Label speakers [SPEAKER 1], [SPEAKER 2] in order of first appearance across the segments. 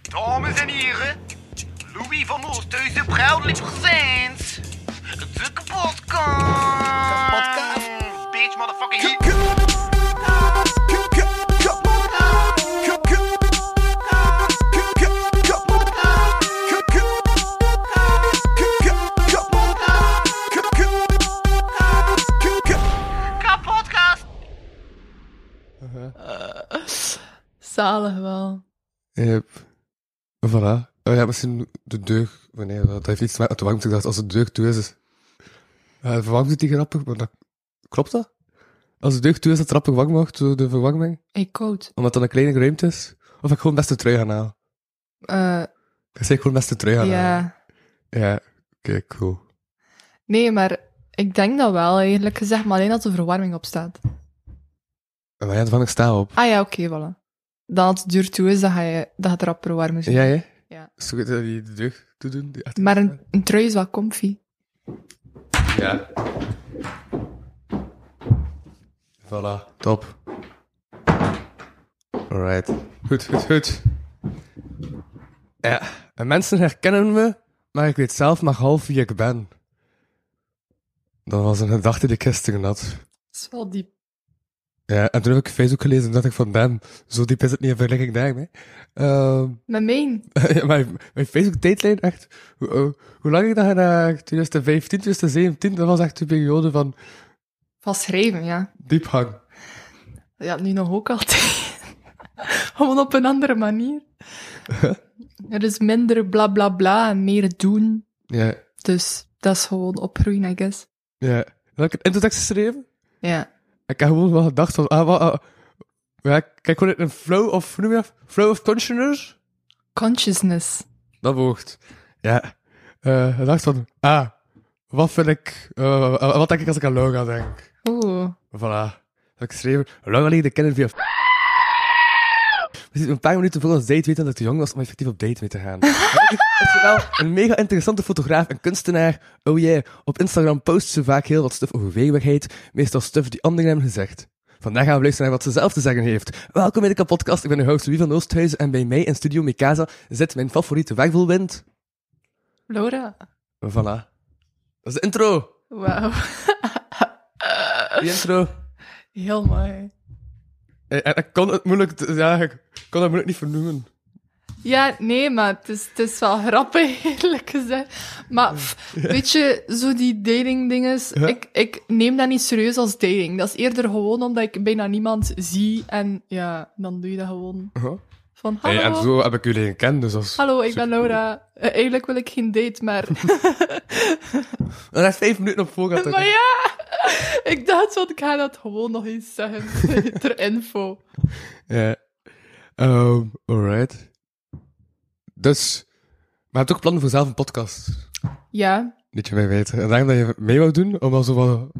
[SPEAKER 1] Dames en heren, Louis van Oosthuizen, proudly presents de kapotkast.
[SPEAKER 2] Kapotkast.
[SPEAKER 1] Bitch, motherfucker, hier. Kapotkast.
[SPEAKER 3] Zalig wel.
[SPEAKER 2] Yep. Eh, Voilà. Oh ja, misschien de deur, wanneer eh, dat heeft iets met de warmte. Ik dacht, als de deur toe is, is Ja, de verwarmt het die grappig, maar dat, klopt dat? Als de deur toe is, dat het rapper warm wordt door de verwarming?
[SPEAKER 3] Ik koud.
[SPEAKER 2] Omdat dat een kleine ruimte is? Of ik gewoon best de trui gaan halen? Ah,
[SPEAKER 3] Eh,
[SPEAKER 2] Ik zeg gewoon best de trui
[SPEAKER 3] ja.
[SPEAKER 2] gaan halen. Ja. Oké, cool.
[SPEAKER 3] Nee, maar ik denk dat wel, eerlijk gezegd. Maar alleen als de verwarming op staat.
[SPEAKER 2] En maar ja, van ik sta op.
[SPEAKER 3] Ah ja, oké, voilà. Dan als het duur toe is, dan ga je, dan gaat het rapper warm zijn.
[SPEAKER 2] Ja, Dus ja?
[SPEAKER 3] Ja.
[SPEAKER 2] Is het goed dat je de deur toe doen? Die achter-
[SPEAKER 3] Maar een, een trui is wel comfy.
[SPEAKER 2] Ja. Voilà, top. Alright. Goed, goed, goed. Ja, en mensen herkennen me, maar ik weet zelf maar half wie ik ben. Dat was een gedachte die ik gisteren had.
[SPEAKER 3] Dat is wel diep.
[SPEAKER 2] Ja, en toen heb ik Facebook gelezen en dacht ik van, damn, zo diep is het niet in vergelijking daarmee. Ehm
[SPEAKER 3] Met mijn.
[SPEAKER 2] ja, mijn, mijn Facebook-tijdlijn, echt. Hoe, hoe- hoe lang ik daar naar 2015, 2017, dat was echt een periode van
[SPEAKER 3] Van schrijven, ja.
[SPEAKER 2] diepgang.
[SPEAKER 3] Ja, nu nog ook altijd. Gewoon op een andere manier. er is minder bla bla bla en meer doen.
[SPEAKER 2] Ja,
[SPEAKER 3] Dus dat is gewoon opgroeien, I guess.
[SPEAKER 2] ja. Heb ik een introtekst geschreven?
[SPEAKER 3] Ja.
[SPEAKER 2] Ik heb gewoon wel gedacht van, ah, wat, ah, ja, ik kijk gewoon in een flow of, hoe noem je dat? Flow of consciousness?
[SPEAKER 3] Consciousness.
[SPEAKER 2] Dat woord. Ja. Eh, ik dacht van, ah, wat vind ik, eh, wat denk ik als ik aan Laura denk?
[SPEAKER 3] Oeh.
[SPEAKER 2] Voilà. Heb ik geschreven, Laura leerde kennen via... We zitten een paar minuten voor ons date weten dat ik te jong was om effectief op date mee te gaan. Eigenlijk is ze wel een mega interessante fotograaf en kunstenaar. Oh yeah, op Instagram post ze vaak heel wat stuff over weerbaarheid. Meestal stuff die anderen hebben gezegd. Vandaag gaan we luisteren naar wat ze zelf te zeggen heeft. Welkom bij de podcast. Ik ben uw host Louis van Oosthuizen en bij mij in Studio Mikasa zit mijn favoriete wervelwind.
[SPEAKER 3] Laura.
[SPEAKER 2] Voilà. Dat is de intro.
[SPEAKER 3] Wauw.
[SPEAKER 2] Die intro.
[SPEAKER 3] Heel mooi.
[SPEAKER 2] Eh, eh, Ik kon het moeilijk, te- ja, ik kon het moeilijk niet vernoemen.
[SPEAKER 3] Ja, nee, maar het is, het is wel grappig, eerlijk gezegd. Maar pff, weet je, zo die dating dinges,
[SPEAKER 2] Ja.
[SPEAKER 3] ik, ik neem dat niet serieus als dating. Dat is eerder gewoon omdat ik bijna niemand zie en ja, dan doe je dat gewoon
[SPEAKER 2] Huh?
[SPEAKER 3] van hallo.
[SPEAKER 2] Hey, en zo heb ik jullie gekend, dus als...
[SPEAKER 3] Hallo, ik ben Laura. Eh, eigenlijk wil ik geen date, maar...
[SPEAKER 2] Dat is vijf minuten op voorraad.
[SPEAKER 3] maar ja, ik dacht, want ik ga dat gewoon nog eens zeggen. Ter info.
[SPEAKER 2] Ja. Ehm, alright. Dus, maar je hebt ook plannen voor zelf een podcast.
[SPEAKER 3] Ja,
[SPEAKER 2] Niet je mij weten. En daarom dat je mee wou doen, om al zo, wat,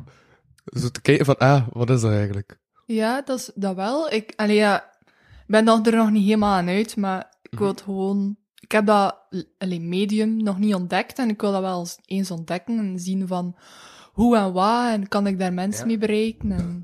[SPEAKER 2] zo te kijken van, ah, wat is dat eigenlijk?
[SPEAKER 3] Ja, dat, is, dat wel. Ik allee, ja, ik ben dan er nog niet helemaal aan uit, maar ik wil het gewoon... Ik heb dat allee, medium nog niet ontdekt en ik wil dat wel eens- eens ontdekken en zien van hoe en wat en kan ik daar mensen
[SPEAKER 2] Ja.
[SPEAKER 3] mee bereiken. En...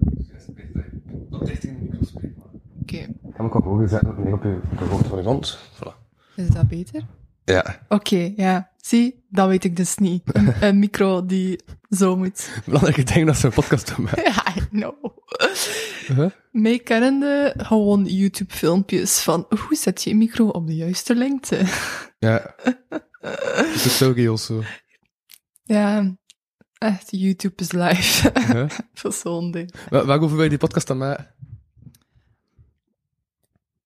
[SPEAKER 2] Dat richting de micro spreken.
[SPEAKER 3] Oké,
[SPEAKER 2] Heb ik ook hoger zetten, nee, op je hoofd van je mond. Voilà.
[SPEAKER 3] is dat beter?
[SPEAKER 2] Ja,
[SPEAKER 3] Oké, ja. Zie, dat weet ik dus niet. Een, een micro die zo moet.
[SPEAKER 2] belangrijke ding dat ze een podcast doen. maken.
[SPEAKER 3] Ja, I know.
[SPEAKER 2] Huh?
[SPEAKER 3] Meekennende gewoon YouTube-filmpjes van hoe zet je je micro op de juiste lengte?
[SPEAKER 2] Ja. Is het zo, Giel, zo?
[SPEAKER 3] Ja, echt, YouTube is live.
[SPEAKER 2] Huh?
[SPEAKER 3] Dat is zo'n ding.
[SPEAKER 2] Wa- Waarover wil je die podcast dan maken?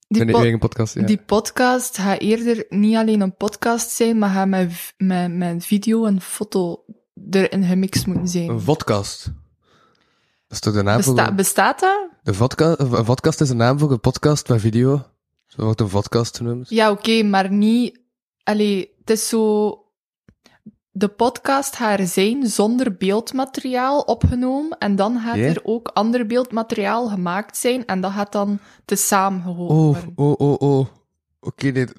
[SPEAKER 3] Die,
[SPEAKER 2] Mijn
[SPEAKER 3] po-
[SPEAKER 2] eigen podcast, ja.
[SPEAKER 3] die podcast gaat eerder niet alleen een podcast zijn, maar gaat met, v- met, met video en foto erin gemixt moeten zijn.
[SPEAKER 2] Een vodcast. Dat is toch de naam voor...
[SPEAKER 3] Besta-
[SPEAKER 2] een-
[SPEAKER 3] bestaat dat?
[SPEAKER 2] De vodka, een vodcast is een naam voor een podcast met video. Zo wordt een vodcast genoemd.
[SPEAKER 3] Ja, oké, maar niet... Allee, het is zo... De podcast gaat er zijn zonder beeldmateriaal opgenomen en dan gaat
[SPEAKER 2] Ja.
[SPEAKER 3] er ook ander beeldmateriaal gemaakt zijn en dat gaat dan tezamen gehoord
[SPEAKER 2] Oh,
[SPEAKER 3] worden.
[SPEAKER 2] oh, oh, oh. Oké, nee. Het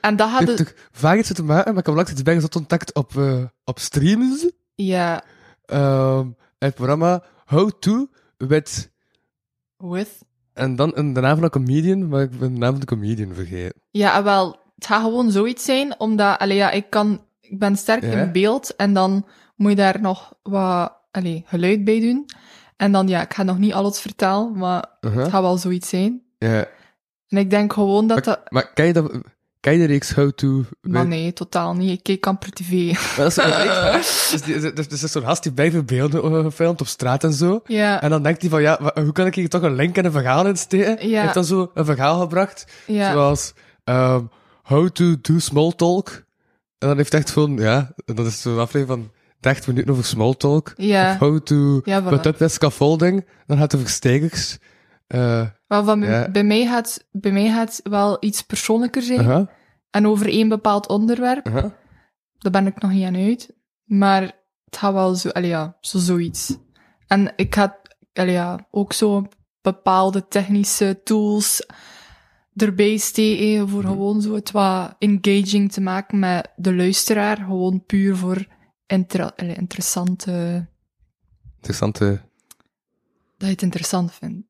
[SPEAKER 3] En dat gaat
[SPEAKER 2] heeft
[SPEAKER 3] dus...
[SPEAKER 2] toch vaak iets te maken, maar ik heb langs iets bijgezet contact op, eh, op streams.
[SPEAKER 3] Ja,
[SPEAKER 2] Ehm, het programma How To with
[SPEAKER 3] with...
[SPEAKER 2] En dan een, de naam van een comedian, maar ik ben de naam van de comedian vergeten.
[SPEAKER 3] Ja, en wel, het gaat gewoon zoiets zijn, omdat, allee, ja, ik kan, ik ben sterk
[SPEAKER 2] Ja.
[SPEAKER 3] in beeld en dan moet je daar nog wat, allee, geluid bij doen. En dan, ja, ik ga nog niet alles vertellen, maar
[SPEAKER 2] Uh-huh.
[SPEAKER 3] het gaat wel zoiets zijn.
[SPEAKER 2] Ja.
[SPEAKER 3] En ik denk gewoon dat dat...
[SPEAKER 2] Maar ken je, dat, ken je de reeks How To...
[SPEAKER 3] Maar nee, totaal niet. Ik keek amper tv.
[SPEAKER 2] Maar dat is zo'n reeks, dus die- dus- dus dat is zo'n gast die blijven beelden eh, gefilmd op straat en zo.
[SPEAKER 3] Ja,
[SPEAKER 2] En dan denkt hij van, ja, wa- hoe kan ik hier toch een link en een verhaal in steken?
[SPEAKER 3] Ja.
[SPEAKER 2] Hij heeft dan zo een verhaal gebracht,
[SPEAKER 3] ja.
[SPEAKER 2] zoals ehm, How to do small talk. En dan heeft hij echt van, ja, en dat is zo'n aflevering van 30 minuten over small talk.
[SPEAKER 3] Ja.
[SPEAKER 2] Of how to
[SPEAKER 3] Ja, voilà.
[SPEAKER 2] put up with scaffolding. Dan gaat het over stekers. Eh,
[SPEAKER 3] Wel, van,
[SPEAKER 2] Ja. Uh-huh.
[SPEAKER 3] bij, mij gaat, bij mij gaat het wel iets persoonlijker zijn.
[SPEAKER 2] aha,
[SPEAKER 3] En over één bepaald onderwerp.
[SPEAKER 2] aha.
[SPEAKER 3] Daar ben ik nog niet aan uit. Maar het gaat wel zo, allee, ja, zo zoiets. En ik had allee, ja, ook zo bepaalde technische tools erbij steken voor
[SPEAKER 2] Mhm.
[SPEAKER 3] gewoon zo het wat engaging te maken met de luisteraar. Gewoon puur voor inter- allee, interessante...
[SPEAKER 2] Interessante...
[SPEAKER 3] Dat je het interessant vindt.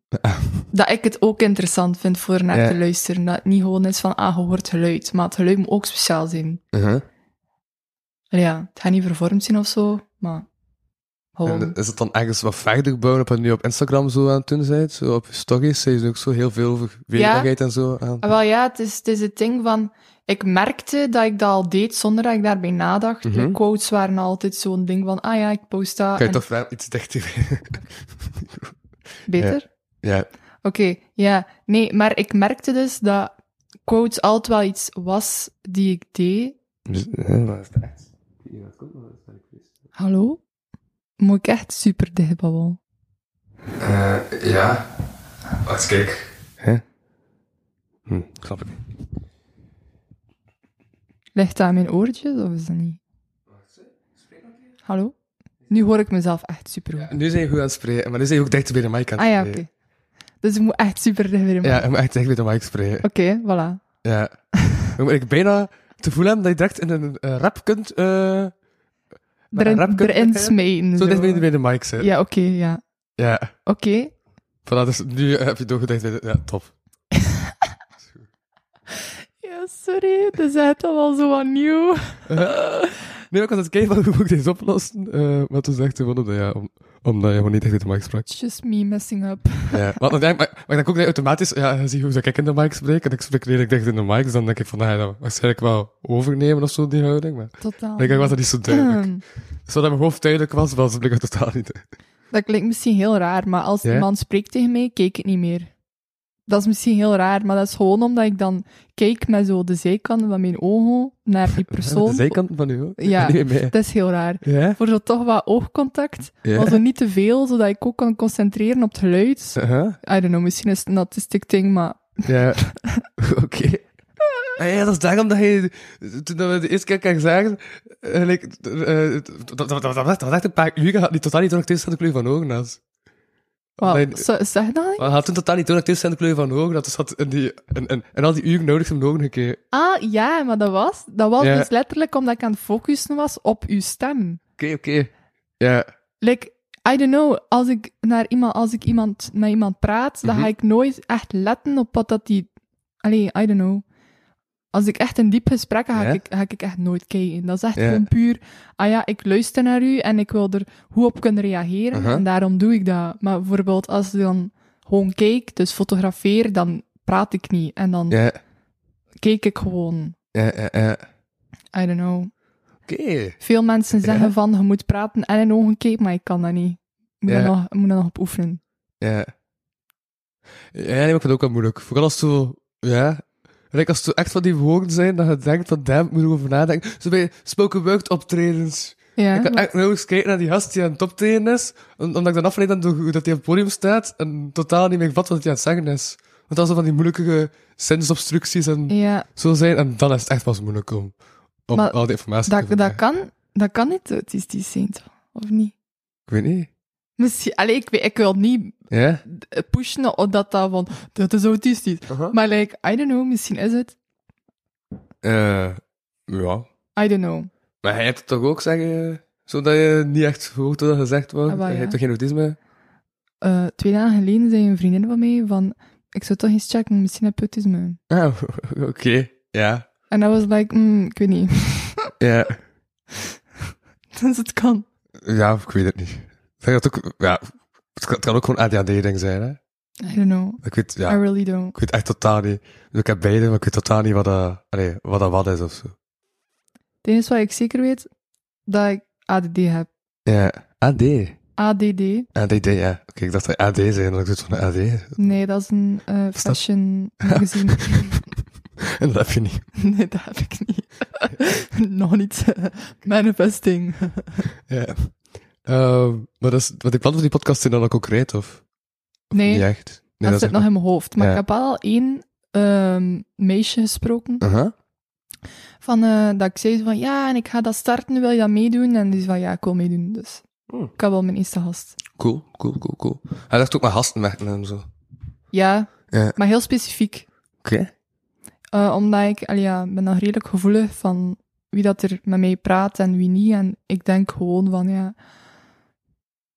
[SPEAKER 3] dat ik het ook interessant vind voor naar
[SPEAKER 2] Ja.
[SPEAKER 3] te luisteren. Dat het niet gewoon is van, ah, je hoort geluid. Maar het geluid moet ook speciaal zijn.
[SPEAKER 2] aha.
[SPEAKER 3] Allee, ja, het gaat niet vervormd zijn of zo, maar gewoon...
[SPEAKER 2] En is het dan ergens wat verder bouwen op wat je nu op Instagram zo aan het doen bent? Zo op je stories, zei je ook zo heel veel over weerbaarheid en zo aan.
[SPEAKER 3] Ah, wel ja, het is, het is het ding van... Ik merkte dat ik dat al deed zonder dat ik daarbij nadacht.
[SPEAKER 2] Mhm.
[SPEAKER 3] De quotes waren altijd zo'n ding van, ah ja, ik post dat.
[SPEAKER 2] Kan je
[SPEAKER 3] en-
[SPEAKER 2] toch wel iets dichter...
[SPEAKER 3] Beter?
[SPEAKER 2] ja.
[SPEAKER 3] Oké, ja. Nee, maar ik merkte dus dat quotes altijd wel iets was die ik deed.
[SPEAKER 2] Dus, hè, wat is dat echt? Ja, dat komt wel, dat is wel een
[SPEAKER 3] Hallo? Moet ik echt super dicht babbelen?
[SPEAKER 2] quiz. ja. Wacht, kijk. Hè? Hm, snap ik niet.
[SPEAKER 3] Ligt dat aan mijn oortjes of is dat niet? Hallo? Nu hoor ik mezelf echt super goed.
[SPEAKER 2] Nu zijn je goed aan het spreken, maar nu zijn je ook dichter bij de mic aan het
[SPEAKER 3] Ah ja, oké.
[SPEAKER 2] spreken.
[SPEAKER 3] Dus ik moet echt super dicht weer.
[SPEAKER 2] Ja, je moet echt dichter bij de mic spreken.
[SPEAKER 3] Oké, voilà.
[SPEAKER 2] Ja. Dan moet ik bijna te voelen hebben dat je direct in een eh, rap kunt... eh met een rap
[SPEAKER 3] Erin,
[SPEAKER 2] kunt
[SPEAKER 3] erin
[SPEAKER 2] beginnen.
[SPEAKER 3] smijten.
[SPEAKER 2] Zo dicht bij de- bij de mic zitten.
[SPEAKER 3] Ja, oké, ja.
[SPEAKER 2] ja.
[SPEAKER 3] Oké.
[SPEAKER 2] Voilà, dus nu heb je doorgedacht. bij de- Ja, top.
[SPEAKER 3] Ja, sorry. dus Dat is echt al wel zo wat nieuw.
[SPEAKER 2] nee, ik was aan het kijken van hoe moet ik dit oplossen. Eh, maar toen zegt hij van, eh, ja, om, omdat je gewoon niet echt uit de mic sprak.
[SPEAKER 3] Just me messing up.
[SPEAKER 2] Ja. Maar, dan denk ik- maar, maar dan denk ik ook dat automatisch, ja, je ziet hoe ze ik in de mic spreek. En ik spreek redelijk dicht in de mic. Dus dan denk ik van, nou, ja, dat waarschijnlijk wel overnemen of zo, die houding. Maar
[SPEAKER 3] Totaal. Ehm,
[SPEAKER 2] ik was dat niet zo duidelijk. Dus wat in mijn hoofd duidelijk was, was het blijkbaar totaal niet duidelijk.
[SPEAKER 3] Dat klinkt misschien heel raar, maar als
[SPEAKER 2] Ja?
[SPEAKER 3] de man spreekt tegen mij, kijk ik niet meer. Dat is misschien heel raar, maar dat is gewoon omdat ik dan kijk met zo de zijkanten van mijn ogen naar die
[SPEAKER 2] De
[SPEAKER 3] persoon.
[SPEAKER 2] zijkant van u, hoor.
[SPEAKER 3] Ja.
[SPEAKER 2] Nee, mee.
[SPEAKER 3] Dat is heel raar.
[SPEAKER 2] Ja?
[SPEAKER 3] Voor zo toch wat oogcontact,
[SPEAKER 2] Ja.
[SPEAKER 3] maar zo niet te veel, zodat ik ook kan concentreren op het geluid.
[SPEAKER 2] Uh-huh.
[SPEAKER 3] I don't know, misschien is het een autistic ding, maar
[SPEAKER 2] Ja, oké. Ah ja, dat is daarom dat je, toen we de eerste keer elkaar zagen, eh, like, eh, dat, dat, dat, dat, was- dat was echt een paar uur, had die totaal niet door de de kleur van ogen was.
[SPEAKER 3] wat,
[SPEAKER 2] Mijn-
[SPEAKER 3] zo- zeg dat niet?
[SPEAKER 2] Maar hij had toen totaal niet door de de kleur van ogen, dat dus had in, die, en en en al die uren nodig om de ogen gekeken.
[SPEAKER 3] Ah, ja, maar dat was, dat was
[SPEAKER 2] Ja.
[SPEAKER 3] dus letterlijk omdat ik aan het focussen was op uw stem.
[SPEAKER 2] Oké, oké. Ja,
[SPEAKER 3] Like, I don't know, als ik, naar iemand, als ik iemand, met iemand praat, dan
[SPEAKER 2] Mhm.
[SPEAKER 3] ga ik nooit echt letten op wat dat die... Allee, I don't know. Als ik echt een diep gesprek heb, ga,
[SPEAKER 2] Ja?
[SPEAKER 3] ik, ga ik echt nooit kijken. Dat is echt
[SPEAKER 2] Ja.
[SPEAKER 3] gewoon puur, ah ja, ik luister naar u en ik wil er goed op kunnen reageren
[SPEAKER 2] Aha.
[SPEAKER 3] en daarom doe ik dat. Maar bijvoorbeeld als ik dan gewoon kijk, dus fotografeer, dan praat ik niet. En dan
[SPEAKER 2] ja,
[SPEAKER 3] kijk ik gewoon,
[SPEAKER 2] ja, ja, ja.
[SPEAKER 3] I don't know.
[SPEAKER 2] Oké.
[SPEAKER 3] Veel mensen zeggen
[SPEAKER 2] Ja?
[SPEAKER 3] van, je moet praten en in ogen kijken, maar ik kan dat niet. Ik moet,
[SPEAKER 2] Ja.
[SPEAKER 3] daar nog, ik moet daar nog op oefenen.
[SPEAKER 2] Ja. Ja, nee, maar ik vind het ook wel moeilijk. Vooral als het zo, ja. Like als het zo echt van die woorden zijn, dat je denkt van, damn, ik moet erover nadenken. Zo bij spoken word optredens.
[SPEAKER 3] Ja,
[SPEAKER 2] ik kan
[SPEAKER 3] Ah, maar-
[SPEAKER 2] echt nauwelijks kijken naar die gast die aan het optreden is, om- omdat ik dan afleid dan door hoe dat hij op het podium staat en totaal niet meer vat wat hij aan het zeggen is. Want dat is van die moeilijke zinsobstructies en
[SPEAKER 3] ja
[SPEAKER 2] zo zijn, en dan is het echt pas moeilijk om, om
[SPEAKER 3] Maar
[SPEAKER 2] al die informatie te
[SPEAKER 3] dat, dat,
[SPEAKER 2] verwerken.
[SPEAKER 3] kan, dat kan niet autistisch zijn, toch? Of niet?
[SPEAKER 2] Ik weet niet.
[SPEAKER 3] Misschien, allee, ik, weet- ik wil niet
[SPEAKER 2] Ja?
[SPEAKER 3] eh, pushen op dat dat van, dat is autistisch. Maar like, I don't know, misschien is het.
[SPEAKER 2] Eh, ja.
[SPEAKER 3] I don't know.
[SPEAKER 2] Maar hij hebt het toch ook zeggen, zodat je niet echt hoort wat er gezegd wordt?
[SPEAKER 3] Ah, wel,
[SPEAKER 2] Hij
[SPEAKER 3] ja.
[SPEAKER 2] heeft toch geen autisme?
[SPEAKER 3] eh, twee dagen geleden zei een vriendin van mij van, ik zou toch eens checken, misschien heb je autisme.
[SPEAKER 2] Ah, oké. Ja.
[SPEAKER 3] En I was like, mm, ik weet niet.
[SPEAKER 2] Ja.
[SPEAKER 3] dus het kan.
[SPEAKER 2] Ja, ik weet het niet. Zeg dat ook, ja, het kan, het kan ook gewoon ADHD-ding zijn, hè?
[SPEAKER 3] I don't know.
[SPEAKER 2] Ik weet,
[SPEAKER 3] I
[SPEAKER 2] ja,
[SPEAKER 3] really don't.
[SPEAKER 2] ik weet echt totaal niet. Dus ik heb beide, maar ik weet totaal niet wat dat, allee, wat, dat wat is of zo.
[SPEAKER 3] Het enige wat ik zeker weet, dat ik ADD heb.
[SPEAKER 2] Ja, AD.
[SPEAKER 3] ADD?
[SPEAKER 2] ADD, ja. Oké, ik dacht dat AD zei, en dat ik zoiets van AD.
[SPEAKER 3] Nee, dat is een eh,
[SPEAKER 2] dat-
[SPEAKER 3] fashion magazine.
[SPEAKER 2] En dat heb je niet.
[SPEAKER 3] nee, dat heb ik niet. Nog niet. Manifesting.
[SPEAKER 2] Ja. Ehm, maar dat is, want die plannen van die podcast zijn dan ook concreet, of? Of
[SPEAKER 3] Nee,
[SPEAKER 2] Niet echt.
[SPEAKER 3] dat, zit
[SPEAKER 2] is
[SPEAKER 3] nog in mijn hoofd. Maar
[SPEAKER 2] Ja.
[SPEAKER 3] ik heb wel al één ehm, meisje gesproken.
[SPEAKER 2] Aha.
[SPEAKER 3] Van, eh, dat ik zei van, ja, en ik ga dat starten, wil je dat meedoen? En die zei van, ja, ik wil meedoen. Dus
[SPEAKER 2] Hmm.
[SPEAKER 3] ik had wel mijn eerste gast.
[SPEAKER 2] Cool, cool, cool, cool. Hij dacht ook maar gasten merken en zo. Oké.
[SPEAKER 3] Ja,
[SPEAKER 2] Ja.
[SPEAKER 3] maar heel specifiek. Eh, omdat ik, allee, ja, ben nog redelijk gevoelig van wie dat er met mij praat en wie niet. En ik denk gewoon van, ja,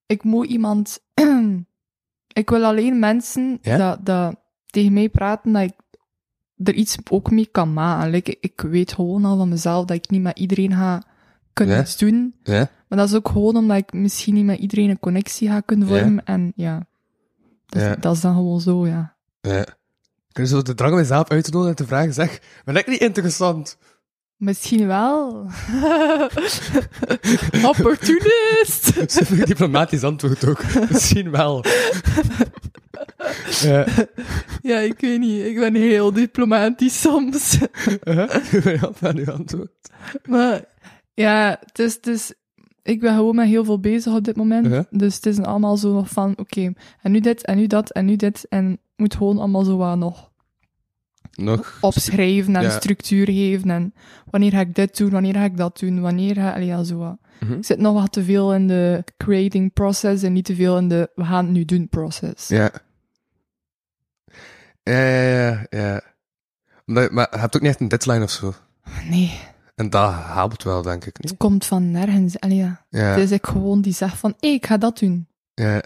[SPEAKER 3] ik moet iemand... ik wil alleen mensen
[SPEAKER 2] Ja?
[SPEAKER 3] dat, dat tegen mij praten, dat ik er iets ook mee kan maken. Like, ik- ik weet gewoon al van mezelf dat ik niet met iedereen ga kunnen
[SPEAKER 2] Ja?
[SPEAKER 3] iets doen.
[SPEAKER 2] Ja?
[SPEAKER 3] Maar dat is ook gewoon omdat ik misschien niet met iedereen een connectie ga kunnen
[SPEAKER 2] Ja?
[SPEAKER 3] vormen. En ja, dat, is-
[SPEAKER 2] Ja.
[SPEAKER 3] dat is dan gewoon zo, ja.
[SPEAKER 2] Ja. Kun je zo de drang om jezelf uit te nodigen en te vragen, zeg, ben ik niet interessant?
[SPEAKER 3] Misschien wel. Opportunist.
[SPEAKER 2] Super diplomatisch antwoord ook. Misschien wel. ja.
[SPEAKER 3] Ja, ik weet niet. Ik ben heel diplomatisch soms.
[SPEAKER 2] Uh-huh. Ja, aan uw antwoord.
[SPEAKER 3] Maar ja, het is, het is- ik ben gewoon met heel veel bezig op dit moment.
[SPEAKER 2] Ja.
[SPEAKER 3] Dus het is allemaal zo nog van, oké, en nu dit, en nu dat, en nu dit. En het moet gewoon allemaal zo wat nog
[SPEAKER 2] Nog.
[SPEAKER 3] opschrijven en
[SPEAKER 2] Ja.
[SPEAKER 3] structuur geven. En wanneer ga ik dit doen, wanneer ga ik dat doen, wanneer ga allee, ja, zo wat.
[SPEAKER 2] Mhm.
[SPEAKER 3] Ik zit nog wat te veel in de creating process en niet te veel in de we gaan het nu doen process.
[SPEAKER 2] Ja. Ja, ja, ja. ja. Omdat- maar je hebt ook niet echt een deadline of zo.
[SPEAKER 3] Nee,
[SPEAKER 2] En dat helpt wel, denk ik.
[SPEAKER 3] het
[SPEAKER 2] Niet?
[SPEAKER 3] komt van nergens. Allee, ja.
[SPEAKER 2] Ja.
[SPEAKER 3] Het is ik gewoon die zegt van, hey, ik ga dat doen.
[SPEAKER 2] Ja.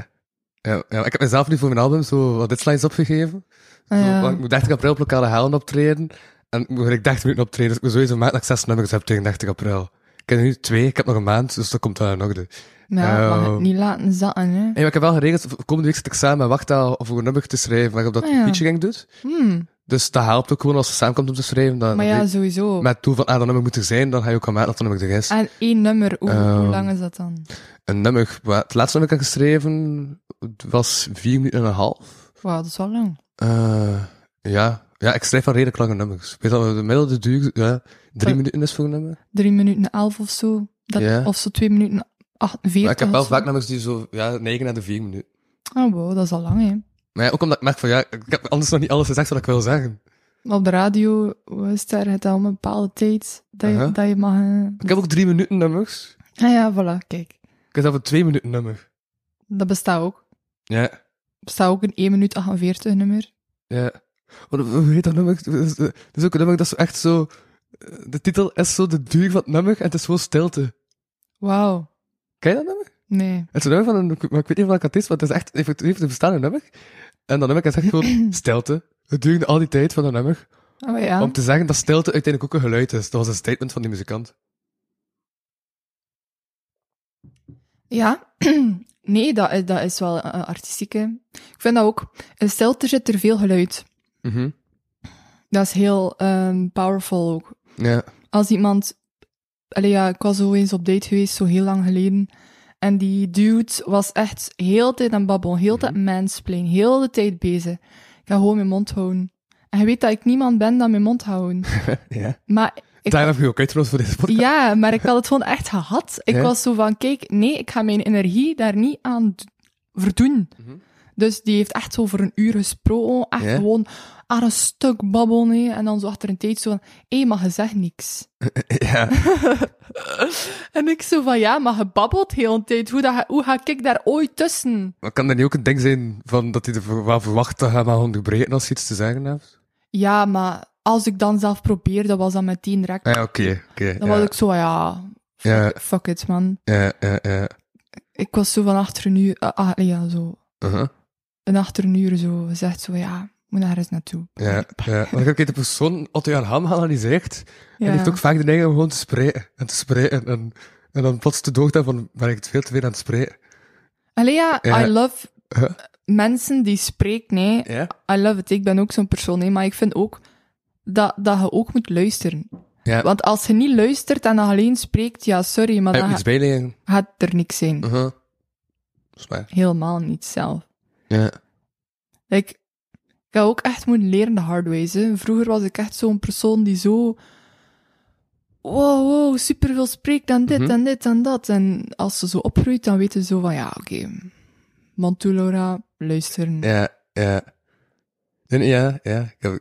[SPEAKER 2] Ja, ja, ik heb mezelf nu voor mijn album zo wat deadlines opgegeven.
[SPEAKER 3] Ah,
[SPEAKER 2] Zo,
[SPEAKER 3] ja.
[SPEAKER 2] want ik moet 30 april op lokale halen optreden. En ik moet gelijk 30 minuten optreden. Dus ik moet sowieso maandelijk zes nummers hebben tegen 30 april. Ik heb er nu twee, ik heb nog een maand, dus dat komt wel in orde.
[SPEAKER 3] Maar ja, je mag
[SPEAKER 2] Oh.
[SPEAKER 3] het niet laten zakken, hè.
[SPEAKER 2] Hey, maar ik heb wel geregeld, voor- komende week zit ik samen met Wachtaal om voor een nummer te schrijven, waar ik op dat
[SPEAKER 3] Ah, ja.
[SPEAKER 2] featuring doet.
[SPEAKER 3] Hmm,
[SPEAKER 2] Dus dat helpt ook gewoon als ze samenkomt om te schrijven. Dan
[SPEAKER 3] maar
[SPEAKER 2] weet
[SPEAKER 3] ja,
[SPEAKER 2] je
[SPEAKER 3] sowieso.
[SPEAKER 2] met het doel van, ah, dat nummer moet er zijn, dan ga je ook al maken dat dat nummer er is.
[SPEAKER 3] En één nummer, hoe, hoe
[SPEAKER 2] Ehm.
[SPEAKER 3] lang is dat dan?
[SPEAKER 2] Een nummer, wat- het laatste nummer dat ik heb geschreven was vier minuten en een half.
[SPEAKER 3] Wauw, dat is wel lang.
[SPEAKER 2] Eh, ja. ja, ik schrijf wel redelijk lange nummers. Ik Weet dat de middelde duur ja, drie
[SPEAKER 3] Eh,
[SPEAKER 2] minuten is voor een nummer.
[SPEAKER 3] Drie minuten elf of zo. Dat,
[SPEAKER 2] Ja.
[SPEAKER 3] Of zo twee minuten
[SPEAKER 2] Maar
[SPEAKER 3] 48
[SPEAKER 2] ik heb wel
[SPEAKER 3] of zo.
[SPEAKER 2] vaak nummers die zo ja, negen naar de vier minuten.
[SPEAKER 3] Oh, wow, dat is al lang, hè.
[SPEAKER 2] Maar ja, ook omdat ik merk van ja, ik heb anders nog niet alles gezegd wat ik wil zeggen.
[SPEAKER 3] Op de radio hoe is het daar het al een bepaalde tijd dat je,
[SPEAKER 2] Aha.
[SPEAKER 3] dat je mag... eh,
[SPEAKER 2] Ik heb ook drie minuten nummers.
[SPEAKER 3] Ah ja, voilà, kijk.
[SPEAKER 2] Ik heb zelf een twee minuten nummer.
[SPEAKER 3] Dat bestaat ook.
[SPEAKER 2] Ja,
[SPEAKER 3] bestaat ook een 1 minuut 48 nummer.
[SPEAKER 2] ja. Wat, hoe heet dat nummer? Het is, eh, het is ook een nummer dat zo echt zo... eh, De titel is zo de duur van het nummer en het is gewoon stilte.
[SPEAKER 3] Wauw.
[SPEAKER 2] Ken je dat nummer?
[SPEAKER 3] Nee.
[SPEAKER 2] Het is een nummer van een... Maar ik weet niet welke het is, want het is echt effectief een bestaande nummer. En dat nummer is echt gewoon stilte. Het duurde al die tijd van dat nummer.
[SPEAKER 3] Oh ja.
[SPEAKER 2] Om te zeggen dat stilte uiteindelijk ook een geluid is. Dat was een statement van die muzikant.
[SPEAKER 3] Ja, nee, dat is, dat is wel eh, artistiek. hè. Ik vind dat ook. In stilte zit er veel geluid.
[SPEAKER 2] Mhm.
[SPEAKER 3] Dat is heel ehm, powerful ook.
[SPEAKER 2] Ja.
[SPEAKER 3] Als iemand... Allee, ja, ik was zo eens op date geweest, zo heel lang geleden. En die dude was echt heel de tijd aan het babbelen, heel de tijd mansplain, heel de tijd bezig. Ik ga gewoon mijn mond houden. En je weet dat ik niemand ben dan mijn mond houden.
[SPEAKER 2] ja.
[SPEAKER 3] Maar ik,
[SPEAKER 2] Daar heb je ook uitgenodigd voor deze podcast.
[SPEAKER 3] ja, maar ik had het gewoon echt gehad. Ik
[SPEAKER 2] Ja.
[SPEAKER 3] was zo van, kijk, nee, ik ga mijn energie daar niet aan d- verdoen.
[SPEAKER 2] Mhm.
[SPEAKER 3] Dus die heeft echt zo voor een uur gesproken, echt
[SPEAKER 2] Ja.
[SPEAKER 3] gewoon aan een stuk babbelen, hè. en dan zo achter een tijd zo van, hé, maar je zegt niks.
[SPEAKER 2] Ja.
[SPEAKER 3] En ik zo van, ja, maar je babbelt heel een tijd, hoe, dat, ga- hoe ga ik daar ooit tussen?
[SPEAKER 2] Maar kan er niet ook een ding zijn van dat hij er wel verwacht dat hij maar onderbreken als je iets te zeggen hebt?
[SPEAKER 3] Ja, maar als ik dan zelf probeer, dat was dan meteen direct,
[SPEAKER 2] Ah Ja, oké. oké,
[SPEAKER 3] dan
[SPEAKER 2] ja.
[SPEAKER 3] was ik zo, ja, fuck,
[SPEAKER 2] Ja.
[SPEAKER 3] fuck it, man.
[SPEAKER 2] Ja, ja, ja.
[SPEAKER 3] Ik was zo van achter een uur, ah, ah, ja, zo,
[SPEAKER 2] Uh-huh.
[SPEAKER 3] een achternuur zo zegt zo, ja, moet daar eens naartoe.
[SPEAKER 2] Ja, ja. Want ik heb de persoon Otto Jan Ham geanalyseerd. En die
[SPEAKER 3] Ja.
[SPEAKER 2] heeft ook vaak de neiging om gewoon te spreken. En te spreken. En, en dan plots te dood van, ben ik het veel te veel aan het spreken?
[SPEAKER 3] Allee, ja,
[SPEAKER 2] Ja.
[SPEAKER 3] I love
[SPEAKER 2] Huh?
[SPEAKER 3] mensen die spreken, nee.
[SPEAKER 2] Ja?
[SPEAKER 3] I love it. Ik ben ook zo'n persoon, nee. Maar ik vind ook dat, dat je ook moet luisteren.
[SPEAKER 2] Ja.
[SPEAKER 3] Want als je niet luistert en dan alleen spreekt, ja, sorry, maar
[SPEAKER 2] Heb
[SPEAKER 3] dan
[SPEAKER 2] je
[SPEAKER 3] ga-
[SPEAKER 2] iets bijleggen?
[SPEAKER 3] gaat er niks zijn.
[SPEAKER 2] Uh-huh. Volgens mij.
[SPEAKER 3] Helemaal niet zelf.
[SPEAKER 2] Ja.
[SPEAKER 3] Like, ik heb ook echt moeten leren de hard ways. Hè. Vroeger was ik echt zo'n persoon die zo... Wow, wow, superveel spreekt aan dit
[SPEAKER 2] Mhm.
[SPEAKER 3] en dit en dat. En als ze zo opgroeit, dan weten ze zo van... Ja, oké, man toe, Laura, luisteren.
[SPEAKER 2] Ja, ja. Nee, nee, ja, ja. Ik heb...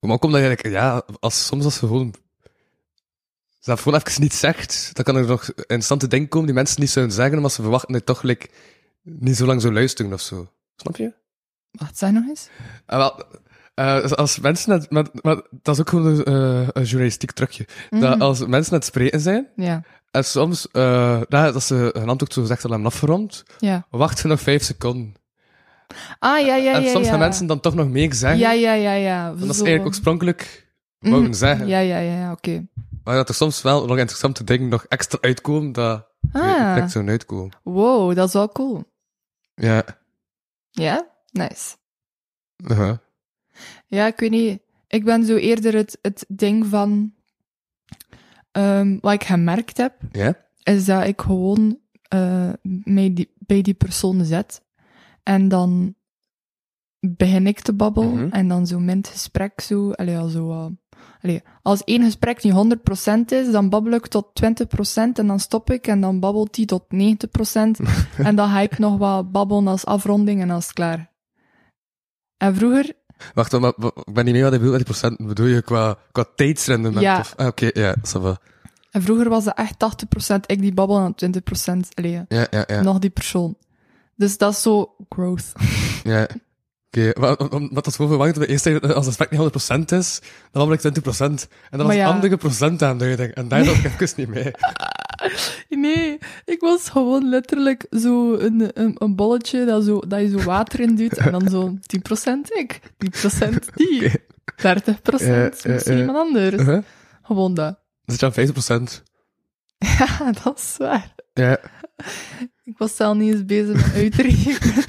[SPEAKER 2] Maar ook omdat je eigenlijk, ja, als, soms als je gewoon, zelf gewoon even niet zegt, dan kan er nog instante dingen komen die mensen niet zouden zeggen, omdat ze verwachten dat je toch like, niet zo lang zou luisteren of zo. Snap je?
[SPEAKER 3] Wat zijn nog eens?
[SPEAKER 2] Ah, wel, eh, als mensen het, maar, maar dat is ook gewoon een, eh, een journalistiek trucje. Dat
[SPEAKER 3] Mhm.
[SPEAKER 2] als mensen aan het spreken zijn,
[SPEAKER 3] Ja,
[SPEAKER 2] en soms, eh dat dat ze hun antwoord zo gezegd al hebben afgerond,
[SPEAKER 3] ja.
[SPEAKER 2] wacht ze nog vijf seconden.
[SPEAKER 3] Ah, ja, ja, ja.
[SPEAKER 2] en soms
[SPEAKER 3] ja.
[SPEAKER 2] gaan mensen dan toch nog meer zeggen.
[SPEAKER 3] Ja, ja, ja, ja.
[SPEAKER 2] Want dat is
[SPEAKER 3] Zo.
[SPEAKER 2] eigenlijk oorspronkelijk
[SPEAKER 3] Mhm.
[SPEAKER 2] mogen zeggen.
[SPEAKER 3] Ja, ja, ja, ja, oké.
[SPEAKER 2] Maar dat er soms wel nog interessante dingen nog extra uitkomen, dat je
[SPEAKER 3] Ah,
[SPEAKER 2] direct zo uitkomen.
[SPEAKER 3] wow, dat is wel cool.
[SPEAKER 2] Ja.
[SPEAKER 3] Ja? Nice.
[SPEAKER 2] Uh-huh.
[SPEAKER 3] Ja, ik weet niet. Ik ben zo eerder het, het ding van... ehm, wat ik gemerkt heb,
[SPEAKER 2] Ja?
[SPEAKER 3] is dat ik gewoon eh, mij die, bij die persoon zet. En dan begin ik te babbelen.
[SPEAKER 2] Mhm.
[SPEAKER 3] En dan zo mint gesprek zo... Allee, ja, zo eh, allee, als één gesprek niet 100% is, dan babbel ik tot 20% en dan stop ik. En dan babbelt die tot 90%. en dan ga ik nog wat babbelen als afronding en als het klaar. En vroeger
[SPEAKER 2] Wacht, maar, maar- ik ben niet mee wat ik bedoel met die procenten. Bedoel je qua, qua tijdsrendement?
[SPEAKER 3] Ja.
[SPEAKER 2] Of, ah, oké, ja, ça va.
[SPEAKER 3] En vroeger was dat echt 80% ik die babbel en 20% allee,
[SPEAKER 2] Ja, ja, ja.
[SPEAKER 3] nog die persoon. Dus dat is zo growth.
[SPEAKER 2] ja. Oké, maar om- om- omdat dat gewoon verwacht wordt, eerst even, eh, als het aspect niet 100% is, dan word ik 20%. En dan was
[SPEAKER 3] ja.
[SPEAKER 2] het andere procentaanduiding. En daar dacht ik even niet mee.
[SPEAKER 3] Nee, ik was gewoon letterlijk zo een, een, een bolletje dat, zo, dat je zo water in duwt en dan zo 10% ik, 10% die, 30%
[SPEAKER 2] Ja, ja,
[SPEAKER 3] misschien
[SPEAKER 2] ja.
[SPEAKER 3] iemand anders.
[SPEAKER 2] Uh-huh.
[SPEAKER 3] Gewoon dat.
[SPEAKER 2] Dan zit je aan 50%.
[SPEAKER 3] Ja, dat is waar.
[SPEAKER 2] Ja.
[SPEAKER 3] Ik was zelf niet eens bezig met uitrekenen.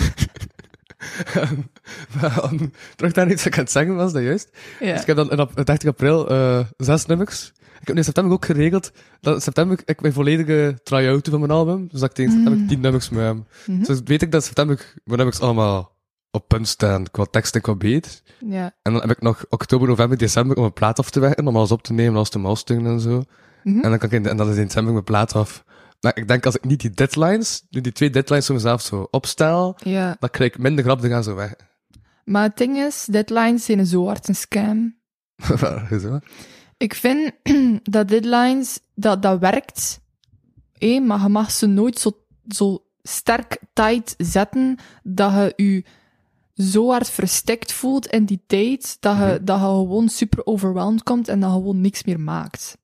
[SPEAKER 2] maar om terug naar iets wat ik aan het zeggen was, dat juist. Dus
[SPEAKER 3] Ja.
[SPEAKER 2] ik heb dan in ap- 30 april eh, zes nummers. Ik heb nu in september ook geregeld dat in september ik mijn volledige try-out doe van mijn album. Dus dat ik tegen september
[SPEAKER 3] Mm.
[SPEAKER 2] 10 nummers moet hebben.
[SPEAKER 3] Mhm.
[SPEAKER 2] Dus weet ik dat in september mijn nummers allemaal op punt staan, qua tekst en qua beat.
[SPEAKER 3] ja.
[SPEAKER 2] En dan heb ik nog oktober, november, december om mijn plaat af te werken, om alles op te nemen, alles te masteren en zo.
[SPEAKER 3] Mhm.
[SPEAKER 2] En dan kan ik in, en dan is in december mijn plaat af. Maar ik denk als ik niet die deadlines, nu die twee deadlines voor mezelf zo opstel,
[SPEAKER 3] ja.
[SPEAKER 2] dan krijg ik minder grap te gaan zo weg.
[SPEAKER 3] Maar het ding is, deadlines zijn zo hard een scam.
[SPEAKER 2] zo.
[SPEAKER 3] Ik vind dat deadlines, dat, dat werkt. Hé, maar je mag ze nooit zo, zo sterk tijd zetten dat je je zo hard verstikt voelt in die tijd dat je, dat je gewoon super overweldigd komt en dat je gewoon niks meer maakt.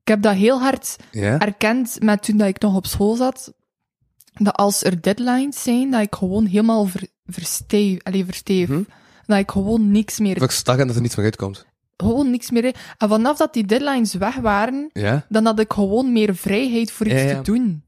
[SPEAKER 3] Ik heb dat heel hard
[SPEAKER 2] Ja?
[SPEAKER 3] erkend met toen dat ik nog op school zat, dat als er deadlines zijn, dat ik gewoon helemaal ver, versteef, allee, versteef.
[SPEAKER 2] Mhm.
[SPEAKER 3] Dat ik gewoon niks meer
[SPEAKER 2] Dat ik stak en dat er niets meer uitkomt.
[SPEAKER 3] gewoon niks meer. in. En vanaf dat die deadlines weg waren,
[SPEAKER 2] Ja?
[SPEAKER 3] dan had ik gewoon meer vrijheid voor iets
[SPEAKER 2] Ja, ja.
[SPEAKER 3] te doen.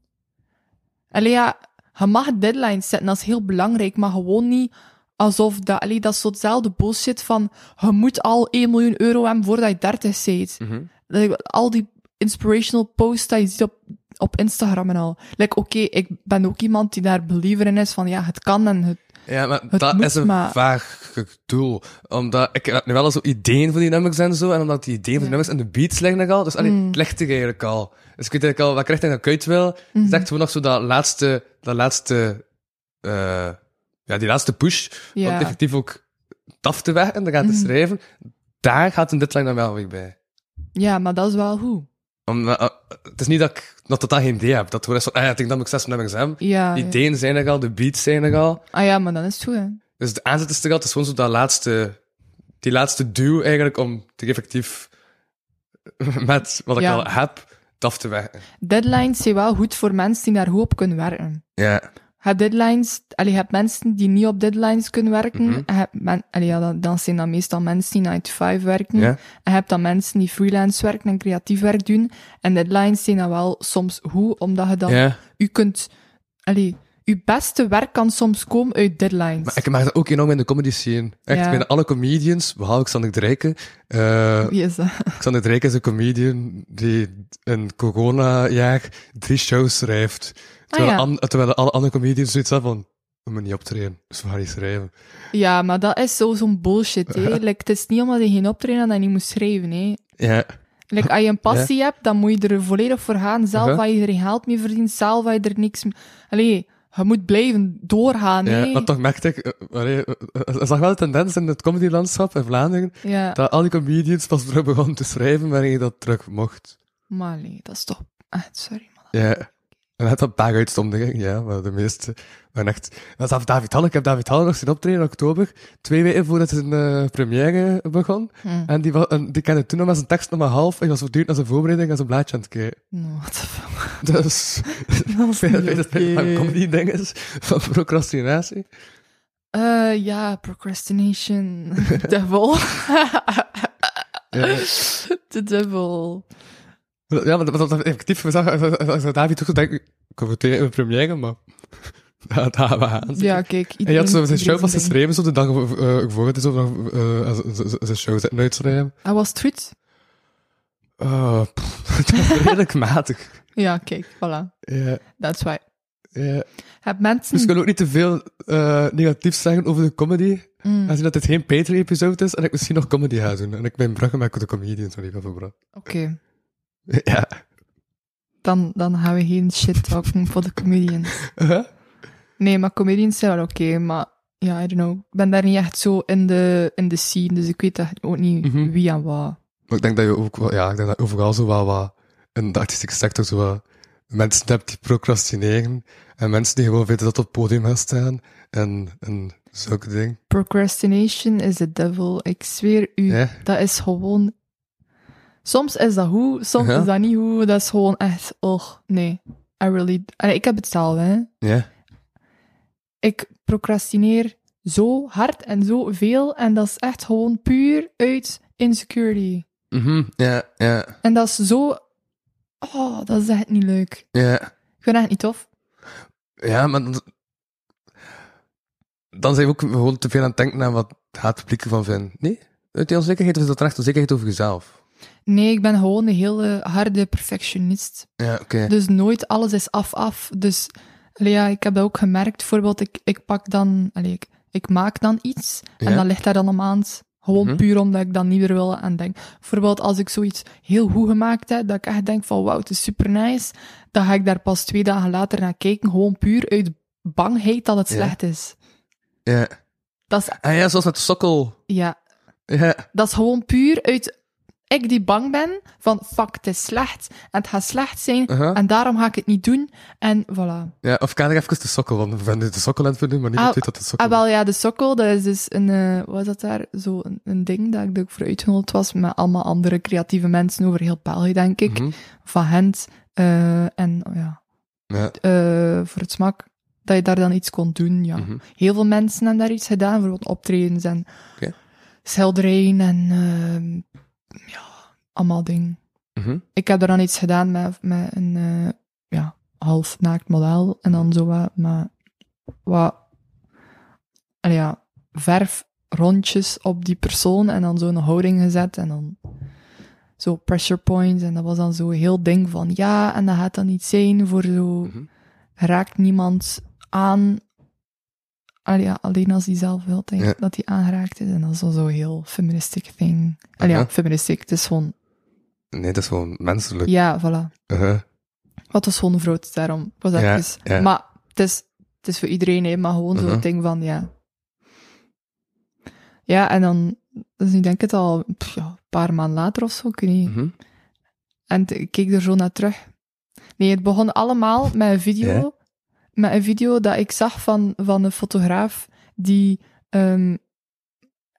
[SPEAKER 3] Allee, ja, je mag deadlines zetten, dat is heel belangrijk, maar gewoon niet alsof dat... Allee, dat is zo hetzelfde bullshit van, je moet al 1 miljoen euro hebben voordat je 30 bent.
[SPEAKER 2] Mhm.
[SPEAKER 3] Dat ik- Al die inspirational posts die je ziet op, op Instagram en al. Like, oké, ik ben ook iemand die daar believer in is van, ja, het kan en het...
[SPEAKER 2] Ja, maar
[SPEAKER 3] Het
[SPEAKER 2] dat
[SPEAKER 3] moet,
[SPEAKER 2] is een
[SPEAKER 3] maar-
[SPEAKER 2] vaag doel. Omdat ik heb nu wel zo ideeën voor die nummers en zo. En omdat die ideeën voor
[SPEAKER 3] Ja.
[SPEAKER 2] die nummers en de beats liggen er al. Dus allee,
[SPEAKER 3] Mm.
[SPEAKER 2] het ligt er eigenlijk al. Dus ik weet eigenlijk al wat ik richting dat ik uit wil. Het
[SPEAKER 3] Mhm.
[SPEAKER 2] is echt gewoon nog zo dat laatste, dat laatste, eh, ja, die laatste push.
[SPEAKER 3] Ja.
[SPEAKER 2] Om effectief ook het af te werken en dan gaan te
[SPEAKER 3] Mm.
[SPEAKER 2] schrijven. Daar gaat een deadline dan wel weer bij.
[SPEAKER 3] Ja, maar dat is wel goed.
[SPEAKER 2] Omdat, eh, het is niet dat ik nog totaal geen idee heb. Dat het gewoon is van, ah ja, ik denk dat ik zes nummers heb.
[SPEAKER 3] Ja,
[SPEAKER 2] Die
[SPEAKER 3] ja.
[SPEAKER 2] ideeën zijn er al, de beats zijn er al.
[SPEAKER 3] Ah ja, maar dan is het goed, hè.
[SPEAKER 2] Dus de aanzet is er altijd gewoon zo dat laatste, die laatste duw eigenlijk om te effectief met wat ik
[SPEAKER 3] Ja.
[SPEAKER 2] al heb, het af te werken.
[SPEAKER 3] Deadlines zijn wel goed voor mensen die daar goed op kunnen werken.
[SPEAKER 2] Ja.
[SPEAKER 3] Je Je hebt deadlines, allee, je hebt mensen die niet op deadlines kunnen werken.
[SPEAKER 2] Mhm.
[SPEAKER 3] En je hebt men, allee, ja, dan, dan zijn dat meestal mensen die 9 to 5 werken.
[SPEAKER 2] Ja.
[SPEAKER 3] En je hebt dan mensen die freelance werken en creatief werk doen. En deadlines zijn dan wel soms goed, omdat je dan,
[SPEAKER 2] Ja.
[SPEAKER 3] u kunt, allee, uw beste werk kan soms komen uit deadlines.
[SPEAKER 2] Maar ik maak dat ook enorm in de comedy scene. Echt,
[SPEAKER 3] Ja.
[SPEAKER 2] bijna alle comedians, behalve Xander Drijken. eh
[SPEAKER 3] Wie is dat?
[SPEAKER 2] Xander Drijken is een comedian die in corona-jaar drie shows schrijft. Terwijl,
[SPEAKER 3] Ah, ja.
[SPEAKER 2] an- terwijl alle andere comedians zoiets hebben van... We moeten niet optreden, dus we gaan niet schrijven.
[SPEAKER 3] Ja, maar dat is zo- zo'n bullshit, hè. Like, het is niet omdat je geen optreden had en je moet schrijven, hè.
[SPEAKER 2] Ja.
[SPEAKER 3] Like, als je een passie hebt, dan moet je er volledig voor gaan. Zelf
[SPEAKER 2] Uh-huh.
[SPEAKER 3] wat je er geen geld mee verdient, zelf wat je er niks mee... Allee, je moet blijven doorgaan, hè.
[SPEAKER 2] Ja, maar toch merkte ik, eh, allee, eh, eh, er zag wel een tendens in het comedylandschap in Vlaanderen,
[SPEAKER 3] Ja,
[SPEAKER 2] dat al die comedians pas terug begonnen te schrijven wanneer je dat terug mocht.
[SPEAKER 3] maar allee, dat is toch... Ah, sorry, man.
[SPEAKER 2] Ja. En dat had een paar uitzonderingen, ja, maar de meeste waren echt... Dat is af David Halle. Ik heb David Halle nog zien optreden in oktober, twee weken voordat zijn eh, première begon.
[SPEAKER 3] Hm.
[SPEAKER 2] En die, wa- en die kende toen nog maar zijn tekst nog maar half, en die was voortdurend naar zijn voorbereiding en zijn blaadje aan het kijken.
[SPEAKER 3] No, what the fuck.
[SPEAKER 2] Dus,
[SPEAKER 3] Dat is
[SPEAKER 2] ik
[SPEAKER 3] niet
[SPEAKER 2] weet dat
[SPEAKER 3] oké.
[SPEAKER 2] het een comedy-ding is, van procrastinatie.
[SPEAKER 3] Eh, ja, procrastination. devil.
[SPEAKER 2] Ja.
[SPEAKER 3] The devil.
[SPEAKER 2] Ja, maar dat was effectief. We zagen we zagen- we zagen David ook zo denken, ik kom meteen in de première, maar... Ja, daar we aan.
[SPEAKER 3] Ja, kijk,
[SPEAKER 2] En je had zo
[SPEAKER 3] iedereen-
[SPEAKER 2] zijn show dus
[SPEAKER 3] iedereen
[SPEAKER 2] pas
[SPEAKER 3] zijn ding.
[SPEAKER 2] geschreven, zo de dag eh, voor het is, of nog, eh, z- z- z- zijn show zetten uitschrijven.
[SPEAKER 3] Ah, was het goed?
[SPEAKER 2] Eh, pff, het was redelijk matig.
[SPEAKER 3] Ja, kijk, voilà.
[SPEAKER 2] Ja,
[SPEAKER 3] That's why.
[SPEAKER 2] ja.
[SPEAKER 3] Heb mensen...
[SPEAKER 2] Dus we kunnen ook niet te veel eh, negatiefs zeggen over de comedy.
[SPEAKER 3] Mm,
[SPEAKER 2] Aangezien dat dit geen Patreon-episode is en ik misschien nog comedy ga doen. En ik ben bruggen met de comedians waar ik over brug.
[SPEAKER 3] Oké,
[SPEAKER 2] Ja.
[SPEAKER 3] dan, dan gaan we geen shit talken voor de comedians.
[SPEAKER 2] Huh?
[SPEAKER 3] Nee, maar comedians zijn wel oké, maar... Ja, I don't know. Ik ben daar niet echt zo in de, in de scene, dus ik weet echt ook niet
[SPEAKER 2] Mhm.
[SPEAKER 3] wie en wat.
[SPEAKER 2] Maar ik denk dat je ook wel, ja, ik denk dat overal zo wel wat in de artistieke sector zo wat mensen hebt die procrastineren en mensen die gewoon weten dat op het podium gaan staan en, en zulke dingen.
[SPEAKER 3] Procrastination is the devil. Ik zweer u,
[SPEAKER 2] Ja.
[SPEAKER 3] dat is gewoon... Soms is dat goed, soms
[SPEAKER 2] Ja.
[SPEAKER 3] is dat niet goed. Dat is gewoon echt... Och, nee. I really... Allee, ik heb hetzelfde, hè.
[SPEAKER 2] Ja.
[SPEAKER 3] ik procrastineer zo hard en zo veel. En dat is echt gewoon puur uit insecurity.
[SPEAKER 2] Mhm. Ja, ja,
[SPEAKER 3] En dat is zo. Oh, dat is echt niet leuk.
[SPEAKER 2] ja.
[SPEAKER 3] Ik vind dat echt niet tof.
[SPEAKER 2] Ja, maar dan- dan zijn we ook gewoon te veel aan het denken aan wat gaat het publiek ervan vinden. Nee? Uit die onzekerheid of is dat echt onzekerheid over jezelf?
[SPEAKER 3] Nee, ik ben gewoon een hele harde perfectionist.
[SPEAKER 2] Ja, oké.
[SPEAKER 3] Dus nooit alles is af-af. Dus allee, ja, ik heb dat ook gemerkt. Bijvoorbeeld, ik, ik pak dan. allee, ik, ik maak dan iets.
[SPEAKER 2] Ja.
[SPEAKER 3] En dan ligt daar dan een maand. Gewoon
[SPEAKER 2] Mhm.
[SPEAKER 3] puur omdat ik dan niet meer wil aan denk. Bijvoorbeeld als ik zoiets heel goed gemaakt heb, dat ik echt denk van wauw, het is super nice. Dan ga ik daar pas twee dagen later naar kijken. Gewoon puur uit bangheid dat het
[SPEAKER 2] Ja.
[SPEAKER 3] slecht is.
[SPEAKER 2] Ja.
[SPEAKER 3] Dat is,
[SPEAKER 2] Ah ja, zoals met sokkel.
[SPEAKER 3] ja,
[SPEAKER 2] Ja.
[SPEAKER 3] dat is gewoon puur uit ik die bang ben van fuck, het is slecht. En het gaat slecht zijn.
[SPEAKER 2] Aha.
[SPEAKER 3] En daarom ga ik het niet doen. En voilà.
[SPEAKER 2] ja. Of kan ik even de sokkel, want we vinden de sokkel aan het doen, maar niemand
[SPEAKER 3] Ah,
[SPEAKER 2] weet dat het sokkel
[SPEAKER 3] Ah, wel ja, de sokkel, dat is dus een, eh, wat is dat daar? Zo een, een ding dat ik er ook voor uitgenodigd was met allemaal andere creatieve mensen over heel België, denk ik.
[SPEAKER 2] Mhm.
[SPEAKER 3] Van Gent eh, en oh ja,
[SPEAKER 2] Ja.
[SPEAKER 3] eh, voor het smak, dat je daar dan iets kon doen, ja.
[SPEAKER 2] Mhm.
[SPEAKER 3] Heel veel mensen hebben daar iets gedaan, bijvoorbeeld optredens en
[SPEAKER 2] Oké.
[SPEAKER 3] schilderijen en ehm, ja, allemaal dingen.
[SPEAKER 2] Mhm.
[SPEAKER 3] Ik heb daar dan iets gedaan met, met een eh, ja, half naakt model en dan zo wat, maar wat allee, ja, verf rondjes op die persoon en dan zo een houding gezet en dan zo pressure points en dat was dan zo heel ding van ja en dat gaat dan niet zijn voor zo
[SPEAKER 2] Mhm.
[SPEAKER 3] raakt niemand aan allee, ja, alleen als hij zelf wil denk ik,
[SPEAKER 2] Ja.
[SPEAKER 3] dat hij aangeraakt is en dat is dan zo heel feministic thing allee, ja,
[SPEAKER 2] Aha.
[SPEAKER 3] feministic het is gewoon
[SPEAKER 2] Nee, dat is gewoon menselijk.
[SPEAKER 3] ja voilà
[SPEAKER 2] Uh-huh.
[SPEAKER 3] wat was gewoon vrood daarom Ik was
[SPEAKER 2] Ja,
[SPEAKER 3] even-
[SPEAKER 2] ja.
[SPEAKER 3] maar het is, het is voor iedereen hè, maar gewoon
[SPEAKER 2] Mhm.
[SPEAKER 3] zo'n ding van ja ja en dan dus nu denk ik het al pff, ja, een paar maanden later of zo ik weet niet
[SPEAKER 2] Mhm.
[SPEAKER 3] en t- ik keek er zo naar terug. Nee, het begon allemaal met een video.
[SPEAKER 2] Ja.
[SPEAKER 3] Met een video dat ik zag van, van een fotograaf die ehm,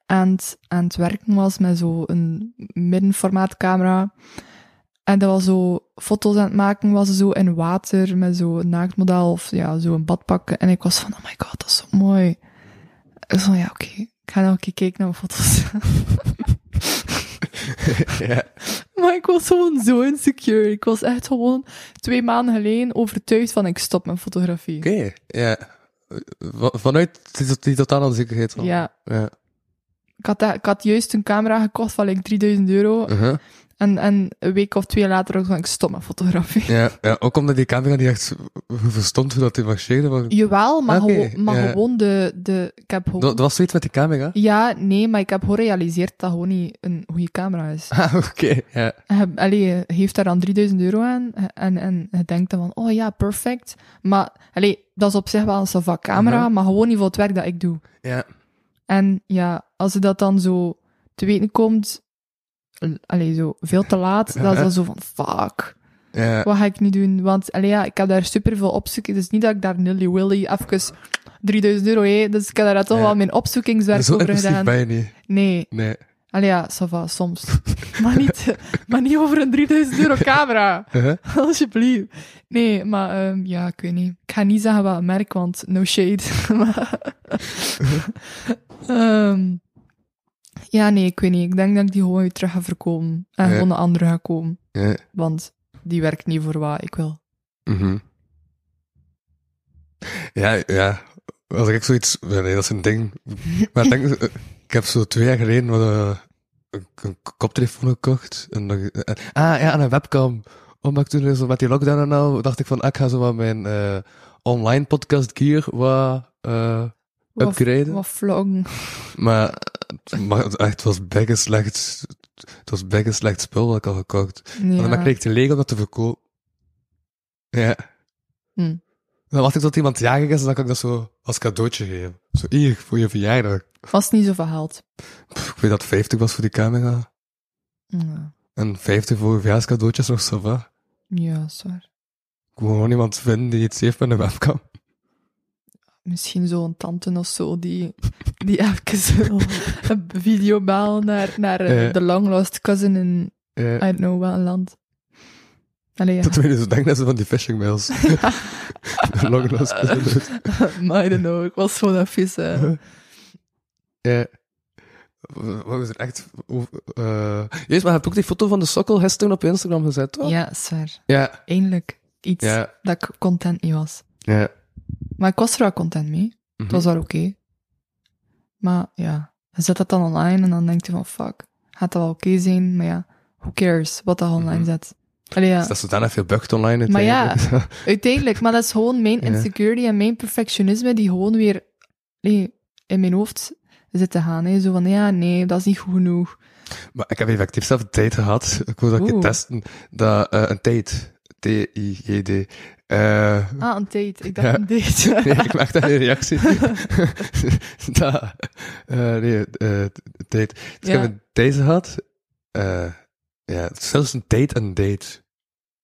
[SPEAKER 3] aan, het, aan het werken was met zo'n middenformaatcamera. En dat was zo, foto's aan het maken was ze zo in water met zo'n naaktmodel of ja, zo'n badpak. En ik was van, oh my god, dat is zo mooi. Ik was van, ja, oké, ik ga nog een keer kijken naar mijn foto's.
[SPEAKER 2] ja.
[SPEAKER 3] maar ik was gewoon zo insecure. Ik was echt gewoon twee maanden geleden overtuigd van, ik stop met fotografie.
[SPEAKER 2] Oké, ja. Va- Vanuit die, die totale onzekerheid van.
[SPEAKER 3] Ja,
[SPEAKER 2] ja.
[SPEAKER 3] ik had, dat- ik had juist een camera gekocht van like 3000 euro.
[SPEAKER 2] Uh-huh.
[SPEAKER 3] En, en een week of twee later was ik van, ik stop met fotografie.
[SPEAKER 2] ja. Ja, ook omdat die camera niet echt verstond hoe dat die marcheerde. Maar...
[SPEAKER 3] Jawel, maar,
[SPEAKER 2] Oké,
[SPEAKER 3] gewo- maar
[SPEAKER 2] ja.
[SPEAKER 3] gewoon de, de... Ik heb gewoon...
[SPEAKER 2] Dat, dat was zoiets met die camera?
[SPEAKER 3] Ja, nee, maar ik heb gewoon gerealiseerd dat gewoon niet een goede camera is.
[SPEAKER 2] Ah, oké. Ja.
[SPEAKER 3] Je- Allee, je heeft daar dan 3000 euro aan en, en je denkt dan van, oh ja, perfect. Maar allee, dat is op zich wel een savak camera,
[SPEAKER 2] Mhm.
[SPEAKER 3] maar gewoon niet voor het werk dat ik doe.
[SPEAKER 2] Ja.
[SPEAKER 3] En ja, als je dat dan zo te weten komt, l- allee, zo veel te laat, dan is dat zo van, fuck,
[SPEAKER 2] Ja.
[SPEAKER 3] wat ga ik nu doen? Want allee, ja, ik heb daar superveel opzoek. Het is niet dat ik daar nilly willy even 3000 euro hé, dus ik heb daar toch
[SPEAKER 2] Ja.
[SPEAKER 3] wel mijn opzoekingswerk
[SPEAKER 2] Zo
[SPEAKER 3] over
[SPEAKER 2] impulsief
[SPEAKER 3] gedaan.
[SPEAKER 2] ben je niet.
[SPEAKER 3] Nee.
[SPEAKER 2] Nee.
[SPEAKER 3] Allee, ja, ça va, soms. maar, niet, maar niet over een 3000 euro camera.
[SPEAKER 2] Uh-huh.
[SPEAKER 3] Alsjeblieft. Nee, maar ehm, ja, ik weet niet. Ik ga niet zeggen wat merk, want no shade. Maar, Ehm, ja, nee, ik weet niet. Ik denk dat ik die gewoon weer terug ga verkopen. En
[SPEAKER 2] Ja.
[SPEAKER 3] gewoon een andere ga komen.
[SPEAKER 2] Ja.
[SPEAKER 3] Want die werkt niet voor wat ik wil.
[SPEAKER 2] Mhm. Ja, ja. Als ik zoiets... ja, Nee, dat is een ding. Maar ik denk... eh, Ik heb zo twee jaar geleden wat, eh, een, een koptelefoon gekocht. En, dan- eh, ah, ja, en een webcam. Omdat ik toen zo met die lockdown en al dacht ik van, ah, ik ga zo wat mijn eh, online podcast gear wat eh,
[SPEAKER 3] Wat-
[SPEAKER 2] upgraden.
[SPEAKER 3] Wat vloggen.
[SPEAKER 2] Maar het mag- het echt, het was bekken slecht. Het was bekken slecht spul wat ik al gekocht. En
[SPEAKER 3] Ja.
[SPEAKER 2] dan kreeg ik te leeg om Oh, dat te verkopen. Ja.
[SPEAKER 3] Hm.
[SPEAKER 2] Dan wacht ik tot iemand jarig is en dan kan ik dat zo als cadeautje geven. Zo, hier, voor je verjaardag.
[SPEAKER 3] Vast niet zoveel geld.
[SPEAKER 2] Pff, ik weet dat 50 was voor die camera.
[SPEAKER 3] Ja,
[SPEAKER 2] En 50 voor verjaarscadeautjes nog zo va.
[SPEAKER 3] ja is waar.
[SPEAKER 2] Ik moet gewoon iemand vinden die iets heeft met een webcam.
[SPEAKER 3] misschien zo'n tante of zo die, die even zo een video bellen naar, naar eh,
[SPEAKER 2] Eh.
[SPEAKER 3] de long lost cousin in I
[SPEAKER 2] Eh,
[SPEAKER 3] don't know welk land. Allee, ja.
[SPEAKER 2] Dat we nu zo denken dat ze van die phishing mails. Long lost cadeautjes.
[SPEAKER 3] maar I don't know, ik was gewoon even... eh,
[SPEAKER 2] Ja. Eh, Wat is er echt... hoe- eh Jezus, maar je hebt ook die foto van de sokkel gisteren op Instagram gezet, toch?
[SPEAKER 3] Ja, zwaar.
[SPEAKER 2] Ja.
[SPEAKER 3] Eindelijk iets
[SPEAKER 2] Ja.
[SPEAKER 3] dat ik content mee was.
[SPEAKER 2] Ja.
[SPEAKER 3] Maar ik was er wel content mee.
[SPEAKER 2] Mhm.
[SPEAKER 3] Het was wel oké. Maar ja, je zet dat dan online en dan denk je van fuck, gaat dat wel oké zijn? Maar ja, who cares wat dat online
[SPEAKER 2] Mhm.
[SPEAKER 3] zet. Allee, ja.
[SPEAKER 2] Dus dat ze daarna veel bugt online
[SPEAKER 3] Maar ja.
[SPEAKER 2] uiteindelijk.
[SPEAKER 3] Uiteindelijk, maar dat is gewoon mijn
[SPEAKER 2] Ja.
[SPEAKER 3] insecurity en mijn perfectionisme die gewoon weer allee, in mijn hoofd zit te gaan. Hè. Zo van, ja, nee, dat is niet goed genoeg.
[SPEAKER 2] Maar ik heb effectief zelf een tijd gehad, ik wil dat ik het
[SPEAKER 3] Oeh.
[SPEAKER 2] testen, dat eh, een tijd, T-I-G-D, eh,
[SPEAKER 3] Ah, een date. Ik dacht
[SPEAKER 2] Ja.
[SPEAKER 3] een date.
[SPEAKER 2] nee, ik maak daar geen reactie. dat, eh, nee, eh, tijd. Dus ik
[SPEAKER 3] Ja.
[SPEAKER 2] heb een tijd gehad, eh, ja, het is zelfs een tijd en een date.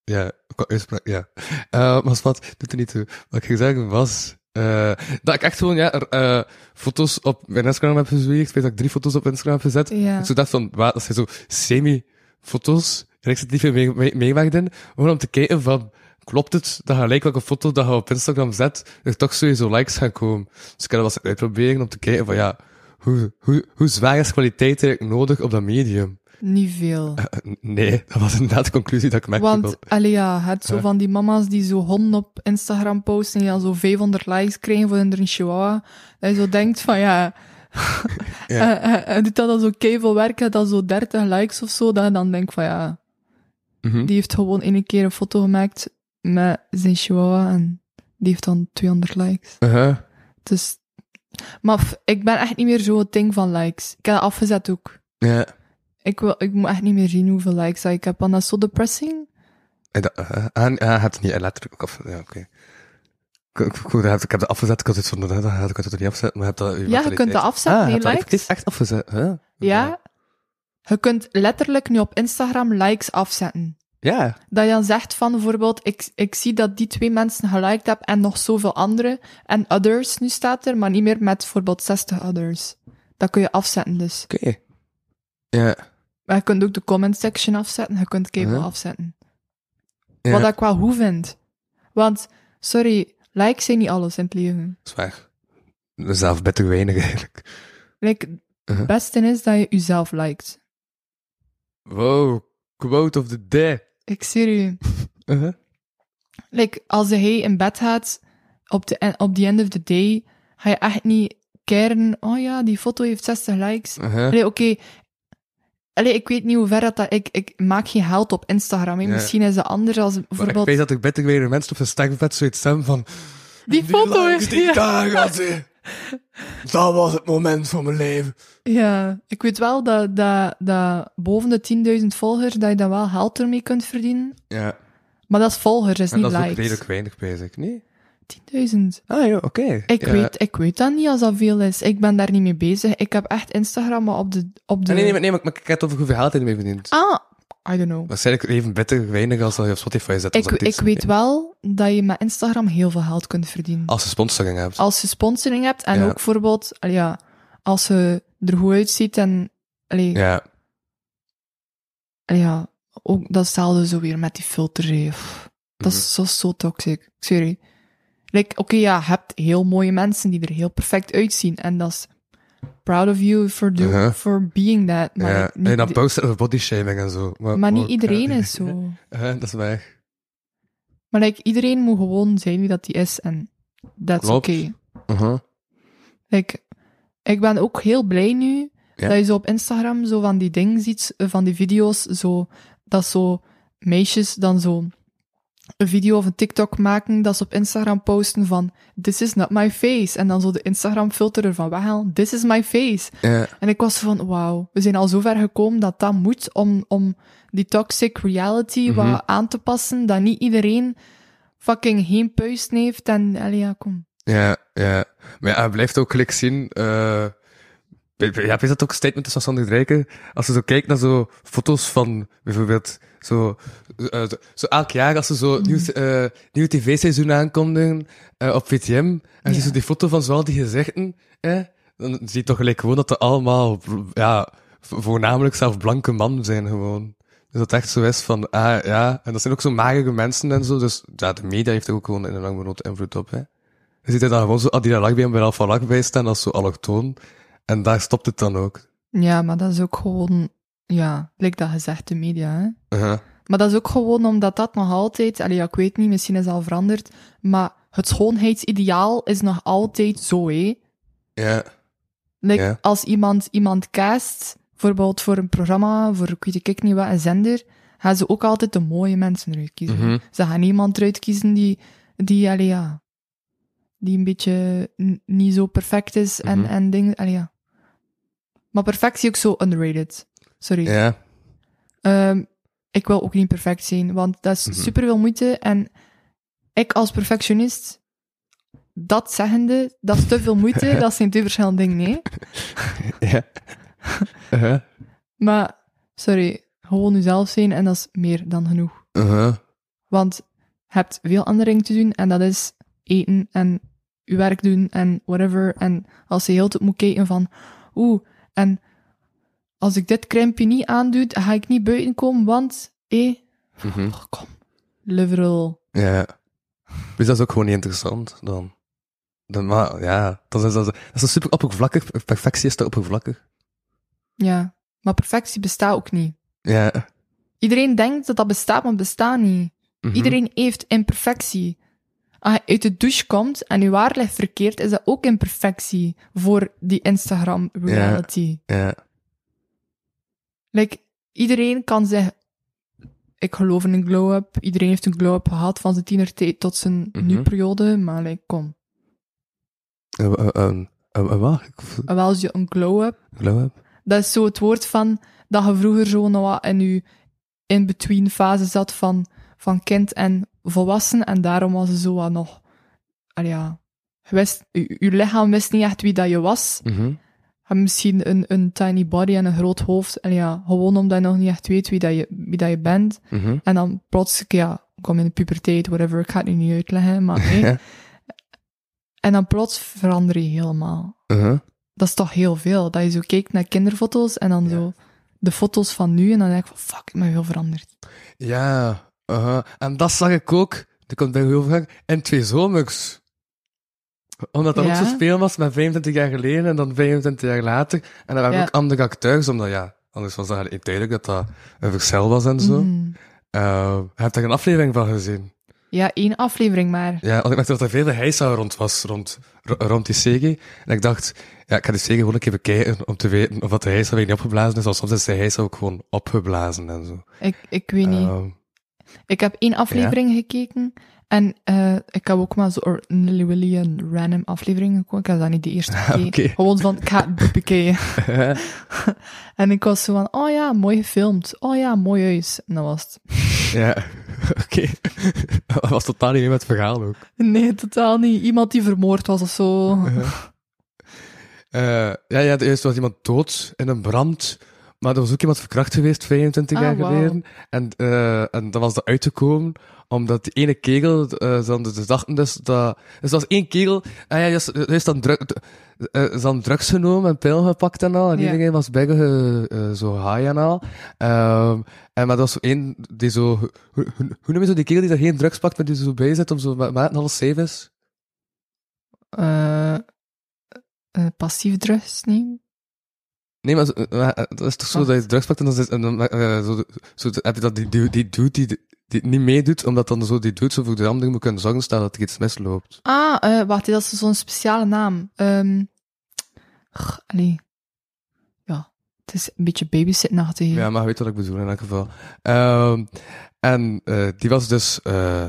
[SPEAKER 2] Ja, qua uitspraak, ja. Eh maar wat, doet er niet toe. Wat ik ging zeggen was, eh, dat ik echt gewoon, ja, er, eh, foto's op mijn Instagram heb gezweegd, ik weet dat ik drie foto's op Instagram heb gezet,
[SPEAKER 3] ja.
[SPEAKER 2] ik zo dacht van, waar, dat zijn zo semi-foto's. En ik zit niet veel mee- mee- meegewacht in. Gewoon om te kijken van, klopt het dat gelijk welke foto dat je op Instagram zet, er toch sowieso likes gaan komen. Dus ik kan dat wel eens uitproberen om te kijken van, ja, hoe, hoe, hoe zwaar is kwaliteit eigenlijk nodig op dat medium?
[SPEAKER 3] Niet veel.
[SPEAKER 2] Eh, Nee, dat was inderdaad de conclusie dat ik merkte. wel.
[SPEAKER 3] Want, allee, ja, het zo
[SPEAKER 2] Ja.
[SPEAKER 3] van die mama's die zo honden op Instagram posten en die dan zo 500 likes krijgen voor hun chihuahua. Dat je zo denkt van, ja...
[SPEAKER 2] Ja.
[SPEAKER 3] eh, eh, eh, doet dat dan zo keiveel werken, dan zo 30 likes of zo, dat je dan denk van, ja...
[SPEAKER 2] Mhm.
[SPEAKER 3] Die heeft gewoon één keer een foto gemaakt met zijn chihuahua en die heeft dan 200 likes.
[SPEAKER 2] Uh-huh.
[SPEAKER 3] Dus... Maar f- ik ben echt niet meer zo'n ding van likes. Ik heb dat afgezet ook.
[SPEAKER 2] Ja.
[SPEAKER 3] Ik, wil, ik moet echt niet meer zien hoeveel likes dat ik heb, want dat is zo depressing.
[SPEAKER 2] En dat, eh, ah, ah, had het niet eh, letterlijk ook af. Ja, oké. Ik, ik, ik, ik heb dat afgezet, ik had het van, "Nou, dat had ik het niet afgezet, maar heb dat...
[SPEAKER 3] Ja, je kunt dat afzetten,
[SPEAKER 2] ah,
[SPEAKER 3] nee,
[SPEAKER 2] heb dat
[SPEAKER 3] likes.
[SPEAKER 2] effectief echt afgezet, hè?
[SPEAKER 3] Ja? Je kunt letterlijk nu op Instagram likes afzetten.
[SPEAKER 2] Ja.
[SPEAKER 3] Dat je dan zegt van bijvoorbeeld, ik, ik zie dat die twee mensen geliked hebben en nog zoveel anderen. En others nu staat er, maar niet meer met bijvoorbeeld 60 others. Dat kun je afzetten dus.
[SPEAKER 2] Oké. Ja.
[SPEAKER 3] Maar je kunt ook de comment section afzetten, je kunt cable
[SPEAKER 2] Ja.
[SPEAKER 3] afzetten.
[SPEAKER 2] Ja.
[SPEAKER 3] Wat ik wel goed vind. Want, sorry, likes zijn niet alles in het leven.
[SPEAKER 2] Dat is waar. Zelf beter weinig eigenlijk.
[SPEAKER 3] Like, het
[SPEAKER 2] Uh-huh.
[SPEAKER 3] beste is dat je jezelf liked.
[SPEAKER 2] Wow, quote of the day.
[SPEAKER 3] Ik zie u.
[SPEAKER 2] Uh-huh.
[SPEAKER 3] Like, als hij in bed gaat, op de, en- op the end of the day, ga je echt niet keren, oh ja, die foto heeft 60 likes.
[SPEAKER 2] Uh-huh.
[SPEAKER 3] Allee, oké. Allee, ik weet niet hoe ver dat, dat ik, ik maak geen geld op Instagram. hè.
[SPEAKER 2] Ja.
[SPEAKER 3] Misschien is dat anders als
[SPEAKER 2] Maar ik
[SPEAKER 3] bijvoorbeeld
[SPEAKER 2] weet dat ik beter weinig mensen op zijn stekbed zoiets stem van...
[SPEAKER 3] die foto.
[SPEAKER 2] likes die
[SPEAKER 3] ja.
[SPEAKER 2] ik daar had, hè. Dat was het moment van mijn leven.
[SPEAKER 3] ja, ik weet wel dat, dat, dat boven de 10.000 volgers dat je dan wel geld ermee kunt verdienen.
[SPEAKER 2] Ja,
[SPEAKER 3] Maar dat is volgers, dat is
[SPEAKER 2] en
[SPEAKER 3] niet
[SPEAKER 2] dat is ook
[SPEAKER 3] likes.
[SPEAKER 2] redelijk weinig bezig, nee?
[SPEAKER 3] 10.000.
[SPEAKER 2] Ah ja, oké.
[SPEAKER 3] Ik,
[SPEAKER 2] Ja.
[SPEAKER 3] weet, ik weet dat niet als dat veel is. Ik ben daar niet mee bezig. Ik heb echt Instagram maar op de... Op de...
[SPEAKER 2] Ah, nee, nee, maar, nee, maar ik ik heb het over hoeveel geld hij ermee verdient.
[SPEAKER 3] Ah, I don't know.
[SPEAKER 2] Waarschijnlijk even beter weinig als dat je op Spotify zet. als
[SPEAKER 3] Ik, ik
[SPEAKER 2] artiest.
[SPEAKER 3] weet wel dat je met Instagram heel veel geld kunt verdienen.
[SPEAKER 2] Als je sponsoring hebt.
[SPEAKER 3] als je sponsoring hebt en
[SPEAKER 2] Ja.
[SPEAKER 3] ook bijvoorbeeld, allee, ja, als je er goed uitziet en allee,
[SPEAKER 2] Ja.
[SPEAKER 3] allee, ja, ook dat stelde zo weer met die filter. hè. Pff, Dat
[SPEAKER 2] Mhm.
[SPEAKER 3] is zo, zo toxic. Sorry. Like, Oké, ja, je hebt heel mooie mensen die er heel perfect uitzien en dat is proud of you for, do,
[SPEAKER 2] Uh-huh.
[SPEAKER 3] for being that. Maar,
[SPEAKER 2] ja.
[SPEAKER 3] like, niet
[SPEAKER 2] en dan
[SPEAKER 3] de-
[SPEAKER 2] posten over body shaming en zo.
[SPEAKER 3] maar niet
[SPEAKER 2] wow,
[SPEAKER 3] iedereen
[SPEAKER 2] ja.
[SPEAKER 3] is zo.
[SPEAKER 2] Ja, dat is waar.
[SPEAKER 3] Maar like, iedereen moet gewoon zijn wie dat die is en that's
[SPEAKER 2] Klopt.
[SPEAKER 3] oké.
[SPEAKER 2] Uh-huh.
[SPEAKER 3] Like, ik ben ook heel blij nu
[SPEAKER 2] Ja.
[SPEAKER 3] dat je zo op Instagram zo van die dingen ziet, eh, van die video's, zo, dat zo meisjes dan zo een video of een TikTok maken, dat ze op Instagram posten van this is not my face, en dan zo de Instagram filter ervan weghalen, this is my face.
[SPEAKER 2] Ja.
[SPEAKER 3] En ik was van, wauw, we zijn al zo ver gekomen dat dat moet om, om die toxic reality wat aan te passen, dat niet iedereen fucking geen puist heeft en, allee, ja, kom.
[SPEAKER 2] Ja, ja. Maar ja, hij blijft ook gelijk zien. eh ja, is dat ook een statement van Sander Drijken? Als je zo kijkt naar zo foto's van bijvoorbeeld zo, eh, zo- zo elk jaar als ze zo nieuw, eh, nieuw tv-seizoen aankondigen eh, op VTM en je
[SPEAKER 3] Ja.
[SPEAKER 2] ziet zo die foto van zoal die gezichten, eh, dan zie je toch gelijk gewoon dat er allemaal ja, vo- voornamelijk zelf blanke mannen zijn gewoon. Dus dat het echt zo is van, ah ja, en dat zijn ook zo magere mensen en zo, dus ja, de media heeft er ook gewoon een enorm grote invloed op, hè. Je ziet er dan gewoon zo ah, Adina Lakbi en Bilal van Lakbi staan als zo allochtoon. En daar stopt het dan ook.
[SPEAKER 3] Ja, maar dat is ook gewoon, ja, lijkt dat gezegd, de media, hè.
[SPEAKER 2] Uh-huh.
[SPEAKER 3] Maar dat is ook gewoon omdat dat nog altijd, allee, ja, ik weet niet, misschien is dat al veranderd, maar het schoonheidsideaal is nog altijd zo, hé.
[SPEAKER 2] Ja.
[SPEAKER 3] Like,
[SPEAKER 2] Ja.
[SPEAKER 3] Als iemand iemand cast, bijvoorbeeld voor een programma, voor ik weet ik niet wat, een zender, gaan ze ook altijd de mooie mensen eruit kiezen.
[SPEAKER 2] Mhm.
[SPEAKER 3] Ze gaan niemand eruit kiezen die, die, allee, ja, die een beetje n- niet zo perfect is en,
[SPEAKER 2] Mhm.
[SPEAKER 3] en dingen, allee, ja. Maar perfectie ook zo underrated. Sorry.
[SPEAKER 2] Ja.
[SPEAKER 3] Ehm, ik wil ook niet perfect zijn, want dat is
[SPEAKER 2] Mhm.
[SPEAKER 3] super veel moeite. En ik als perfectionist, dat zeggende, dat is te veel moeite. dat zijn twee verschillende dingen, nee.
[SPEAKER 2] Ja. Uh-huh.
[SPEAKER 3] Maar, sorry, gewoon jezelf zijn en dat is meer dan genoeg.
[SPEAKER 2] Uh-huh.
[SPEAKER 3] Want je hebt veel andere dingen te doen en dat is eten en je werk doen en whatever. En als je heel de tijd moet kijken van, oeh, en als ik dit krimpje niet aandoe, dan ga ik niet buiten komen, want, eh,
[SPEAKER 2] Mhm.
[SPEAKER 3] oh, kom, liberal.
[SPEAKER 2] Ja. Dus dat is ook gewoon niet interessant dan. dan maar ja, dat is, dat is, dat is een super oppervlakkig. Perfectie is te oppervlakkig.
[SPEAKER 3] Ja, maar perfectie bestaat ook niet.
[SPEAKER 2] Ja.
[SPEAKER 3] Iedereen denkt dat dat bestaat, maar het bestaat niet.
[SPEAKER 2] Mhm.
[SPEAKER 3] Iedereen heeft imperfectie. Als je uit de douche komt en je haar ligt verkeerd, is dat ook imperfectie voor die Instagram reality.
[SPEAKER 2] Ja.
[SPEAKER 3] Like, iedereen kan zeggen, ik geloof in een glow-up. Iedereen heeft een glow-up gehad van zijn tienertijd tot zijn
[SPEAKER 2] Mhm.
[SPEAKER 3] nu periode, maar like, kom.
[SPEAKER 2] Eh, eh, eh, eh, eh, wacht, ik voel-
[SPEAKER 3] En wel als je een glow-up
[SPEAKER 2] ik geloof het.
[SPEAKER 3] Dat is zo het woord van dat je vroeger zo nog wat in je in-between fase zat van, van kind en volwassen. En daarom was het zo wat nog. Allee, ja, je, wist, je, je lichaam wist niet echt wie dat je was.
[SPEAKER 2] Mhm.
[SPEAKER 3] Je had misschien een, een tiny body en een groot hoofd. En ja, gewoon omdat je nog niet echt weet wie dat je, wie dat je bent.
[SPEAKER 2] Mhm.
[SPEAKER 3] En dan plots, ja, kom in de puberteit, whatever. Ik ga het nu niet uitleggen, maar nee.
[SPEAKER 2] Ja.
[SPEAKER 3] En dan plots verander je helemaal
[SPEAKER 2] Uh-huh.
[SPEAKER 3] dat is toch heel veel. Dat je zo kijkt naar kinderfoto's en dan
[SPEAKER 2] Ja.
[SPEAKER 3] zo de foto's van nu en dan denk ik van, fuck, ik ben heel veranderd.
[SPEAKER 2] Ja, aha. en dat zag ik ook, dat komt bij heel vaak, in twee zomers. Omdat dat ook
[SPEAKER 3] Ja.
[SPEAKER 2] zo'n speel was met 25 jaar geleden en dan 25 jaar later. En dan waren
[SPEAKER 3] Ja.
[SPEAKER 2] ook andere acteurs, omdat ja, anders was dat niet duidelijk dat dat een verschil was en zo.
[SPEAKER 3] Mhm.
[SPEAKER 2] Eh, heb je er een aflevering van gezien?
[SPEAKER 3] Ja, één aflevering maar.
[SPEAKER 2] Ja, want ik merkte dat er veel heisa rond was, rond, ro- rond die serie. En ik dacht, ja, ik ga die serie gewoon een keer bekijken om te weten of dat de heisa weer niet opgeblazen is. Want soms is de heisa ook gewoon opgeblazen en zo.
[SPEAKER 3] Ik, ik weet niet.
[SPEAKER 2] Ehm,
[SPEAKER 3] Ik heb één aflevering gekeken. En eh, ik heb ook maar zo'n Nelly Willy een random aflevering gekeken. Ik heb dat niet de eerste keer.
[SPEAKER 2] oké.
[SPEAKER 3] Gewoon van, ik ga het bekijken.
[SPEAKER 2] eh,
[SPEAKER 3] en ik was zo van, oh ja, mooi gefilmd. Oh ja, mooi huis. En dat was het.
[SPEAKER 2] Ja, oké. Dat was totaal niet meer met het verhaal ook.
[SPEAKER 3] Nee, totaal niet. Iemand die vermoord was of zo.
[SPEAKER 2] Eh, ja, ja, eerst was iemand dood in een brand. Maar er was ook iemand verkracht geweest 25
[SPEAKER 3] Ah,
[SPEAKER 2] jaar
[SPEAKER 3] wauw.
[SPEAKER 2] geleden. En, eh en dan was dat uitgekomen omdat die ene kegel, eh ze, hadden- ze dachten dus dat. Dus er was één kegel, ah ja, juist- hij is dan druk, eh, ze hadden drugs genomen en pil gepakt en al. En
[SPEAKER 3] Ja.
[SPEAKER 2] iedereen was bijna eh, zo high en al. Ehm, en maar dat was zo één die zo. Hoe, hoe- hoe noem je zo die kegel die daar geen drugs pakt, maar die zo bij zit om zo ma- maat en alles safe is?
[SPEAKER 3] Eh, eh, passief drugs nemen.
[SPEAKER 2] Nee, maar, zo- eh, maar, eh, dat is toch zo
[SPEAKER 3] Wacht.
[SPEAKER 2] dat je drugs pakt en dan, zit- en dan eh, zo, zo heb je dat die, die, die dude die, die het niet meedoet, omdat dan zo die dude zo voor de anderen moet kunnen zorgen staan dat er iets misloopt.
[SPEAKER 3] Ah, eh wacht, dat is zo'n speciale naam. Ehm g- allee. Ja, het is een beetje babysitnachtig.
[SPEAKER 2] Ja, maar je weet wat ik bedoel in elk geval. Ehm, en eh, die was dus eh,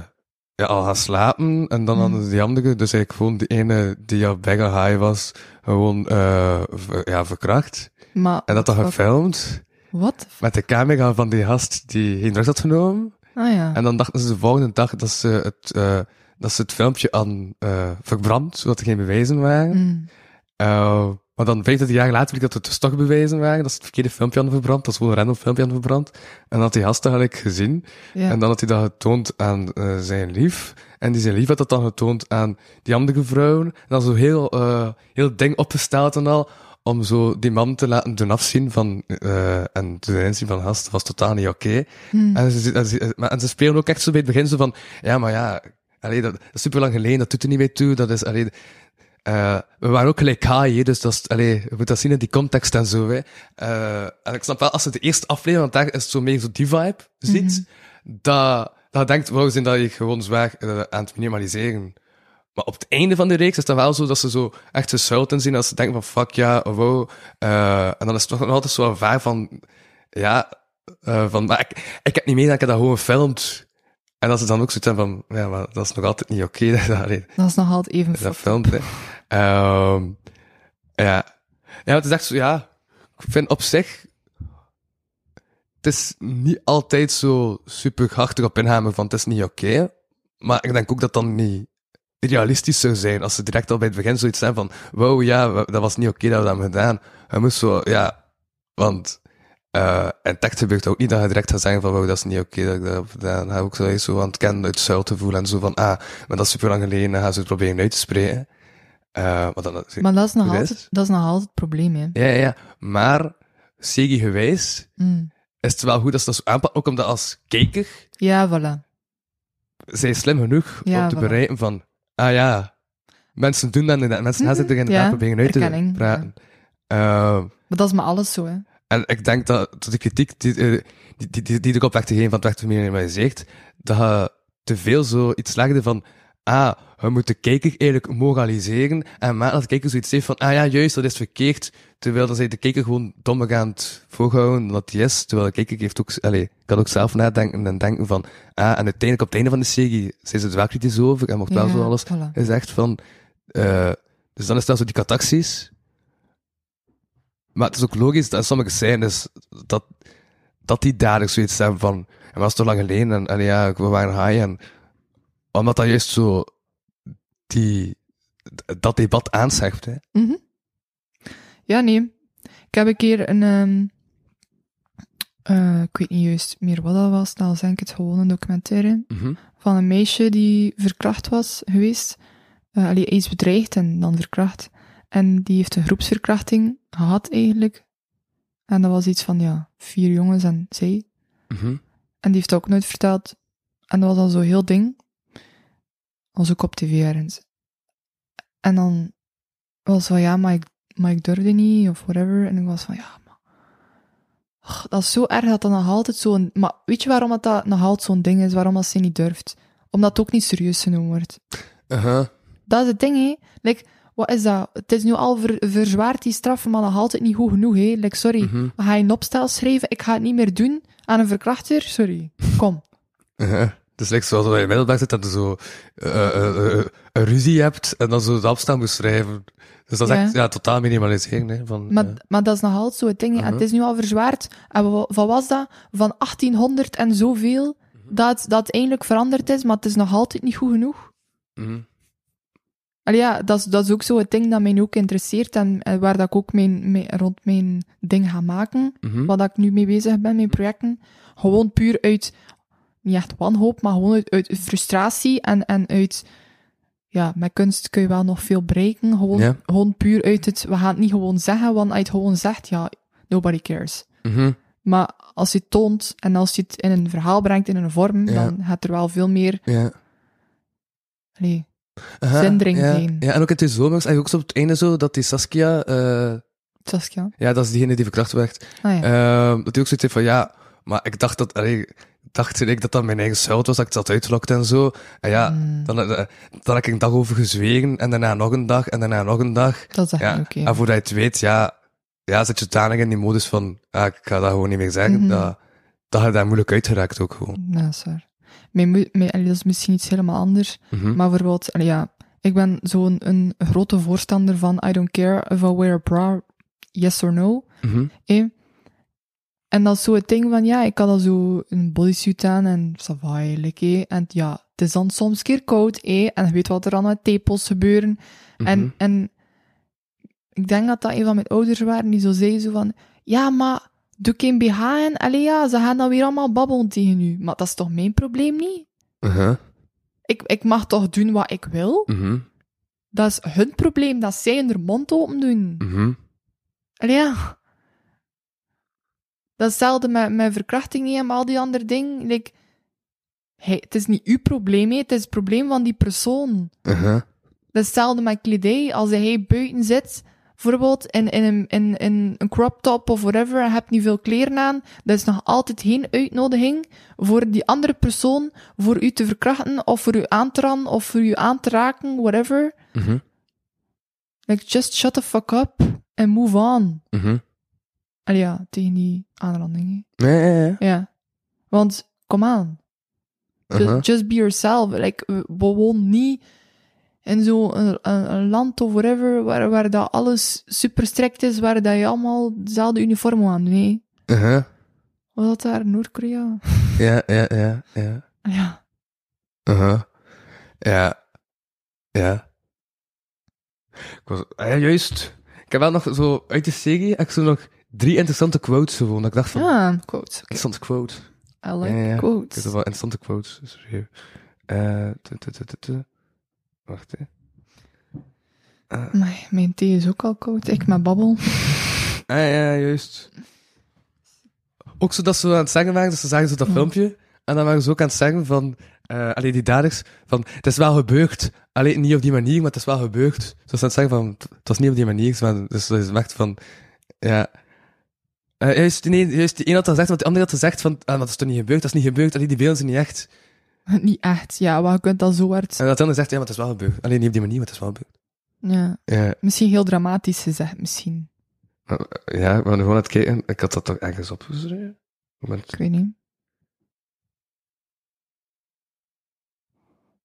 [SPEAKER 2] ja, al gaan slapen en dan
[SPEAKER 3] Mhm.
[SPEAKER 2] hadden ze die andere, dus eigenlijk gewoon die ene die al bijna high was, gewoon eh, ver- ja, verkracht.
[SPEAKER 3] Maar,
[SPEAKER 2] En dat dan
[SPEAKER 3] wat-
[SPEAKER 2] gefilmd
[SPEAKER 3] Wat?
[SPEAKER 2] met de camera van die gast die geen drugs had genomen.
[SPEAKER 3] Ah ja.
[SPEAKER 2] En dan dachten ze de volgende dag dat ze het, eh, dat ze het filmpje aan eh verbrand, zodat er geen bewijzen waren.
[SPEAKER 3] Mm.
[SPEAKER 2] Eh, maar dan 25 jaar later bleek dat het dus toch bewijzen waren. Dat ze het verkeerde filmpje aan verbrand. Dat is gewoon een random filmpje aan verbrand. En dat had die gast eigenlijk gezien.
[SPEAKER 3] Ja.
[SPEAKER 2] En dan had hij dat getoond aan eh, zijn lief. En die zijn lief had dat dan getoond aan die andere vrouwen. En dan zo heel, eh, heel ding opgesteld en al. Om zo die man te laten doen afzien van, eh, en te doen inzien van gast, dat was totaal niet oké.
[SPEAKER 3] Hmm.
[SPEAKER 2] En, ze, en, ze, maar- en ze spelen ook echt zo bij het begin zo van, ja, maar ja, allee, dat, is super lang geleden, dat doet er niet mee toe, dat is, allee, eh, we waren ook gelijk high, hè, dus dat is, allee, je moet dat zien in die context en zo. Hè. Eh, en ik snap wel, als ze de eerste aflevering, want daar is het zo meer zo die vibe, ziet, dat, dat je denkt, wauw, zijn dat je gewoon zwaar eh, aan het minimaliseren. Maar op het einde van de reeks is dat wel zo dat ze zo echt hun schuld inzien, dat ze denken van, fuck ja, oh, wow. eh, en dan is het toch nog altijd zo een vaar van, ja, eh, van, maar ik, ik heb niet mee dat ik dat gewoon filmt. En dat ze dan ook zoiets hebben van, ja, maar dat is nog altijd niet oké dat je dat, allee,
[SPEAKER 3] Dat is nog altijd even
[SPEAKER 2] dat je dat
[SPEAKER 3] fucked up.
[SPEAKER 2] filmt. hè. Ehm, ja. ja, het is echt zo, ja, ik vind op zich, het is niet altijd zo super hard erop inhamen van het is niet oké. maar ik denk ook dat dan niet realistisch zou zijn als ze direct al bij het begin zoiets zijn van, wow, ja, we- dat was niet oké dat we dat hebben gedaan. Hij moest zo, ja, want eh in tekst gebeurt ook niet dat je direct gaat zeggen van, wow, dat is niet oké dat ik dat heb gedaan. Hij ook zo, eens zo aan het kennen, uit zuil te voelen en zo van, ah, maar dat is super lang geleden, dan gaan ze het proberen uit te spreken. Eh maar dan,
[SPEAKER 3] Maar dat is, nog
[SPEAKER 2] Hoe is
[SPEAKER 3] altijd,
[SPEAKER 2] het?
[SPEAKER 3] dat is nog altijd het probleem, hè.
[SPEAKER 2] ja, ja, ja, maar Segi gewijs
[SPEAKER 3] Mm.
[SPEAKER 2] is het wel goed dat ze dat zo aanpakken, ook omdat als kijker
[SPEAKER 3] Ja, voilà.
[SPEAKER 2] zijn slim genoeg
[SPEAKER 3] Ja,
[SPEAKER 2] om te
[SPEAKER 3] voilà.
[SPEAKER 2] bereiken van, ah ja, mensen doen dat inderdaad, mensen gaan zich er inderdaad
[SPEAKER 3] Hmm, ja,
[SPEAKER 2] proberen uit te
[SPEAKER 3] herkenning,
[SPEAKER 2] praten. Ehm,
[SPEAKER 3] Maar dat is maar alles zo, hè.
[SPEAKER 2] En ik denk dat, dat de kritiek die, eh, die, die, die, die erop werd gegeven van het werd minimaliseerd, dat je te veel zoiets legde van, ah, we moeten de kijker eigenlijk moraliseren en maken dat de kijker zoiets heeft van, ah ja, juist, dat is verkeerd, terwijl dan zij de kijker gewoon dommer aan het voorhouden dan dat hij is, terwijl de kijker heeft ook, allez, kan ook zelf nadenken en denken van, ah, en uiteindelijk op het einde van de serie zijn ze er wel kritisch over en mocht wel
[SPEAKER 3] Ja,
[SPEAKER 2] zo alles
[SPEAKER 3] voilà.
[SPEAKER 2] is echt van. eh, dus dan is dat zo die catacties. Maar het is ook logisch dat sommige scènes. dat, dat die dadelijk zoiets hebben van. En was het toch lang geleden en, en ja, we waren high. En, omdat dat juist zo. Die, dat debat aanzegt. Hè.
[SPEAKER 3] Mhm. Ja, nee. Ik heb een keer een... ehm, eh, ik weet niet juist meer wat dat was. Dat was denk ik het gewoon een documentaire.
[SPEAKER 2] Mhm,
[SPEAKER 3] van een meisje die verkracht was geweest. eh allee, eens bedreigd en dan verkracht. En die heeft een groepsverkrachting gehad eigenlijk. Eh, En dat was iets van, ja, vier jongens en zij.
[SPEAKER 2] Mhm.
[SPEAKER 3] En die heeft dat ook nooit verteld. En dat was al zo heel ding. Was ook op tv ergens. En dan was van, ja, maar ik, maar ik durfde niet, of whatever. En ik was van, ja, maar... Och, dat is zo erg dat dat nog altijd zo'n... Maar weet je waarom dat, dat nog altijd zo'n ding is? Waarom dat ze niet durft? Omdat het ook niet serieus genomen wordt.
[SPEAKER 2] Aha.
[SPEAKER 3] Dat is het ding, hè. Like, wat is dat? Het is nu al ver- verzwaard, die straf, maar nog altijd niet goed genoeg, hè. Like, sorry,
[SPEAKER 2] Mhm.
[SPEAKER 3] ga je een opstel schrijven? Ik ga het niet meer doen aan een verkrachter? Sorry, kom.
[SPEAKER 2] Aha. Dus like, zoals dat je in middelbaar zit, dat je zo eh, eh, eh, een ruzie hebt en dan zo de afstand moet schrijven. Dus dat is
[SPEAKER 3] Ja.
[SPEAKER 2] echt ja, totaal minimaliseren. Hè, van,
[SPEAKER 3] Maar,
[SPEAKER 2] eh,
[SPEAKER 3] maar dat is nog altijd zo het ding, hè. En
[SPEAKER 2] Mhm.
[SPEAKER 3] Het is nu al verzwaard. En wa- wat was dat? Van 1800 en zoveel, dat, dat het eindelijk veranderd is, maar het is nog altijd niet goed genoeg.
[SPEAKER 2] mhm.
[SPEAKER 3] Allee, ja, dat is, dat is ook zo het ding dat mij nu ook interesseert en, en waar dat ik ook mijn, mijn- rond mijn ding ga maken.
[SPEAKER 2] Mhm.
[SPEAKER 3] wat ik nu mee bezig ben, mijn projecten. Gewoon puur uit, niet echt wanhoop, maar gewoon uit, uit frustratie en, en uit... Ja, met kunst kun je wel nog veel bereiken. Gewoon,
[SPEAKER 2] Ja.
[SPEAKER 3] gewoon puur uit het, we gaan het niet gewoon zeggen, want als je het gewoon zegt, ja, nobody cares.
[SPEAKER 2] Mhm.
[SPEAKER 3] Maar als je het toont en als je het in een verhaal brengt, in een vorm,
[SPEAKER 2] Ja.
[SPEAKER 3] dan gaat er wel veel meer
[SPEAKER 2] Ja.
[SPEAKER 3] allee,
[SPEAKER 2] Aha,
[SPEAKER 3] Zendring
[SPEAKER 2] ja.
[SPEAKER 3] heen.
[SPEAKER 2] Ja, en ook in de zomers, en ook zo op het einde zo, dat die Saskia, eh,
[SPEAKER 3] Saskia.
[SPEAKER 2] ja, dat is diegene die verkracht werd,
[SPEAKER 3] Ah, ja.
[SPEAKER 2] Ehm, dat hij ook zoiets heeft van, ja, maar ik dacht dat, allee, dacht ik dat dat mijn eigen schuld was, dat ik dat uitlokt en zo. En ja,
[SPEAKER 3] Hmm.
[SPEAKER 2] dan, eh, dan heb ik een dag over gezwegen, en daarna nog een dag, en daarna nog een dag.
[SPEAKER 3] dat is echt
[SPEAKER 2] Ja,
[SPEAKER 3] niet oké.
[SPEAKER 2] En voordat je het weet, ja, ja, zit je danig in die modus van, ah, ik ga dat gewoon niet meer zeggen,
[SPEAKER 3] Mhm.
[SPEAKER 2] dat, dat je daar moeilijk uitgeraakt ook gewoon.
[SPEAKER 3] Ja, dat is waar. Mijn, mu- mijn, allee, dat is misschien iets helemaal anders.
[SPEAKER 2] Mhm.
[SPEAKER 3] Maar bijvoorbeeld, allee, ja, ik ben zo'n een grote voorstander van I don't care if I wear a bra, yes or no.
[SPEAKER 2] Mhm.
[SPEAKER 3] eh. En dat is zo het ding van, ja, ik had al zo een bodysuit aan en savaai, eh. En ja, het is dan soms een keer koud, eh. En je weet wat er dan met tepels gebeuren.
[SPEAKER 2] Mhm.
[SPEAKER 3] En, en ik denk dat dat een van mijn ouders waren die zo zei zo van, ja, maar doe geen BH en allee, ja, ze gaan dan weer allemaal babbelen tegen u. Maar dat is toch mijn probleem niet?
[SPEAKER 2] Aha.
[SPEAKER 3] Ik, ik mag toch doen wat ik wil?
[SPEAKER 2] Uh-huh, Mhm.
[SPEAKER 3] Dat is hun probleem, dat zij hun mond open doen.
[SPEAKER 2] Mhm.
[SPEAKER 3] Allee, ja. Dat is hetzelfde met, met verkrachtingen en al die andere dingen. Like, hey, het is niet uw probleem, hè, het is het probleem van die persoon.
[SPEAKER 2] Aha.
[SPEAKER 3] Dat is hetzelfde met kledij. Als hij buiten zit, bijvoorbeeld in, in, een, in, in een crop top of whatever, en je hebt niet veel kleren aan, dat is nog altijd geen uitnodiging voor die andere persoon voor u te verkrachten of voor u aan te randen of voor u aan te raken, whatever.
[SPEAKER 2] Mhm.
[SPEAKER 3] Like, just shut the fuck up and move on.
[SPEAKER 2] Mhm.
[SPEAKER 3] Allee, ja, tegen die aanranding.
[SPEAKER 2] Ja, ja, ja.
[SPEAKER 3] hè. Ja. Want, kom aan. Ju-
[SPEAKER 2] Aha.
[SPEAKER 3] Just be yourself. Like, we we wonen niet in zo'n een, een- een land of whatever waar, waar dat alles super strikt is, waar dat je allemaal dezelfde uniform moet aan. Nee.
[SPEAKER 2] Aha.
[SPEAKER 3] Was dat daar? Noord-Korea?
[SPEAKER 2] uh-huh. Ja, ja, ja, ja.
[SPEAKER 3] Ja.
[SPEAKER 2] Uh-huh. Ja. Ja. Ik was, ah ja, juist. Ik heb wel nog zo uit de serie, heb ik zo nog drie interessante quotes gewoon. Dat ik dacht van,
[SPEAKER 3] Ja, quotes. Oké.
[SPEAKER 2] interessante quote.
[SPEAKER 3] I like
[SPEAKER 2] Ja, ja, ja. Ik heb
[SPEAKER 3] quotes.
[SPEAKER 2] wel interessante quotes. Dus hier. Eh, tu, tu, tu, tu, tu. Wacht, hè.
[SPEAKER 3] Amai, mijn thee is ook al koud. Ik met babbel.
[SPEAKER 2] Ah ja, juist. Ook zo dat ze aan het zeggen waren, dus ze zagen zo dat filmpje. En dan waren ze ook aan het zeggen van, eh alleen die daders, van het is wel gebeurd. Alleen niet op die manier, maar het is wel gebeurd. Ze was aan het zeggen van, het het was niet op die manier. Maar dus ze zegt van, ja. Eh, juist, nee, juist die een had dat gezegd, want die andere had gezegd van, ah, maar dat is toch niet gebeurd, dat is niet gebeurd. Alleen die beelden zijn niet echt.
[SPEAKER 3] niet echt. Ja, maar je kunt dat zo hard...
[SPEAKER 2] En dat andere zegt, ja, maar het is wel gebeurd. Alleen niet op die manier, maar het is wel gebeurd.
[SPEAKER 3] Ja.
[SPEAKER 2] Ja,
[SPEAKER 3] Misschien heel dramatisch gezegd, misschien.
[SPEAKER 2] ja, ik ben gewoon aan het kijken. Ik had dat toch ergens opgeschreven? Moment.
[SPEAKER 3] Ik weet niet.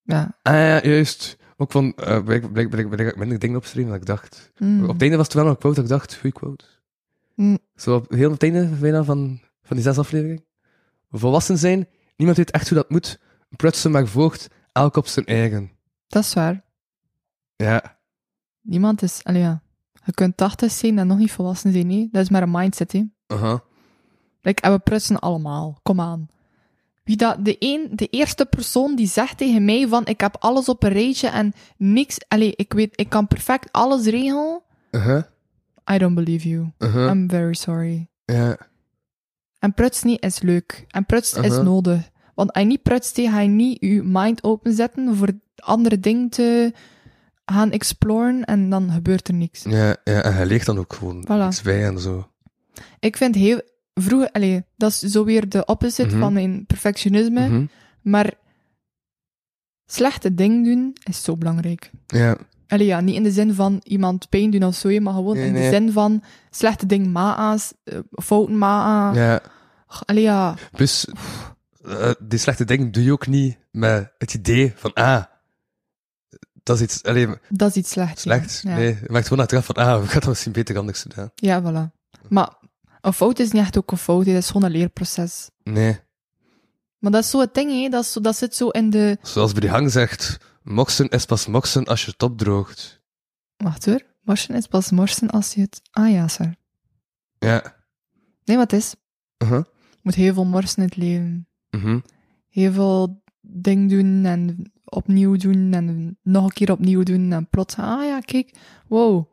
[SPEAKER 3] Ja.
[SPEAKER 2] Ah ja, juist. Ook van, eh blijk, blijk, blijk, blijk, minder dingen opschrijven dan ik dacht.
[SPEAKER 3] Mm.
[SPEAKER 2] Op het einde was het wel nog een quote dat ik dacht, goeie quote.
[SPEAKER 3] Mm.
[SPEAKER 2] Zo op, heel op het einde bijna van, van die zes afleveringen. Volwassen zijn, niemand weet echt hoe dat moet. Prutsen maar voogd, elk op zijn eigen.
[SPEAKER 3] Dat is waar.
[SPEAKER 2] Ja.
[SPEAKER 3] Niemand is... Allee, ja. Je kunt 80 zijn en nog niet volwassen zijn, nee. Dat is maar een mindset, hè.
[SPEAKER 2] Aha.
[SPEAKER 3] Like, en we prutsen allemaal. Kom aan. Wie dat, de, een, de eerste persoon die zegt tegen mij van ik heb alles op een rijtje en niks... Allee, ik weet, ik kan perfect alles regelen.
[SPEAKER 2] Aha.
[SPEAKER 3] I don't believe you.
[SPEAKER 2] Aha.
[SPEAKER 3] I'm very sorry.
[SPEAKER 2] Ja.
[SPEAKER 3] En prutsen is leuk. En prutsen
[SPEAKER 2] Aha.
[SPEAKER 3] is nodig. Want als je niet prutst, ga je niet je mind openzetten voor andere dingen te gaan exploren en dan gebeurt er niks.
[SPEAKER 2] Ja, ja, en hij leert dan ook gewoon
[SPEAKER 3] Voilà.
[SPEAKER 2] iets bij en zo.
[SPEAKER 3] Ik vind heel... Vroeger... Allee, dat is zo weer de opposite
[SPEAKER 2] Mhm.
[SPEAKER 3] van mijn perfectionisme.
[SPEAKER 2] Mhm.
[SPEAKER 3] Maar slechte dingen doen is zo belangrijk.
[SPEAKER 2] Ja,
[SPEAKER 3] Allee, ja, niet in de zin van iemand pijn doen of zo, hè, maar gewoon
[SPEAKER 2] Nee,
[SPEAKER 3] in de
[SPEAKER 2] nee.
[SPEAKER 3] zin van slechte dingen ma'a's, eh, fouten ma'a's.
[SPEAKER 2] ja.
[SPEAKER 3] Allee, ja.
[SPEAKER 2] Dus eh, die slechte dingen doe je ook niet met het idee van, ah, dat is iets alleen
[SPEAKER 3] Dat is iets slechts. ja.
[SPEAKER 2] slechts.
[SPEAKER 3] Ja.
[SPEAKER 2] Nee, je maakt gewoon achteraf van, ah, ik had dat misschien beter anders gedaan.
[SPEAKER 3] Ja, voilà. Maar een fout is niet echt ook een fout, hè. dat is gewoon een leerproces.
[SPEAKER 2] Nee,
[SPEAKER 3] Maar dat is zo het ding, hè. Dat, is zo, dat zit zo in de...
[SPEAKER 2] zoals bij die hang zegt, moksen is pas moksen als je het opdroogt.
[SPEAKER 3] Wacht hoor, morsen is pas morsen als je het... Ah ja, sir.
[SPEAKER 2] Ja.
[SPEAKER 3] Nee, wat is?
[SPEAKER 2] Uh-huh.
[SPEAKER 3] Je moet heel veel morsen in het leven.
[SPEAKER 2] Mhm.
[SPEAKER 3] Heel veel ding doen en opnieuw doen en nog een keer opnieuw doen en plots... Ah ja, kijk, wow.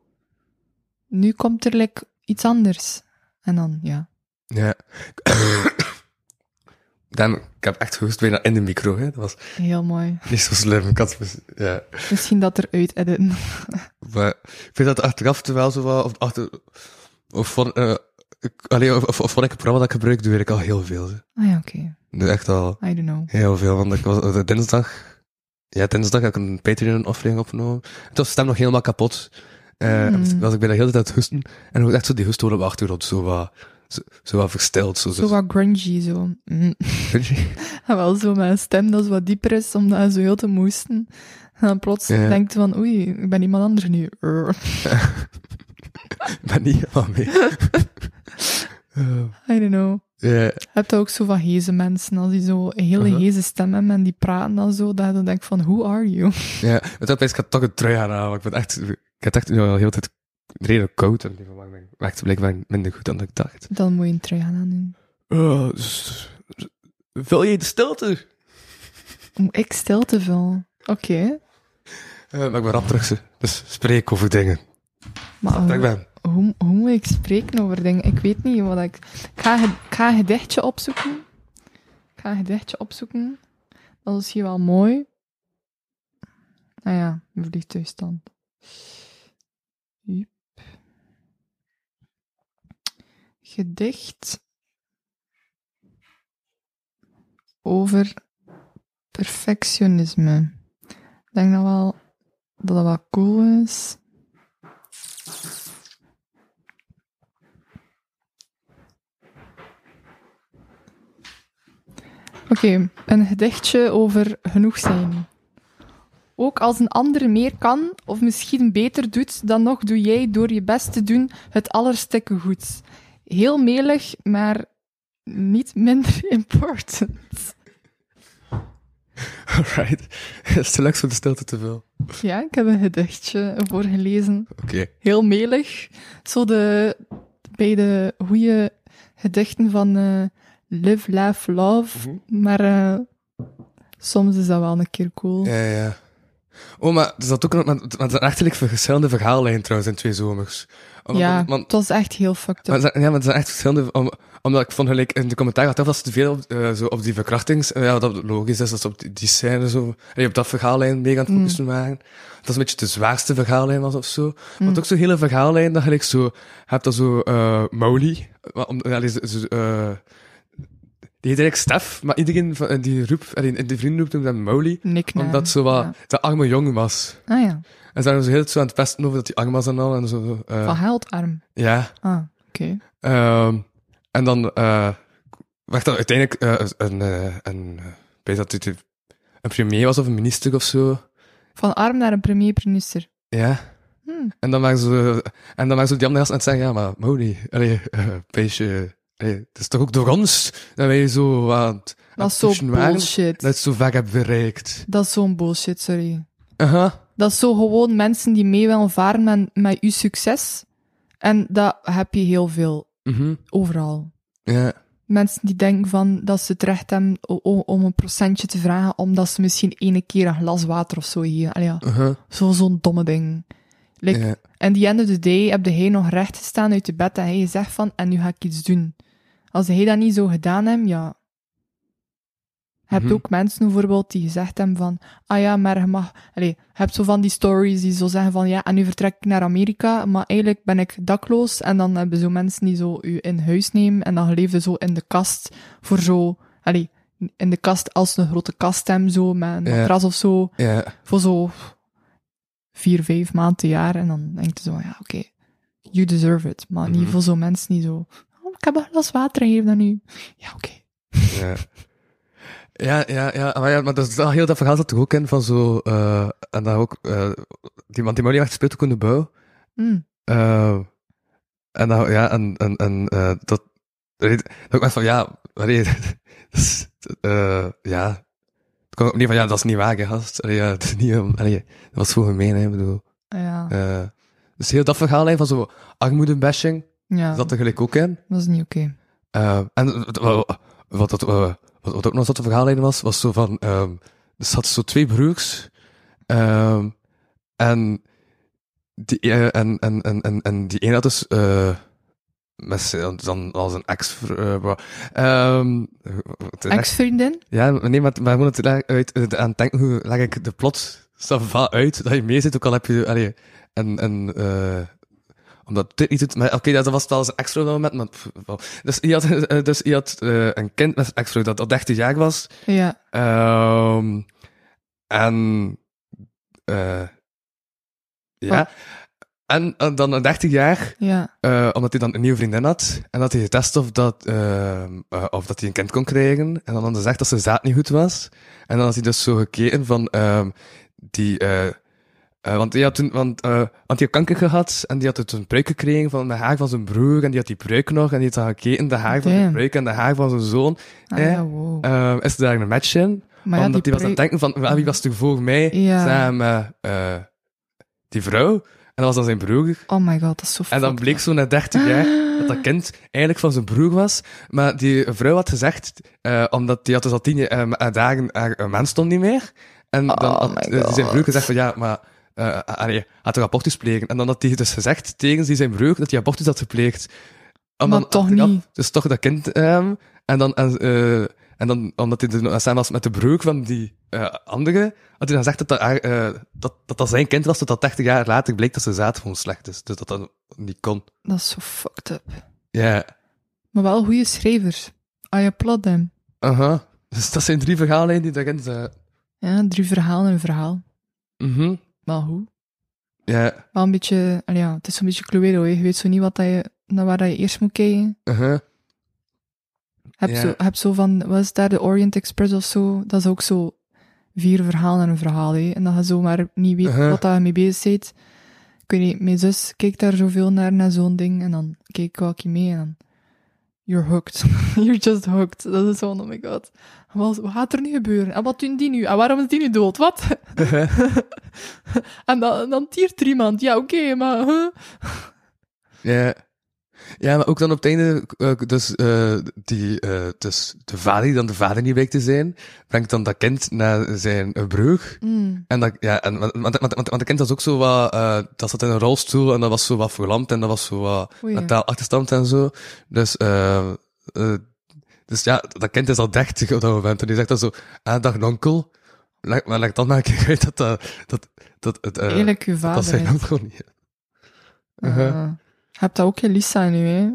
[SPEAKER 3] Nu komt er like, iets anders. En dan, ja.
[SPEAKER 2] Ja. Dan, ik heb echt gehoest bijna in de micro, hè. Dat was
[SPEAKER 3] Heel mooi.
[SPEAKER 2] niet zo slim. Ik had, dus- ja.
[SPEAKER 3] Misschien dat eruit editen.
[SPEAKER 2] Maar ik vind dat achteraf terwijl zo wat, of achter, of van, eh ik, allee, of, of, of van ik het programma dat ik gebruik, doe weet ik al heel veel. hè.
[SPEAKER 3] Ah ja, oké.
[SPEAKER 2] Doe echt al
[SPEAKER 3] I don't know.
[SPEAKER 2] heel veel, want ik was eh, dinsdag, ja, dinsdag heb ik een Patreon-aflevering opgenomen. Het was de stem nog helemaal kapot. Eh en
[SPEAKER 3] Hmm.
[SPEAKER 2] was ik bijna de hele tijd aan het hoesten. En ook echt zo die hoesten op de achtergrond, zo wat, zo, zo wat versteld. Zo,
[SPEAKER 3] Zo wat grungy, zo. Mm. Ja, Wel zo met een stem dat is wat dieper is, omdat hij zo heel te moesten. En dan plots
[SPEAKER 2] Ja.
[SPEAKER 3] denkt hij van, oei, ik ben iemand anders nu. Urgh.
[SPEAKER 2] maar niet helemaal mee. Eh,
[SPEAKER 3] I don't know.
[SPEAKER 2] ja,
[SPEAKER 3] Je hebt ook zo van heze mensen, als die zo een hele
[SPEAKER 2] Uh-huh.
[SPEAKER 3] heze stem hebben en die praten dan zo, dat je dan denkt van, who are you?
[SPEAKER 2] Ja, het opeens gaat toch een trui aanhalen. Ik ben echt, ik had echt nu al heel de tijd redelijk koud en die verwarming werkte blijkbaar minder goed dan ik dacht.
[SPEAKER 3] Dan moet je een trui gaan doen.
[SPEAKER 2] Oh, dus- vul je de stilte?
[SPEAKER 3] Om ik stil te vullen. Oké.
[SPEAKER 2] Eh, maar ik ben rap terug, ze. dus spreek over dingen.
[SPEAKER 3] Maar
[SPEAKER 2] Ik
[SPEAKER 3] hoe,
[SPEAKER 2] ben,
[SPEAKER 3] hoe, hoe moet ik spreken over dingen? Ik weet niet wat ik... Ik ga, een- ik ga een gedichtje opzoeken. Ik ga een gedichtje opzoeken. Dat is hier wel mooi. Nou ja, mijn vliegtuigstand. Jup. Gedicht. Over perfectionisme. Ik denk dat wel dat dat wel cool is. Oké, een gedichtje over genoeg zijn. Ook als een ander meer kan, of misschien beter doet, dan nog doe jij door je best te doen het allerstikke goed. Heel melig, maar niet minder important.
[SPEAKER 2] alright. Het is te leuk om de stilte te vullen.
[SPEAKER 3] Ja, ik heb een gedichtje voorgelezen.
[SPEAKER 2] Oké.
[SPEAKER 3] Heel melig. Zo de, bij de goede gedichten van eh, Live, Laugh, Love.
[SPEAKER 2] Mhm.
[SPEAKER 3] Maar eh, soms is dat wel een keer cool.
[SPEAKER 2] Ja, ja. Oh, maar er zat ook nog, maar maar het is een achterlijk vergezelende verhaallijn trouwens in twee zomers. Om-
[SPEAKER 3] ja,
[SPEAKER 2] om- want-
[SPEAKER 3] het was echt heel fucked
[SPEAKER 2] Maar
[SPEAKER 3] up.
[SPEAKER 2] het zijn- ja, maar het zijn echt verschillende. om- omdat ik vond gelijk in de commentaar had dat was te veel op, eh, zo op die verkrachtings. eh, ja, dat logisch is dat ze op die, die scène zo. En op dat verhaallijn mee aan het
[SPEAKER 3] Mm.
[SPEAKER 2] focussen waren. Dat is een beetje de zwaarste verhaallijn was of zo. Want ook zo'n hele verhaallijn dat gelijk zo. Je hebt dat zo eh Mauli. maar om- ja, die- ze- ze- eh, die heet eigenlijk Stef, maar iedereen van, in die roep, allee, in die vrienden roept hem dan Mauli.
[SPEAKER 3] Nickname.
[SPEAKER 2] Omdat ze wat,
[SPEAKER 3] Ja.
[SPEAKER 2] de arme jongen was.
[SPEAKER 3] Ah ja,
[SPEAKER 2] En ze waren zo heel zo aan het pesten over dat hij arm was en al. En zo, eh,
[SPEAKER 3] van heldarm.
[SPEAKER 2] ja.
[SPEAKER 3] Ah, oké.
[SPEAKER 2] Ehm, en dan eh werd er uiteindelijk eh, een, eh, een, eh, ik weet dat het een premier was of een minister of zo.
[SPEAKER 3] Van arm naar een premier-minister.
[SPEAKER 2] Ja.
[SPEAKER 3] Hm.
[SPEAKER 2] En dan waren ze, en dan waren ze die andere gasten aan het zeggen, ja, maar Moni, allee, eh, meisje, allee, het is toch ook door ons dat wij zo aan het aan
[SPEAKER 3] Dat
[SPEAKER 2] het
[SPEAKER 3] is zo'n
[SPEAKER 2] pushen waren,
[SPEAKER 3] bullshit.
[SPEAKER 2] dat het zo vaak hebben bereikt.
[SPEAKER 3] Dat is zo'n bullshit, sorry.
[SPEAKER 2] Aha.
[SPEAKER 3] Dat is zo gewoon mensen die mee willen varen met, met uw succes. En dat heb je heel veel,
[SPEAKER 2] Mhm.
[SPEAKER 3] overal.
[SPEAKER 2] Ja.
[SPEAKER 3] Mensen die denken van dat ze het recht hebben o- o- om een procentje te
[SPEAKER 2] mhm.
[SPEAKER 3] vragen, omdat ze misschien ene keer een glas water of zo hier. Allee, ja.
[SPEAKER 2] Aha.
[SPEAKER 3] Zo- Zo'n domme ding. Like,
[SPEAKER 2] Ja.
[SPEAKER 3] in the end of the day heb hij nog recht staan uit je bed en hij zegt van, en nu ga ik iets doen. Als hij dat niet zo gedaan heeft, ja... Je hebt
[SPEAKER 2] Mhm.
[SPEAKER 3] ook mensen bijvoorbeeld die gezegd hebben van, ah ja, maar je mag... Allee, je hebt zo van die stories die zo zeggen van, ja, en nu vertrek ik naar Amerika, maar eigenlijk ben ik dakloos. En dan hebben zo mensen die zo u in huis nemen en dan leefde zo in de kast voor zo... Allee, in de kast als een grote kast hem zo, met een
[SPEAKER 2] Ja.
[SPEAKER 3] matras of zo
[SPEAKER 2] Ja.
[SPEAKER 3] voor zo vier, vijf maanden te jaar. En dan denk je zo, ja, oké, you deserve it. Maar niet
[SPEAKER 2] Mhm.
[SPEAKER 3] voor zo'n mensen die zo, oh, ik heb een glas water en geef dat nu. Ja, oké.
[SPEAKER 2] Ja. Ja, ja, ja, maar, ja, maar dat is wel heel dat verhaal dat toch ook in van zo, eh, en dat ook, eh, die, want die Molière speelt ook in de bouw,
[SPEAKER 3] Mm.
[SPEAKER 2] Eh, en nou, ja, en, en, en eh, dat, dat ik dacht van, ja, allee, dat is, eh, ja, het kwam ook niet van, ja, dat is niet waar, hè, gast. Allee, ja, het is niet, om- allee, dat was voor gemeen, hè, ik bedoel.
[SPEAKER 3] Ja,
[SPEAKER 2] Eh, dus heel dat verhaal hè, van zo armoedebashing
[SPEAKER 3] ja
[SPEAKER 2] zat
[SPEAKER 3] dat,
[SPEAKER 2] er gelijk ook in.
[SPEAKER 3] is niet oké.
[SPEAKER 2] Eh, en wat- wat, wat, dat, eh, wat, wat ook nog zo'n verhaallijn was, was zo van... ehm er zaten zo twee broers. ehm, en, die, eh, en, en, en, en, en die een had dus... eh, met zijn- dan als een ex... eh, wa- ehm, wat-
[SPEAKER 3] Ex-vriendin?
[SPEAKER 2] ja, nee, maar, maar gewoon het la- uit, het aan het denken, hoe leg ik de plot va uit, dat je mee zit, ook al heb je, allee, en, en, eh, omdat dit niet doet, maar oké, dat was wel eens een extra moment, maar, pff, wel. dus je had, eh, dus je had eh, een kind met een extra dat al 13 jaar was,
[SPEAKER 3] Ja.
[SPEAKER 2] Ehm, en, eh, ja,
[SPEAKER 3] Wat?
[SPEAKER 2] en, eh, dan een 13 jaar,
[SPEAKER 3] Ja,
[SPEAKER 2] eh, omdat hij dan een nieuwe vriendin had. En dat hij getest of dat, ehm, eh, of dat hij een kind kon krijgen. En dan had hij gezegd dat zijn zaad niet goed was. En dan had hij dus zo gekeken van ehm, die. eh, eh, want hij had toen, want, eh, want hij had kanker gehad en die had toen een pruik gekregen van de haar van zijn broer en die had die pruik nog en die had dan gekeken, de haar van de
[SPEAKER 3] Damn.
[SPEAKER 2] pruik en de haar van zijn zoon.
[SPEAKER 3] ah,
[SPEAKER 2] Eh,
[SPEAKER 3] ja, wow.
[SPEAKER 2] Ehm, is er daar een match in?
[SPEAKER 3] maar ja,
[SPEAKER 2] Omdat hij was aan
[SPEAKER 3] preu-
[SPEAKER 2] het denken van, wel, wie was er voor mij
[SPEAKER 3] Ja.
[SPEAKER 2] samen met eh, die vrouw? En dat was dan zijn broer.
[SPEAKER 3] Oh my god, dat is zo
[SPEAKER 2] En dan
[SPEAKER 3] fucked
[SPEAKER 2] bleek
[SPEAKER 3] up.
[SPEAKER 2] zo na 30 jaar dat dat kind eigenlijk van zijn broer was. Maar die vrouw had gezegd, eh, omdat die had dus al tien jaar, eh, dagen haar eh, mens stond niet meer. En dan
[SPEAKER 3] Oh
[SPEAKER 2] had
[SPEAKER 3] my
[SPEAKER 2] eh, zijn broer
[SPEAKER 3] God.
[SPEAKER 2] gezegd van ja, maar eh allee, had er abortus plegen. En dan had hij dus gezegd tegen die zijn broer dat hij abortus had gepleegd. En
[SPEAKER 3] Maar
[SPEAKER 2] dan
[SPEAKER 3] toch
[SPEAKER 2] achteraf
[SPEAKER 3] niet.
[SPEAKER 2] Dus toch dat kind. ehm, en dan... En, eh, en dan, omdat hij er samen was met de broer van die eh, andere, had hij dan gezegd dat dat, haar, eh, dat, dat dat zijn kind was, totdat 30 jaar later bleek dat zijn zaad gewoon slecht is. Dus dat dat niet kon.
[SPEAKER 3] Dat is zo fucked up.
[SPEAKER 2] Ja.
[SPEAKER 3] Maar wel goede schrijvers. Ah ja, plot them.
[SPEAKER 2] Aha. Dus dat zijn drie verhalen die daarin zijn.
[SPEAKER 3] Ja, drie verhalen in een verhaal.
[SPEAKER 2] Mhm.
[SPEAKER 3] Wel goed.
[SPEAKER 2] Ja.
[SPEAKER 3] Wel een beetje... allee, Ja, het is zo'n beetje Cluedo, hè. Je weet zo niet wat dat je, naar waar dat je eerst moet kijken.
[SPEAKER 2] Aha.
[SPEAKER 3] Heb,
[SPEAKER 2] Ja.
[SPEAKER 3] zo, heb zo van, was daar de Orient Express of zo? Dat is ook zo vier verhalen en een verhaal, hè. En dat je zomaar niet weet
[SPEAKER 2] Uh-huh.
[SPEAKER 3] wat daar mee bezig bent. Ik weet niet, mijn zus keek daar zoveel naar, naar zo'n ding. En dan keek ik ook mee en dan... You're hooked. You're just hooked. Dat is gewoon, oh my god. Wat, wat gaat er nu gebeuren? En wat doen die nu? En waarom is die nu dood? Wat?
[SPEAKER 2] Uh-huh.
[SPEAKER 3] en dan, dan tiert er iemand. Ja, oké, maar... huh?
[SPEAKER 2] Ja. Ja, maar ook dan op het einde, eh, dus, eh, die, eh, dus de vader, die dan de vader niet bleek te zijn, brengt dan dat kind naar zijn eh, broer.
[SPEAKER 3] Mm,
[SPEAKER 2] En dat, ja, en, want, want, want, want dat kind was ook zo wat, eh, dat zat in een rolstoel en dat was zo wat verlamd en dat was zo wat
[SPEAKER 3] oei.
[SPEAKER 2] mentaal achterstand en zo. Dus, eh, eh, dus ja, dat kind is al 30 op dat moment. En die zegt dan zo, ah, dag onkel. Leg, maar leg dan maar een keer uit dat, dat, dat, dat het, eh,
[SPEAKER 3] Eerlijk, je
[SPEAKER 2] dat
[SPEAKER 3] vader.
[SPEAKER 2] dat zijn
[SPEAKER 3] hè.
[SPEAKER 2] onkel niet is. Uh-huh.
[SPEAKER 3] Eh, je hebt dat ook in Lisa nu, hè?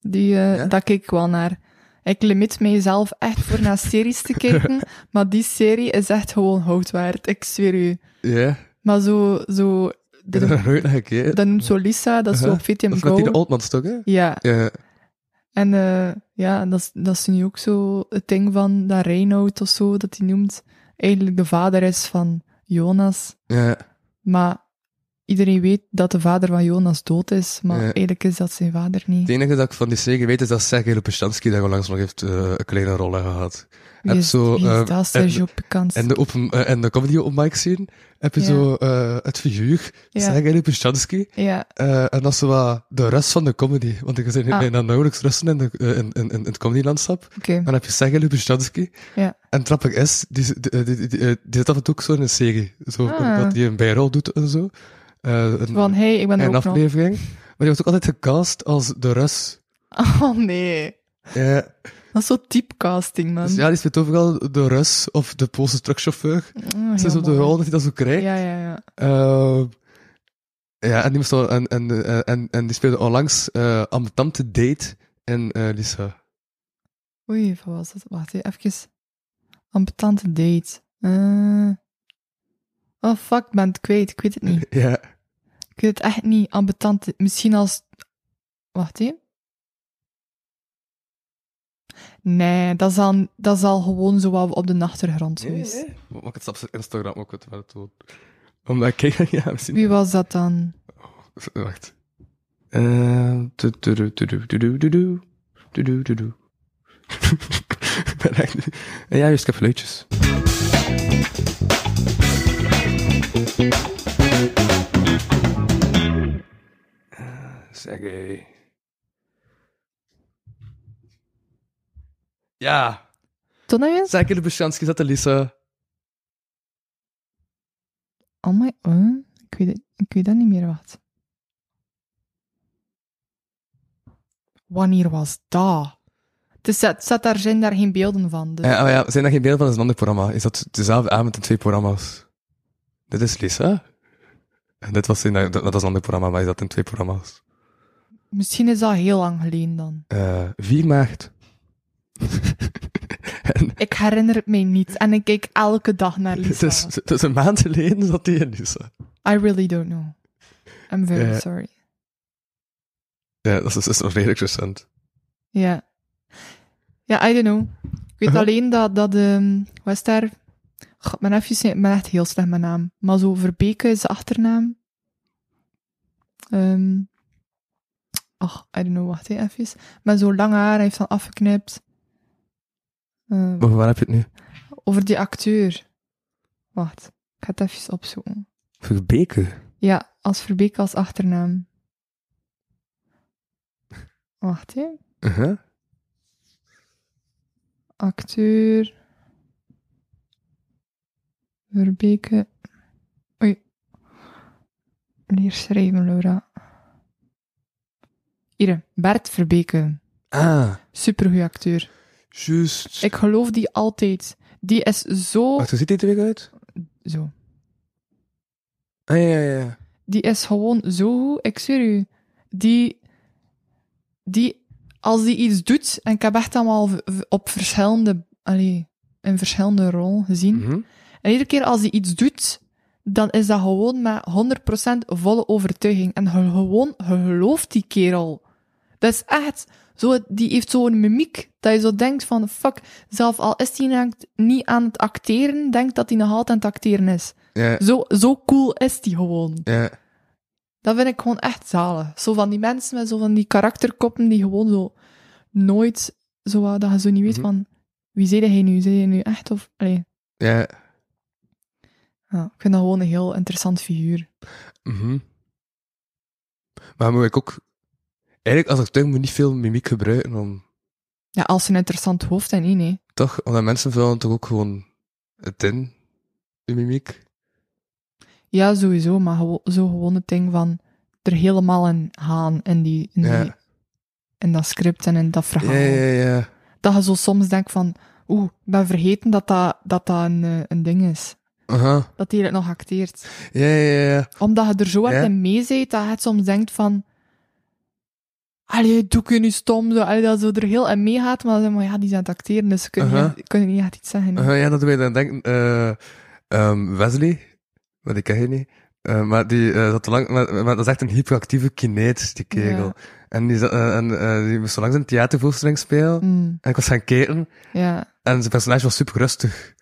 [SPEAKER 3] Die, eh,
[SPEAKER 2] Ja?
[SPEAKER 3] Dat kijk ik wel naar. Ik limit mijzelf echt voor naar series te kijken, maar die serie is echt gewoon hout waard, ik zweer u.
[SPEAKER 2] Ja,
[SPEAKER 3] Maar zo, zo
[SPEAKER 2] ik heb er
[SPEAKER 3] de,
[SPEAKER 2] nog nooit naar gekeken.
[SPEAKER 3] dat noemt zo Lisa, dat is zo
[SPEAKER 2] Uh-huh.
[SPEAKER 3] op VTM
[SPEAKER 2] Dat is met die de
[SPEAKER 3] Go.
[SPEAKER 2] Oldmans toch, hè?
[SPEAKER 3] Ja,
[SPEAKER 2] Ja,
[SPEAKER 3] en eh, ja, dat is, dat is nu ook zo het ding van dat Reinoud of zo, dat hij noemt, eigenlijk de vader is van Jonas.
[SPEAKER 2] ja,
[SPEAKER 3] Maar iedereen weet dat de vader van Jonas dood is, maar
[SPEAKER 2] Ja.
[SPEAKER 3] eigenlijk is dat zijn vader niet.
[SPEAKER 2] Het enige dat ik van die serie weet is dat Sergej Lopushansky daar onlangs nog heeft eh, een kleine rol in gehad.
[SPEAKER 3] Wie
[SPEAKER 2] Heb
[SPEAKER 3] is,
[SPEAKER 2] zo,
[SPEAKER 3] wie is
[SPEAKER 2] eh,
[SPEAKER 3] dat? Sergio Picans.
[SPEAKER 2] En de, open, eh, en de comedy open mic scene heb je
[SPEAKER 3] Ja.
[SPEAKER 2] zo eh, het figuur
[SPEAKER 3] Ja.
[SPEAKER 2] Sergej Lopushansky.
[SPEAKER 3] Ja,
[SPEAKER 2] Eh, en dat is zo wat de rust van de comedy. Want ik zijn
[SPEAKER 3] Ah.
[SPEAKER 2] bijna nauwelijks rusten in, de, eh, in, in, in het comedylandschap.
[SPEAKER 3] oké.
[SPEAKER 2] Dan heb je Sergej Lubushansky.
[SPEAKER 3] Ja.
[SPEAKER 2] En trappig is, die, die, die, die, die, eh, die zit af en toe ook zo in een serie. Zo,
[SPEAKER 3] Ah.
[SPEAKER 2] Dat hij een bijrol doet en zo. Eh, eh, een,
[SPEAKER 3] Van, hé, hey, ik ben er
[SPEAKER 2] een
[SPEAKER 3] ook nog.
[SPEAKER 2] aflevering. Maar die was ook altijd gecast als de Rus.
[SPEAKER 3] Oh nee.
[SPEAKER 2] Eh,
[SPEAKER 3] Dat is zo typecasting, man.
[SPEAKER 2] dus ja, die speelt overal de Rus of de Poolse truckchauffeur.
[SPEAKER 3] Oh,
[SPEAKER 2] Ze is op de
[SPEAKER 3] jammer.
[SPEAKER 2] rol dat hij dat zo krijgt.
[SPEAKER 3] Ja, ja, ja.
[SPEAKER 2] Eh, ja, en die, moest al, en, en, eh, en, en die speelde onlangs eh Ambtante Date en eh Lisa.
[SPEAKER 3] Oei, wat was dat? Wacht hè, even. Ambetante date. Eh. Oh fuck, ik ben het kwijt. Ik weet het niet.
[SPEAKER 2] Ja.
[SPEAKER 3] Ik weet het echt niet. Ambetante. Misschien als. Wacht even. Nee, dat is, al, dat is al gewoon zo wat op de achtergrond geweest.
[SPEAKER 2] Mag ik het staps op Instagram ook wat verder doen? Omdat ik kijk, ja, misschien.
[SPEAKER 3] Wie was dat dan?
[SPEAKER 2] Wacht. Eh, tu- tu- tu- tu- tu- tu- tu- tu- tu- tu- tu- tu- tu. Ik ben echt- Eh, Ja, juist, ik heb leutjes. Eh, Zeg Ja,
[SPEAKER 3] Tonna Jens?
[SPEAKER 2] zeker de Besjanski zat de Lisa.
[SPEAKER 3] Oh my... eh, Ik, weet het, ik weet dat niet meer, wat. Wanneer was dat? Het is- het zat daar, zijn daar geen beelden van. Dus.
[SPEAKER 2] Ja, oh ja, zijn dat geen beelden van? Dat is een ander programma. Is dat dezelfde avond in twee programma's? Dit is Lisa. En dit was in, dat, dat was een ander programma, maar is dat in twee programma's?
[SPEAKER 3] Misschien is dat heel lang geleden dan.
[SPEAKER 2] Eh 4 maart. en
[SPEAKER 3] Ik herinner het mij niet. En ik kijk elke dag naar
[SPEAKER 2] het
[SPEAKER 3] Lisa.
[SPEAKER 2] is, het is een maand geleden dat die in Lisa.
[SPEAKER 3] I really don't know. I'm very
[SPEAKER 2] Ja.
[SPEAKER 3] sorry.
[SPEAKER 2] Ja, dat is, dat is nog redelijk recent.
[SPEAKER 3] Ja. Ja, I don't know. Ik weet
[SPEAKER 2] Uh-huh.
[SPEAKER 3] alleen dat, dat ehm wat is daar? God, mijn nefjes zijn, ik ben echt heel slecht met naam. Maar zo Verbeke is de achternaam. Ehm ach, I don't know, wacht hè, even. Met zo lang haar, hij heeft dan afgeknipt. Eh,
[SPEAKER 2] Maar waar heb je het nu?
[SPEAKER 3] over die acteur. Wacht, ik ga het even opzoeken.
[SPEAKER 2] Verbeke.
[SPEAKER 3] Ja, als Verbeke als achternaam. Wacht hè.
[SPEAKER 2] Uh-huh.
[SPEAKER 3] acteur. Verbeke. Oei. Leer schrijven, Laura. Hier, Bert Verbeke.
[SPEAKER 2] Ah,
[SPEAKER 3] Supergoeie acteur.
[SPEAKER 2] juist.
[SPEAKER 3] Ik geloof die altijd. Die is zo...
[SPEAKER 2] Wacht, hoe ziet dit er weer uit?
[SPEAKER 3] Zo.
[SPEAKER 2] Ah, ja, ja, ja.
[SPEAKER 3] Die is gewoon zo goed. Ik zweer u. Die... Die... Als die iets doet... En ik heb echt allemaal v- v- op verschillende... Allee, in verschillende rollen gezien.
[SPEAKER 2] Mhm.
[SPEAKER 3] En iedere keer als hij iets doet, dan is dat gewoon met 100% volle overtuiging. En ge- gewoon, je gelooft die kerel. Dat is echt, zo, die heeft zo'n mimiek, dat je zo denkt van, fuck, zelf al is hij nou niet aan het acteren, denkt dat hij nog altijd aan het acteren is.
[SPEAKER 2] Ja,
[SPEAKER 3] Zo, zo cool is die gewoon.
[SPEAKER 2] ja.
[SPEAKER 3] Dat vind ik gewoon echt zalig. Zo van die mensen met zo van die karakterkoppen die gewoon zo nooit, zo, wat- dat je zo niet weet
[SPEAKER 2] Mhm.
[SPEAKER 3] van, wie zei hij nu? Zei hij nu echt of, allee.
[SPEAKER 2] Ja.
[SPEAKER 3] Ja, ik vind dat gewoon een heel interessant figuur.
[SPEAKER 2] Mhm. Maar moet ik ook... Eigenlijk, als acteur moet je niet veel mimiek gebruiken om...
[SPEAKER 3] Ja, als een interessant hoofd en niet, nee.
[SPEAKER 2] Toch? Omdat mensen vullen toch ook gewoon het in, de mimiek.
[SPEAKER 3] Ja, sowieso, maar gewo- zo gewoon het ding van er helemaal in gaan in, die, in, die-
[SPEAKER 2] Ja.
[SPEAKER 3] in dat script en in dat verhaal.
[SPEAKER 2] Ja, ja, ja.
[SPEAKER 3] Dat je zo soms denkt van, oeh, ik ben vergeten dat dat, dat, dat een, eh, een ding is.
[SPEAKER 2] Aha.
[SPEAKER 3] Dat hij het nog acteert.
[SPEAKER 2] Ja, ja, ja, ja.
[SPEAKER 3] Omdat je er zo hard
[SPEAKER 2] Ja.
[SPEAKER 3] in mee zit, dat je het soms denkt van... Allee, doe ik je nu stom? Zo, allee, dat zo er heel in meegaat, maar dan zeg je, maar ja, die zijn aan het acteren, dus ze kunnen,
[SPEAKER 2] Aha.
[SPEAKER 3] niet, kunnen niet echt iets zeggen. nee.
[SPEAKER 2] Aha, ja, dat doet mij dan denken. eh, ehm, Wesley, maar die ken je niet. Eh, maar die eh, zat te lang, maar, maar dat is echt een hyperactieve kineet, die kerel.
[SPEAKER 3] Ja.
[SPEAKER 2] En, die, zat- eh, en eh, die moest zo langs een theatervoorstelling spelen.
[SPEAKER 3] Mm,
[SPEAKER 2] En ik was gaan kijken.
[SPEAKER 3] ja.
[SPEAKER 2] En zijn personage was super rustig.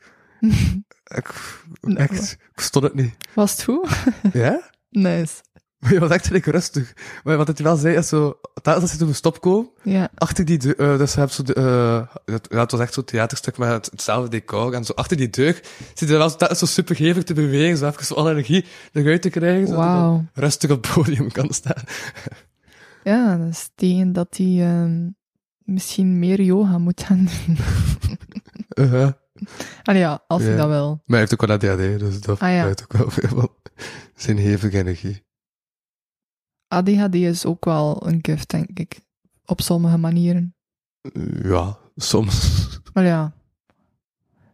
[SPEAKER 2] ik,
[SPEAKER 3] Nou.
[SPEAKER 2] echt, ik verstond het niet.
[SPEAKER 3] Was het goed?
[SPEAKER 2] ja?
[SPEAKER 3] Nice.
[SPEAKER 2] Maar je was echt gelijk rustig. Maar wat het wel zei, is zo... Telkens als ze toen stop komen,
[SPEAKER 3] Ja.
[SPEAKER 2] achter die deur... eh, dus je hebt zo... De, eh, het, ja, het was echt zo'n theaterstuk met het, hetzelfde decor. En zo achter die deur zit je wel zo telkens zo supergevig te bewegen. Zo even zo alle energie eruit te krijgen. Zodat je dan
[SPEAKER 3] Wauw.
[SPEAKER 2] rustig op het podium kan staan.
[SPEAKER 3] Ja, dat is tegen dat hij ehm, misschien meer yoga moet gaan doen.
[SPEAKER 2] Uh-huh.
[SPEAKER 3] Allee, ja, als hij
[SPEAKER 2] Ja.
[SPEAKER 3] dat wil.
[SPEAKER 2] Maar hij heeft ook wel ADHD, dus dat
[SPEAKER 3] Ah, ja.
[SPEAKER 2] heeft ook wel veel van zijn hevige energie.
[SPEAKER 3] ADHD is ook wel een gift, denk ik. Op sommige manieren.
[SPEAKER 2] Ja, soms.
[SPEAKER 3] Maar ja.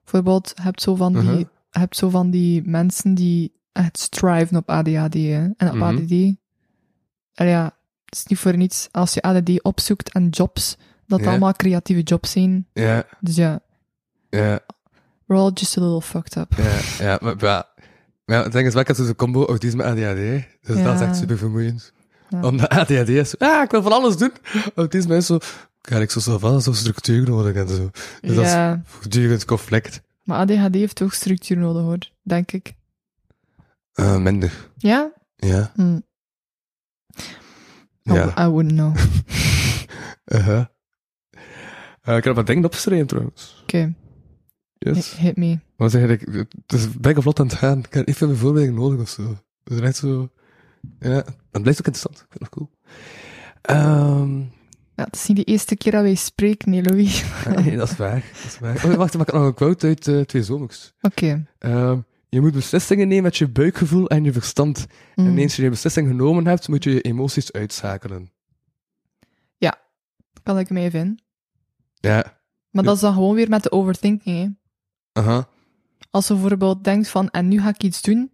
[SPEAKER 3] Bijvoorbeeld, je hebt zo van die,
[SPEAKER 2] Mhm.
[SPEAKER 3] je hebt zo van die mensen die echt striven op ADHD hè, en op
[SPEAKER 2] Mhm.
[SPEAKER 3] ADD. Allee, ja, het is niet voor niets als je ADD opzoekt en jobs, dat het
[SPEAKER 2] Ja.
[SPEAKER 3] allemaal creatieve jobs zijn.
[SPEAKER 2] Ja,
[SPEAKER 3] Dus ja,
[SPEAKER 2] ja,
[SPEAKER 3] we're all just a little fucked up.
[SPEAKER 2] ja, ja. Maar, ja. Maar ja, het ding is wel, ik had dus een combo autisme ADHD. Dus
[SPEAKER 3] Ja.
[SPEAKER 2] dat is echt super vermoeiend.
[SPEAKER 3] Ja.
[SPEAKER 2] Omdat ADHD is, ah, ik wil van alles doen. Autisme is zo, ja, ik zo van, zo structuur nodig en zo. Dus dat is
[SPEAKER 3] ja,
[SPEAKER 2] voortdurend conflict.
[SPEAKER 3] maar ADHD heeft ook structuur nodig hoor, denk ik.
[SPEAKER 2] Eh, minder.
[SPEAKER 3] Ja?
[SPEAKER 2] Ja,
[SPEAKER 3] Hm. I
[SPEAKER 2] ja.
[SPEAKER 3] w- I wouldn't know. Oké.
[SPEAKER 2] Uh-huh. Eh, ik heb wat dingen opgeschreven trouwens. Yes.
[SPEAKER 3] Hit- Hit me.
[SPEAKER 2] Maar zeg ik, het is bijna vlot aan het gaan. Ik heb niet veel meer voorbereiding nodig of zo. Dus Het is echt zo. Ja, dat blijft ook interessant. Ik vind het cool. Ehm,
[SPEAKER 3] Ja, het is niet de eerste keer dat wij spreken, nee, Louis.
[SPEAKER 2] nee, dat is waar. Dat is waar. Oh, wacht, ik had nog een quote uit eh, Twee Zomers.
[SPEAKER 3] Oké.
[SPEAKER 2] Ehm, je moet beslissingen nemen met je buikgevoel en je verstand.
[SPEAKER 3] Mm.
[SPEAKER 2] En eens je je beslissing genomen hebt, moet je je emoties uitschakelen.
[SPEAKER 3] Kan ik hem even in.
[SPEAKER 2] Ja.
[SPEAKER 3] Maar dat is dan gewoon weer met de overthinking, hè.
[SPEAKER 2] Aha.
[SPEAKER 3] Als je bijvoorbeeld denkt van, en nu ga ik iets doen,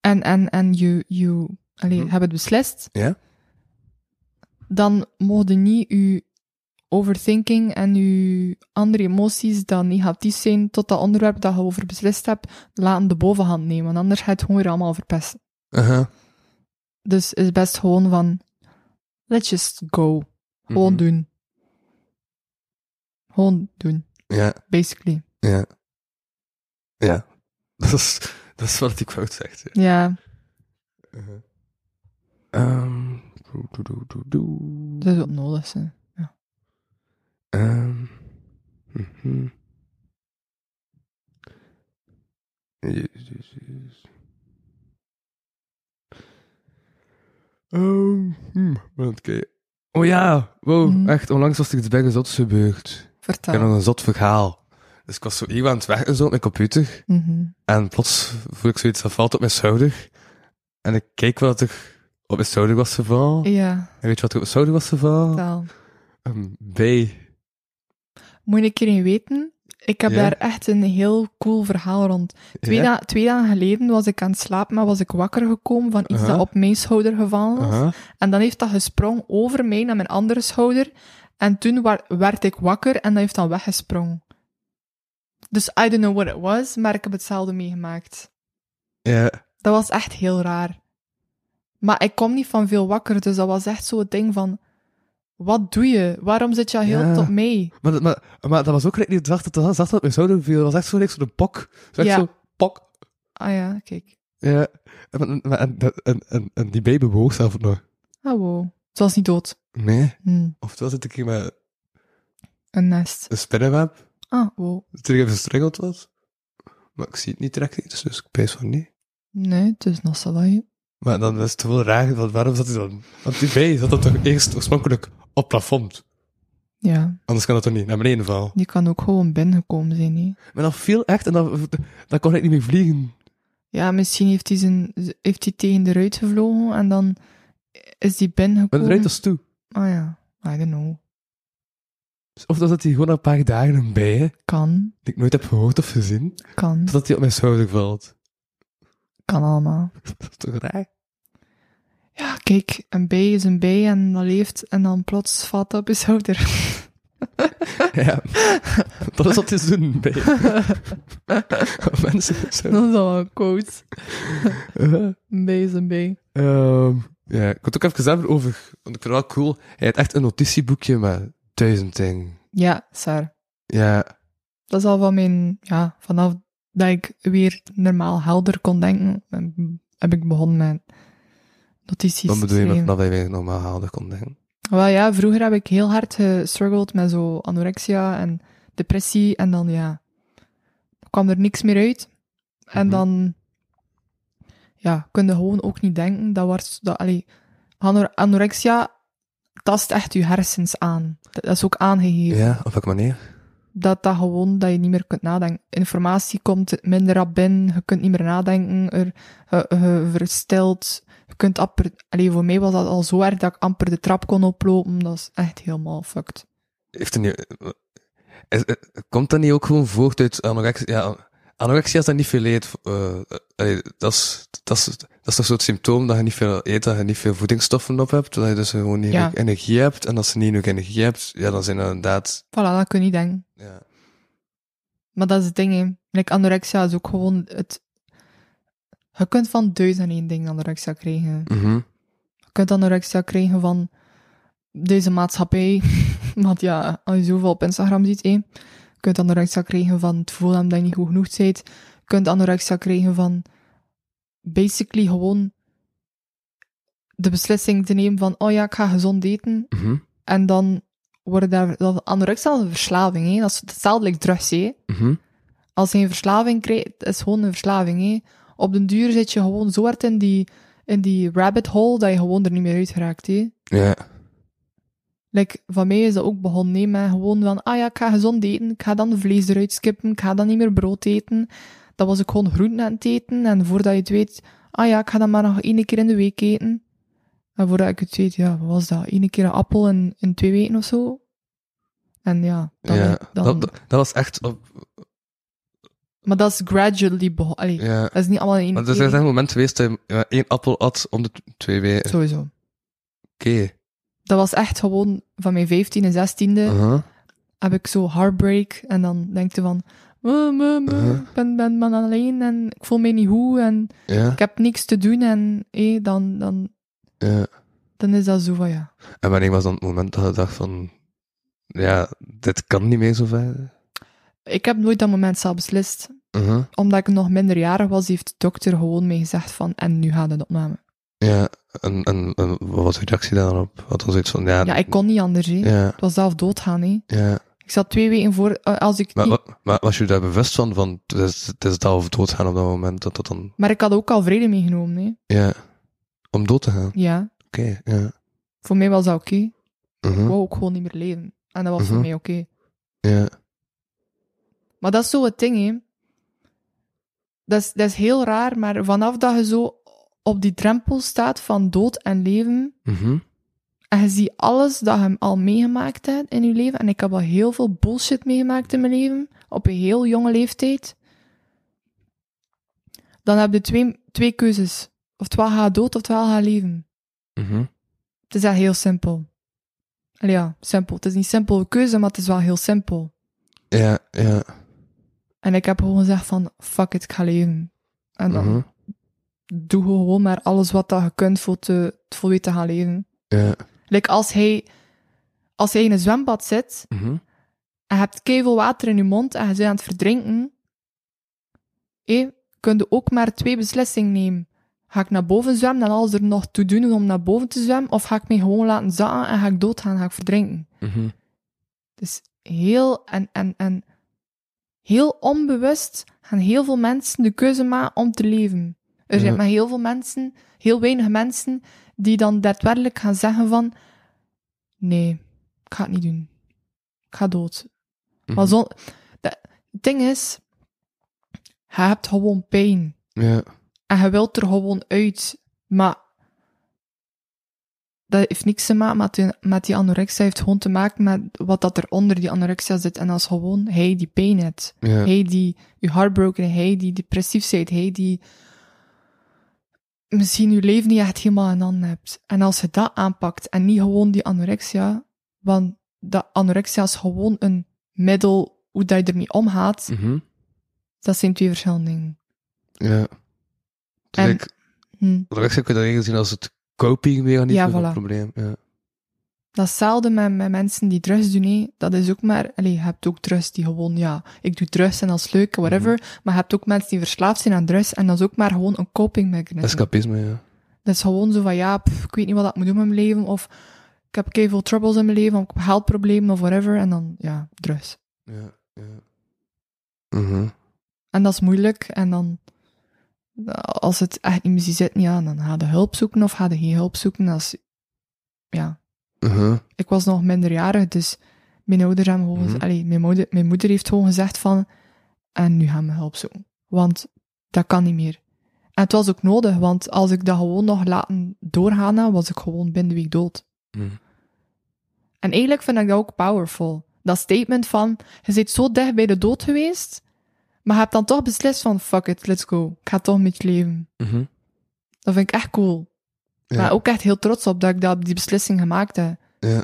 [SPEAKER 3] en, en, en je, je allee,
[SPEAKER 2] Mhm.
[SPEAKER 3] hebt het beslist,
[SPEAKER 2] Ja.
[SPEAKER 3] dan mogen niet je overthinking en je andere emoties dan negatief zijn tot dat onderwerp dat je over beslist hebt, laten de bovenhand nemen, want anders ga je het gewoon weer allemaal verpesten.
[SPEAKER 2] Aha.
[SPEAKER 3] Dus het is best gewoon van, let's just go. Gewoon
[SPEAKER 2] Mhm.
[SPEAKER 3] doen. Gewoon doen,
[SPEAKER 2] Ja.
[SPEAKER 3] basically.
[SPEAKER 2] Ja. Ja. Dat is, dat is wat die quote zegt. Ja.
[SPEAKER 3] Ja,
[SPEAKER 2] Ehm, doe, doe, doe, doe, doe.
[SPEAKER 3] dat is wat nodig. Zijn.
[SPEAKER 2] Ehm, mhm. Jezus, jezus. Ehm, hm, want kijk- Oh ja, wow,
[SPEAKER 3] Mhm. Ah.
[SPEAKER 2] echt, onlangs was er iets bij de zots gebeurd. Ik heb
[SPEAKER 3] Vertel.
[SPEAKER 2] nog een zot verhaal. Dus ik was zo even aan het weg en zo op mijn computer.
[SPEAKER 3] Mhm.
[SPEAKER 2] En plots voel ik zoiets dat valt op mijn schouder. En ik keek wat er op mijn schouder was gevallen.
[SPEAKER 3] Ja,
[SPEAKER 2] En weet je wat er op mijn schouder was gevallen?
[SPEAKER 3] vertel.
[SPEAKER 2] Een bij.
[SPEAKER 3] Moet je een keer in weten? Ik heb
[SPEAKER 2] Ja?
[SPEAKER 3] daar echt een heel cool verhaal rond. Twee,
[SPEAKER 2] Ja?
[SPEAKER 3] da- twee dagen geleden was ik aan het slapen, maar was ik wakker gekomen van iets
[SPEAKER 2] Aha.
[SPEAKER 3] dat op mijn schouder gevallen was.
[SPEAKER 2] Aha.
[SPEAKER 3] En dan heeft dat gesprongen over mij naar mijn andere schouder. En toen wa- werd ik wakker en dat heeft dan weggesprongen. Dus I don't know what it was, maar ik heb hetzelfde meegemaakt.
[SPEAKER 2] Ja.
[SPEAKER 3] Dat was echt heel raar. Maar ik kom niet van veel wakker, dus dat was echt zo'n ding van... Wat doe je? Waarom zit je al heel
[SPEAKER 2] Ja.
[SPEAKER 3] tot mee?
[SPEAKER 2] Maar, dat- maar, maar dat was ook recht niet zacht dat dat zacht op mijn schouder viel. Dat was echt zo recht zo'n pok. Zo echt
[SPEAKER 3] Ja.
[SPEAKER 2] zo pok.
[SPEAKER 3] Ah ja, kijk.
[SPEAKER 2] Ja. En, en, maar- en, en, en, en die bij bewoog zelf nog.
[SPEAKER 3] Ah wow. Het was niet dood.
[SPEAKER 2] Nee.
[SPEAKER 3] Hm,
[SPEAKER 2] Oftewel zit ik hier met
[SPEAKER 3] een nest.
[SPEAKER 2] een spinnenweb.
[SPEAKER 3] Ah wow.
[SPEAKER 2] Dat er even verstrengeld was. Maar ik zie het niet direct iets, dus ik pees van niet.
[SPEAKER 3] Nee, het is nog saai.
[SPEAKER 2] Maar dan is het wel raar, want waarom zat hij dan? Want die bij zat dat toch eerst oorspronkelijk op plafond?
[SPEAKER 3] Ja,
[SPEAKER 2] Anders kan dat toch niet naar beneden vallen?
[SPEAKER 3] die kan ook gewoon binnengekomen zijn, hè.
[SPEAKER 2] Maar dat viel echt en dan, dan kon ik niet meer vliegen.
[SPEAKER 3] Ja, misschien heeft hij, zijn, heeft hij tegen de ruit gevlogen en dan is die
[SPEAKER 2] Maar de
[SPEAKER 3] binnengekomen.
[SPEAKER 2] ruit was toe.
[SPEAKER 3] Ah ja, I don't know.
[SPEAKER 2] Of dan zat hij gewoon een paar dagen een bij, hè,
[SPEAKER 3] Kan,
[SPEAKER 2] die ik nooit heb gehoord of gezien,
[SPEAKER 3] kan,
[SPEAKER 2] totdat hij op mijn schouder valt.
[SPEAKER 3] kan allemaal.
[SPEAKER 2] Dat is toch raar?
[SPEAKER 3] Ja, kijk, een bij is een bij en dat leeft en dan plots valt dat op je schouder.
[SPEAKER 2] Ja. dat is wat hij doen bij. Mensen zo.
[SPEAKER 3] Dat is al een quote.
[SPEAKER 2] Eh,
[SPEAKER 3] Een bij is een bij.
[SPEAKER 2] ehm, ja, ik had ook even zelf over, want ik vind het wel cool. Hij had echt een notitieboekje met duizend dingen.
[SPEAKER 3] Ja, Saar.
[SPEAKER 2] Ja.
[SPEAKER 3] Dat is al van mijn... Ja, vanaf dat ik weer normaal helder kon denken, heb ik begonnen met notities
[SPEAKER 2] Wat bedoel je met
[SPEAKER 3] schrijven.
[SPEAKER 2] dat wij weer normaal haalden kon denken?
[SPEAKER 3] Wel ja, vroeger heb ik heel hard gestruggeld met zo anorexia en depressie. En dan ja, kwam er niks meer uit. En
[SPEAKER 2] Mhm.
[SPEAKER 3] dan ja, kun je gewoon ook niet denken. Dat was, dat, allee, anor- anorexia tast echt je hersens aan. Dat, dat is ook aangegeven.
[SPEAKER 2] Ja, op welke manier?
[SPEAKER 3] Dat dat gewoon, dat je niet meer kunt nadenken. Informatie komt minder rap binnen, je kunt niet meer nadenken, er, je, je verstelt je kunt amper... Allee, voor mij was dat al zo erg dat ik amper de trap kon oplopen. Dat is echt helemaal fucked.
[SPEAKER 2] Heeft er niet, is- eh, komt dat niet ook gewoon voort uit anorexia? Ja, anorexia is dat niet veel eet. eh, allee, dat, is, dat, is, dat is toch zo'n symptoom dat je niet veel eet, dat je niet veel voedingsstoffen op hebt, dat je dus gewoon niet
[SPEAKER 3] Ja.
[SPEAKER 2] genoeg energie hebt. En als je niet genoeg energie hebt, ja, dan zijn dat inderdaad...
[SPEAKER 3] Voilà, dat kun je niet denken.
[SPEAKER 2] Ja.
[SPEAKER 3] Maar dat is het ding, hè. Like, anorexia is ook gewoon het... Je kunt van duizend en één ding anorexia krijgen.
[SPEAKER 2] Mhm.
[SPEAKER 3] Je kunt anorexia krijgen van deze maatschappij. Want ja, als je zoveel op Instagram ziet, hé. Je kunt anorexia krijgen van het gevoel hebben dat je niet goed genoeg bent. Je kunt anorexia krijgen van basically gewoon de beslissing te nemen van oh ja, ik ga gezond eten.
[SPEAKER 2] Mhm.
[SPEAKER 3] En dan worden daar... dat- Anorexia is een verslaving, hè. Dat is hetzelfde als drugs, hè
[SPEAKER 2] Mhm.
[SPEAKER 3] als je een verslaving krijgt, het is gewoon een verslaving. Hè. Op den duur zit je gewoon zo hard in die, in die rabbit hole dat je gewoon er niet meer uit geraakt. Hè.
[SPEAKER 2] Ja.
[SPEAKER 3] Like, van mij is dat ook begonnen, hè, met gewoon van, ah ja, ik ga gezond eten, ik ga dan vlees eruit skippen, ik ga dan niet meer brood eten. Dat was ik gewoon groenten aan het eten, en voordat je het weet, ah ja, ik ga dan maar nog één keer in de week eten. En voordat ik het weet, ja, wat was dat? Eén keer een appel in, in twee weken of zo? En ja, dan...
[SPEAKER 2] ja.
[SPEAKER 3] dan
[SPEAKER 2] Dat, dat, dat was echt... Op,
[SPEAKER 3] Maar dat is gradually begonnen. Allee,
[SPEAKER 2] ja. dus
[SPEAKER 3] Dat is niet allemaal in één
[SPEAKER 2] Want er
[SPEAKER 3] keer,
[SPEAKER 2] zijn echt momenten geweest dat je ja, één appel at om de t- twee weken. Oké.
[SPEAKER 3] Sowieso. Dat was echt gewoon van mijn 15e, 16e
[SPEAKER 2] Aha.
[SPEAKER 3] heb ik zo heartbreak. En dan denk je van, "Oh, me, me,
[SPEAKER 2] Uh-huh.
[SPEAKER 3] ik ben, ben maar alleen en ik voel me niet goed en
[SPEAKER 2] Ja.
[SPEAKER 3] ik heb niks te doen. En hé, dan, dan,
[SPEAKER 2] Ja.
[SPEAKER 3] dan is dat zo van ja.
[SPEAKER 2] En wanneer was dan het moment dat je dacht van... Ja, dit kan niet meer zo verder?
[SPEAKER 3] Ik heb nooit dat moment zelf beslist.
[SPEAKER 2] Mhm.
[SPEAKER 3] Omdat ik nog minderjarig was, heeft de dokter gewoon mij gezegd van, en nu gaat het opname.
[SPEAKER 2] Ja, en, en, en wat was uw reactie daarop? Wat was iets van... Ja,
[SPEAKER 3] Ja, ik kon niet anders. hè.
[SPEAKER 2] Ja,
[SPEAKER 3] Het was zelf doodgaan. hè.
[SPEAKER 2] ja.
[SPEAKER 3] Ik zat twee weken voor, eh, als ik
[SPEAKER 2] Maar,
[SPEAKER 3] niet-
[SPEAKER 2] wa- maar was je daar bewust van, van het is, het is dat of doodgaan op dat moment, dat dat dan...
[SPEAKER 3] maar ik had ook al vrede meegenomen. hè.
[SPEAKER 2] Ja, om dood te gaan. Oké,
[SPEAKER 3] Ja,
[SPEAKER 2] ja.
[SPEAKER 3] voor mij was dat oké.
[SPEAKER 2] Mhm,
[SPEAKER 3] Ik wou ook gewoon niet meer leven. En dat was voor
[SPEAKER 2] Mhm.
[SPEAKER 3] mij oké.
[SPEAKER 2] Ja,
[SPEAKER 3] Maar dat is zo het ding, hè. Dat is, dat is heel raar, maar vanaf dat je zo op die drempel staat van dood en leven,
[SPEAKER 2] mhm,
[SPEAKER 3] en je ziet alles dat je hem al meegemaakt hebt in je leven, en ik heb al heel veel bullshit meegemaakt in mijn leven, op een heel jonge leeftijd, dan heb je twee, twee keuzes. Oftewel ga je dood, oftewel ga je leven.
[SPEAKER 2] mhm.
[SPEAKER 3] Het is echt heel simpel. Allee, ja, simpel. Het is niet simpel een keuze, maar het is wel heel simpel.
[SPEAKER 2] Ja, ja.
[SPEAKER 3] En ik heb gewoon gezegd van, fuck it, ik ga leven. En dan
[SPEAKER 2] mhm,
[SPEAKER 3] doe gewoon maar alles wat dat je kunt voor, te, voor je te gaan leven.
[SPEAKER 2] Ja,
[SPEAKER 3] Like als hij, als hij in een zwembad zit
[SPEAKER 2] mhm.
[SPEAKER 3] en je hebt keiveel water in je mond en je bent aan het verdrinken, hé, kun je ook maar twee beslissingen nemen. Ga ik naar boven zwemmen en alles er nog toe doen om naar boven te zwemmen? Of ga ik mij gewoon laten zakken en ga ik doodgaan, ga ik verdrinken?
[SPEAKER 2] mhm.
[SPEAKER 3] Dus heel en, en, en heel onbewust gaan heel veel mensen de keuze maken om te leven. Er zijn
[SPEAKER 2] Ja.
[SPEAKER 3] maar heel veel mensen, heel weinig mensen, die dan daadwerkelijk gaan zeggen van nee, ik ga het niet doen. Ik ga dood. Maar
[SPEAKER 2] Mhm.
[SPEAKER 3] zo, dat- het ding is, je hebt gewoon pijn.
[SPEAKER 2] Ja,
[SPEAKER 3] En je wilt er gewoon uit. Maar dat heeft niks te maken met die, met die anorexia. heeft gewoon te maken met wat dat er onder die anorexia zit. En dat is gewoon hij die pijn heeft.
[SPEAKER 2] ja.
[SPEAKER 3] Hij die je heartbroken, hij die depressief zit. Hij die misschien je leven niet echt helemaal in handen hebt. En als je dat aanpakt en niet gewoon die anorexia. Want dat anorexia is gewoon een middel hoe dat je ermee omgaat.
[SPEAKER 2] mhm,
[SPEAKER 3] Dat zijn twee verschillende dingen.
[SPEAKER 2] Ja. Dus
[SPEAKER 3] En-
[SPEAKER 2] ik,
[SPEAKER 3] Hm.
[SPEAKER 2] rechts kun je dat eigenlijk zien als het copingmechanisme
[SPEAKER 3] Ja,
[SPEAKER 2] van het
[SPEAKER 3] voilà.
[SPEAKER 2] probleem. Ja,
[SPEAKER 3] Dat is hetzelfde met, met mensen die drugs doen, hè. Dat is ook maar... Allee, je hebt ook drugs die gewoon, ja, ik doe drugs en dat is leuk, whatever. Maar je hebt ook mensen die verslaafd zijn aan drugs en dat is ook maar gewoon een coping mechanism.
[SPEAKER 2] Escapisme, ja.
[SPEAKER 3] Dat is gewoon zo van, ja, pff, ik weet niet wat ik moet doen met mijn leven, of ik heb veel troubles in mijn leven, of ik heb geldproblemen, of whatever. En dan, ja, drugs.
[SPEAKER 2] Ja, ja. Mhm.
[SPEAKER 3] En dat is moeilijk, en dan... Als het echt niet meer ziet zitten, ja, dan ga je hulp zoeken, of ga je geen hulp zoeken. Dat is... Ja,
[SPEAKER 2] mhm.
[SPEAKER 3] ik was nog minderjarig, dus mijn ouders hebben gewoon...
[SPEAKER 2] Mhm.
[SPEAKER 3] allee, mijn, moeder, mijn moeder heeft gewoon gezegd van... En nu gaan we hulp zoeken. Want dat kan niet meer. En het was ook nodig, want als ik dat gewoon nog laten doorgaan, had, was ik gewoon binnen de week dood.
[SPEAKER 2] Mhm.
[SPEAKER 3] En eigenlijk vind ik dat ook powerful. Dat statement van, je zit zo dicht bij de dood geweest, maar je hebt dan toch beslist van, fuck it, let's go. Ik ga toch met je leven.
[SPEAKER 2] Mhm.
[SPEAKER 3] Dat vind ik echt cool.
[SPEAKER 2] Ja.
[SPEAKER 3] Maar ook echt heel trots op dat ik dat, die beslissing gemaakt heb.
[SPEAKER 2] Ja.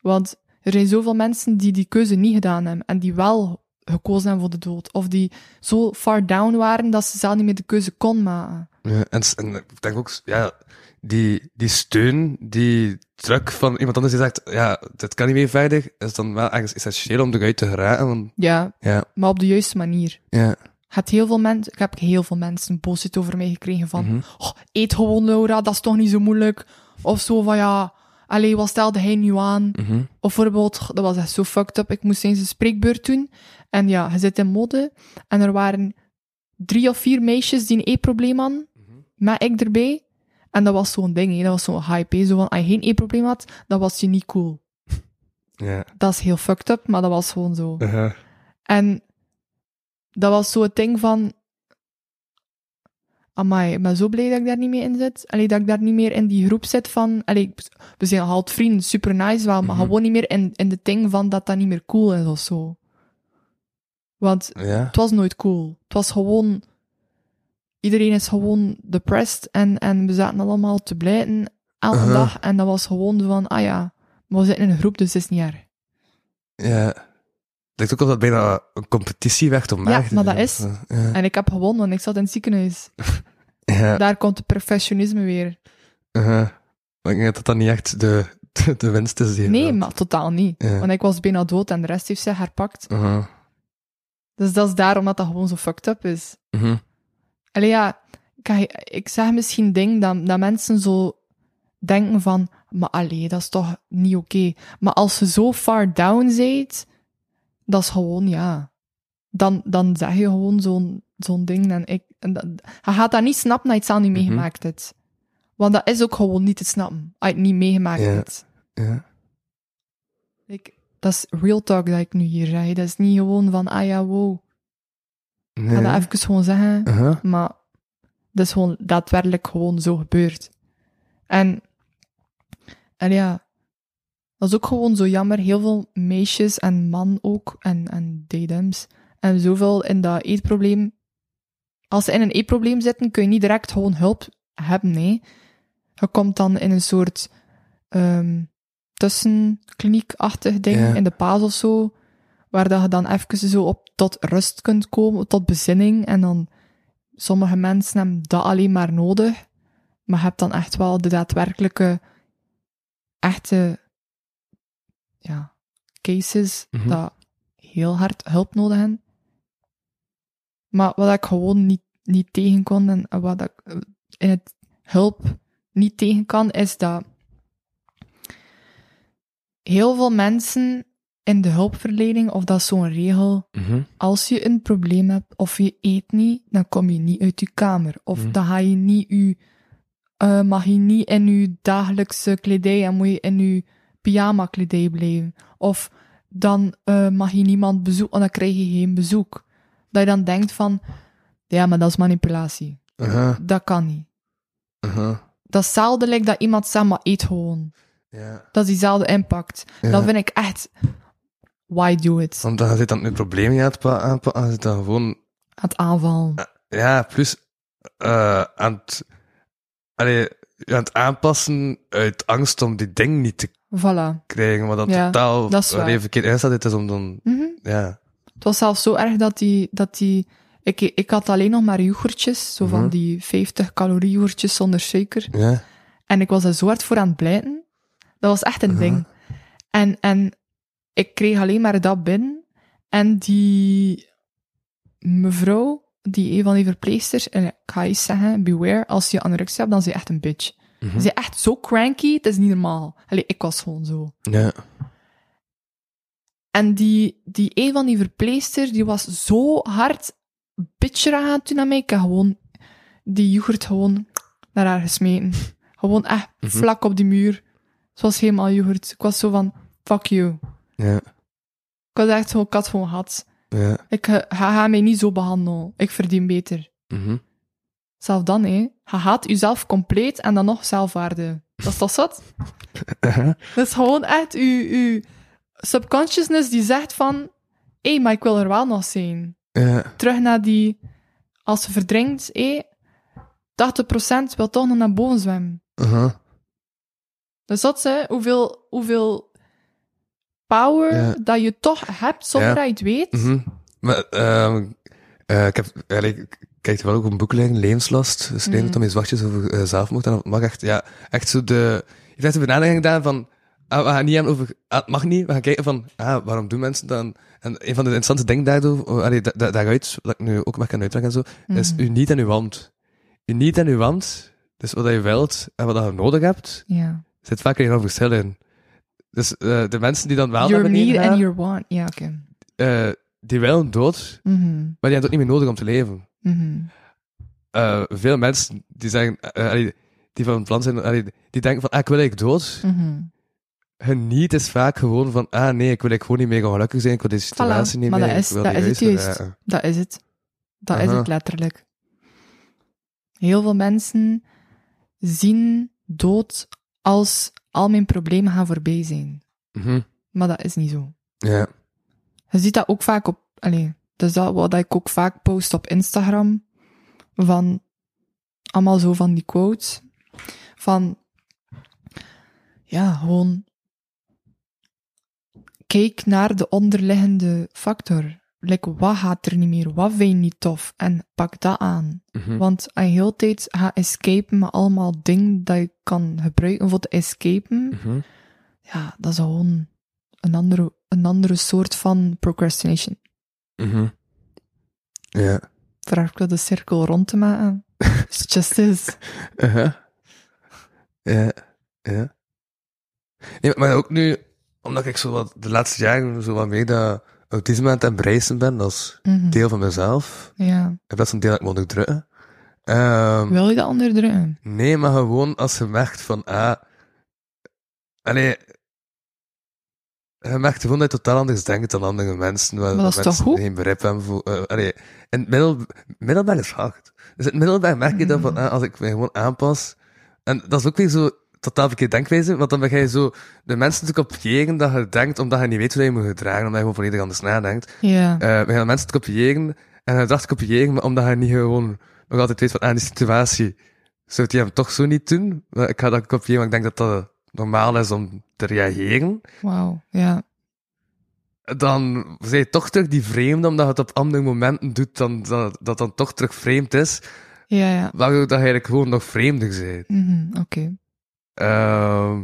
[SPEAKER 3] Want er zijn zoveel mensen die die keuze niet gedaan hebben en die wel gekozen hebben voor de dood. Of die zo far down waren dat ze zelf niet meer de keuze kon maken.
[SPEAKER 2] Ja, en, s- en ik denk ook, s- ja, die, die steun, die druk van iemand anders die zegt, ja, dit kan niet meer verder, is dan wel ergens essentieel om eruit te geraken. Want,
[SPEAKER 3] Ja,
[SPEAKER 2] ja,
[SPEAKER 3] maar op de juiste manier.
[SPEAKER 2] ja.
[SPEAKER 3] Had heel veel mensen, ik heb heel veel mensen boosheid over mij gekregen van "Oh, eet gewoon Laura, dat is toch niet zo moeilijk. Of zo van ja, allee, wat stelde hij nu aan?
[SPEAKER 2] Mhm.
[SPEAKER 3] Of bijvoorbeeld, goh, dat was echt zo fucked up, ik moest eens een spreekbeurt doen. En ja, je zit in mode en er waren drie of vier meisjes die een e-probleem hadden, met ik erbij. En dat was zo'n ding, hè. dat was zo'n hype. hè. Zo van, als je geen e-probleem had, dan was je niet cool.
[SPEAKER 2] ja.
[SPEAKER 3] Dat is heel fucked up, maar dat was gewoon zo.
[SPEAKER 2] Uh-huh.
[SPEAKER 3] En dat was zo het ding van... Amai, ik ben zo blij dat ik daar niet meer in zit. Allee, dat ik daar niet meer in die groep zit van... Allee, ik- we zijn altijd vrienden, super nice wel, maar
[SPEAKER 2] Mhm.
[SPEAKER 3] gewoon niet meer in, in de ding van dat dat niet meer cool is of zo. Want
[SPEAKER 2] Ja.
[SPEAKER 3] het was nooit cool. Het was gewoon... Iedereen is gewoon depressed en, en we zaten allemaal te blijten elke
[SPEAKER 2] Uh-huh.
[SPEAKER 3] dag. En dat was gewoon van, ah ja, maar we zitten in een groep, dus het is niet erg.
[SPEAKER 2] Ja. Het lijkt ook alsof dat bijna een competitie werd om
[SPEAKER 3] Ja,
[SPEAKER 2] maagden te
[SPEAKER 3] maar dat
[SPEAKER 2] zijn of zo. Ja.
[SPEAKER 3] En ik heb gewonnen, want ik zat in het ziekenhuis.
[SPEAKER 2] Ja.
[SPEAKER 3] Daar komt het perfectionisme weer.
[SPEAKER 2] Uh-huh. Maar ik denk dat dat niet echt de, de, de winst is. die je
[SPEAKER 3] Nee,
[SPEAKER 2] wilt.
[SPEAKER 3] maar totaal niet.
[SPEAKER 2] Ja.
[SPEAKER 3] Want ik was bijna dood en de rest heeft ze herpakt.
[SPEAKER 2] Uh-huh.
[SPEAKER 3] Dus dat is daarom dat dat gewoon zo fucked up is.
[SPEAKER 2] Mhm.
[SPEAKER 3] Allee ja, ik, ik zeg misschien ding dat, dat mensen zo denken van... Maar allee, dat is toch niet oké. Maar als ze zo far down zit, dat is gewoon, ja... Dan, dan zeg je gewoon zo'n zo'n ding. En ik, en dat- je gaat dat niet snappen als je het zelf niet
[SPEAKER 2] Mhm.
[SPEAKER 3] meegemaakt hebt. Want dat is ook gewoon niet te snappen, als je het niet meegemaakt
[SPEAKER 2] Ja.
[SPEAKER 3] hebt.
[SPEAKER 2] Ja.
[SPEAKER 3] Ik, dat is real talk dat ik nu hier zeg. hè. Dat is niet gewoon van, ah ja, wow. Ik
[SPEAKER 2] Nee.
[SPEAKER 3] ga dat even gewoon zeggen.
[SPEAKER 2] Uh-huh.
[SPEAKER 3] Maar dat is gewoon daadwerkelijk gewoon zo gebeurd. En, en ja, dat is ook gewoon zo jammer. Heel veel meisjes en man ook, en, en datems, en zoveel in dat eetprobleem. Als ze in een eetprobleem zitten, kun je niet direct gewoon hulp hebben, nee. Je komt dan in een soort ehm tussenkliniekachtig ding,
[SPEAKER 2] Ja.
[SPEAKER 3] in de paas of zo, waar dat je dan even zo op tot rust kunt komen, tot bezinning, en dan sommige mensen hebben dat alleen maar nodig, maar je hebt dan echt wel de daadwerkelijke, echte, ja, cases
[SPEAKER 2] Mhm.
[SPEAKER 3] dat heel hard hulp nodig hebben. Maar wat ik gewoon niet, niet tegen kon en en wat ik eh, in het hulp niet tegen kan, is dat heel veel mensen in de hulpverlening, of dat is zo'n regel,
[SPEAKER 2] Mhm.
[SPEAKER 3] als je een probleem hebt of je eet niet, dan kom je niet uit je kamer. Of
[SPEAKER 2] Mhm.
[SPEAKER 3] dan ga je niet je, eh, mag je niet in je dagelijkse kledij en moet je in je pyjama kledij blijven. Of dan eh, mag je niemand bezoeken, want dan krijg je geen bezoek. Dat je dan denkt van, ja, maar dat is manipulatie.
[SPEAKER 2] Uh-huh.
[SPEAKER 3] Dat kan niet.
[SPEAKER 2] Uh-huh.
[SPEAKER 3] Dat is hetzelfde like dat iemand zegt, maar eet gewoon.
[SPEAKER 2] Ja.
[SPEAKER 3] Dat is diezelfde impact.
[SPEAKER 2] Ja.
[SPEAKER 3] Dat vind ik echt, why do it?
[SPEAKER 2] Want dan zit dan nu problemen aan het pa- aanpakken, dan zit dan gewoon
[SPEAKER 3] Aan het aanvallen.
[SPEAKER 2] Ja, plus eh, aan, het, allee, aan het aanpassen uit angst om die ding niet te
[SPEAKER 3] Voilà.
[SPEAKER 2] krijgen, wat dan
[SPEAKER 3] Ja,
[SPEAKER 2] totaal
[SPEAKER 3] dat is waar.
[SPEAKER 2] allee, verkeerd ingesteld dit is om dan...
[SPEAKER 3] Mhm.
[SPEAKER 2] Ja.
[SPEAKER 3] Het was zelfs zo erg dat die... Dat die ik, ik had alleen nog maar yoghurtjes, zo van
[SPEAKER 2] Mhm.
[SPEAKER 3] die 50 calorie yoghurtjes zonder suiker.
[SPEAKER 2] Ja.
[SPEAKER 3] En ik was er zo hard voor aan het blijten. Dat was echt een
[SPEAKER 2] Mhm.
[SPEAKER 3] ding. En, en ik kreeg alleen maar dat binnen. En die mevrouw, die een van die verpleegsters, en ik ga iets zeggen, beware, als je anorexia hebt, dan is je echt een bitch.
[SPEAKER 2] Mhm.
[SPEAKER 3] Ze is echt zo cranky, het is niet normaal. Allee, ik was gewoon zo.
[SPEAKER 2] Ja.
[SPEAKER 3] En die, die een van die verpleegsters, die was zo hard bitcherig aan toen aan mij. Ik heb gewoon die yoghurt gewoon naar haar gesmeten. Gewoon echt
[SPEAKER 2] Mhm.
[SPEAKER 3] vlak op die muur. Het was helemaal yoghurt. Ik was zo van, fuck you.
[SPEAKER 2] Ja.
[SPEAKER 3] Ik was echt zo, ik had gewoon gehad.
[SPEAKER 2] Ja.
[SPEAKER 3] Ik eh, ga, ga mij niet zo behandelen. Ik verdien beter.
[SPEAKER 2] Mhm.
[SPEAKER 3] Zelf dan, hè. Je haat jezelf compleet en dan nog zelfwaarde. Dat is toch zot? Dat is gewoon echt uw, uw subconsciousness die zegt van... Hé, maar ik wil er wel nog zijn.
[SPEAKER 2] Ja.
[SPEAKER 3] Terug naar die... Als ze verdrinkt, hé... 80% wil toch nog naar boven zwemmen.
[SPEAKER 2] Aha.
[SPEAKER 3] Dus dat is hè, hoeveel, hoeveel power
[SPEAKER 2] Ja.
[SPEAKER 3] dat je toch hebt zonder
[SPEAKER 2] Ja.
[SPEAKER 3] dat je het weet.
[SPEAKER 2] Mhm. Maar, ehm, eh, ik heb eigenlijk, ik kijk er wel ook een boek liggen, Levenslast. Dus neemt dan mee zwartjes over eh, zelfmoord. En dat mag echt, ja, echt zo de, ik heb echt de benadering gedaan van, ah, we gaan niet hebben over, ah, het mag niet. We gaan kijken van, ah, waarom doen mensen dan? En een van de interessante dingen daardoor, oh, allee, da- da- daaruit, wat ik nu ook mag gaan uitleggen en zo, is u niet aan uw wand. U niet aan uw wand, dus wat je wilt en wat je nodig hebt,
[SPEAKER 3] Ja.
[SPEAKER 2] zit vaak een enorm verschil in. Dus eh, de mensen die dan wel naar
[SPEAKER 3] Your
[SPEAKER 2] beneden
[SPEAKER 3] need and
[SPEAKER 2] gaan,
[SPEAKER 3] your want. Ja, oké.
[SPEAKER 2] eh, die willen dood,
[SPEAKER 3] Mhm,
[SPEAKER 2] maar die hebben het ook niet meer nodig om te leven.
[SPEAKER 3] mhm.
[SPEAKER 2] Eh, veel mensen die zeggen, eh, allee, die van plan zijn, allee, die denken van, ah, ik wil ik dood.
[SPEAKER 3] Mhm.
[SPEAKER 2] Hun niet is vaak gewoon van, ah nee, ik wil ik gewoon niet meer gelukkig zijn, ik wil deze situatie niet
[SPEAKER 3] maar
[SPEAKER 2] meer.
[SPEAKER 3] dat
[SPEAKER 2] ik
[SPEAKER 3] is-
[SPEAKER 2] wil
[SPEAKER 3] dat
[SPEAKER 2] die
[SPEAKER 3] is het
[SPEAKER 2] huis
[SPEAKER 3] juist.
[SPEAKER 2] verlaten.
[SPEAKER 3] Dat is het. Dat is
[SPEAKER 2] Aha.
[SPEAKER 3] het letterlijk. Heel veel mensen zien dood als al mijn problemen gaan voorbij zijn.
[SPEAKER 2] Mhm.
[SPEAKER 3] Maar dat is niet zo.
[SPEAKER 2] Ja.
[SPEAKER 3] Je ziet dat ook vaak op. Allee, dat is dat wat ik ook vaak post op Instagram. Van allemaal zo van die quotes. Van ja, gewoon. Kijk naar de onderliggende factor. Like, wat gaat er niet meer? Wat vind je niet tof? En pak dat aan.
[SPEAKER 2] Mhm.
[SPEAKER 3] Want aan heel tijd gaat escapen met allemaal dingen dat je kan gebruiken voor te escapen
[SPEAKER 2] Mhm.
[SPEAKER 3] ja, dat is gewoon een andere, een andere soort van procrastination.
[SPEAKER 2] Mhm. Ja.
[SPEAKER 3] Vraag ik wel de cirkel rond te maken. It's just this.
[SPEAKER 2] Uh-huh. Ja, ja. Nee, maar ook nu, omdat ik zo wat de laatste jaren zo wat meer dat autisme aan het embracen ben als
[SPEAKER 3] Mhm.
[SPEAKER 2] deel van mezelf,
[SPEAKER 3] Ja.
[SPEAKER 2] en dat is een deel dat ik moet onderdrukken. Ehm,
[SPEAKER 3] Wil je dat onderdrukken?
[SPEAKER 2] nee, maar gewoon als je merkt van, ah, allee, je merkt gewoon dat je totaal anders denkt dan andere mensen, waar
[SPEAKER 3] Maar dat is toch
[SPEAKER 2] mensen
[SPEAKER 3] goed?
[SPEAKER 2] geen begrip hebben voor, eh, allee, in het middel, middelbaar is hard. Dus in het middelbaar merk je dat
[SPEAKER 3] Mm.
[SPEAKER 2] van, ah, als ik me gewoon aanpas, en dat is ook weer zo totaal verkeerd denkwijze, want dan begin je zo de mensen te kopiëren dat je denkt, omdat je niet weet hoe je je moet gedragen, omdat je gewoon volledig anders nadenkt.
[SPEAKER 3] Ja.
[SPEAKER 2] Eh, we gaan mensen het kopiëren en hij dacht het kopiëren, maar omdat hij niet gewoon nog altijd weet van aan die situatie, zou hij hem toch zo niet doen. Maar Ik ga dat kopiëren, want ik denk dat dat normaal is om te reageren.
[SPEAKER 3] Wauw. Ja.
[SPEAKER 2] Dan zijn je toch terug die vreemde, omdat je het op andere momenten doet dan dat, dat dan toch terug vreemd is,
[SPEAKER 3] Ja, ja.
[SPEAKER 2] waardoor dat je eigenlijk gewoon nog vreemder bent.
[SPEAKER 3] Mhm, Oké.
[SPEAKER 2] Ehm,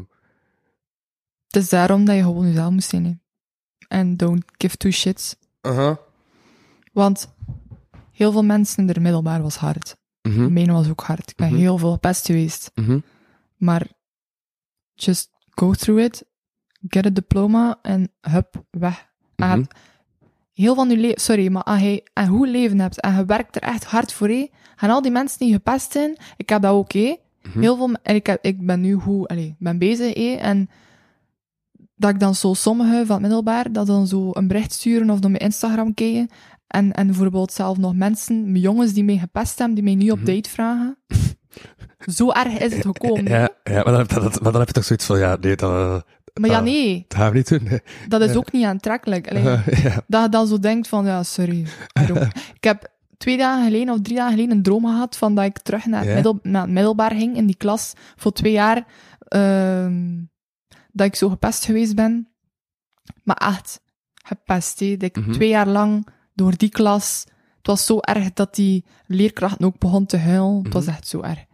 [SPEAKER 3] Het is daarom dat je gewoon jezelf moet zijn. hè. En don't give two shits.
[SPEAKER 2] aha.
[SPEAKER 3] Want heel veel mensen in de middelbaar was hard.
[SPEAKER 2] Mhm,
[SPEAKER 3] Mijn was ook hard. Ik ben
[SPEAKER 2] Mhm.
[SPEAKER 3] heel veel best geweest.
[SPEAKER 2] mhm.
[SPEAKER 3] Maar just go through it, get a diploma en hup, weg. En je
[SPEAKER 2] Mhm.
[SPEAKER 3] hebt Heel van je leven, sorry, maar ah, als je een goed leven hebt en je werkt er echt hard voor, hé, gaan al die mensen die gepest zijn, ik heb dat ook, hé.
[SPEAKER 2] Mhm.
[SPEAKER 3] Heel veel, me- en ik, heb, ik ben nu goed, allee, ik ben bezig, hé, en dat ik dan zo sommigen van het middelbaar, dat dan zo een bericht sturen of naar mijn Instagram kijken, en, en bijvoorbeeld zelf nog mensen, jongens die mij gepest hebben, die mij nu op
[SPEAKER 2] Mhm.
[SPEAKER 3] date vragen. zo erg is het gekomen. hè.
[SPEAKER 2] Ja, ja maar, dan, dat- dat- maar dan heb je toch zoiets van, ja, nee, dat,
[SPEAKER 3] Maar ja,
[SPEAKER 2] Ah.
[SPEAKER 3] nee,
[SPEAKER 2] dat gaan we niet doen. hè.
[SPEAKER 3] dat is ook niet aantrekkelijk. Allee,
[SPEAKER 2] ja.
[SPEAKER 3] Dat je dan zo denkt van, ja, sorry. I don't- ik heb twee dagen geleden of drie dagen geleden een droom gehad van dat ik terug naar,
[SPEAKER 2] Ja?
[SPEAKER 3] het, middel, naar het middelbaar ging in die klas voor twee jaar. ehm, dat ik zo gepest geweest ben. Maar echt, gepest. hè. Dat ik
[SPEAKER 2] Mhm.
[SPEAKER 3] twee jaar lang door die klas... Het was zo erg dat die leerkracht ook begon te huilen. Het was echt zo erg.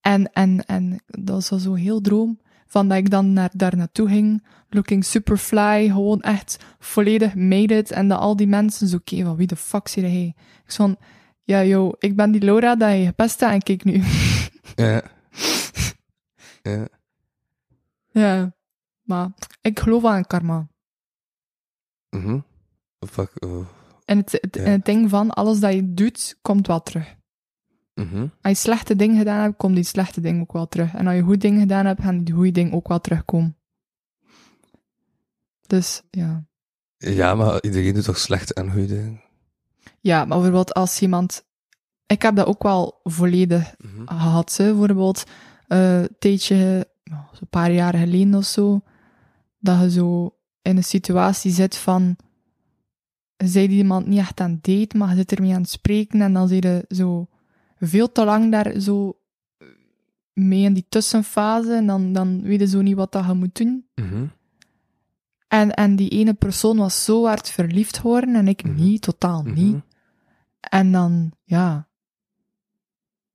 [SPEAKER 3] En, en, en dat was wel zo heel droom. Van dat ik dan naar, daar naartoe ging, looking super fly, gewoon echt volledig made it. En dat al die mensen zo, oké, van wie de fuck zie hij? Ik zo van, ja yo, ik ben die Laura dat je gepest hebt en kijk nu.
[SPEAKER 2] Ja. ja.
[SPEAKER 3] ja, maar ik geloof wel in karma.
[SPEAKER 2] Mhm. Fuck. oh.
[SPEAKER 3] En het, het,
[SPEAKER 2] Ja.
[SPEAKER 3] en het ding van, alles dat je doet, komt wel terug.
[SPEAKER 2] Mhm.
[SPEAKER 3] Als je slechte dingen gedaan hebt, komt die slechte ding ook wel terug. En als je goede dingen gedaan hebt, gaan die goede dingen ook wel terugkomen. Dus, ja...
[SPEAKER 2] Ja, maar iedereen doet toch slecht en goede dingen?
[SPEAKER 3] Ja, maar bijvoorbeeld als iemand ik heb dat ook wel volledig
[SPEAKER 2] Mhm.
[SPEAKER 3] gehad. Hè. Bijvoorbeeld eh, een tijdje, nou, zo'n paar jaar geleden of zo, dat je zo in een situatie zit van... je Zei iemand niet echt aan het date, maar je zit ermee aan het spreken en dan zit je zo veel te lang daar zo mee in die tussenfase en dan, dan weet je zo niet wat dat je moet doen.
[SPEAKER 2] Mhm.
[SPEAKER 3] En, en die ene persoon was zo hard verliefd geworden en ik
[SPEAKER 2] Mhm.
[SPEAKER 3] niet, totaal
[SPEAKER 2] Mhm.
[SPEAKER 3] niet. En dan, ja,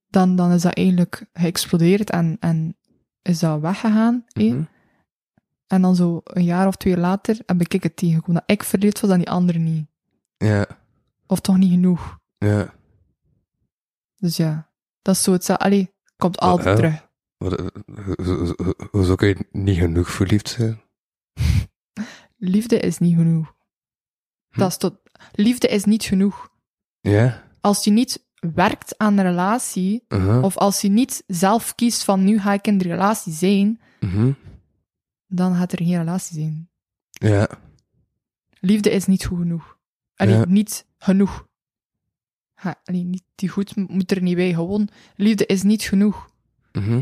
[SPEAKER 3] dan, dan is dat eigenlijk geëxplodeerd en, en is dat weggegaan. hè.
[SPEAKER 2] Mhm.
[SPEAKER 3] En dan zo een jaar of twee later heb ik het tegengekomen dat ik verliefd was en die andere niet.
[SPEAKER 2] Ja,
[SPEAKER 3] Of toch niet genoeg.
[SPEAKER 2] ja.
[SPEAKER 3] Dus ja, dat is zo het. Allee, komt altijd
[SPEAKER 2] hè?
[SPEAKER 3] terug.
[SPEAKER 2] Wat, eh, ho- ho- ho- ho- Hoezo kun je niet genoeg verliefd zijn?
[SPEAKER 3] Liefde is niet genoeg.
[SPEAKER 2] Hm.
[SPEAKER 3] Dat is tot... Liefde is niet genoeg.
[SPEAKER 2] Ja?
[SPEAKER 3] Als je niet werkt aan een relatie,
[SPEAKER 2] Uh-huh.
[SPEAKER 3] Of als je niet zelf kiest van nu ga ik in de relatie zijn,
[SPEAKER 2] Mhm.
[SPEAKER 3] dan gaat er geen relatie zijn.
[SPEAKER 2] Ja.
[SPEAKER 3] Liefde is niet goed genoeg. Allee,
[SPEAKER 2] Ja.
[SPEAKER 3] niet genoeg. Ha, allee, niet die goed m- moet er niet bij. Gewoon, liefde is niet genoeg.
[SPEAKER 2] Mhm.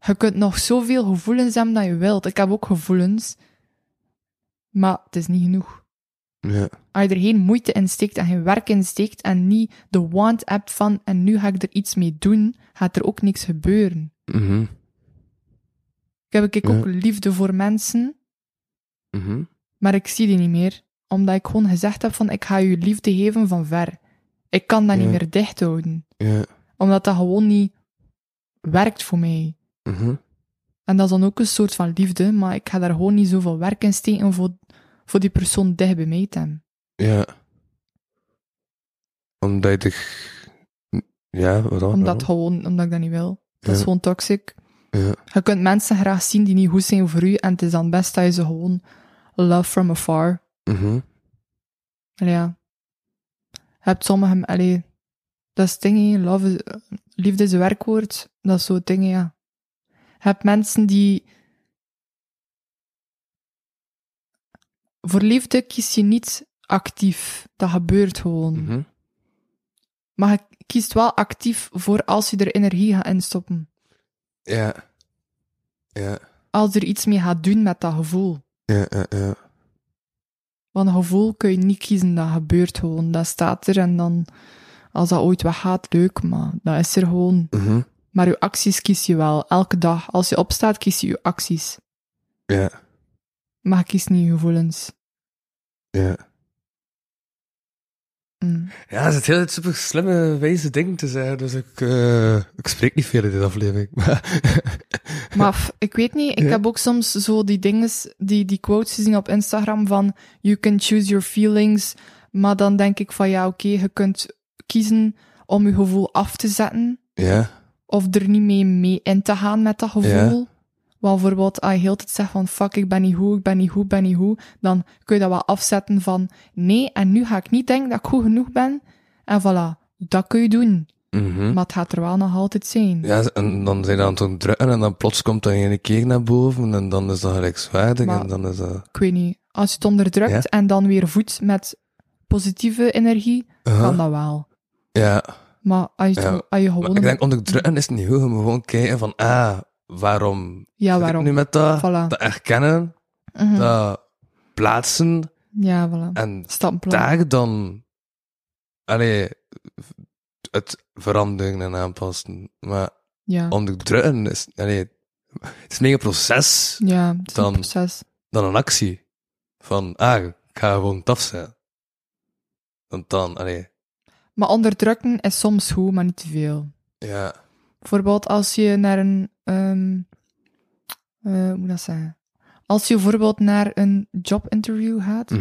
[SPEAKER 3] Je kunt nog zoveel gevoelens hebben dat je wilt. Ik heb ook gevoelens. Maar het is niet genoeg.
[SPEAKER 2] Ja.
[SPEAKER 3] Als je er geen moeite in steekt en geen werk in steekt en niet de want hebt van en nu ga ik er iets mee doen, gaat er ook niks gebeuren.
[SPEAKER 2] Mhm.
[SPEAKER 3] Ik heb ik
[SPEAKER 2] Ja.
[SPEAKER 3] ook liefde voor mensen,
[SPEAKER 2] Mhm.
[SPEAKER 3] maar ik zie die niet meer. Omdat ik gewoon gezegd heb van, ik ga je liefde geven van ver. Ik kan dat
[SPEAKER 2] Ja.
[SPEAKER 3] niet meer dicht houden.
[SPEAKER 2] Ja.
[SPEAKER 3] Omdat dat gewoon niet werkt voor mij.
[SPEAKER 2] Mhm.
[SPEAKER 3] En dat is dan ook een soort van liefde, maar ik ga daar gewoon niet zoveel werk in steken voor, voor die persoon dicht bij mij te hebben.
[SPEAKER 2] Ja. Omdat je toch... Ja, waarom?
[SPEAKER 3] Omdat,
[SPEAKER 2] Ah, waarom?
[SPEAKER 3] gewoon, omdat ik dat niet wil. Dat is
[SPEAKER 2] Ja.
[SPEAKER 3] gewoon toxic.
[SPEAKER 2] Ja.
[SPEAKER 3] Je kunt mensen graag zien die niet goed zijn voor u, en het is dan best dat je ze gewoon love from afar.
[SPEAKER 2] Mhm.
[SPEAKER 3] Allee, ja. Je hebt sommige... Allee, dat is het ding, hè. Love is- liefde is een werkwoord. Dat is zo'n ding, hè, ja. Je hebt mensen die... Voor liefde kies je niet actief. Dat gebeurt gewoon.
[SPEAKER 2] Mhm.
[SPEAKER 3] Maar je kiest wel actief voor als je er energie gaat instoppen.
[SPEAKER 2] Ja. Ja.
[SPEAKER 3] Als er iets mee gaat doen met dat gevoel.
[SPEAKER 2] Ja, ja, ja.
[SPEAKER 3] Want een gevoel kun je niet kiezen, dat gebeurt gewoon. Dat staat er en dan... Als dat ooit weggaat, leuk, maar dat is er gewoon.
[SPEAKER 2] Mhm.
[SPEAKER 3] Maar je acties kies je wel. Elke dag. Als je opstaat, kies je je acties.
[SPEAKER 2] Ja.
[SPEAKER 3] Maar je kiest niet je gevoelens.
[SPEAKER 2] Ja.
[SPEAKER 3] Mm.
[SPEAKER 2] Ja, dat is het hele super slimme, wijze ding te zeggen. Dus ik, eh, ik spreek niet veel in deze aflevering. Maar
[SPEAKER 3] Maar f- ik weet niet, ik
[SPEAKER 2] Ja.
[SPEAKER 3] heb ook soms zo die dingen, die, die quotes gezien op Instagram van you can choose your feelings. Maar dan denk ik van ja, oké, je kunt kiezen om je gevoel af te zetten.
[SPEAKER 2] ja.
[SPEAKER 3] Of er niet mee, mee in te gaan met dat gevoel. Want bijvoorbeeld, als je heel de tijd zegt van fuck, ik ben niet goed, ik ben niet goed, ik ben niet goed, dan kun je dat wel afzetten van nee, en nu ga ik niet denken dat ik goed genoeg ben. En voilà, dat kun je doen.
[SPEAKER 2] Mhm.
[SPEAKER 3] Maar het gaat er wel nog altijd zijn.
[SPEAKER 2] Ja, en dan zijn ze aan het ontdrukken en dan plots komt dat ene keer naar boven en dan is dat gelijkswaardig
[SPEAKER 3] Maar-
[SPEAKER 2] en dan is dat...
[SPEAKER 3] Ik weet niet, als je het onderdrukt
[SPEAKER 2] Ja.
[SPEAKER 3] en dan weer voedt met positieve energie,
[SPEAKER 2] Uh-huh.
[SPEAKER 3] kan dat wel.
[SPEAKER 2] Ja,
[SPEAKER 3] Maar als je, het
[SPEAKER 2] Ja,
[SPEAKER 3] on- als je
[SPEAKER 2] maar
[SPEAKER 3] gewoon...
[SPEAKER 2] ik denk onderdrukken is niet goed, je moet gewoon kijken van, ah, waarom
[SPEAKER 3] ja,
[SPEAKER 2] zit
[SPEAKER 3] waarom?
[SPEAKER 2] ik nu met dat?
[SPEAKER 3] Voilà.
[SPEAKER 2] Dat erkennen,
[SPEAKER 3] Mhm.
[SPEAKER 2] dat plaatsen
[SPEAKER 3] Ja, voilà.
[SPEAKER 2] en
[SPEAKER 3] Stamplan.
[SPEAKER 2] daar dan... Allee, het veranderen en aanpassen. Maar
[SPEAKER 3] Ja.
[SPEAKER 2] onderdrukken is... Allee, het is meer een proces
[SPEAKER 3] Ja, het is een
[SPEAKER 2] Dan-
[SPEAKER 3] proces.
[SPEAKER 2] dan een actie. Van, ah, ik ga gewoon het afzetten. Want dan, allee,
[SPEAKER 3] Maar onderdrukken is soms goed, maar niet te veel.
[SPEAKER 2] ja.
[SPEAKER 3] Bijvoorbeeld als je naar een... ehm, eh, hoe moet ik dat zeggen? Als je bijvoorbeeld naar een jobinterview
[SPEAKER 2] Mm.
[SPEAKER 3] gaat,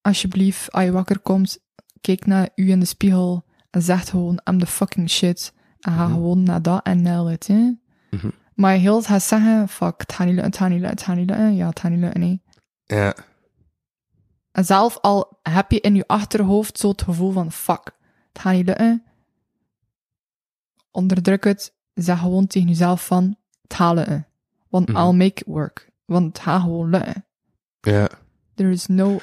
[SPEAKER 3] alsjeblieft, als je wakker komt, kijk naar u in de spiegel en zeg gewoon, I'm the fucking shit. En ga
[SPEAKER 2] Mhm.
[SPEAKER 3] gewoon naar dat en nail it, hè.
[SPEAKER 2] Mhm.
[SPEAKER 3] Maar je heel gaat zeggen, fuck, het gaat niet lukken, het gaat niet lukken, het gaat niet lukken. Ja, het gaat niet lukken, nee.
[SPEAKER 2] Ja,
[SPEAKER 3] En zelf al heb je in je achterhoofd zo het gevoel van fuck, het gaat niet lukken. Onderdruk het. Zeg gewoon tegen jezelf van het gaat lukken. Want
[SPEAKER 2] Mhm.
[SPEAKER 3] I'll make it work. Want het gaat gewoon lukken.
[SPEAKER 2] ja.
[SPEAKER 3] There is no...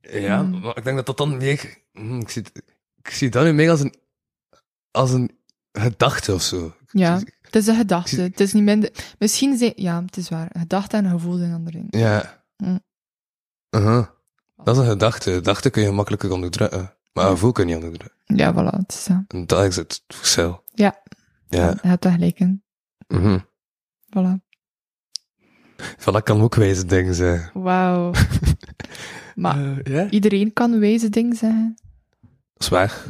[SPEAKER 2] Ja,
[SPEAKER 3] Mm.
[SPEAKER 2] maar ik denk dat dat dan meer... Hm, ik, zie het- ik zie dat nu meer als een, als een gedachte of zo.
[SPEAKER 3] Ja, het is een gedachte. Het is niet minder... Misschien zijn... Ja, het is waar. Een gedachte en een gevoel zijn andere dingen.
[SPEAKER 2] Ja.
[SPEAKER 3] Hm.
[SPEAKER 2] Uh-huh. Dat is een gedachte. Gedachten kun je makkelijker onderdrukken. Maar een
[SPEAKER 3] Mm.
[SPEAKER 2] gevoel kun je niet onderdrukken.
[SPEAKER 3] Ja, voilà. Het is, ja.
[SPEAKER 2] En dat is het verschil.
[SPEAKER 3] Ja.
[SPEAKER 2] Ja.
[SPEAKER 3] Je hebt daar gelijk in.
[SPEAKER 2] Mhm.
[SPEAKER 3] Voilà.
[SPEAKER 2] Van dat kan ook wijze dingen zijn.
[SPEAKER 3] Wauw. maar
[SPEAKER 2] Eh, ja?
[SPEAKER 3] iedereen kan wijze dingen zeggen.
[SPEAKER 2] Dat is waar.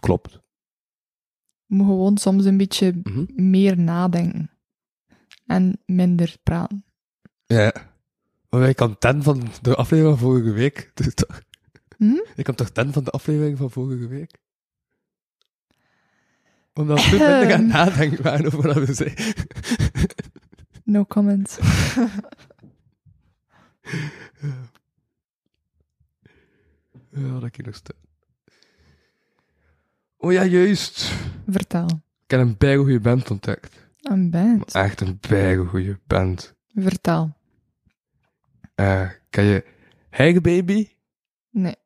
[SPEAKER 2] Klopt.
[SPEAKER 3] Moet gewoon soms een beetje
[SPEAKER 2] Mhm.
[SPEAKER 3] meer nadenken. En minder praten.
[SPEAKER 2] Ja. Maar ik kan ten van de aflevering van vorige week. Dus toch-
[SPEAKER 3] Hm?
[SPEAKER 2] Ik kan toch ten van de aflevering van vorige week? Omdat we veel minder gaan
[SPEAKER 3] Ehm.
[SPEAKER 2] nadenken waren over wat we zeiden.
[SPEAKER 3] No comment.
[SPEAKER 2] Ja, dat kan nog staan. Oh ja, juist.
[SPEAKER 3] Vertel.
[SPEAKER 2] Ik heb een bijgoeie band ontdekt.
[SPEAKER 3] Een band.
[SPEAKER 2] Echt een bijgoeie band.
[SPEAKER 3] Vertel.
[SPEAKER 2] Eh, ken je Hag Baby?
[SPEAKER 3] Nee.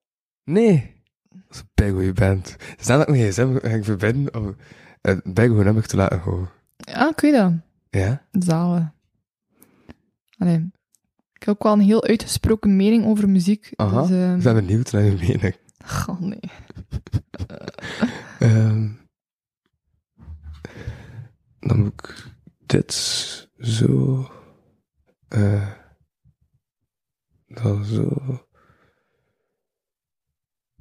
[SPEAKER 2] Nee. Dat is een bijgoeie band. Het is namelijk mijn gsm ging verbinden om een bijgoeie nummer te laten horen.
[SPEAKER 3] Ah, ik weet dat.
[SPEAKER 2] Ja?
[SPEAKER 3] Zalen. Allee. Ik heb ook wel een heel uitgesproken mening over muziek.
[SPEAKER 2] Aha.
[SPEAKER 3] Dus, ehm,
[SPEAKER 2] Ik ben benieuwd naar je mening.
[SPEAKER 3] goh, nee.
[SPEAKER 2] Ehm, dan moet ik dit zo... eh, dan zo...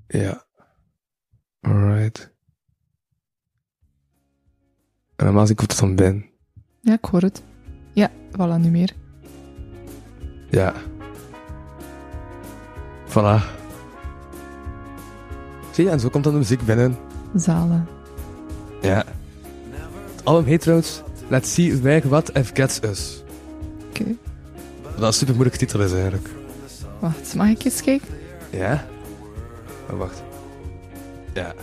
[SPEAKER 2] Ja. Alright. En normaal zie ik hoe het dan ben.
[SPEAKER 3] Ja, ik hoor het. Ja, voilà, nu meer.
[SPEAKER 2] Ja. Voilà. Zie je, en zo komt dan de muziek binnen.
[SPEAKER 3] Zalen.
[SPEAKER 2] Ja. Het album heet trouwens Let's See Where What If Gets Us.
[SPEAKER 3] Oké.
[SPEAKER 2] Wat een super moeilijke titel is eigenlijk.
[SPEAKER 3] Wacht, mag ik eens kijken?
[SPEAKER 2] Ja? Oh, wacht. Ja.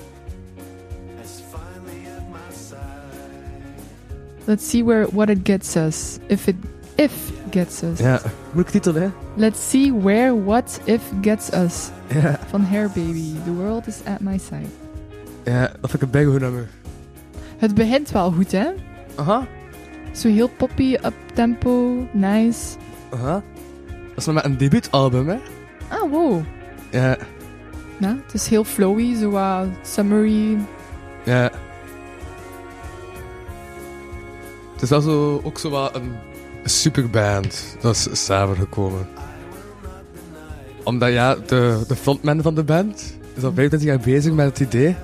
[SPEAKER 3] Let's see where what it gets us. If it if gets us.
[SPEAKER 2] Ja. Moeilijke titel, hè?
[SPEAKER 3] Let's see where what if gets us.
[SPEAKER 2] Ja.
[SPEAKER 3] Van Hair Baby. The world is at my side.
[SPEAKER 2] Ja, dat vind ik een bijgoed nummer.
[SPEAKER 3] Het begint wel goed, hè?
[SPEAKER 2] Aha.
[SPEAKER 3] Zo heel poppy, up-tempo, nice.
[SPEAKER 2] Aha. Dat is nog maar een debuutalbum, hè?
[SPEAKER 3] Ah, wow.
[SPEAKER 2] Ja.
[SPEAKER 3] Ja, het is heel flowy, zo wat summery.
[SPEAKER 2] Ja. Het is wel zo, ook zo wat een superband dat is samengekomen. Omdat ja, de, de frontman van de band is al 25 jaar bezig met het idee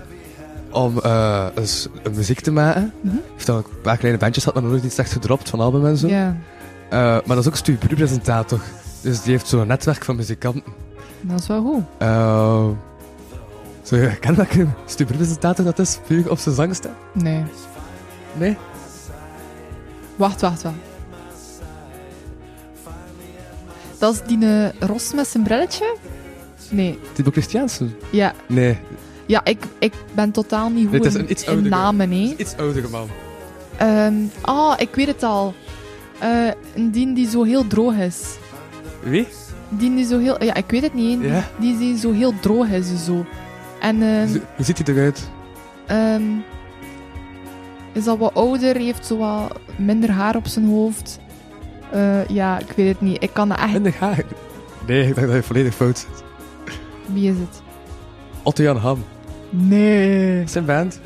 [SPEAKER 2] om eh, eens een muziek te maken.
[SPEAKER 3] Mhm.
[SPEAKER 2] Heeft al een paar kleine bandjes gehad, maar nog niet slecht gedropt van album en zo.
[SPEAKER 3] Ja,
[SPEAKER 2] Eh, maar dat is ook studiepresentator. Dus die heeft zo'n netwerk van muzikanten.
[SPEAKER 3] dat is wel goed.
[SPEAKER 2] Eh, zo, je kent welke studiepresentator dat is? Puur op zijn zangstem?
[SPEAKER 3] Nee.
[SPEAKER 2] Nee?
[SPEAKER 3] Wacht, wacht, wacht. Dat is die eh, Ros met zijn brilletje? Nee.
[SPEAKER 2] Tibo Christiansen?
[SPEAKER 3] Ja,
[SPEAKER 2] Nee,
[SPEAKER 3] ja ik, ik ben totaal niet goed
[SPEAKER 2] Dit is
[SPEAKER 3] in-
[SPEAKER 2] een iets
[SPEAKER 3] in
[SPEAKER 2] oudere.
[SPEAKER 3] namen, hè.
[SPEAKER 2] iets oudere man.
[SPEAKER 3] Ehm, ah, ik weet het al. Eh, een dien die zo heel droog is.
[SPEAKER 2] Wie?
[SPEAKER 3] Die die zo heel... Ja, ik weet het niet. hè.
[SPEAKER 2] Ja.
[SPEAKER 3] Die, die zo heel droog is, zo. En... ehm,
[SPEAKER 2] Z- Hoe ziet hij eruit?
[SPEAKER 3] Ehm, is al wat ouder, heeft zo wat minder haar op zijn hoofd. Eh, ja, ik weet het niet. Ik kan dat echt...
[SPEAKER 2] In de gaar. Nee, ik denk dat je volledig fout zit.
[SPEAKER 3] Wie is het?
[SPEAKER 2] Otto Jan Ham.
[SPEAKER 3] Nee.
[SPEAKER 2] Zijn band?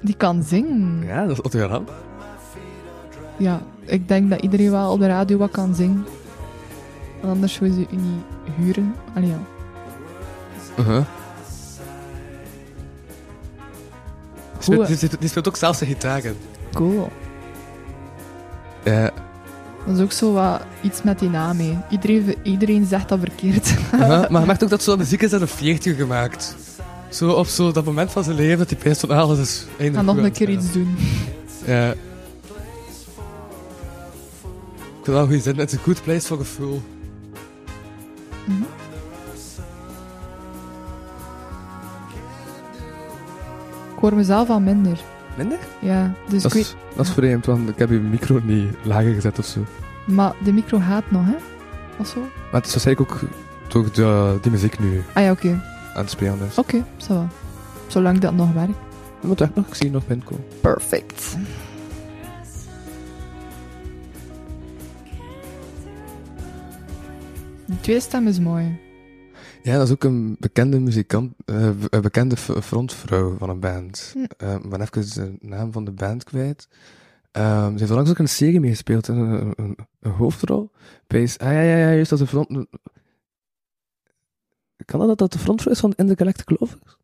[SPEAKER 3] Die kan zingen. Ja.
[SPEAKER 2] Ja, dat is Otto Jan Ham.
[SPEAKER 3] ik denk dat iedereen wel op de radio wat kan zingen. Want anders zou ze u niet huren. Allee, ja.
[SPEAKER 2] Uh-huh. Die speelt-
[SPEAKER 3] Hoe-
[SPEAKER 2] Die, speelt- die speelt ook zelfs de gitaar in.
[SPEAKER 3] Cool.
[SPEAKER 2] Ja.
[SPEAKER 3] Dat is ook zo wat iets met die naam, hè. Iedereen, iedereen zegt dat verkeerd.
[SPEAKER 2] Uh-huh. Maar je merkt ook dat zo'n muziek is aan een 40 gemaakt. Zo op zo dat moment van zijn leven dat hij pijst van alles is. eindelijk
[SPEAKER 3] Ga nog
[SPEAKER 2] goed
[SPEAKER 3] een
[SPEAKER 2] aan
[SPEAKER 3] keer
[SPEAKER 2] het
[SPEAKER 3] iets doen.
[SPEAKER 2] Ja. Ik vind het wel goed zin. It's a good place for a fool.
[SPEAKER 3] Mhm. Ik hoor mezelf al minder.
[SPEAKER 2] Minder?
[SPEAKER 3] Ja, dus ik
[SPEAKER 2] Dat
[SPEAKER 3] weet...
[SPEAKER 2] is, dat is vreemd, want ik heb je micro niet lager gezet of zo.
[SPEAKER 3] Maar de micro gaat nog, hè? Of zo?
[SPEAKER 2] Maar het is waarschijnlijk ook toch de, die muziek nu
[SPEAKER 3] Ah ja, oké.
[SPEAKER 2] aan het spelen is.
[SPEAKER 3] Oké, zo wel. Zolang dat nog werkt.
[SPEAKER 2] Je moet echt nog Oh, ik zie nog binnenkomen.
[SPEAKER 3] Perfect. De tweede stem is mooi.
[SPEAKER 2] Ja, dat is ook een bekende muzikant, eh, be- een bekende f- frontvrouw van een band.
[SPEAKER 3] Hm.
[SPEAKER 2] Eh, Ik ben even de naam van de band kwijt. Ehm, ze heeft onlangs ook in een serie meegespeeld, een, een, een- een hoofdrol. Pees, ah ja, ja, ja, juist als de front... Kan dat dat dat de frontvrouw is van In The Galactic Lovers?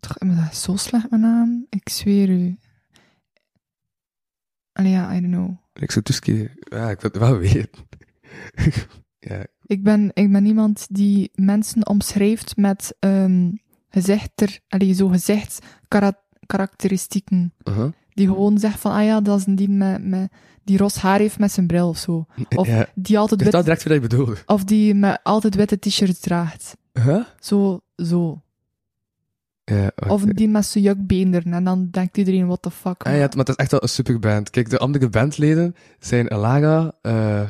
[SPEAKER 3] Toch, maar dat is zo slecht, mijn naam. Ik zweer u. Allee, ja, I don't know.
[SPEAKER 2] Ik zou toeske... Ja, ik wil het wel weten. ja,
[SPEAKER 3] Ik ben, ik ben iemand die mensen omschrijft met ehm gezichter, allee, zo gezichtskarakteristieken.
[SPEAKER 2] uh-huh.
[SPEAKER 3] Die gewoon zegt van, ah ja, dat is een die met, met, die ros haar heeft met zijn bril of zo. Of
[SPEAKER 2] ja.
[SPEAKER 3] die altijd
[SPEAKER 2] Ik
[SPEAKER 3] wit
[SPEAKER 2] versta direct wat je bedoelde.
[SPEAKER 3] Of die me altijd witte t-shirts draagt.
[SPEAKER 2] Huh?
[SPEAKER 3] Zo, zo.
[SPEAKER 2] Ja,
[SPEAKER 3] Of
[SPEAKER 2] wacht,
[SPEAKER 3] die met zijn jukbeenderen. En dan denkt iedereen, what the fuck.
[SPEAKER 2] Ah ja, maar het is echt wel een superband. Kijk, de andere bandleden zijn Alaga... eh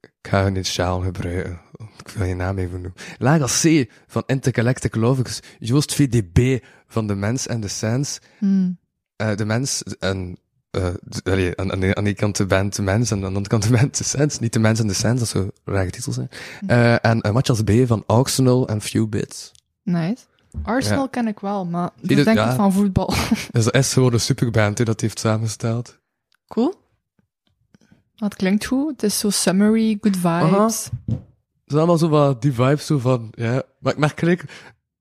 [SPEAKER 2] ik ga hun initiaal gebruiken. want Ik wil je naam even noemen. Laga C van Intergalactic Lovers. Joost VDB van De Mens en De Sens.
[SPEAKER 3] Hmm.
[SPEAKER 2] eh de Mens en... eh, d- allee, aan, aan, de, aan die kant de band De Mens en aan de andere kant de band De Sens. Niet De Mens en De Sens, dat zou rare titels zijn.
[SPEAKER 3] Hm.
[SPEAKER 2] Eh, en uh, Matjas B van Arsenal en Few Bits.
[SPEAKER 3] Nice. Arsenal
[SPEAKER 2] Ja.
[SPEAKER 3] ken ik wel, maar dat
[SPEAKER 2] dat-
[SPEAKER 3] denk ik
[SPEAKER 2] ja.
[SPEAKER 3] van voetbal.
[SPEAKER 2] Dus dat is gewoon een superband die dat die heeft samengesteld.
[SPEAKER 3] cool. Dat klinkt goed. Het is zo summary, good vibes.
[SPEAKER 2] Aha. Het is allemaal zo wat die vibe zo van, ja. Maar ik merk gelijk,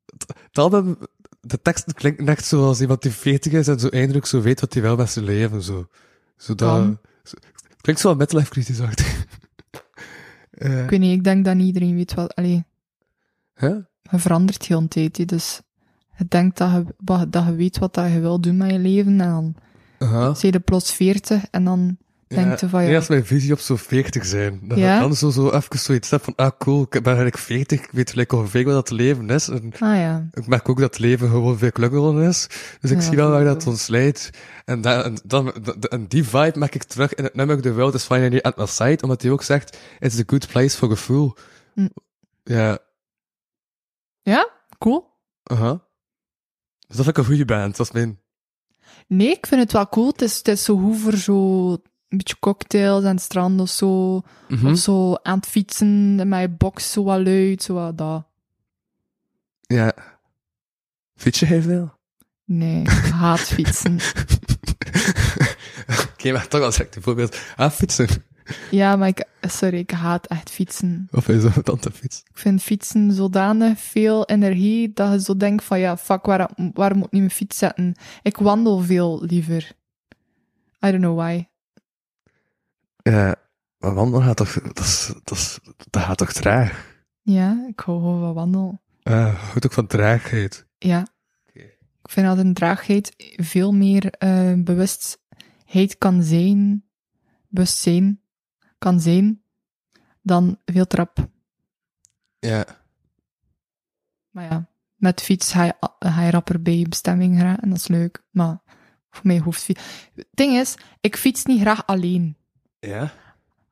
[SPEAKER 2] het- het album, de tekst klinkt net zoals iemand die 40 is en zo eindelijk zo weet wat hij wel met zijn leven, zo. zo dat,
[SPEAKER 3] Kan.
[SPEAKER 2] zo- het klinkt zo wat midlife crisis achter.
[SPEAKER 3] Ik weet niet, ik denk dat niet iedereen weet wat... Allee,
[SPEAKER 2] hè?
[SPEAKER 3] je verandert heel een tijd, hè, dus... Je denkt dat je, wat- dat je weet wat dat je wil doen met je leven, en dan
[SPEAKER 2] Aha.
[SPEAKER 3] zie je plots 40 en dan denk je van...
[SPEAKER 2] Nee,
[SPEAKER 3] Ja,
[SPEAKER 2] als mijn visie op zo'n 40 zijn. Dan
[SPEAKER 3] Ja?
[SPEAKER 2] dan zo, zo even zoiets heb van, ah cool, ik ben eigenlijk 40, ik weet gelijk ongeveer wat dat leven is. En
[SPEAKER 3] ah ja,
[SPEAKER 2] ik merk ook dat het leven gewoon veel klungelen is. Dus ik
[SPEAKER 3] Ja,
[SPEAKER 2] zie wel waar dat
[SPEAKER 3] sowieso.
[SPEAKER 2] ons leidt. En, da- en, dan, da- en die vibe merk ik terug in het nummer The World is Finally at My Side, omdat hij ook zegt, it's a good place for a fool.
[SPEAKER 3] Hm.
[SPEAKER 2] Ja,
[SPEAKER 3] cool.
[SPEAKER 2] aha. Dus dat vind ik een goede band, dat is mijn...
[SPEAKER 3] Nee, ik vind het wel cool. Het is, het is zo goed voor zo een beetje cocktails aan het strand of zo.
[SPEAKER 2] Mhm. Hm?
[SPEAKER 3] Of zo aan het fietsen en mijn box zo wat luid, zo wat dat.
[SPEAKER 2] Ja. Fiets je heel veel?
[SPEAKER 3] Nee, ik haat fietsen.
[SPEAKER 2] Oké, maar toch als ik bijvoorbeeld ah, fietsen.
[SPEAKER 3] Ja, maar ik, sorry, ik haat echt fietsen.
[SPEAKER 2] Of is dat dan te fiets?
[SPEAKER 3] Ik vind fietsen zodanig veel energie dat je zo denkt van ja, fuck, waar, waar moet ik nu mijn fiets zetten? Ik wandel veel liever. I don't know why.
[SPEAKER 2] Ja, maar wandelen gaat toch... Dat, is, dat, is, dat gaat toch traag?
[SPEAKER 3] Ja, ik hou gewoon van wandelen.
[SPEAKER 2] Eh, houdt ook van traagheid.
[SPEAKER 3] Ja.
[SPEAKER 2] Oké.
[SPEAKER 3] Ik vind dat een draagheid veel meer eh, bewustheid kan zijn, bewustzijn kan zijn, dan veel trap.
[SPEAKER 2] Ja.
[SPEAKER 3] Maar ja, met fiets ga je, a- ga je rapper bij je bestemming geraken, dat is leuk. Maar voor mij hoeft fiets... Het ding is, ik fiets niet graag alleen.
[SPEAKER 2] Ja?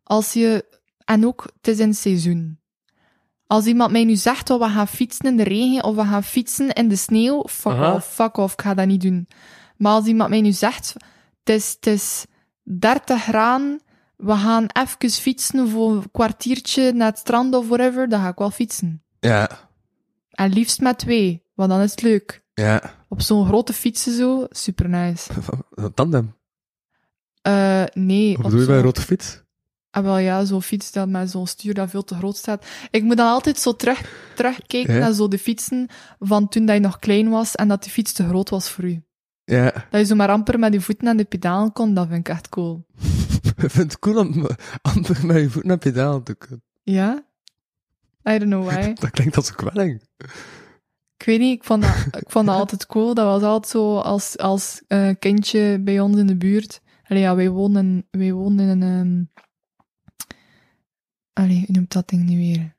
[SPEAKER 3] Als je... En ook, het is in het seizoen. Als iemand mij nu zegt dat we gaan fietsen in de regen of we gaan fietsen in de sneeuw, fuck
[SPEAKER 2] Aha.
[SPEAKER 3] off, fuck off, ik ga dat niet doen. Maar als iemand mij nu zegt, het is, het is 30 graden, we gaan even fietsen voor een kwartiertje naar het strand of whatever, dan ga ik wel fietsen.
[SPEAKER 2] Ja.
[SPEAKER 3] En liefst met twee, want dan is het leuk.
[SPEAKER 2] Ja.
[SPEAKER 3] Op zo'n grote fietsen zo, super nice.
[SPEAKER 2] Tandem.
[SPEAKER 3] Eh, nee,
[SPEAKER 2] Wat
[SPEAKER 3] op
[SPEAKER 2] bedoel je bij een
[SPEAKER 3] zo'n-
[SPEAKER 2] rode fiets?
[SPEAKER 3] Ah, wel ja, zo'n fiets dat met zo'n stuur dat veel te groot staat. Ik moet dan altijd zo terug, terugkijken
[SPEAKER 2] Ja.
[SPEAKER 3] naar zo de fietsen van toen dat je nog klein was en dat die fiets te groot was voor u.
[SPEAKER 2] Ja.
[SPEAKER 3] Dat je zo maar amper met je voeten aan de pedalen kon, dat vind ik echt cool.
[SPEAKER 2] Ik vind het cool om amper met je voet naar pedaal te kunnen.
[SPEAKER 3] Ja? I don't know why.
[SPEAKER 2] Dat klinkt als een kwelling.
[SPEAKER 3] Ik weet niet, ik vond dat, ik vond dat altijd cool. Dat was altijd zo als, als eh, kindje bij ons in de buurt. Allee, ja, wij woonden, in- wij woonden in een... ehm, Allee, u noemt dat ding niet weer.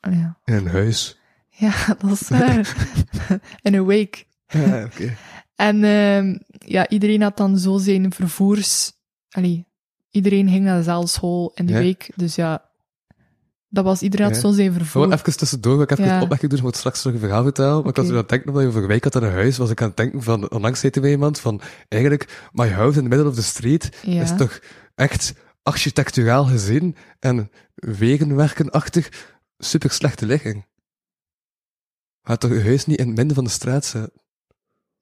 [SPEAKER 3] Allee, ja.
[SPEAKER 2] In een huis.
[SPEAKER 3] ja, dat is waar. in een week.
[SPEAKER 2] Ja, oké.
[SPEAKER 3] En ehm, ja, iedereen had dan zo zijn vervoers... Allee, iedereen ging naar dezelfde school in de
[SPEAKER 2] Ja.
[SPEAKER 3] week. Dus ja, Dat was iedereen had
[SPEAKER 2] Ja.
[SPEAKER 3] zo zijn vervoer.
[SPEAKER 2] Gewoon even tussendoor, ik heb even
[SPEAKER 3] Ja.
[SPEAKER 2] een opmerking doen, ik moet straks nog een verhaal vertellen. Maar ik
[SPEAKER 3] Oké.
[SPEAKER 2] was toen aan het denken, omdat je over week had aan een huis, was ik aan het denken van, onlangs zei tegen iemand van, eigenlijk, my house in the middle of the street
[SPEAKER 3] Ja.
[SPEAKER 2] is toch echt architecturaal gezien en wegenwerkenachtig super slechte ligging. Gaat toch je huis niet in het midden van de straat zetten?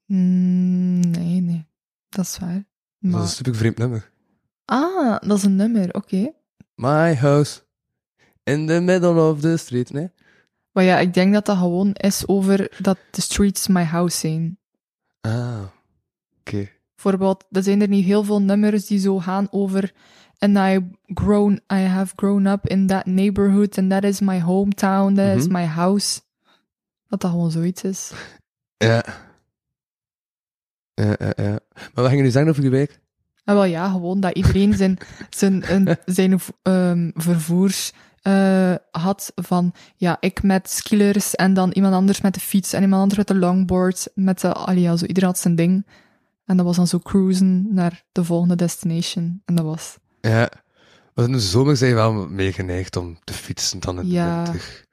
[SPEAKER 3] Mm, nee, nee. Dat is waar. Maar...
[SPEAKER 2] Dat is een super vreemd nummer.
[SPEAKER 3] Ah, dat is een nummer, oké.
[SPEAKER 2] My house in the middle of the street, nee?
[SPEAKER 3] Maar ja, ik denk dat dat gewoon is over dat de streets my house zijn.
[SPEAKER 2] Ah, oké.
[SPEAKER 3] Bijvoorbeeld, er zijn er niet heel veel nummers die zo gaan over and I grown, I have grown up in that neighborhood and that is my hometown, that is
[SPEAKER 2] Mhm.
[SPEAKER 3] my house. Dat dat gewoon zoiets is.
[SPEAKER 2] Ja. Ja, ja, ja. Maar wat gingen jullie zeggen over die week?
[SPEAKER 3] En wel ja, gewoon dat iedereen zijn, zijn, een, zijn v- ehm, vervoers eh, had van, ja, ik met skillers en dan iemand anders met de fiets en iemand anders met de longboard, met de, allee, ja, zo, iedereen had zijn ding. En dat was dan zo cruisen naar de volgende destination. En dat was,
[SPEAKER 2] Ja. Want in de zomer zijn je wel meer geneigd om te fietsen dan in de
[SPEAKER 3] Ja,
[SPEAKER 2] winter.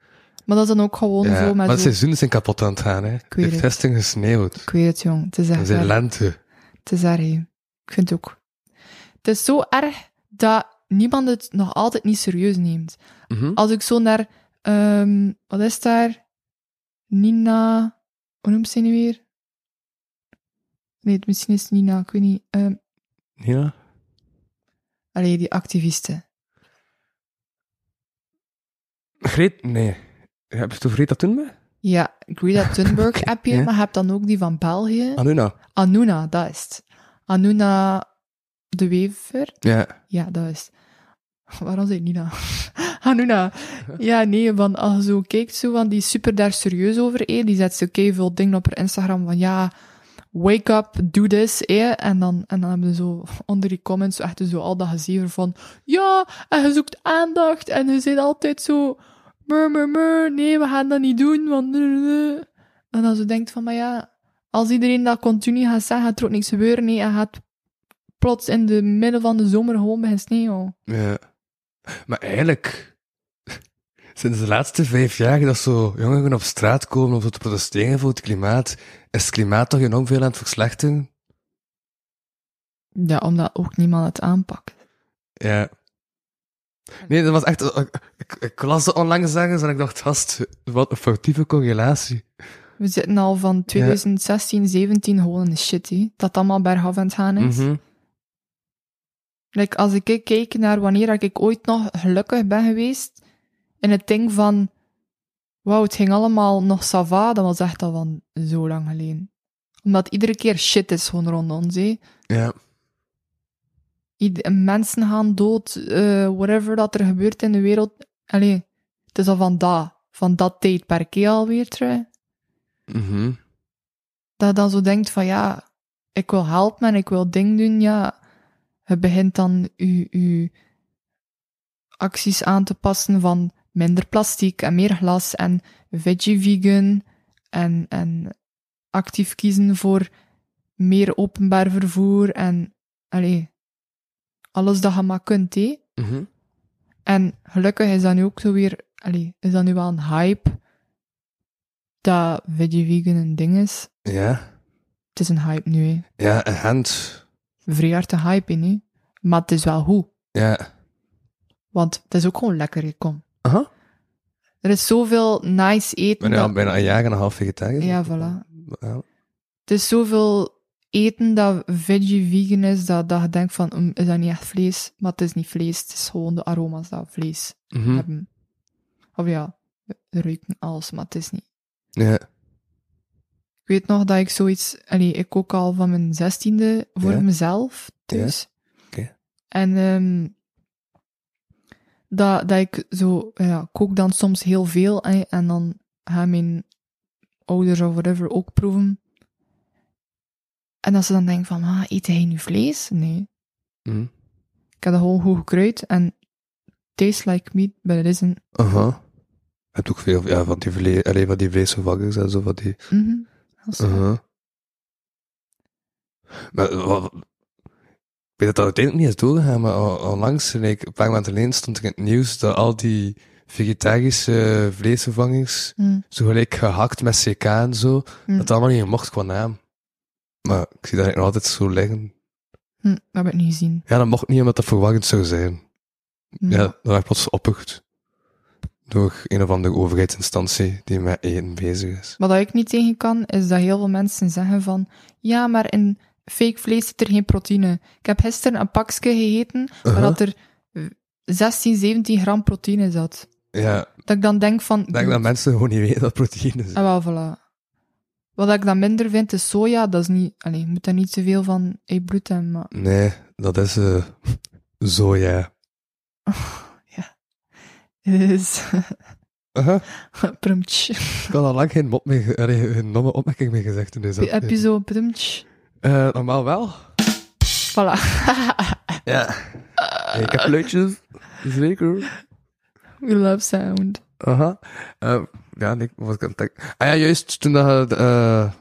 [SPEAKER 3] maar dat is dan ook gewoon
[SPEAKER 2] Ja,
[SPEAKER 3] zo
[SPEAKER 2] maar de
[SPEAKER 3] met zo,
[SPEAKER 2] seizoenen zijn kapot aan het gaan, hè. Het
[SPEAKER 3] weet
[SPEAKER 2] heeft
[SPEAKER 3] het.
[SPEAKER 2] gisteren gesneeuwd.
[SPEAKER 3] ik weet het jong, het is
[SPEAKER 2] Het
[SPEAKER 3] echt
[SPEAKER 2] zijn
[SPEAKER 3] erg.
[SPEAKER 2] lente.
[SPEAKER 3] Het is erg, hè. ik vind het ook. Het is zo erg dat niemand het nog altijd niet serieus neemt.
[SPEAKER 2] Mhm.
[SPEAKER 3] als ik zo naar, ehm, wat is daar? Nina, hoe noemt ze nu weer? Nee, het- misschien is het Nina, ik weet niet. Ehm
[SPEAKER 2] Ja.
[SPEAKER 3] allee, die activisten.
[SPEAKER 2] Greet? Nee. Heb je het over Greta Thunberg?
[SPEAKER 3] Ja, Greta Thunberg heb je,
[SPEAKER 2] ja.
[SPEAKER 3] maar je hebt dan ook die van België.
[SPEAKER 2] Anuna.
[SPEAKER 3] Anuna, dat is het. Anuna de Wever.
[SPEAKER 2] Ja.
[SPEAKER 3] Ja, dat is het. Waarom zei ik Nina? Anuna. Ja, nee, want als je zo kijkt, zo, want die is super daar serieus over, eh, die zet zo veel dingen op haar Instagram van ja, wake up, do this, eh, en dan, en dan hebben ze zo onder die comments echt zo al dat gezever van ja, en je zoekt aandacht, en je zit altijd zo mur, mur, mur, nee, we gaan dat niet doen, want en dan zo denkt van, maar ja, als iedereen dat continu gaat zeggen, gaat er ook niks gebeuren, nee, en gaat plots in de midden van de zomer gewoon beginnen sneeuw.
[SPEAKER 2] Ja. Maar eigenlijk, sinds de laatste vijf jaar dat zo jongeren op straat komen om zo te protesteren voor het klimaat, is het klimaat toch enorm veel aan het verslechteren?
[SPEAKER 3] Ja, omdat ook niemand het aanpakt.
[SPEAKER 2] Ja. Nee, dat was echt... Ik, ik, ik las dat onlangs ergens en ik dacht, gast, wat een foutieve correlatie.
[SPEAKER 3] We zitten al van 2016, 17 gewoon in de shit, hé. Dat allemaal bergaf aan het gaan is.
[SPEAKER 2] Mhm.
[SPEAKER 3] Like, als ik kijk naar wanneer dat ik ooit nog gelukkig ben geweest, in het ding van, wauw, het ging allemaal nog sava, dat was echt al van zo lang geleden. Omdat iedere keer shit is gewoon rond ons, hé.
[SPEAKER 2] Ja.
[SPEAKER 3] Ied- mensen gaan dood, eh, whatever dat er gebeurt in de wereld. Allee, het is al van dat, van dat tijdperk hé, alweer terug.
[SPEAKER 2] Mhm.
[SPEAKER 3] dat je dan zo denkt van ja, ik wil helpen en ik wil ding doen, ja, je begint dan je, je acties aan te passen van minder plastic en meer glas en veggie vegan en, en actief kiezen voor meer openbaar vervoer en allee, alles dat je maar kunt, hé.
[SPEAKER 2] Mhm.
[SPEAKER 3] En gelukkig is dat nu ook zo weer, allee, is dat nu wel een hype dat veggie vegan een ding is.
[SPEAKER 2] Ja.
[SPEAKER 3] Het is een hype nu, hè.
[SPEAKER 2] Ja, en hand.
[SPEAKER 3] Vrij hard een hype in, hè. Maar het is wel goed.
[SPEAKER 2] Ja.
[SPEAKER 3] Want het is ook gewoon lekker, hè, kom.
[SPEAKER 2] Aha.
[SPEAKER 3] Er is zoveel nice
[SPEAKER 2] Ik ben
[SPEAKER 3] eten.
[SPEAKER 2] nu al
[SPEAKER 3] Dat...
[SPEAKER 2] bijna een jaar en een half vegetariër.
[SPEAKER 3] Ja, voilà.
[SPEAKER 2] Ja.
[SPEAKER 3] Het is zoveel eten dat veggie vegan is, dat, dat je denkt van, "Mm, is dat niet echt vlees? Maar het is niet vlees, het is gewoon de aroma's dat vlees
[SPEAKER 2] Mhm.
[SPEAKER 3] hebben. Of ja, ruiken alles, maar het is niet.
[SPEAKER 2] Ja.
[SPEAKER 3] Ik weet nog dat ik zoiets... Allee, ik ook al van mijn zestiende voor
[SPEAKER 2] Ja.
[SPEAKER 3] mezelf thuis.
[SPEAKER 2] Oké.
[SPEAKER 3] En ehm, dat, dat ik zo... Ja, kook dan soms heel veel. hè, en dan gaan mijn ouders of whatever ook proeven. En dat ze dan denken van... Ah, eet hij nu vlees? Nee.
[SPEAKER 2] Mhm.
[SPEAKER 3] Ik heb dat gewoon goed gekruid. En tastes like meat, but it isn't.
[SPEAKER 2] Aha. Je hebt ook veel ja, van die, vle allee, van die vleesvervangers en zo, van die...
[SPEAKER 3] Mhm. Dat is-
[SPEAKER 2] Uh-huh. Maar, wa- wa- ik weet dat dat uiteindelijk niet is doorgegaan, maar al- onlangs, en ik, een paar maanden geleden, stond er in het nieuws dat al die vegetarische eh, vleesvervangers,
[SPEAKER 3] Hm.
[SPEAKER 2] zo gelijk gehakt met CK en zo,
[SPEAKER 3] Hm.
[SPEAKER 2] dat allemaal niet mocht qua naam. Maar ik zie dat eigenlijk nog altijd zo liggen.
[SPEAKER 3] Hm, dat heb ik niet gezien.
[SPEAKER 2] Ja, dat mocht niet omdat dat verwarrend zou zijn.
[SPEAKER 3] Hm.
[SPEAKER 2] Ja, dat werd plots opgerukt door een of andere overheidsinstantie die met eten bezig is.
[SPEAKER 3] Wat ik niet tegen kan, is dat heel veel mensen zeggen van ja, maar in fake vlees zit er geen proteïne. Ik heb gisteren een pakje gegeten waar
[SPEAKER 2] Uh-huh.
[SPEAKER 3] dat er eh, 16, 17 gram proteïne zat.
[SPEAKER 2] Ja,
[SPEAKER 3] Dat ik dan denk van...
[SPEAKER 2] ik denk dat mensen gewoon niet weten dat proteïne is.
[SPEAKER 3] Mm. Ah, wel, voilà. Wat ik dan minder vind, is soja. Dat is niet... Allee, je moet daar niet zoveel van uit bloed hebben, maar...
[SPEAKER 2] Nee, dat is eh zo ja.
[SPEAKER 3] Dus...
[SPEAKER 2] Uh-huh.
[SPEAKER 3] prumtsch.
[SPEAKER 2] Ik had al lang geen, mop meer, ge- allee, geen domme opmerking meer gezegd in deze
[SPEAKER 3] Heb je
[SPEAKER 2] aflevering.
[SPEAKER 3] zo prumtsch?
[SPEAKER 2] Eh, normaal wel.
[SPEAKER 3] Voilà.
[SPEAKER 2] Ja.
[SPEAKER 3] Ah.
[SPEAKER 2] ik heb leutjes. Zeker.
[SPEAKER 3] We love sound.
[SPEAKER 2] Aha. Eh, ja, nee, wat kan ik... Ah ja, juist toen dat... je, eh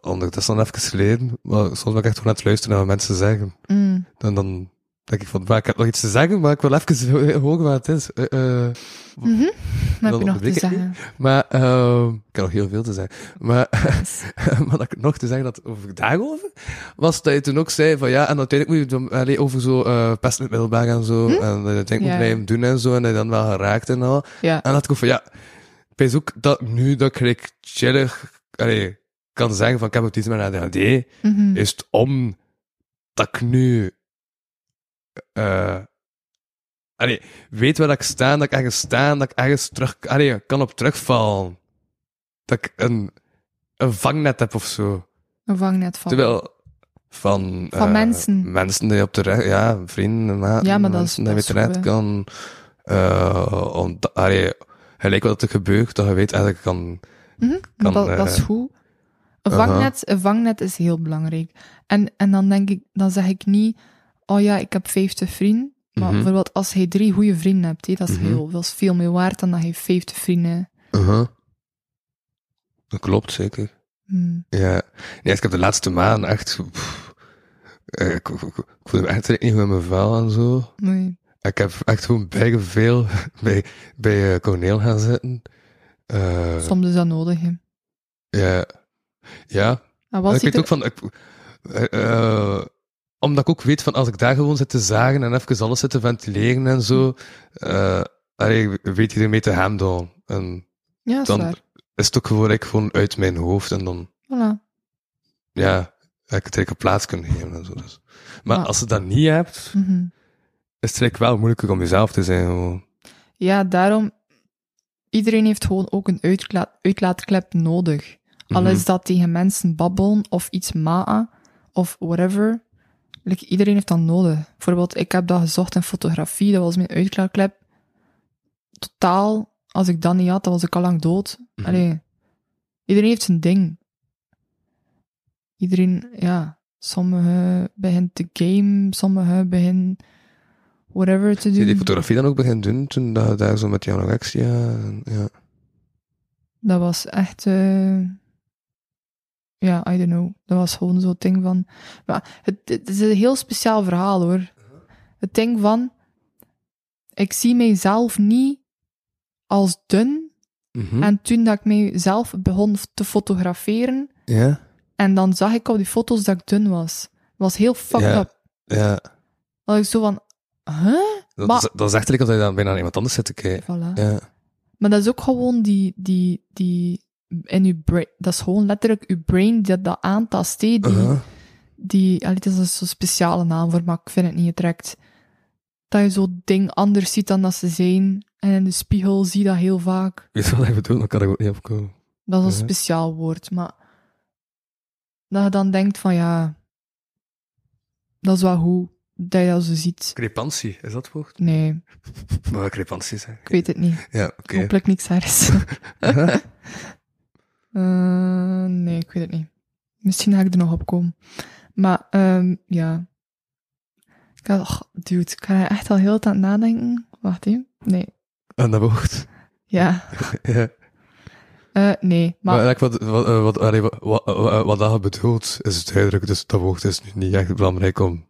[SPEAKER 2] ondertussen al even geleden, maar soms ben ik echt gewoon aan het luisteren naar wat mensen zeggen.
[SPEAKER 3] Mm.
[SPEAKER 2] En dan denk ik van, maar ik heb nog iets te zeggen, maar ik wil even horen wat het is. Eh, eh,
[SPEAKER 3] Mhm. Wat heb je
[SPEAKER 2] Dan
[SPEAKER 3] nog te
[SPEAKER 2] onderbreek ik u.
[SPEAKER 3] zeggen?
[SPEAKER 2] maar ehm, ik heb nog heel veel te zeggen. Maar, maar dat ik nog te zeggen dat over daarover was dat je toen ook zei van ja, en uiteindelijk moet je dan, allee, over zo eh pesten in het middelbaar en zo. En dat je uiteindelijk moet
[SPEAKER 3] Ja.
[SPEAKER 2] blijven doen en zo. En dat je dan wel geraakt en al.
[SPEAKER 3] Ja.
[SPEAKER 2] En dat ik ook van, ja, ik weet ook dat nu dat ik gelijk chillig allee, kan zeggen van, ik heb autisme en ADHD,
[SPEAKER 3] Mhm.
[SPEAKER 2] is het om dat ik nu eh allee, weet waar dat ik sta, dat ik ergens sta, dat ik ergens terug, allee, kan op terugvallen. Dat ik een, een vangnet heb of zo.
[SPEAKER 3] Een vangnet van.
[SPEAKER 2] Terwijl van,
[SPEAKER 3] Van
[SPEAKER 2] eh,
[SPEAKER 3] mensen.
[SPEAKER 2] mensen die op de recht, ja, vrienden, maten,
[SPEAKER 3] Ja, maar dat is-
[SPEAKER 2] mensen
[SPEAKER 3] dat
[SPEAKER 2] die je
[SPEAKER 3] is
[SPEAKER 2] terecht
[SPEAKER 3] goed, hè.
[SPEAKER 2] kan, eh om, allee, gelijk wat er gebeurt, dat je weet eigenlijk kan,
[SPEAKER 3] Mhm,
[SPEAKER 2] kan,
[SPEAKER 3] dat, dat is
[SPEAKER 2] eh,
[SPEAKER 3] goed. Een
[SPEAKER 2] aha.
[SPEAKER 3] vangnet, een vangnet is heel belangrijk. En, en dan denk ik, dan zeg ik niet, oh ja, ik heb 50 vrienden. Maar
[SPEAKER 2] Mhm.
[SPEAKER 3] bijvoorbeeld als hij drie goede vrienden hebt, hé, dat, is
[SPEAKER 2] Mhm.
[SPEAKER 3] heel, dat is veel meer waard dan dat hij 50 vrienden.
[SPEAKER 2] Uh-huh. dat klopt zeker.
[SPEAKER 3] Hm.
[SPEAKER 2] Ja, nee, ik heb de laatste maanden echt. pff, eh, ik, ik, ik- ik voel me echt niet goed met mijn vuil en zo.
[SPEAKER 3] Nee.
[SPEAKER 2] Ik heb echt gewoon bijna veel bij, bij eh, Corneel gaan zitten. Eh,
[SPEAKER 3] Soms is dat nodig. hè.
[SPEAKER 2] ja. Ja.
[SPEAKER 3] En
[SPEAKER 2] En
[SPEAKER 3] was
[SPEAKER 2] Ah, ik
[SPEAKER 3] hij
[SPEAKER 2] weet
[SPEAKER 3] er...
[SPEAKER 2] ook van. Ik, eh, eh, omdat ik ook weet van als ik daar gewoon zit te zagen en even alles zit te ventileren en zo. eh allee, weet je ermee te handelen. En
[SPEAKER 3] Ja, is
[SPEAKER 2] dan
[SPEAKER 3] waar.
[SPEAKER 2] is het ook gewoon, ik, gewoon uit mijn hoofd en dan.
[SPEAKER 3] Voilà.
[SPEAKER 2] ja, dat ik het eigenlijk een plaats kunnen geven en zo. Dus. Maar
[SPEAKER 3] Maar-
[SPEAKER 2] als je dat niet hebt, is het
[SPEAKER 3] Mhm.
[SPEAKER 2] eigenlijk wel moeilijker om jezelf te zijn. gewoon.
[SPEAKER 3] Ja, daarom... Iedereen heeft gewoon ook een uitkla- uitlaatklep nodig. Al
[SPEAKER 2] Mhm.
[SPEAKER 3] is dat tegen mensen babbelen of iets maa of whatever. Like, iedereen heeft dat nodig. Bijvoorbeeld, ik heb dat gezocht in fotografie, dat was mijn uitklaarklep. Totaal, als ik dat niet had, dan was ik al lang dood.
[SPEAKER 2] Mhm.
[SPEAKER 3] Allee, iedereen heeft zijn ding. Iedereen, ja, sommigen beginnen te game, sommigen beginnen whatever te
[SPEAKER 2] Heb je die
[SPEAKER 3] doen.
[SPEAKER 2] fotografie dan ook begint doen toen dat je daar zo met jouw anorexia... en- Ja.
[SPEAKER 3] Dat was echt. eh, ja, I don't know. Dat was gewoon zo'n ding van. Maar het, het is een heel speciaal verhaal hoor.
[SPEAKER 2] Uh-huh.
[SPEAKER 3] Het ding van. Ik zie mijzelf niet als dun.
[SPEAKER 2] Mhm.
[SPEAKER 3] En toen dat ik mijzelf begon te fotograferen.
[SPEAKER 2] ja?
[SPEAKER 3] En dan zag ik op die foto's dat ik dun was. was heel fucked
[SPEAKER 2] Ja.
[SPEAKER 3] up.
[SPEAKER 2] Ja.
[SPEAKER 3] Dat ik zo van. Huh?
[SPEAKER 2] Dat,
[SPEAKER 3] Maar-
[SPEAKER 2] is, dat is echt lekker dat je dan bijna naar iemand anders zit te kijken.
[SPEAKER 3] Voilà.
[SPEAKER 2] Ja.
[SPEAKER 3] Maar dat is ook gewoon die, die, die, in uw brain, dat is gewoon letterlijk uw brain dat dat aantast, hé, die,
[SPEAKER 2] Uh-huh.
[SPEAKER 3] die, allee, het is een zo'n speciale naam voor, maar ik vind het niet getrekt. Dat je zo'n ding anders ziet dan dat ze zijn. En in de spiegel zie je dat heel vaak.
[SPEAKER 2] Weet je wat ik bedoel? Dan kan ik ook niet opkomen.
[SPEAKER 3] Dat is een
[SPEAKER 2] Mhm.
[SPEAKER 3] speciaal woord, maar... Dat je dan denkt van, ja... Dat is wel hoe dat je dat zo ziet.
[SPEAKER 2] Crepantie, is dat het woord?
[SPEAKER 3] Nee,
[SPEAKER 2] Maar crepantie zijn.
[SPEAKER 3] ik weet het niet.
[SPEAKER 2] Ja, oké.
[SPEAKER 3] Hopelijk niks ergs.
[SPEAKER 2] Uh-huh.
[SPEAKER 3] Eh, nee, ik weet het niet. Misschien ga ik er nog op komen. Maar ehm, ja. Ik had, och, dude, ik ga er echt al heel de tijd aan het nadenken. Wacht even. Nee.
[SPEAKER 2] En dat woord.
[SPEAKER 3] Ja.
[SPEAKER 2] Ja.
[SPEAKER 3] Eh, nee, maar,
[SPEAKER 2] Maar, eigenlijk wat, wat, eh, wat, allee, wat, wat, wat, wat dat bedoelt, is duidelijk. Dus dat woord is nu niet echt belangrijk om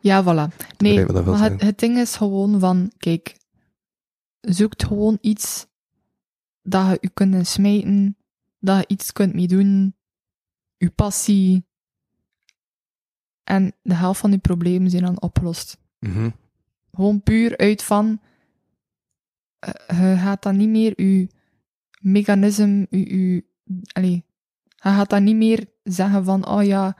[SPEAKER 3] ja, voilà. Nee,
[SPEAKER 2] begrijp wat dat wil
[SPEAKER 3] maar het,
[SPEAKER 2] zeggen.
[SPEAKER 3] het ding is gewoon van, kijk, zoekt gewoon iets dat je u kunt smijten, dat je iets kunt mee doen, je passie. En de helft van die problemen zijn dan opgelost.
[SPEAKER 2] Mhm.
[SPEAKER 3] Gewoon puur uit van. eh, je gaat dan niet meer je mechanisme, je. je allee, je gaat dan niet meer zeggen van. Oh ja,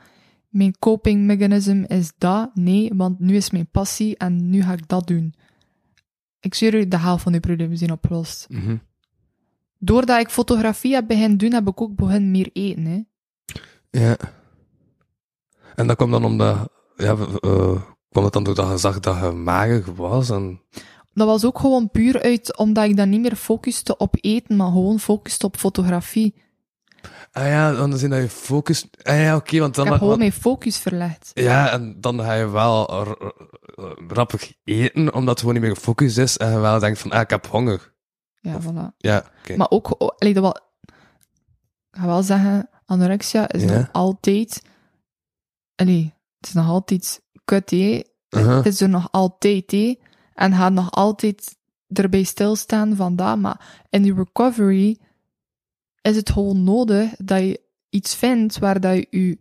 [SPEAKER 3] mijn coping mechanism is dat. Nee, want nu is mijn passie en nu ga ik dat doen. Ik zweer u, de helft van die problemen zijn opgelost.
[SPEAKER 2] Mhm.
[SPEAKER 3] Doordat ik fotografie heb beginnen doen, heb ik ook beginnen meer eten. Hè.
[SPEAKER 2] Ja. En dat kwam dan omdat... Ja, w- eh, kwam het dan doordat je zag dat je mager was? En,
[SPEAKER 3] Dat was ook gewoon puur uit omdat ik dan niet meer focuste op eten, maar gewoon focuste op fotografie.
[SPEAKER 2] ah ja, dan zijn dat je focus... Ah ja, oké, want dan...
[SPEAKER 3] ik heb gewoon
[SPEAKER 2] want-
[SPEAKER 3] mijn focus verlegd.
[SPEAKER 2] Ja, en dan ga je wel r- r- rappig eten, omdat het gewoon niet meer gefocust is en je wel denkt van, ah, ik heb honger.
[SPEAKER 3] Ja, voilà.
[SPEAKER 2] Ja, oké.
[SPEAKER 3] Maar ook, o- allee, dat wel, ik ga wel zeggen, anorexia is
[SPEAKER 2] Ja.
[SPEAKER 3] nog altijd, allee, het is nog altijd kut, hé.
[SPEAKER 2] Uh-huh.
[SPEAKER 3] Het is er nog altijd, hé. En gaat nog altijd erbij stilstaan van dat. Maar in die recovery is het gewoon nodig dat je iets vindt waar dat je je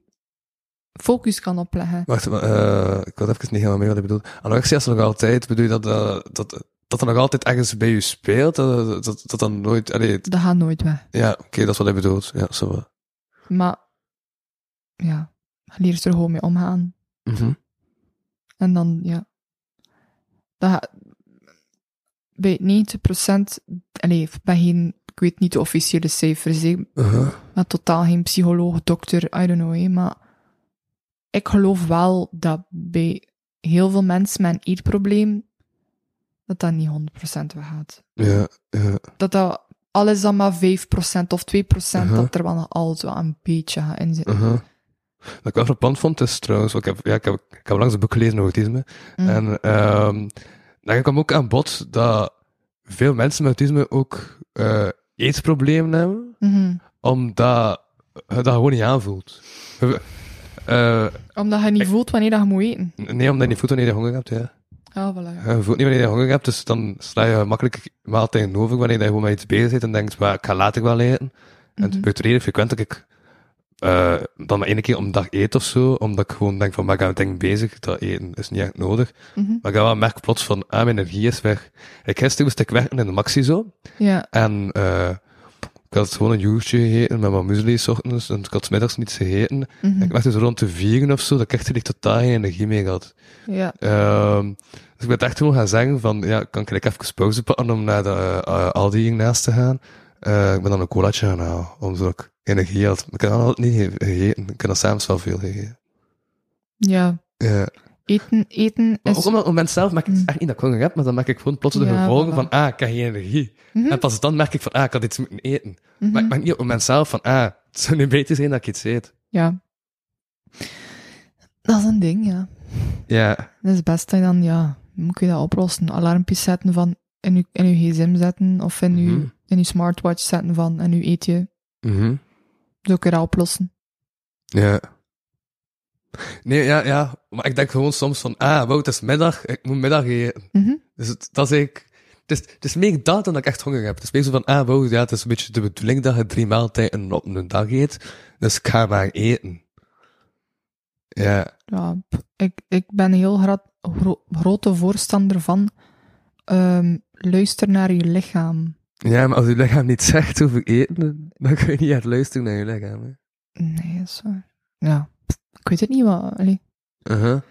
[SPEAKER 3] focus kan opleggen.
[SPEAKER 2] Wacht, maar, eh, ik had even niet helemaal mee wat je bedoelt. Anorexia is nog altijd, bedoel je dat, eh, dat, dat er nog altijd ergens bij je speelt? Eh, Dat dat, dat, dat dan nooit... Allee, het-
[SPEAKER 3] Dat gaat nooit weg.
[SPEAKER 2] ja, oké, dat is wat hij bedoelt. Ja, zo. wel.
[SPEAKER 3] Maar, ja, leer er gewoon mee omgaan.
[SPEAKER 2] Mhm.
[SPEAKER 3] En dan, ja. Dat, ga- bij 90%, allee, bij geen, ik weet niet de officiële cijfers, hè,
[SPEAKER 2] Uh-huh.
[SPEAKER 3] maar totaal geen psycholoog, dokter, I don't know, hè, maar ik geloof wel dat bij heel veel mensen met een eetprobleem, dat dat niet 100% weggaat.
[SPEAKER 2] Ja, ja.
[SPEAKER 3] Dat dat alles dan maar 5% of 2%
[SPEAKER 2] Mhm.
[SPEAKER 3] dat er wel nog altijd wel een beetje gaat in zitten.
[SPEAKER 2] Uh-huh. Wat ik wel frappant vond, is trouwens... want Ik heb, ja, ik heb, ik heb langs een boek gelezen over autisme.
[SPEAKER 3] Mm.
[SPEAKER 2] En ehm dan kwam ook aan bod dat veel mensen met autisme ook eh eetproblemen hebben,
[SPEAKER 3] Mhm.
[SPEAKER 2] omdat je dat gewoon niet aanvoelt. Je- eh,
[SPEAKER 3] Omdat je niet voelt wanneer dat je moet eten.
[SPEAKER 2] nee, omdat je niet voelt wanneer je honger hebt. Ja.
[SPEAKER 3] Ja, voilà. ja.
[SPEAKER 2] Je voelt niet wanneer je honger hebt, dus dan sla je makkelijk maaltijden over wanneer je gewoon met iets bezig bent en denkt, "Wa, ik ga later wel eten. En het
[SPEAKER 3] Mhm.
[SPEAKER 2] gebeurt redelijk frequent dat ik eh, dan maar één keer om de dag eet of zo, omdat ik gewoon denk van, waar gaan we denk bezig? Dat eten is niet echt nodig.
[SPEAKER 3] Mhm.
[SPEAKER 2] Maar ik wel merk plots van, ah, mijn energie is weg. Ik gisteren moest ik werken in de Maxi zo.
[SPEAKER 3] ja.
[SPEAKER 2] En eh, ik had gewoon een yoghurtje gegeten met mijn muesli 's ochtends. En ik had 's middags niets gegeten.
[SPEAKER 3] Mhm.
[SPEAKER 2] En ik merkte zo rond de vieren of zo, dat ik echt er totaal geen energie mee had.
[SPEAKER 3] Ja,
[SPEAKER 2] Ehm, dus ik ben echt gewoon gaan zeggen van, ja, kan ik eigenlijk even pauze pakken om naar de eh, eh, Aldi hiernaast te gaan? Eh, ik ben dan een colaatje gaan halen, omdat ik energie had. Maar Ik had altijd niet ge- gegeten. Ik had s'avonds wel veel gegeten.
[SPEAKER 3] ja.
[SPEAKER 2] Ja.
[SPEAKER 3] Eten, eten
[SPEAKER 2] Maar
[SPEAKER 3] is...
[SPEAKER 2] ook op het moment zelf maak ik
[SPEAKER 3] Mm.
[SPEAKER 2] het echt niet dat ik honger heb, maar dan maak ik gewoon plots de
[SPEAKER 3] Ja,
[SPEAKER 2] gevolgen
[SPEAKER 3] voilà.
[SPEAKER 2] van, ah, ik heb geen energie.
[SPEAKER 3] Mhm,
[SPEAKER 2] En pas dan merk ik van, ah, ik had iets moeten eten.
[SPEAKER 3] mhm.
[SPEAKER 2] Maar ik maak niet op het moment zelf van, ah, het zou nu beter zijn dat ik iets eet.
[SPEAKER 3] Ja. Dat is een ding, ja.
[SPEAKER 2] Ja.
[SPEAKER 3] Dat is best dat je dan, ja, hoe moet je dat oplossen? Alarmpjes zetten van in je, in je gsm zetten of in, je,
[SPEAKER 2] Mhm.
[SPEAKER 3] in je smartwatch zetten van en nu eet je. Zo kun je dat oplossen.
[SPEAKER 2] Ja. Nee, ja, ja. Maar ik denk gewoon soms van, ah, wauw, het is middag, ik moet middag eten.
[SPEAKER 3] Mhm.
[SPEAKER 2] Dus het, dat is ik. Het is, het is meer dat dan dat ik echt honger heb. Het is meer zo van, ah, wow, ja, het is een beetje de bedoeling dat je drie maaltijden op een dag eet. Dus ik ga maar eten. Ja.
[SPEAKER 3] Ja, p- ik, ik ben een heel gra- gro- grote voorstander van ehm, luister naar je lichaam.
[SPEAKER 2] Ja, maar als je lichaam niet zegt over eten, dan kun je niet echt luisteren naar je lichaam. Hè.
[SPEAKER 3] Nee, dat is waar. Ja, pff, ik weet het niet, maar allee, ik
[SPEAKER 2] Uh-huh.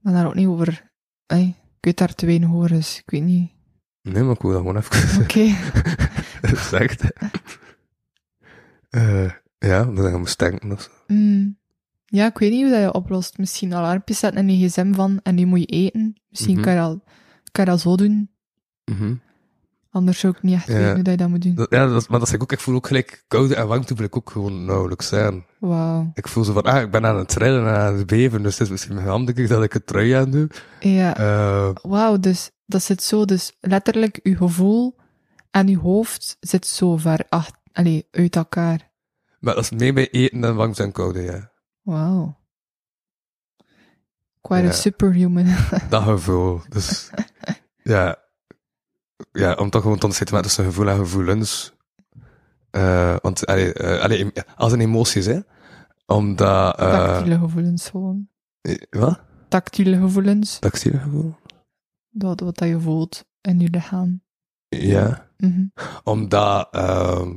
[SPEAKER 3] ben daar ook niet over. Allee, ik weet daar te weinig over, dus ik weet niet.
[SPEAKER 2] Nee, maar ik wil dat gewoon even...
[SPEAKER 3] Oké,
[SPEAKER 2] Zegt. Eh ja, omdat ik aan moest denken of zo.
[SPEAKER 3] mm, ja, ik weet niet hoe dat je oplost. Misschien alarmpjes zetten in je gsm van en nu moet je eten. Misschien
[SPEAKER 2] Mhm.
[SPEAKER 3] kan, je dat, kan je dat zo doen. Anders zou ik niet echt
[SPEAKER 2] Ja.
[SPEAKER 3] weten hoe dat je dat moet doen.
[SPEAKER 2] dat, ja, dat, maar dat zeg ik ook. Ik voel ook gelijk koude en warmte voel ik ook gewoon nauwelijks zijn.
[SPEAKER 3] Wauw.
[SPEAKER 2] Ik voel zo van, ah, ik ben aan het trillen en aan het beven, dus het is misschien handiger dat ik het trui aan doe.
[SPEAKER 3] Ja,
[SPEAKER 2] Eh,
[SPEAKER 3] wauw, dus dat zit zo. Dus letterlijk, je gevoel en je hoofd zit zo ver ach- allee, uit elkaar.
[SPEAKER 2] maar dat is meer bij eten dan warmte en koude, ja.
[SPEAKER 3] Wauw. Quite
[SPEAKER 2] Ja.
[SPEAKER 3] a
[SPEAKER 2] Eh.
[SPEAKER 3] superhuman.
[SPEAKER 2] Dat gevoel. Dus, ja. ja, om toch gewoon te onderscheiden tussen gevoel en gevoelens. Eh, want allee, eh, allee, em- als een emoties, hè? Omdat. eh
[SPEAKER 3] Tactiele gevoelens gewoon.
[SPEAKER 2] eh, wat?
[SPEAKER 3] Tactiele gevoelens.
[SPEAKER 2] Tactiele gevoel?
[SPEAKER 3] Dat, wat dat je voelt in je lichaam.
[SPEAKER 2] Ja.
[SPEAKER 3] Mhm.
[SPEAKER 2] Omdat. ehm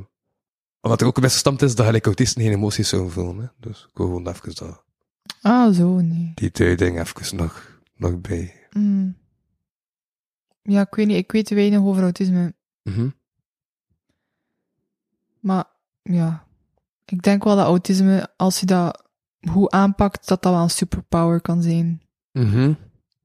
[SPEAKER 2] omdat er ook best gestampt is dat gelijk autisten geen emoties zouden voelen. Hè? Dus ik wil gewoon even dat,
[SPEAKER 3] Ah, zo, nee.
[SPEAKER 2] die duiding even nog, nog bij.
[SPEAKER 3] Mm. Ja, ik weet niet. Ik weet te weinig over autisme.
[SPEAKER 2] Mhm.
[SPEAKER 3] Maar ja, ik denk wel dat autisme, als je dat goed aanpakt, dat dat wel een superpower kan zijn.
[SPEAKER 2] Mhm.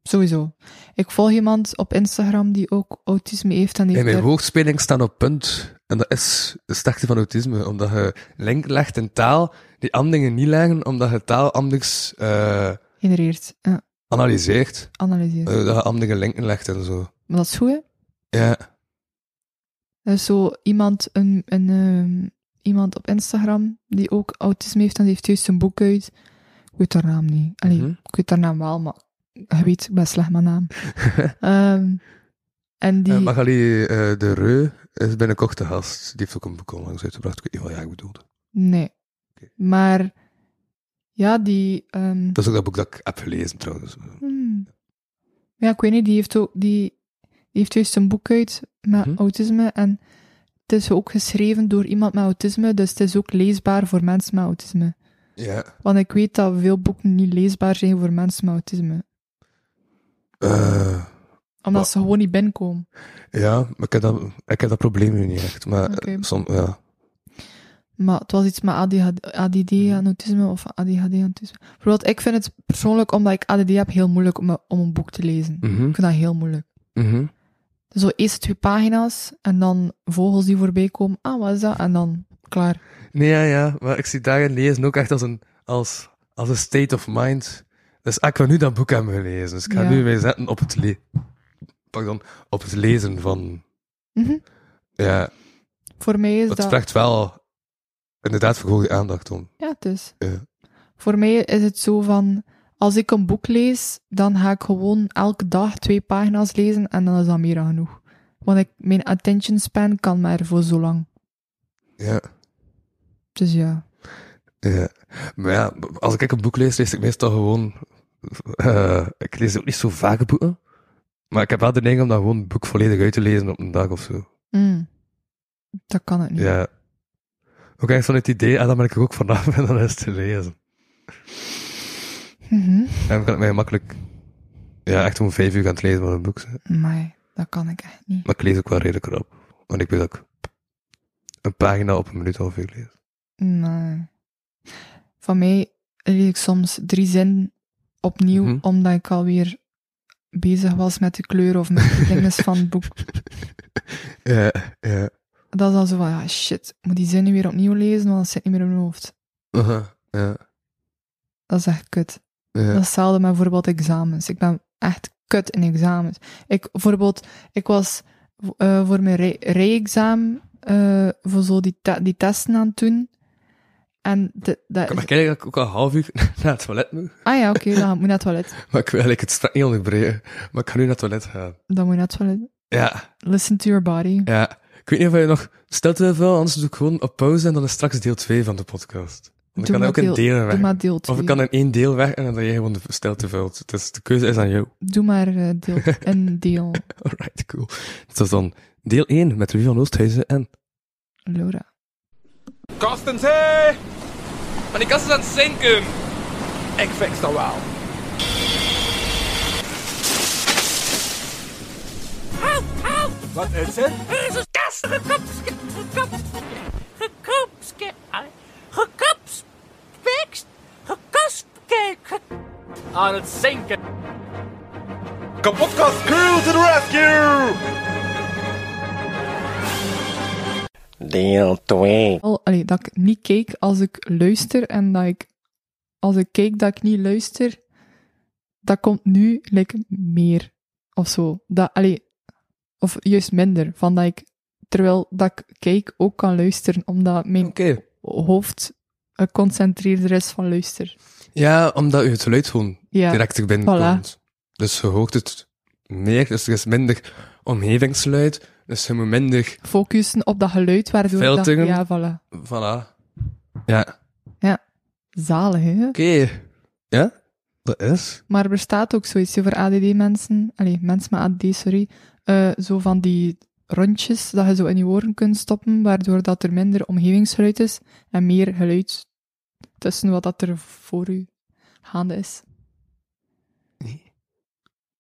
[SPEAKER 3] Sowieso. Ik volg iemand op Instagram die ook autisme heeft en die
[SPEAKER 2] In
[SPEAKER 3] heeft
[SPEAKER 2] mijn
[SPEAKER 3] daar-
[SPEAKER 2] woordspeling staan op punt. En dat is de sterkte van autisme, omdat je link legt in taal die anderen niet leggen, omdat je taal anders eh,
[SPEAKER 3] genereert, ja,
[SPEAKER 2] analyseert.
[SPEAKER 3] analyseert.
[SPEAKER 2] Eh, dat je andere linken legt en zo.
[SPEAKER 3] Maar dat is goed, hè?
[SPEAKER 2] Ja.
[SPEAKER 3] Er is Eh, zo iemand, een, een, ehm, iemand op Instagram die ook autisme heeft en die heeft juist een boek uit. Ik weet haar naam niet. Allee,
[SPEAKER 2] Mhm.
[SPEAKER 3] ik weet haar naam wel, maar je weet, ik ben slecht met naam. Ehm, en die...
[SPEAKER 2] Eh, Magali eh, de Reu is binnenkort de gast. Die heeft ook een boek onlangs uitgebracht. Ik weet niet wat jij bedoelde.
[SPEAKER 3] Nee.
[SPEAKER 2] Oké.
[SPEAKER 3] Maar ja, die. ehm,
[SPEAKER 2] Dat is ook dat boek dat ik heb gelezen trouwens.
[SPEAKER 3] hmm. Ja, ik weet niet, die heeft ook. Die, die heeft juist een boek uit met
[SPEAKER 2] Mhm.
[SPEAKER 3] autisme. En het is ook geschreven door iemand met autisme, dus het is ook leesbaar voor mensen met autisme.
[SPEAKER 2] Ja.
[SPEAKER 3] Want ik weet dat veel boeken niet leesbaar zijn voor mensen met autisme,
[SPEAKER 2] Eh,
[SPEAKER 3] omdat
[SPEAKER 2] Wa-
[SPEAKER 3] ze gewoon niet binnenkomen.
[SPEAKER 2] ja, maar ik heb, dat, ik heb dat probleem nu niet echt. Maar
[SPEAKER 3] Oké.
[SPEAKER 2] eh, som, ja.
[SPEAKER 3] Maar het was iets met ADHD, ADD en autisme of ADHD en autisme. Bijvoorbeeld, ik vind het persoonlijk, omdat ik ADD heb, heel moeilijk om, om een boek te lezen.
[SPEAKER 2] Mhm.
[SPEAKER 3] Ik vind dat heel moeilijk. Dus
[SPEAKER 2] Mhm.
[SPEAKER 3] Zo eerst twee pagina's en dan vogels die voorbij komen. Ah, wat is dat? En dan klaar.
[SPEAKER 2] Nee, ja, ja, maar ik zie daarin lezen ook echt als een, als, als een state of mind. Dus ah, ik wil nu dat boek hebben gelezen, dus ik ga
[SPEAKER 3] Ja.
[SPEAKER 2] nu weer zetten op het, le- pardon, op het lezen van...
[SPEAKER 3] Mhm.
[SPEAKER 2] Ja,
[SPEAKER 3] Voor mij is
[SPEAKER 2] het
[SPEAKER 3] Dus dat.
[SPEAKER 2] vraagt wel inderdaad verhoogde aandacht om.
[SPEAKER 3] Ja, het is.
[SPEAKER 2] Ja.
[SPEAKER 3] Voor mij is het zo van. Als ik een boek lees, dan ga ik gewoon elke dag twee pagina's lezen en dan is dat meer dan genoeg. Want ik, mijn attention span kan maar voor zo lang.
[SPEAKER 2] Ja,
[SPEAKER 3] Dus ja.
[SPEAKER 2] ja. Maar ja, als ik een boek lees, lees ik meestal gewoon... eh, ik lees ook niet zo vaak boeken, maar ik heb wel de neiging om dan gewoon een boek volledig uit te lezen op een dag of zo.
[SPEAKER 3] Mm. Dat kan het niet.
[SPEAKER 2] Ja. Ook echt van het idee, ah, dan ben ik er ook vanaf en dan is het te lezen.
[SPEAKER 3] Mhm.
[SPEAKER 2] En dan kan ik mij makkelijk... Ja, echt om vijf uur gaan het lezen van een boek. zijn.
[SPEAKER 3] Maar dat kan ik echt niet.
[SPEAKER 2] Maar ik lees ook wel redelijk rap. Want ik weet dat ik een pagina op een minuut half uur lees.
[SPEAKER 3] Nee. Van mij lees ik soms drie zinnen opnieuw,
[SPEAKER 2] Mhm.
[SPEAKER 3] omdat ik alweer bezig was met de kleur of met de dingen van het boek.
[SPEAKER 2] Ja, ja.
[SPEAKER 3] Dat is dan zo van, ja, shit, ik moet die zinnen weer opnieuw lezen, want dat zit niet meer in mijn hoofd.
[SPEAKER 2] Aha, ja,
[SPEAKER 3] Dat is echt kut.
[SPEAKER 2] ja.
[SPEAKER 3] Dat is hetzelfde met bijvoorbeeld examens. Ik ben echt kut in examens. Ik, bijvoorbeeld, ik was eh, voor mijn rij- rijexamen eh, voor zo die, te- die testen aan het doen. En de, dat
[SPEAKER 2] Ik
[SPEAKER 3] is-
[SPEAKER 2] merk eigenlijk dat ik ook al half uur naar het toilet moet.
[SPEAKER 3] Ah ja, oké, dan moet je naar het toilet.
[SPEAKER 2] Maar ik wil eigenlijk het straks niet onderbreken. Maar ik ga nu naar het toilet gaan.
[SPEAKER 3] Dan moet je naar het toilet.
[SPEAKER 2] Ja,
[SPEAKER 3] Listen to your body.
[SPEAKER 2] ja. Ik weet niet of je nog stilte wil vullen, anders doe ik gewoon op pauze en dan is straks deel 2 van de podcast. Want ik
[SPEAKER 3] Doe
[SPEAKER 2] kan
[SPEAKER 3] maar
[SPEAKER 2] ook in
[SPEAKER 3] deel-
[SPEAKER 2] delen
[SPEAKER 3] Doe
[SPEAKER 2] weg.
[SPEAKER 3] maar deel 2.
[SPEAKER 2] Of ik kan in één deel weg en dan dat jij gewoon de stilte vult. Dus de keuze is aan jou.
[SPEAKER 3] Doe maar eh, deel, een deel,
[SPEAKER 2] Alright, cool. Dus dat is dan deel 1 met Revie van Oosthuizen en...
[SPEAKER 3] Laura.
[SPEAKER 4] Kastens, hé! Maar die kast is aan het zinken. Ik fix dat wel. Wat is het?
[SPEAKER 5] Jezus, kast, gekopske, gekopske, gekopske, gekopspikst, gekostbekeken.
[SPEAKER 4] Aan het zinken.
[SPEAKER 1] Kapotkast crew to the rescue!
[SPEAKER 6] Deel 2.
[SPEAKER 3] Al- Allee, dat ik niet kijk als ik luister en dat ik, als ik kijk dat ik niet luister, dat komt nu like, meer of zo. Dat, allee, of juist minder, van dat ik, terwijl dat ik kijk, ook kan luisteren, omdat mijn hoofd geconcentreerder is van luister.
[SPEAKER 2] Ja, omdat u het geluid gewoon
[SPEAKER 3] Ja,
[SPEAKER 2] direct binnenkomt. Dus je hoort het meer, dus er is minder... omgevingsluid. Dus je moet minder...
[SPEAKER 3] Focussen op dat geluid waardoor
[SPEAKER 2] Filteren.
[SPEAKER 3] dat... Ja, voilà.
[SPEAKER 2] Voilà. Ja.
[SPEAKER 3] Zalig, hè?
[SPEAKER 2] Oké. Ja? Dat is...
[SPEAKER 3] Maar er bestaat ook zoiets hè, voor ADD-mensen. Allee, mensen met ADD, sorry. Eh, zo van die rondjes dat je zo in je oren kunt stoppen, waardoor dat er minder omgevingsgeluid is en meer geluid tussen wat dat er voor u gaande is.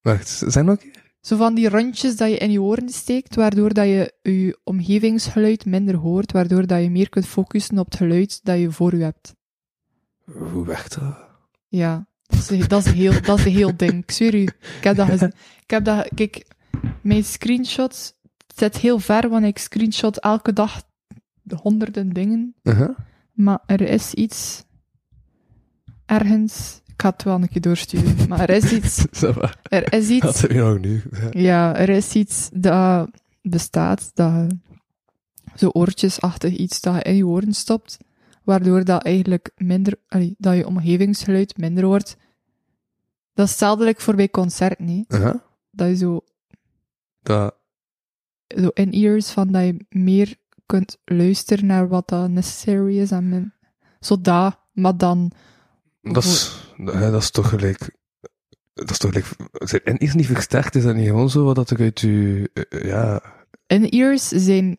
[SPEAKER 2] Wacht, zijn er ook...
[SPEAKER 3] Zo van die rondjes dat je in je oren steekt, waardoor dat je je omgevingsgeluid minder hoort, waardoor dat je meer kunt focussen op het geluid dat je voor u hebt.
[SPEAKER 2] Hoe werkt dat?
[SPEAKER 3] Ja, dat is, dat is, heel, dat is een heel ding. Ik zweer u. Ik heb dat gezien. Ik heb dat... Kijk, mijn screenshots... Het zit heel ver, want ik screenshot elke dag honderden dingen.
[SPEAKER 2] Uh-huh.
[SPEAKER 3] Maar er is iets... Ergens... Ik ga het wel een keer doorsturen. Maar er is iets...
[SPEAKER 2] Ça va.
[SPEAKER 3] Er is
[SPEAKER 2] Dat
[SPEAKER 3] iets...
[SPEAKER 2] heb je nog nu. Ja.
[SPEAKER 3] Ja, er is iets dat bestaat, dat je zo oortjesachtig iets dat je in je oren stopt, waardoor dat eigenlijk minder, allee, dat je omgevingsgeluid minder wordt. Dat is hetzelfde like voor bij concerten, hè.
[SPEAKER 2] Uh-huh.
[SPEAKER 3] dat je zo,
[SPEAKER 2] Dat...
[SPEAKER 3] zo in-ears van dat je meer kunt luisteren naar wat dat necessary is en min. Zo dat, maar dan,
[SPEAKER 2] Dat is, hè, dat is toch gelijk. Dat is toch gelijk. zijn En is niet versterkt, is dat niet gewoon zo wat dat ik uit u. eh, eh, ja.
[SPEAKER 3] in-ears zijn,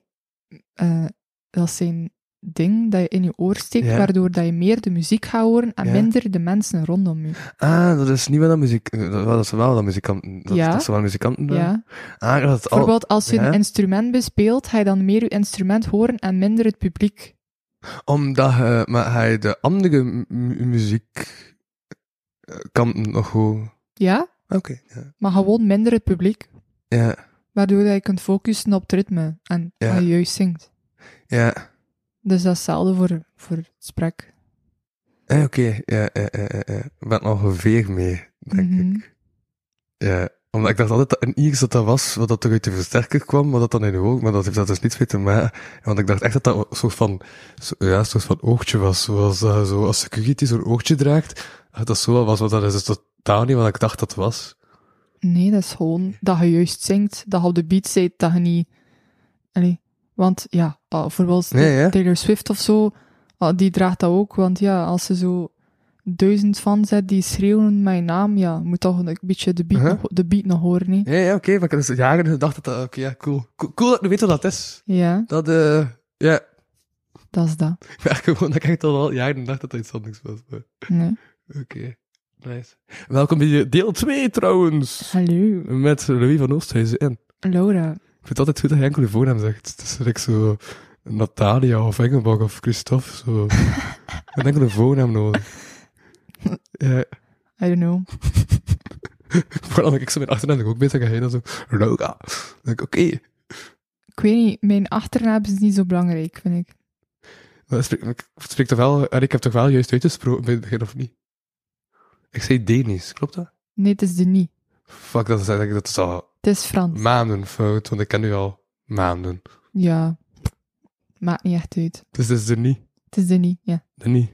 [SPEAKER 3] eh, dat zijn ding dat je in je oor steekt,
[SPEAKER 2] Ja.
[SPEAKER 3] waardoor dat je meer de muziek gaat horen en
[SPEAKER 2] Ja.
[SPEAKER 3] minder de mensen rondom je.
[SPEAKER 2] Ah, dat is niet wat dat muziek. eh, Dat, dat is wel dat muzikanten. Dat,
[SPEAKER 3] Ja.
[SPEAKER 2] dat ze wel muzikanten. doen.
[SPEAKER 3] Ja.
[SPEAKER 2] Ah, dat het al.
[SPEAKER 3] Bijvoorbeeld, als je
[SPEAKER 2] ja.
[SPEAKER 3] een instrument bespeelt, ga je dan meer je instrument horen en minder het publiek.
[SPEAKER 2] Omdat je. Maar hij de andere mu- mu- muziek. eh, kanten nog gewoon.
[SPEAKER 3] Ja?
[SPEAKER 2] Oké. ja.
[SPEAKER 3] Maar gewoon minder het publiek,
[SPEAKER 2] Ja.
[SPEAKER 3] waardoor dat je kunt focussen op het ritme en
[SPEAKER 2] Ja.
[SPEAKER 3] wat je juist zingt.
[SPEAKER 2] Ja.
[SPEAKER 3] Dus dat is hetzelfde voor, voor het sprek.
[SPEAKER 2] Eh, Oké. Ja, ja, ja, ja, ja. Ik ben er ongeveer mee, denk
[SPEAKER 3] Mhm.
[SPEAKER 2] ik. Ja, omdat ik dacht altijd dat een Iers dat dat was, wat dat toch uit de versterker kwam, maar dat dan in de oog, maar dat heeft dat dus niets mee te maken. Want ik dacht echt dat dat een soort van, zo- ja, een soort van oogtje was, zoals eh, zo, als security zo'n oogtje draagt, dat dat zo wel was, want dat is dus totaal niet wat ik dacht dat was.
[SPEAKER 3] Nee, dat is gewoon dat je juist zingt, dat je op de beat zit, dat je niet... Allee, want ja, ah, bijvoorbeeld
[SPEAKER 2] Nee, ja.
[SPEAKER 3] Taylor Swift of zo, ah, die draagt dat ook. Want ja, als ze zo duizend fans hebt die schreeuwen mijn naam, ja, moet toch een beetje de beat,
[SPEAKER 2] Uh-huh.
[SPEAKER 3] nog, de beat nog horen, hè.
[SPEAKER 2] Ja, ja, oké, maar ik had dus jaren gedacht dat dat, oké, ja, cool. cool. Cool dat ik nu weet wat dat is.
[SPEAKER 3] Ja,
[SPEAKER 2] Dat, eh, ja,
[SPEAKER 3] dat is dat.
[SPEAKER 2] ik merk gewoon dat ik echt al jaren dacht dat dat iets anders was. maar
[SPEAKER 3] Nee.
[SPEAKER 2] Oké, nice. Welkom bij deel 2 trouwens,
[SPEAKER 3] Hallo,
[SPEAKER 2] met Louis van Oosthuizen en...
[SPEAKER 3] Laura.
[SPEAKER 2] Ik vind het altijd goed dat je enkel je voornaam zegt. Het is like zo Natalia of Engelbach of Christophe. Zo. een enkele voornaam nodig. Ja,
[SPEAKER 3] I don't know.
[SPEAKER 2] vooral dat ik zo mijn achternaam denk ik ook bezig ga dan zo Laura. Dan denk ik, oké.
[SPEAKER 3] Ik weet niet, mijn achternaam is niet zo belangrijk, vind ik.
[SPEAKER 2] Maar spreek, ik spreek toch wel, en ik heb toch wel juist uitgesproken bij het begin of niet? Ik zei Denis, klopt dat?
[SPEAKER 3] Nee, het is de niet.
[SPEAKER 2] Fuck, dat is, eigenlijk- dat is al
[SPEAKER 3] Het is Frans.
[SPEAKER 2] maanden fout, want ik ken u al maanden.
[SPEAKER 3] Ja, maakt niet echt uit.
[SPEAKER 2] Dus dat is er niet.
[SPEAKER 3] Het is de niet, ja.
[SPEAKER 2] Denis.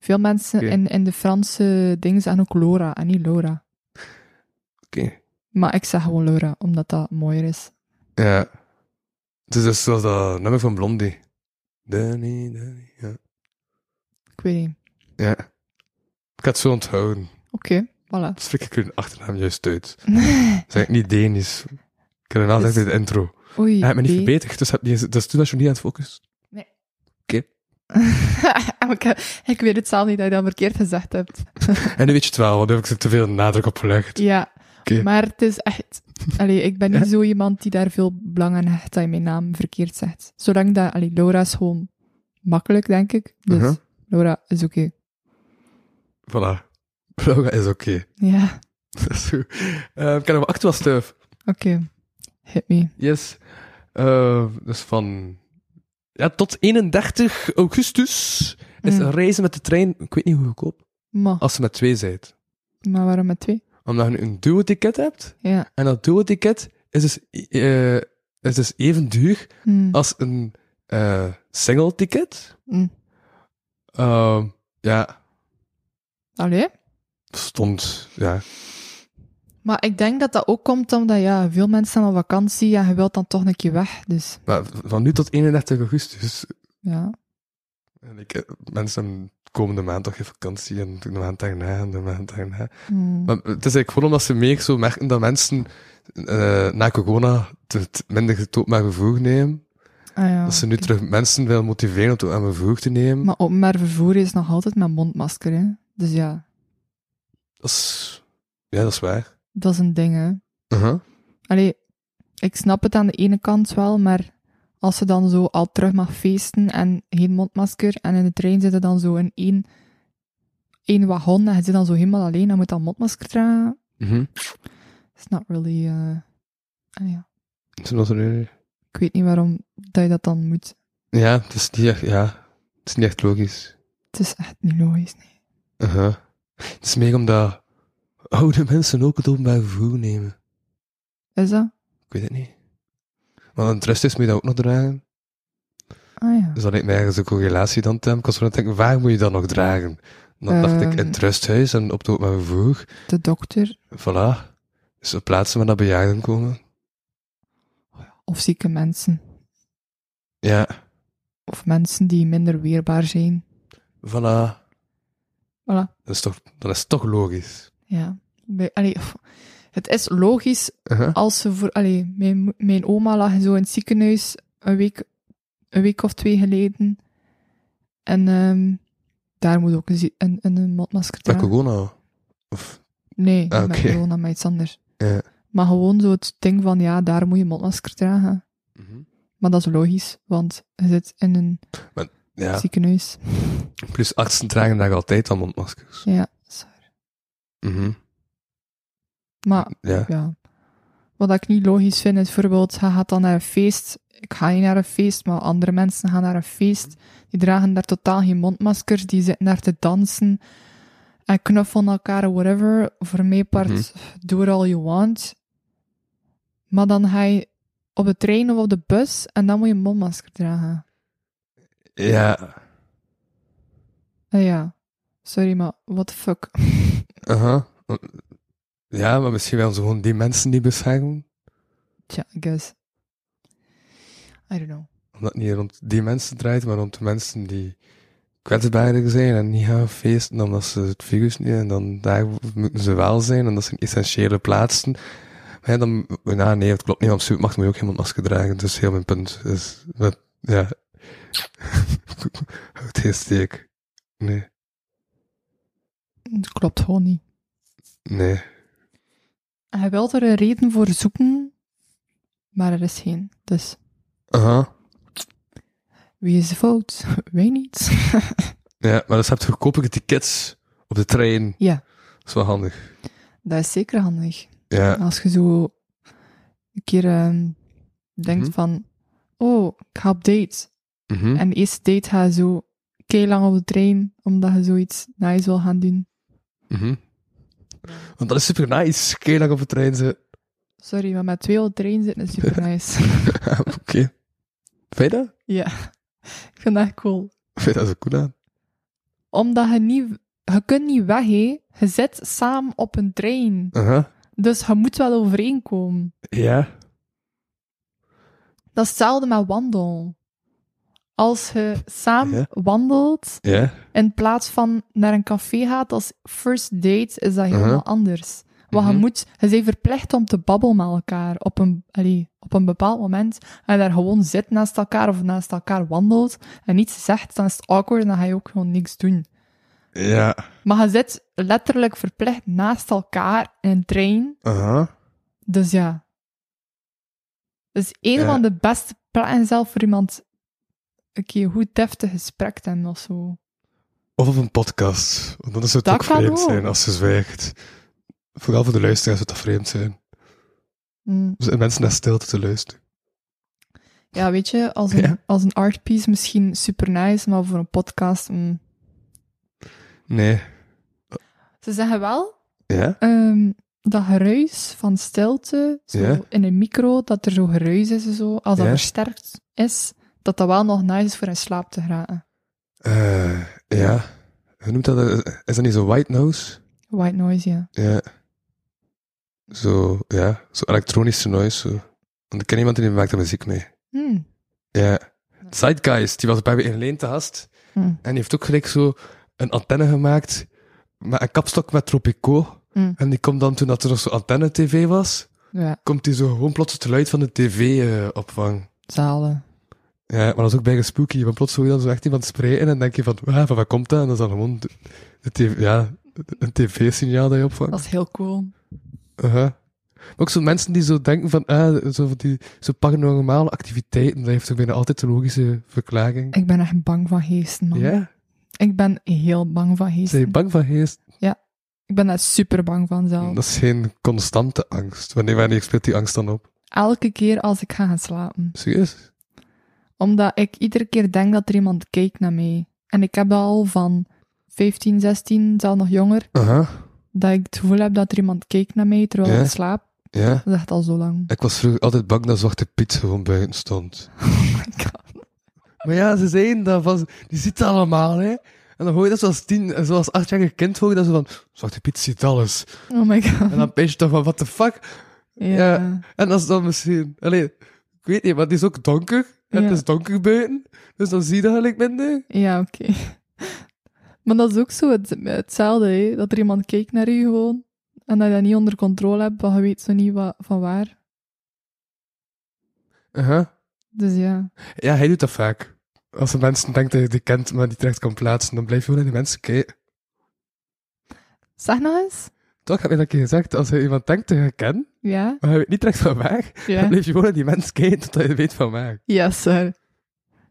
[SPEAKER 3] Veel mensen
[SPEAKER 2] Oké.
[SPEAKER 3] in, in de Franse dingen zeggen ook Laura en niet Laura.
[SPEAKER 2] Oké.
[SPEAKER 3] Maar ik zeg gewoon Laura, omdat dat mooier is.
[SPEAKER 2] Ja. Het is dus zoals dat nummer van Blondie. Danny, Danny, ja.
[SPEAKER 3] Ik weet niet.
[SPEAKER 2] Ja. Ik had zo onthouden.
[SPEAKER 3] Oké, voilà.
[SPEAKER 2] Dat spreek ik hun achternaam juist uit. Dat is eigenlijk niet Denis. Ik had een altijd
[SPEAKER 3] Dus-
[SPEAKER 2] in de intro.
[SPEAKER 3] Oei.
[SPEAKER 2] Hij heeft me niet
[SPEAKER 3] nee.
[SPEAKER 2] verbeterd, dus, heb niet, eens- dus toen was je niet aan het focussen.
[SPEAKER 3] ik, ik weet het zelf niet dat je dat verkeerd gezegd hebt.
[SPEAKER 2] En nu weet je het wel, want daar heb ik er te veel nadruk op gelegd.
[SPEAKER 3] Ja,
[SPEAKER 2] Oké.
[SPEAKER 3] maar het is echt... Allee, ik ben niet zo iemand die daar veel belang aan hecht dat je mijn naam verkeerd zegt. Zolang dat... Allee, Laura is gewoon makkelijk, denk ik. Dus
[SPEAKER 2] Mhm.
[SPEAKER 3] Laura is oké.
[SPEAKER 2] Voilà. Laura is oké.
[SPEAKER 3] Ja,
[SPEAKER 2] Dat is goed. Eh, ik heb nog actual stuff.
[SPEAKER 3] oké. Hit me.
[SPEAKER 2] Yes. Eh, dus van... Ja, tot 31 augustus is
[SPEAKER 3] Mm.
[SPEAKER 2] een reizen met de trein, ik weet niet hoe goedkoop,
[SPEAKER 3] Maar,
[SPEAKER 2] als ze met twee zijt.
[SPEAKER 3] maar waarom met twee?
[SPEAKER 2] Omdat je nu een duo-ticket hebt,
[SPEAKER 3] Ja.
[SPEAKER 2] En dat duo-ticket is dus, eh, is dus even duur
[SPEAKER 3] Hm.
[SPEAKER 2] als een eh, single-ticket.
[SPEAKER 3] Hm.
[SPEAKER 2] Ehm, ja,
[SPEAKER 3] Allee?
[SPEAKER 2] stond, ja.
[SPEAKER 3] Maar ik denk dat dat ook komt omdat ja, veel mensen zijn op vakantie en je wilt dan toch een keer weg. Dus
[SPEAKER 2] Maar v- van nu tot 31 augustus.
[SPEAKER 3] ja.
[SPEAKER 2] En ik, eh, mensen hebben komende maand toch geen vakantie en de maand daarna en de maand daarna.
[SPEAKER 3] Hmm.
[SPEAKER 2] Maar het is eigenlijk gewoon omdat ze meer zo merken dat mensen eh, na corona het minder het maar vervoer nemen.
[SPEAKER 3] Ah, ja,
[SPEAKER 2] dat ze nu
[SPEAKER 3] oké.
[SPEAKER 2] terug mensen willen motiveren om het openbaar vervoer te nemen.
[SPEAKER 3] Maar openbaar vervoer is nog altijd met mondmasker, hè. Dus ja,
[SPEAKER 2] Dat is... Ja, dat is waar.
[SPEAKER 3] dat is een ding, hè.
[SPEAKER 2] Uh-huh.
[SPEAKER 3] Allee, ik snap het aan de ene kant wel, maar als ze dan zo al terug mag feesten en geen mondmasker en in de trein zitten dan zo in één, één wagon en je zit dan zo helemaal alleen en moet dan mondmasker dragen, is not really... eh, ah ja,
[SPEAKER 2] Zoals er nu-
[SPEAKER 3] ik weet niet waarom dat je dat dan moet.
[SPEAKER 2] Ja, het is niet echt, ja, het is niet echt logisch.
[SPEAKER 3] Het is echt niet logisch, nee.
[SPEAKER 2] Uh-huh. Het is meer omdat oude mensen ook het openbaar vervoer nemen.
[SPEAKER 3] Is dat?
[SPEAKER 2] Ik weet het niet. Want het rest is moet je dat ook nog dragen.
[SPEAKER 3] Ah ja.
[SPEAKER 2] Dus dan lijkt mij ergens een correlatie dan te hebben. Ik was gewoon aan het denken, waar moet je dat nog dragen? En dan dacht ik, in het rusthuis en op het openbaar vervoer.
[SPEAKER 3] De dokter
[SPEAKER 2] Voilà. Dus op plaatsen waar dat bejaarden komen.
[SPEAKER 3] of zieke mensen.
[SPEAKER 2] Ja,
[SPEAKER 3] Of mensen die minder weerbaar zijn.
[SPEAKER 2] voilà.
[SPEAKER 3] Voilà.
[SPEAKER 2] Dat is toch, dat is toch logisch.
[SPEAKER 3] Ja. Bij- Allee, pff, het is logisch
[SPEAKER 2] Uh-huh.
[SPEAKER 3] als ze voor... Allee, mijn, mo- mijn oma lag zo in het ziekenhuis een week, een week of twee geleden. En ehm, daar moet ook een, zie- een, een, een mondmasker
[SPEAKER 2] Bij
[SPEAKER 3] dragen.
[SPEAKER 2] corona. Of,
[SPEAKER 3] Nee, niet
[SPEAKER 2] Ah,
[SPEAKER 3] met
[SPEAKER 2] oké.
[SPEAKER 3] corona, maar iets anders.
[SPEAKER 2] Ja.
[SPEAKER 3] Maar gewoon zo het ding van, ja, daar moet je een mondmasker dragen. Maar dat is logisch, want je zit in een
[SPEAKER 2] Ja,
[SPEAKER 3] ziekenhuis.
[SPEAKER 2] plus artsen dragen daar altijd al mondmaskers.
[SPEAKER 3] Ja, sorry.
[SPEAKER 2] Mhm.
[SPEAKER 3] Maar
[SPEAKER 2] Ja.
[SPEAKER 3] ja. Wat ik niet logisch vind is bijvoorbeeld, hij gaat dan naar een feest. Ik ga niet naar een feest, maar andere mensen gaan naar een feest. Die dragen daar totaal geen mondmaskers, die zitten daar te dansen en knuffelen elkaar, whatever. Voor mij part,
[SPEAKER 2] Mhm.
[SPEAKER 3] do it all you want. Maar dan ga je op de trein of op de bus en dan moet je een mondmasker dragen.
[SPEAKER 2] Ja.
[SPEAKER 3] Eh, ja, sorry, maar what the fuck.
[SPEAKER 2] Aha. Ja, maar misschien wel ze gewoon die mensen die beschermen.
[SPEAKER 3] Tja, I guess. I don't know.
[SPEAKER 2] Omdat het niet rond die mensen draait, maar rond de mensen die kwetsbaarder zijn en niet gaan feesten omdat ze het virus niet en dan daar moeten ze wel zijn en dat zijn essentiële plaatsen. Maar ja, dan, nou nee, het klopt niet, want op supermarkt moet je ook geen mondmasker dragen, dus heel mijn punt is, dat, ja. Houd geen steek. Nee,
[SPEAKER 3] Het klopt gewoon niet.
[SPEAKER 2] nee.
[SPEAKER 3] En Hij wil er een reden voor zoeken, maar er is geen. Dus
[SPEAKER 2] Aha.
[SPEAKER 3] wie is de fout? Wij niet.
[SPEAKER 2] Ja, maar dus heb je goedkopere tickets op de trein.
[SPEAKER 3] Ja.
[SPEAKER 2] Dat is wel handig.
[SPEAKER 3] Dat is zeker handig.
[SPEAKER 2] Ja.
[SPEAKER 3] Als je zo een keer ehm, denkt
[SPEAKER 2] Mhm.
[SPEAKER 3] van, oh, ik ga op date.
[SPEAKER 2] Mhm.
[SPEAKER 3] En de eerste date ga je zo lang op de trein, omdat je zoiets nice wil gaan doen.
[SPEAKER 2] Mhm. Want dat is super nice. Kijk lang op de trein zitten.
[SPEAKER 3] Sorry, maar met twee op de trein zitten is super nice.
[SPEAKER 2] Oké. Vind je dat?
[SPEAKER 3] ja, ik vind dat cool.
[SPEAKER 2] Vind je dat zo cool aan?
[SPEAKER 3] Omdat je niet, je kunt niet weg, hè. Je zit samen op een trein.
[SPEAKER 2] Aha.
[SPEAKER 3] Dus je moet wel overeenkomen.
[SPEAKER 2] Ja.
[SPEAKER 3] Dat is hetzelfde met wandelen. Als je samen
[SPEAKER 2] Ja.
[SPEAKER 3] wandelt,
[SPEAKER 2] Ja.
[SPEAKER 3] in plaats van naar een café gaat als first date, is dat helemaal
[SPEAKER 2] Uh-huh.
[SPEAKER 3] anders. Want
[SPEAKER 2] Mhm.
[SPEAKER 3] je moet, je bent verplicht om te babbelen met elkaar op een, allee, op een bepaald moment. En daar gewoon zit naast elkaar of naast elkaar wandelt en niets zegt, dan is het awkward en dan ga je ook gewoon niks doen.
[SPEAKER 2] Ja.
[SPEAKER 3] Maar je zit letterlijk verplicht naast elkaar in een trein
[SPEAKER 2] Aha.
[SPEAKER 3] dus ja. Dat is een
[SPEAKER 2] Ja.
[SPEAKER 3] van de beste plekken zelf voor iemand een keer goed deftig gesprek te hebben of zo.
[SPEAKER 2] Of op een podcast. Want dan is het
[SPEAKER 3] Dat
[SPEAKER 2] ook
[SPEAKER 3] kan
[SPEAKER 2] vreemd
[SPEAKER 3] ook.
[SPEAKER 2] zijn als ze zwijgt. Vooral voor de luisteraars zou dat vreemd zijn.
[SPEAKER 3] Mm.
[SPEAKER 2] Dus mensen naar stilte te luisteren.
[SPEAKER 3] Ja, weet je, als een,
[SPEAKER 2] Ja.
[SPEAKER 3] als een artpiece misschien super nice, maar voor een podcast... mm.
[SPEAKER 2] Nee.
[SPEAKER 3] Ze zeggen wel
[SPEAKER 2] Ja?
[SPEAKER 3] ehm, dat geruis van stilte zo
[SPEAKER 2] Ja.
[SPEAKER 3] in een micro, dat er zo geruis is en zo, als dat
[SPEAKER 2] Ja.
[SPEAKER 3] versterkt is, dat dat wel nog nice is voor in slaap te geraken.
[SPEAKER 2] Eh ja. Hoe noemt dat? Is dat niet zo white noise?
[SPEAKER 3] White noise, ja.
[SPEAKER 2] Ja. Zo, ja, zo elektronische noise. Zo. Want ik ken iemand die maakt daar muziek mee.
[SPEAKER 3] Hm.
[SPEAKER 2] Ja. Zeitgeist, die was bij me in Leen te gast.
[SPEAKER 3] Hm.
[SPEAKER 2] En die heeft ook gelijk zo een antenne gemaakt met een kapstok met Tropico.
[SPEAKER 3] Hm.
[SPEAKER 2] En die komt dan, toen dat er nog zo'n antenne-tv was,
[SPEAKER 3] Ja,
[SPEAKER 2] komt die zo gewoon plots het geluid van de tv eh, opvang.
[SPEAKER 3] zalen.
[SPEAKER 2] Ja, maar dat is ook bijna spooky, want plots hoor je dan zo echt iemand spreken en dan denk je van, ah, van waar komt dat? En dat is dan gewoon de, de TV, ja, een tv-signaal dat je opvangt.
[SPEAKER 3] Dat is heel cool.
[SPEAKER 2] Aha. Maar Ook zo mensen die zo denken van, ah, zo, van die, zo paranormale activiteiten, dat heeft ook bijna altijd een logische verklaring.
[SPEAKER 3] Ik ben echt bang van geesten, man.
[SPEAKER 2] Ja?
[SPEAKER 3] Ik ben heel bang van geesten.
[SPEAKER 2] Zijn je bang van geest?
[SPEAKER 3] Ik ben daar super bang van zelf.
[SPEAKER 2] Dat is geen constante angst. Wanneer, wanneer speelt die angst dan op?
[SPEAKER 3] Elke keer als ik ga gaan slapen.
[SPEAKER 2] Serieus?
[SPEAKER 3] Omdat ik iedere keer denk dat er iemand kijkt naar mij. En ik heb dat al van 15, 16, zelfs nog jonger,
[SPEAKER 2] Aha.
[SPEAKER 3] dat ik het gevoel heb dat er iemand kijkt naar mij terwijl
[SPEAKER 2] Ja?
[SPEAKER 3] ik slaap.
[SPEAKER 2] Ja.
[SPEAKER 3] Dat is echt al zo lang.
[SPEAKER 2] Ik was vroeger altijd bang dat Zwarte Piet gewoon buiten stond. Maar ja, ze zeiden dat van, die ziet het allemaal, hè. En dan hoor je dat zoals tien, eh, zoals achtjarig kind hoor je dat ze van, Zwarte Piet ziet alles.
[SPEAKER 3] Oh my god.
[SPEAKER 2] En dan ben je toch van, what the fuck?
[SPEAKER 3] Ja.
[SPEAKER 2] Ja. En dat is dan misschien... Allee, ik weet niet, maar het is ook donker. En
[SPEAKER 3] Ja.
[SPEAKER 2] het is donker buiten. Dus dan zie je dat eigenlijk minder.
[SPEAKER 3] Ja, oké. Maar dat is ook zo het, hetzelfde, hè? dat er iemand kijkt naar je gewoon en dat je dat niet onder controle hebt, want je weet zo niet wa- van waar. Dus ja.
[SPEAKER 2] Ja, hij doet dat vaak. Als een mensen denkt dat je die kent, maar niet terecht kan plaatsen, dan blijf je gewoon naar die mensen kijken.
[SPEAKER 3] Zeg nog eens.
[SPEAKER 2] Toch heb je dat een keer gezegd, als je iemand denkt dat je kent,
[SPEAKER 3] Ja?
[SPEAKER 2] maar hij weet niet terecht van waar, dan
[SPEAKER 3] Ja.
[SPEAKER 2] blijf je gewoon naar die mensen kijken totdat je weet van waar.
[SPEAKER 3] Ja, sir.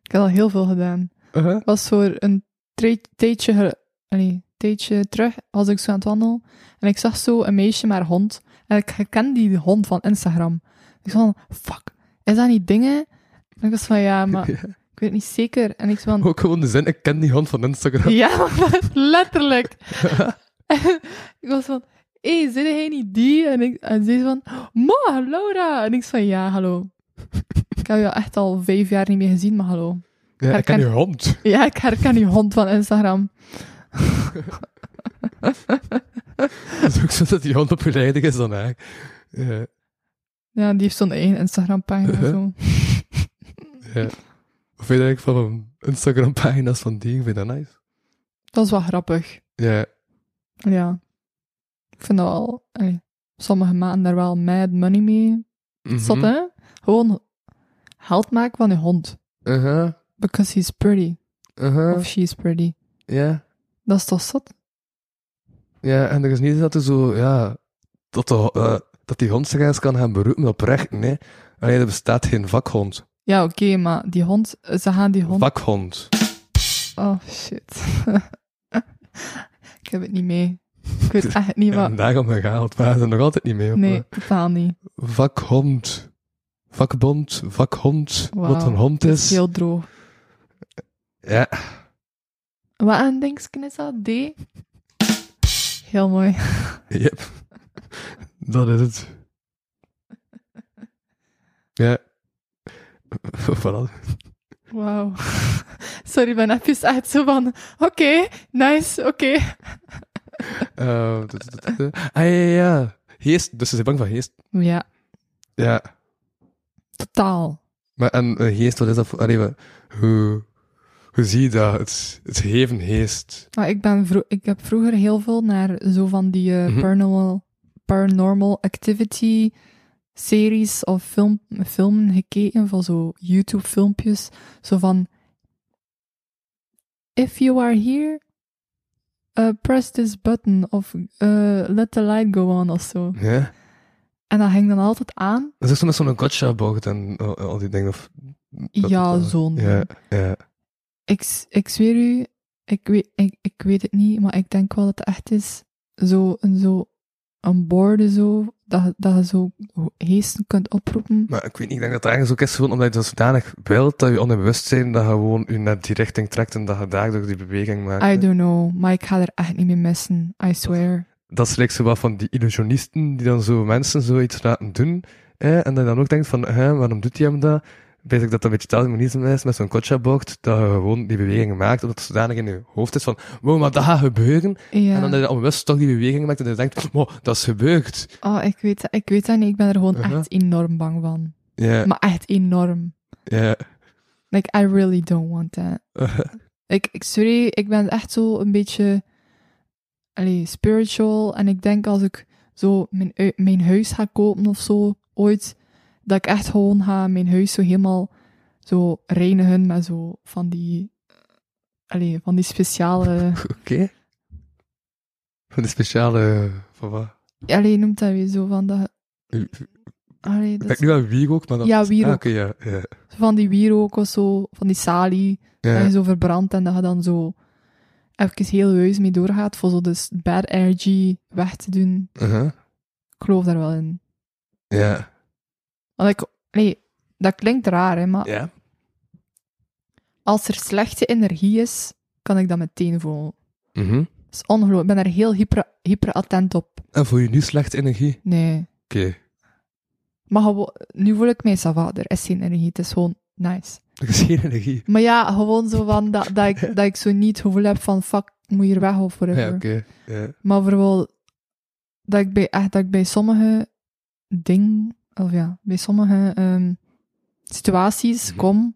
[SPEAKER 3] Ik heb al heel veel gedaan.
[SPEAKER 2] Uh-huh.
[SPEAKER 3] was voor een tre- tijdje, ge- allee, tijdje terug, was ik zo aan het wandelen. En ik zag zo een meisje met haar hond. En ik herkende die hond van Instagram. Ik zei van, fuck, is dat niet dingen? En ik was van, ja, maar
[SPEAKER 2] Ja.
[SPEAKER 3] ik weet niet zeker. En ik zei van,
[SPEAKER 2] Ook gewoon de zin, ik ken die hand van Instagram.
[SPEAKER 3] ja, maar letterlijk. En ik was van, hé, hey, zit hij niet die? En, ik, en ze van, ma, Laura. En ik zei van, ja, hallo. Ik heb je echt al vijf jaar niet meer gezien, maar hallo.
[SPEAKER 2] Ja, ik ken
[SPEAKER 3] herken-
[SPEAKER 2] die hond.
[SPEAKER 3] Ja, ik herken die hond van Instagram.
[SPEAKER 2] Het is ook zo dat die hond op je leidig is dan eigenlijk. Ja.
[SPEAKER 3] Ja, die heeft zo'n eigen Instagram-pagina.
[SPEAKER 2] Uh-huh.
[SPEAKER 3] zo.
[SPEAKER 2] Ja. Wat vind je eigenlijk van Instagram-pagina's van die? Vind je dat nice?
[SPEAKER 3] Dat is wel grappig.
[SPEAKER 2] Ja.
[SPEAKER 3] Ja. Ik vind dat wel... allee, sommige maken daar wel mad money mee.
[SPEAKER 2] Mhm.
[SPEAKER 3] Zot, hè? Gewoon geld maken van je hond.
[SPEAKER 2] Uh-huh.
[SPEAKER 3] Because he's pretty.
[SPEAKER 2] Uh-huh.
[SPEAKER 3] Of she's pretty.
[SPEAKER 2] Ja.
[SPEAKER 3] Dat is toch zot?
[SPEAKER 2] Ja, en er is niet dat er zo, ja, dat, de, eh, dat die hond zich eens kan gaan beroepen op rechten, hè. Alleen er bestaat geen vakhond.
[SPEAKER 3] Ja, oké, maar die hond... Ze gaan die hond...
[SPEAKER 2] Vakhond.
[SPEAKER 3] Oh, shit. ik heb het niet mee. Ik weet echt niet
[SPEAKER 2] Ja,
[SPEAKER 3] wat...
[SPEAKER 2] en daarom gehaald, maar ze zijn er nog altijd niet mee op.
[SPEAKER 3] Nee, totaal niet.
[SPEAKER 2] Vakhond. Vakbond, vakhond,
[SPEAKER 3] Wauw.
[SPEAKER 2] wat een hond
[SPEAKER 3] Het
[SPEAKER 2] is.
[SPEAKER 3] is heel droog.
[SPEAKER 2] Ja.
[SPEAKER 3] Wat een denksken is dat? D? Heel mooi.
[SPEAKER 2] Yep. Dat is het. Ja. Voilà.
[SPEAKER 3] Wauw. Sorry, mijn app is echt zo van... Oké, nice, oké.
[SPEAKER 2] Eh, d- d- d- d- ah, ja, ja, ja. Geest. Dus ze zijn bang van geest.
[SPEAKER 3] Ja,
[SPEAKER 2] Ja.
[SPEAKER 3] totaal.
[SPEAKER 2] Maar en eh, geest, wat is dat voor... Allee, wat- hoe, hoe zie je dat? Het, het geven geest.
[SPEAKER 3] Maar ik, ben vro- ik heb vroeger heel veel naar zo van die eh,
[SPEAKER 2] Mhm.
[SPEAKER 3] paranormal, paranormal activity series of film, filmen gekeken, van zo YouTube-filmpjes. Zo van... If you are here, eh, press this button of eh, let the light go on of zo.
[SPEAKER 2] Ja?
[SPEAKER 3] En dat hing dan altijd aan.
[SPEAKER 2] Dat is ook zo met zo'n gotcha-bocht en al, al die dingen. Of, dat-
[SPEAKER 3] Ja,
[SPEAKER 2] dat-
[SPEAKER 3] zo'n
[SPEAKER 2] Ja, ja.
[SPEAKER 3] Ik, s- ik zweer u, ik weet, ik, ik weet het niet, maar ik denk wel dat het echt is. Zo, een, zo, een borde zo, dat, je- dat je zo geesten kunt oproepen.
[SPEAKER 2] Maar ik weet niet, ik denk dat het ergens ook is gewoon omdat je dat zodanig wilt, dat je onbewustzijn dat gewoon je naar die richting trekt en dat je daardoor die beweging maakt.
[SPEAKER 3] I
[SPEAKER 2] hè.
[SPEAKER 3] don't know, maar ik ga er echt niet meer missen, I swear.
[SPEAKER 2] dat is like zo wat van die illusionisten die dan zo mensen zoiets laten doen. Hè, en dat je dan ook denkt van, hè, waarom doet hij hem dat? weet ik dat dat een beetje hetzelfde mechanisme is met zo'n kotschabocht, dat je gewoon die bewegingen maakt, omdat het zodanig in je hoofd is van, wow, maar dat gaat gebeuren.
[SPEAKER 3] Ja.
[SPEAKER 2] En dan dat je onbewust toch die bewegingen maakt en dat je denkt, wow, dat is gebeurd.
[SPEAKER 3] Oh, ik weet, dat- ik weet dat niet. Ik ben er gewoon
[SPEAKER 2] Uh-huh.
[SPEAKER 3] echt enorm bang van.
[SPEAKER 2] Ja,
[SPEAKER 3] Maar echt enorm.
[SPEAKER 2] ja.
[SPEAKER 3] Like, I really don't want that. Ik, ik, sorry, ik ben echt zo een beetje allee, spiritual. En ik denk als ik zo mijn, ui- mijn huis ga kopen of zo ooit, dat ik echt gewoon ga mijn huis zo helemaal zo reinigen met zo van die, allee, van die speciale,
[SPEAKER 2] Oké. Van die speciale, van wat?
[SPEAKER 3] allee, noemt dat weer zo van dat,
[SPEAKER 2] Ik
[SPEAKER 3] allee, dat
[SPEAKER 2] denk
[SPEAKER 3] is-
[SPEAKER 2] nu aan wierook, maar dan...
[SPEAKER 3] Dus- Ja, wierook.
[SPEAKER 2] Ah, oké, ja, ja.
[SPEAKER 3] van die wierook of zo, van die salie. Dat
[SPEAKER 2] Ja,
[SPEAKER 3] je zo verbrandt en dat je dan zo even heel heus mee doorgaat voor zo dus bad energy weg te doen.
[SPEAKER 2] uh-huh.
[SPEAKER 3] Ik geloof daar wel in.
[SPEAKER 2] ja.
[SPEAKER 3] Want ik, nee, dat klinkt raar, hè, maar
[SPEAKER 2] Ja?
[SPEAKER 3] als er slechte energie is, kan ik dat meteen voelen.
[SPEAKER 2] Mhm.
[SPEAKER 3] Dat is ongelooflijk. Ik ben daar heel hyper, hyper attent op.
[SPEAKER 2] En voel je nu slecht energie?
[SPEAKER 3] Nee.
[SPEAKER 2] Oké.
[SPEAKER 3] Maar gewoon, nu voel ik mij sava, er is geen energie, het is gewoon nice.
[SPEAKER 2] Er is geen energie.
[SPEAKER 3] Maar ja, gewoon zo van dat, dat, ik, dat ik zo niet het gevoel heb van fuck, ik moet hier weg of whatever.
[SPEAKER 2] Ja, oké. Ja.
[SPEAKER 3] Maar vooral dat ik bij, echt, dat ik bij sommige dingen, of ja, bij sommige ehm, situaties kom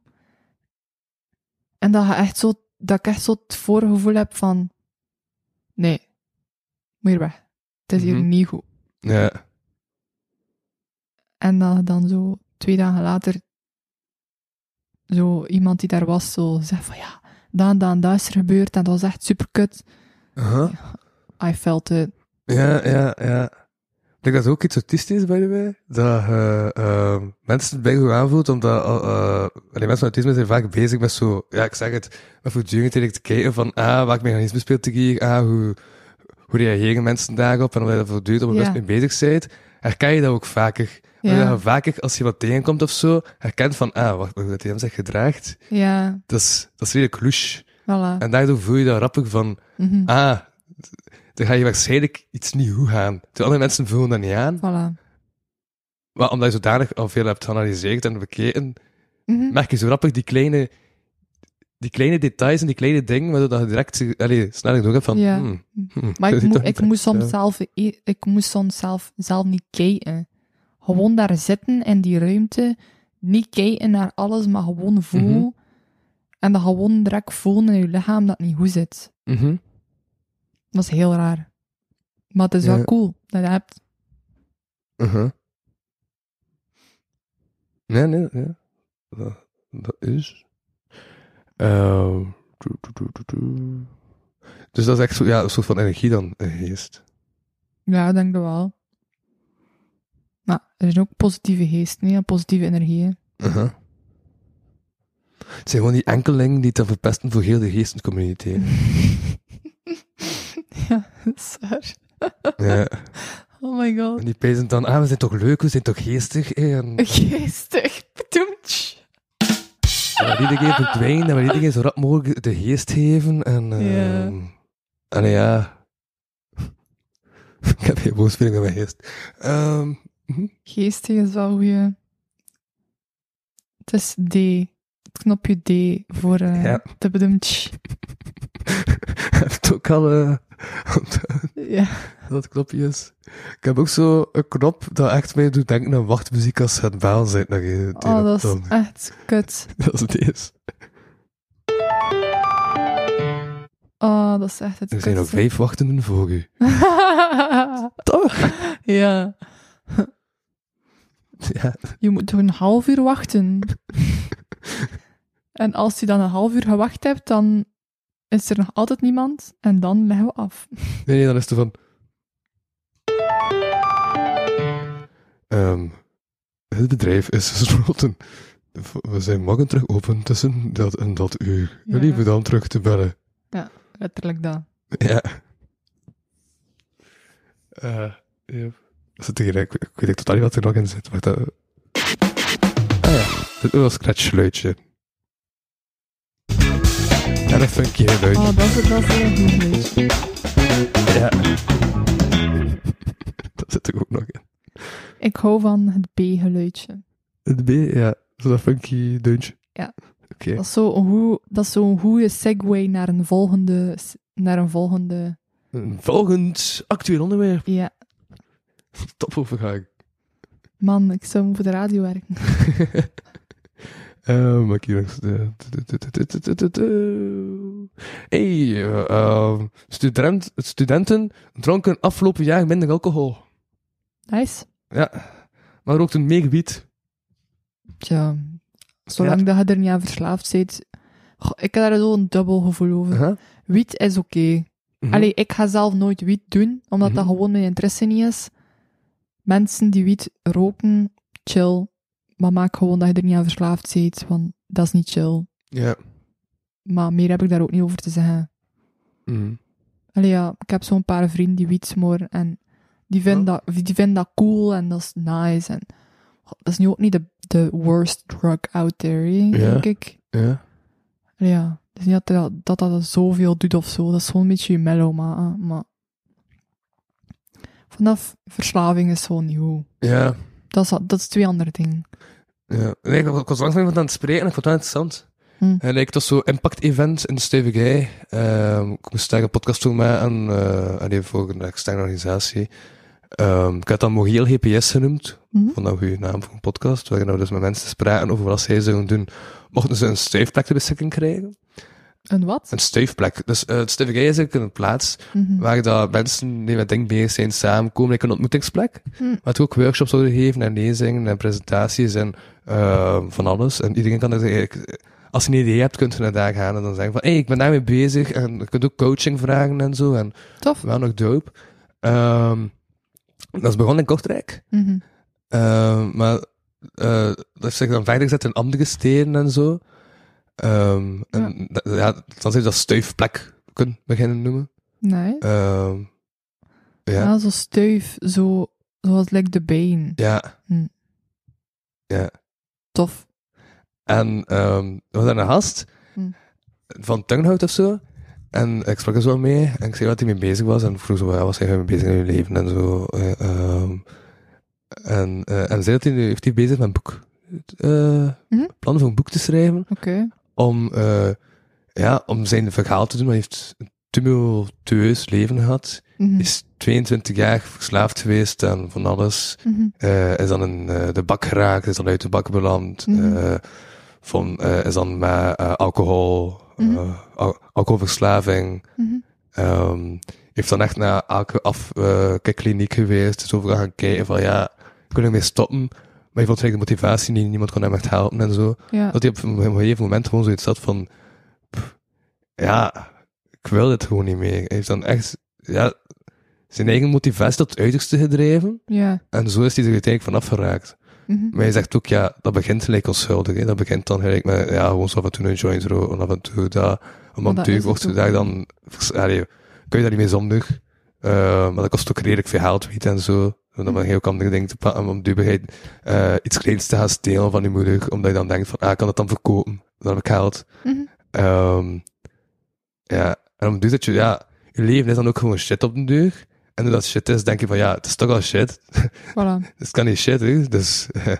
[SPEAKER 3] en dat, je echt zo, dat ik echt zo het voorgevoel heb van nee, moet hier weg. Het is hier
[SPEAKER 2] Mhm.
[SPEAKER 3] niet goed.
[SPEAKER 2] Ja.
[SPEAKER 3] En dat je dan zo twee dagen later zo iemand die daar was zo zegt van ja, daan, daan, dat is er gebeurd en dat was echt super kut.
[SPEAKER 2] Uh-huh.
[SPEAKER 3] I felt it.
[SPEAKER 2] Ja, ja, ja. Ik denk dat het ook iets autistisch bij mij. Dat eh, eh, mensen bij je aanvoelt, omdat eh, eh, allee, mensen met autisme zijn vaak bezig met zo, ja, ik zeg het, met voortdurend eigenlijk te kijken van, ah, welk mechanisme speelt ik hier? Ah, hoe, hoe reageren mensen daarop? En omdat je daar voortdurend op
[SPEAKER 3] Ja.
[SPEAKER 2] mee bezig bent, herken je dat ook vaker.
[SPEAKER 3] Ja.
[SPEAKER 2] Omdat je vaker, als je wat tegenkomt of zo, herkent van, ah, wacht, hoe dat hij hem zich gedraagt,
[SPEAKER 3] Ja,
[SPEAKER 2] dat is, dat is redelijk louche.
[SPEAKER 3] voilà.
[SPEAKER 2] En daardoor voel je daar rapper van,
[SPEAKER 3] Mhm.
[SPEAKER 2] ah, dan ga je waarschijnlijk iets niet goed gaan. Terwijl andere mensen voelen dat niet aan.
[SPEAKER 3] Voilà.
[SPEAKER 2] Maar omdat je zodanig al veel hebt geanalyseerd en bekeken,
[SPEAKER 3] Mhm.
[SPEAKER 2] merk je zo grappig die kleine, die kleine details en die kleine dingen, waardoor dat je direct allez, sneller door hebt van...
[SPEAKER 3] Ja.
[SPEAKER 2] hmm, hmm,
[SPEAKER 3] Maar ik,
[SPEAKER 2] dit
[SPEAKER 3] moe-
[SPEAKER 2] toch
[SPEAKER 3] ik,
[SPEAKER 2] niet
[SPEAKER 3] moest
[SPEAKER 2] echt, eh,
[SPEAKER 3] soms
[SPEAKER 2] ja.
[SPEAKER 3] zelf, i- ik moest soms zelf, zelf niet kijken. Gewoon daar zitten in die ruimte. Niet kijken naar alles, maar
[SPEAKER 2] Mhm.
[SPEAKER 3] gewoon voelen. En dan gewoon direct voelen in je lichaam dat het niet goed zit.
[SPEAKER 2] Mhm.
[SPEAKER 3] Dat is heel raar. Maar het is
[SPEAKER 2] Ja.
[SPEAKER 3] wel cool dat je dat hebt.
[SPEAKER 2] Uh-huh. Nee, nee, nee. Dat, dat is. Ehm, tu- tu- tu- tu- tu. Dus dat is echt zo, ja, een soort van energie dan, een geest.
[SPEAKER 3] Ja, ik denk dat wel. Maar er zijn ook positieve geesten, hè, en positieve energieën.
[SPEAKER 2] Uh-huh. Het zijn gewoon die enkelingen die het dan verpesten voor heel de geestencommunity. hè.
[SPEAKER 3] ja, dat is waar.
[SPEAKER 2] ja.
[SPEAKER 3] Oh my god.
[SPEAKER 2] En die pezen dan, ah, we zijn toch leuk, we zijn toch geestig. hè, En
[SPEAKER 3] Geestig. Bedoemtsch.
[SPEAKER 2] dat we iedereen verdwijnen en we iedereen zo rap mogelijk de geest geven. En,
[SPEAKER 3] Ja.
[SPEAKER 2] ehm, en ja. Ik heb geen woordspeling met mijn geest. Ehm,
[SPEAKER 3] Geestig is wel hoe je. Het is D. Het knopje D voor eh
[SPEAKER 2] Ja.
[SPEAKER 3] de bedoemtsch.
[SPEAKER 2] heb het ook al eh, onthouden,
[SPEAKER 3] Ja.
[SPEAKER 2] dat knopje is. Ik heb ook zo een knop dat echt mij doet denken aan wachtmuziek als ze aan het baal zijn. Dat, je-
[SPEAKER 3] Oh, dat is
[SPEAKER 2] dan-
[SPEAKER 3] echt kut.
[SPEAKER 2] dat is deze.
[SPEAKER 3] Oh, dat is echt het
[SPEAKER 2] Er zijn nog
[SPEAKER 3] kutste.
[SPEAKER 2] vijf wachtenden voor u.
[SPEAKER 3] Toch? Ja.
[SPEAKER 2] Ja,
[SPEAKER 3] Je moet toch een half uur wachten. en als je dan een half uur gewacht hebt, dan is er nog altijd niemand. En dan leggen we af.
[SPEAKER 2] Nee, nee, dan is het van. Ehm, het bedrijf is gesloten. We zijn morgen terug open tussen dat en dat uur.
[SPEAKER 3] Ja.
[SPEAKER 2] Jullie dan terug te bellen.
[SPEAKER 3] Letterlijk dat.
[SPEAKER 2] Ja. Eh ja. Zit hier, ik, ik weet totaal niet wat er nog in zit. Wacht, dat... Ah ja, dit was een scratchgeluidje. Ja, dat vind ik heel leuk.
[SPEAKER 3] Oh, dat is, dat is heel goed. geweest.
[SPEAKER 2] Ja. dat zit er ook nog in.
[SPEAKER 3] Ik hou van het B-geluidje.
[SPEAKER 2] Het B, ja. Zo dat funky deuntje.
[SPEAKER 3] Ja.
[SPEAKER 2] Oké.
[SPEAKER 3] Dat is zo'n goe- dat is zo'n goede segue naar een volgende... s- Naar een volgende...
[SPEAKER 2] Een Volgend actueel onderwerp.
[SPEAKER 3] Ja.
[SPEAKER 2] Top overgang.
[SPEAKER 3] Man, ik zou voor de radio werken.
[SPEAKER 2] Eh, maak hier nog... de- de- de- de- de- de- de- de- de- Hey, eh, ehm, student, studenten dronken afgelopen jaar minder alcohol.
[SPEAKER 3] Nice.
[SPEAKER 2] Ja. Maar rookten meer gebied.
[SPEAKER 3] Tja, zolang dat je er niet aan verslaafd bent... Goh, ik heb daar zo'n dubbel gevoel over. Wiet is oké.
[SPEAKER 2] Uh-huh. Mhm.
[SPEAKER 3] Allee, ik ga zelf nooit wiet doen, omdat dat
[SPEAKER 2] Mhm.
[SPEAKER 3] gewoon mijn interesse niet is. Mensen die wiet roken, chill. Maar maak gewoon dat je er niet aan verslaafd bent, want dat is niet chill.
[SPEAKER 2] Ja.
[SPEAKER 3] Maar meer heb ik daar ook niet over te zeggen.
[SPEAKER 2] Mhm.
[SPEAKER 3] Allee, ja, ik heb zo'n paar vrienden die wiet smoren en die vinden, dat, die vinden dat cool en dat is nice. En, Goh, dat is nu ook niet de, de worst drug out there, hè,
[SPEAKER 2] Ja.
[SPEAKER 3] denk ik.
[SPEAKER 2] Ja.
[SPEAKER 3] Allee, ja, het is niet dat dat, dat, dat zoveel doet of zo. Dat is gewoon een beetje mellow, maar, ah, maar... Vanaf verslaving is gewoon niet goed.
[SPEAKER 2] Ja.
[SPEAKER 3] Dat is, dat is twee andere dingen.
[SPEAKER 2] Ja. Nee, ik, ik was langs met iemand aan het spreken en ik vond het wel interessant.
[SPEAKER 3] Hm.
[SPEAKER 2] En ik was zo'n impact-event in de Stevigij. Ehm ik moest daar een podcast toe maken eh allee, voor een externe organisatie. Ehm, ik had dat Mogiel GPS genoemd.
[SPEAKER 3] Mhm.
[SPEAKER 2] Ik vond dat een goede naam voor een podcast. Waarin we dus met mensen spraken over wat zij zouden doen. Mochten ze een stuifplek te beschikking krijgen?
[SPEAKER 3] Een wat?
[SPEAKER 2] Een stuifplek. Dus eh het Stevigij is eigenlijk een plaats
[SPEAKER 3] Mhm.
[SPEAKER 2] waar dat mensen die met dingen bezig zijn samenkomen, like een ontmoetingsplek.
[SPEAKER 3] Hm.
[SPEAKER 2] Waar het ook workshops worden gegeven en lezingen en presentaties en eh, van alles. En iedereen kan dus eigenlijk, als je een idee hebt, kunt je naar daar gaan en dan zeggen van, hey, ik ben daarmee bezig en je kunt ook coaching vragen en zo. En
[SPEAKER 3] Tof.
[SPEAKER 2] wel nog dope. Ehm, dat is begonnen in Kortrijk.
[SPEAKER 3] Mhm.
[SPEAKER 2] Ehm, maar eh, dat is zich dan verder gezet in andere steden en zo. Ehm, en dat- ja, dan zou je dat stuifplek kunnen beginnen noemen.
[SPEAKER 3] Nee.
[SPEAKER 2] Ehm, ja.
[SPEAKER 3] Ah, zo stuif, zo, zoals like de been.
[SPEAKER 2] Ja.
[SPEAKER 3] Hm.
[SPEAKER 2] Ja.
[SPEAKER 3] Tof.
[SPEAKER 2] En ehm we hadden een gast
[SPEAKER 3] Hm.
[SPEAKER 2] van Tunghout of zo. En ik sprak er zo mee en ik zei wat hij mee bezig was. En ik vroeg zo, ja, wat zijn jij mee bezig in je leven en zo. eh, ehm. en, eh, en zei dat hij nu heeft hij bezig met een boek. eh
[SPEAKER 3] Hm?
[SPEAKER 2] Plannen voor een boek te schrijven.
[SPEAKER 3] Oké.
[SPEAKER 2] Om, eh, ja, om zijn verhaal te doen. Hij heeft een tumultueus leven gehad.
[SPEAKER 3] Mhm.
[SPEAKER 2] Is 22 jaar verslaafd geweest aan van alles.
[SPEAKER 3] Mhm.
[SPEAKER 2] eh is dan in eh, de bak geraakt, is dan uit de bak beland. eh
[SPEAKER 3] Mhm.
[SPEAKER 2] van, eh, is dan met eh, alcohol, eh,
[SPEAKER 3] Mhm.
[SPEAKER 2] al- alcoholverslaving.
[SPEAKER 3] Mhm.
[SPEAKER 2] ehm, heeft dan echt naar elke afkikkliniek geweest. Is overal gaan kijken van ja, kun ik mee stoppen? Maar je vond eigenlijk de motivatie niet, niemand kon hem echt helpen en zo.
[SPEAKER 3] Ja.
[SPEAKER 2] Dat hij op een gegeven moment gewoon zoiets had van... pff, ja, ik wil dit gewoon niet meer. Hij heeft dan echt ja, zijn eigen motivatie tot het uiterste gedreven.
[SPEAKER 3] Ja.
[SPEAKER 2] En zo is hij er uiteindelijk vanaf geraakt.
[SPEAKER 3] Mhm.
[SPEAKER 2] Maar je zegt ook, ja, dat begint gelijk als schuldig. Hè? Dat begint dan gelijk met, ja, gewoon zo af en toe een joint roken, af en toe dat.
[SPEAKER 3] Maar dat
[SPEAKER 2] Een montuur
[SPEAKER 3] is
[SPEAKER 2] wordt
[SPEAKER 3] het
[SPEAKER 2] je
[SPEAKER 3] ook.
[SPEAKER 2] daar dan... vers- Allee, kun je daar niet mee zondig. Eh, maar dat kost ook redelijk veel geld, weet je, en zo. En
[SPEAKER 3] Mhm.
[SPEAKER 2] dan ben je ook andere dingen te pakken. Om duurbaarheid eh iets kleins te gaan stelen van je moeder. Omdat je dan denkt van, ah, ik kan dat dan verkopen? Dan heb ik geld.
[SPEAKER 3] Mhm.
[SPEAKER 2] Ehm, ja, en om duur dat je, ja... Je leven is dan ook gewoon shit op de deur. En doordat shit is, denk je van, ja, het is toch al shit.
[SPEAKER 3] Voilà.
[SPEAKER 2] Dus het kan niet shit, hè. Dus eh,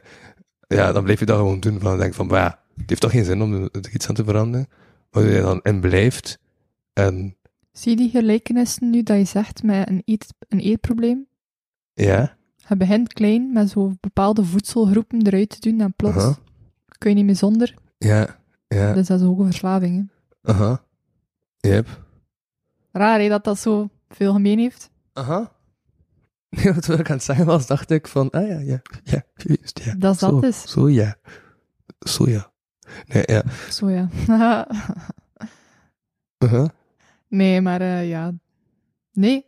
[SPEAKER 2] ja, dan blijf je dat gewoon doen. Van, dan denk ik van, maar ja, het heeft toch geen zin om er iets aan te veranderen. Waar je dan in blijft. En
[SPEAKER 3] Zie je die gelijkenissen nu dat je zegt met een, eet, een eetprobleem?
[SPEAKER 2] ja,
[SPEAKER 3] Je begint klein met zo bepaalde voedselgroepen eruit te doen en plots
[SPEAKER 2] Aha.
[SPEAKER 3] kun je niet meer zonder.
[SPEAKER 2] ja, ja,
[SPEAKER 3] Dus dat is ook een verslaving. Hè.
[SPEAKER 2] aha, yep.
[SPEAKER 3] Raar hè, dat dat zo veel gemeen heeft.
[SPEAKER 2] Aha. Nee, wat ik aan het zeggen was, dacht ik van, ah ja, ja, ja, juist, ja.
[SPEAKER 3] Dat is
[SPEAKER 2] zo,
[SPEAKER 3] dat dus.
[SPEAKER 2] Zo ja, zo ja. Nee, ja,
[SPEAKER 3] Zo ja.
[SPEAKER 2] aha,
[SPEAKER 3] nee, maar eh, ja. Nee.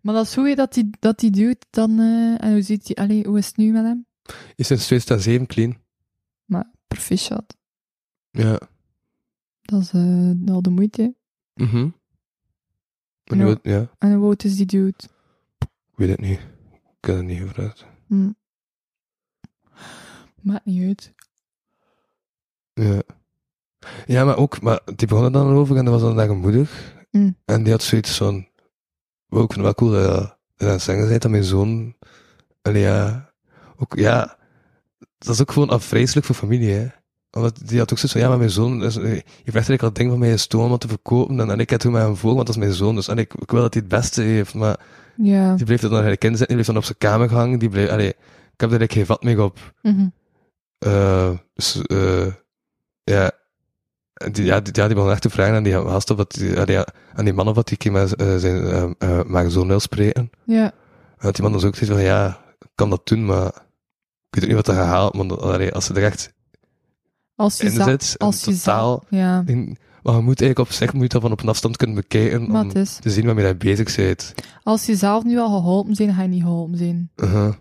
[SPEAKER 3] Maar dat is hoe je dat die, dat die duwt dan. eh, en hoe, ziet die, allee, hoe is het nu met hem?
[SPEAKER 2] Is sinds 2007 clean.
[SPEAKER 3] Maar proficiat.
[SPEAKER 2] Ja.
[SPEAKER 3] Dat is eh, al de moeite. hè.
[SPEAKER 2] Mhm. Maar nu
[SPEAKER 3] Ja.
[SPEAKER 2] het- ja, ik
[SPEAKER 3] En hoe oud is die duwt?
[SPEAKER 2] weet het niet. Ik kan het niet over uit.
[SPEAKER 3] Hm. Maakt niet uit.
[SPEAKER 2] Ja. Ja, maar ook, maar die begon er dan over en dat was dan naar een moeder.
[SPEAKER 3] Mm.
[SPEAKER 2] En die had zoiets van, wow, ik vind het wel cool dat je dat aan het zeggen bent, dat mijn zoon, allee, ja, ook, ja, dat is ook gewoon afvreselijk voor familie, hè. Omdat die had ook zoiets van, ja, maar mijn zoon, is, eh, je vraagt eigenlijk al dingen van mijn stoom om te verkopen, en, en ik heb toen met hem voor, want dat is mijn zoon, dus en ik, ik wil dat hij het beste heeft, maar
[SPEAKER 3] Ja.
[SPEAKER 2] die bleef dat dan naar de kind zitten, die bleef dan op zijn kamer hangen, die bleef, allee, ik heb daar eigenlijk geen vat mee op.
[SPEAKER 3] Mhm.
[SPEAKER 2] Eh, dus, eh, ja, die, ja, die, ja, die begon echt te vragen aan die gast of wat, die, aan, die, aan die man of wat die keer met eh, zijn, eh, eh, maar zoon wil spreken.
[SPEAKER 3] Ja.
[SPEAKER 2] En dat die man dan zo ook zegt van, ja, ik kan dat doen, maar ik weet ook niet wat dat gaat halen, want allee, als ze er echt
[SPEAKER 3] Als je
[SPEAKER 2] in
[SPEAKER 3] za-
[SPEAKER 2] zit,
[SPEAKER 3] als je
[SPEAKER 2] in totaal,
[SPEAKER 3] za- Ja.
[SPEAKER 2] in- maar je moet eigenlijk op zich moet je dat van op een afstand kunnen bekijken
[SPEAKER 3] Maar
[SPEAKER 2] om
[SPEAKER 3] het is.
[SPEAKER 2] te zien waarmee je bezig bent.
[SPEAKER 3] Als je zelf nu al geholpen bent, ga je niet geholpen zijn.
[SPEAKER 2] Uh-huh.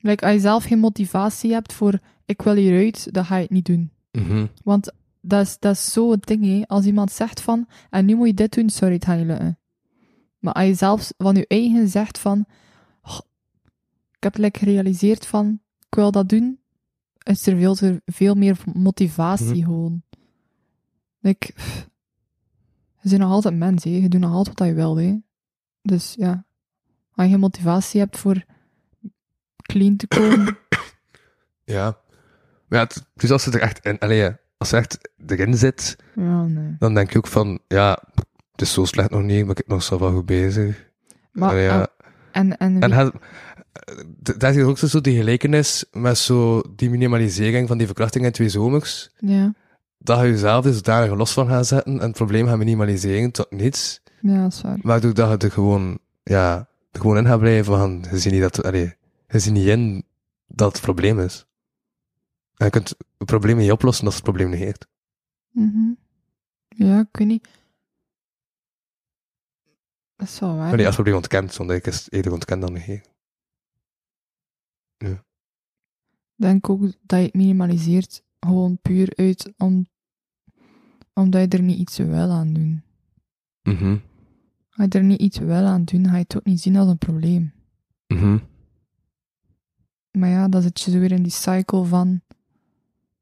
[SPEAKER 3] Like, als je zelf geen motivatie hebt voor ik wil hieruit, dan ga je het niet doen.
[SPEAKER 2] Mhm.
[SPEAKER 3] Want dat is, dat is zo'n ding, hè. Als iemand zegt van, en nu moet je dit doen, sorry, het gaat niet lukken. Maar als je zelfs van je eigen zegt van, "Goh, ik heb lekker gerealiseerd van, ik wil dat doen, is er veel, te- veel meer motivatie
[SPEAKER 2] Mhm.
[SPEAKER 3] gewoon. Ik, je bent nog altijd mens, hè. Je doet nog altijd wat je wil, hè. Dus ja, als je geen motivatie hebt voor clean te komen,
[SPEAKER 2] Ja. Maar ja, het- dus als ze er echt in, allee, ja, als ze echt erin zit,
[SPEAKER 3] ja, nee.
[SPEAKER 2] dan denk je ook van, ja, het is zo slecht nog niet, maar ik ben nog zo wel goed bezig.
[SPEAKER 3] Maar, ah,
[SPEAKER 2] Allee, ja.
[SPEAKER 3] en, en,
[SPEAKER 2] En hij- d- daar zit ook zo die gelijkenis met zo die minimalisering van die verkrachting in twee zomers.
[SPEAKER 3] ja,
[SPEAKER 2] Dat je jezelf dus daar los van gaat zetten en het probleem gaat minimaliseren tot niets.
[SPEAKER 3] ja, dat is waar.
[SPEAKER 2] Waardoor dat je er gewoon, ja, er gewoon in gaat blijven van, je ziet niet dat, allee, je ziet niet in dat het probleem is. En je kunt het probleem niet oplossen als het probleem niet heeft.
[SPEAKER 3] Mhm. Ja, ik weet niet. Dat is wel waar.
[SPEAKER 2] Nee, als het probleem ontkent, want ik is het eerder ontkend dan gegeven.
[SPEAKER 3] Ik denk ook dat je het minimaliseert gewoon puur uit om, omdat je er niet iets wel aan doet.
[SPEAKER 2] Mhm.
[SPEAKER 3] Als je er niet iets wel aan doet, ga je het ook niet zien als een probleem.
[SPEAKER 2] Mhm.
[SPEAKER 3] Maar ja, dan zit je zo weer in die cycle van...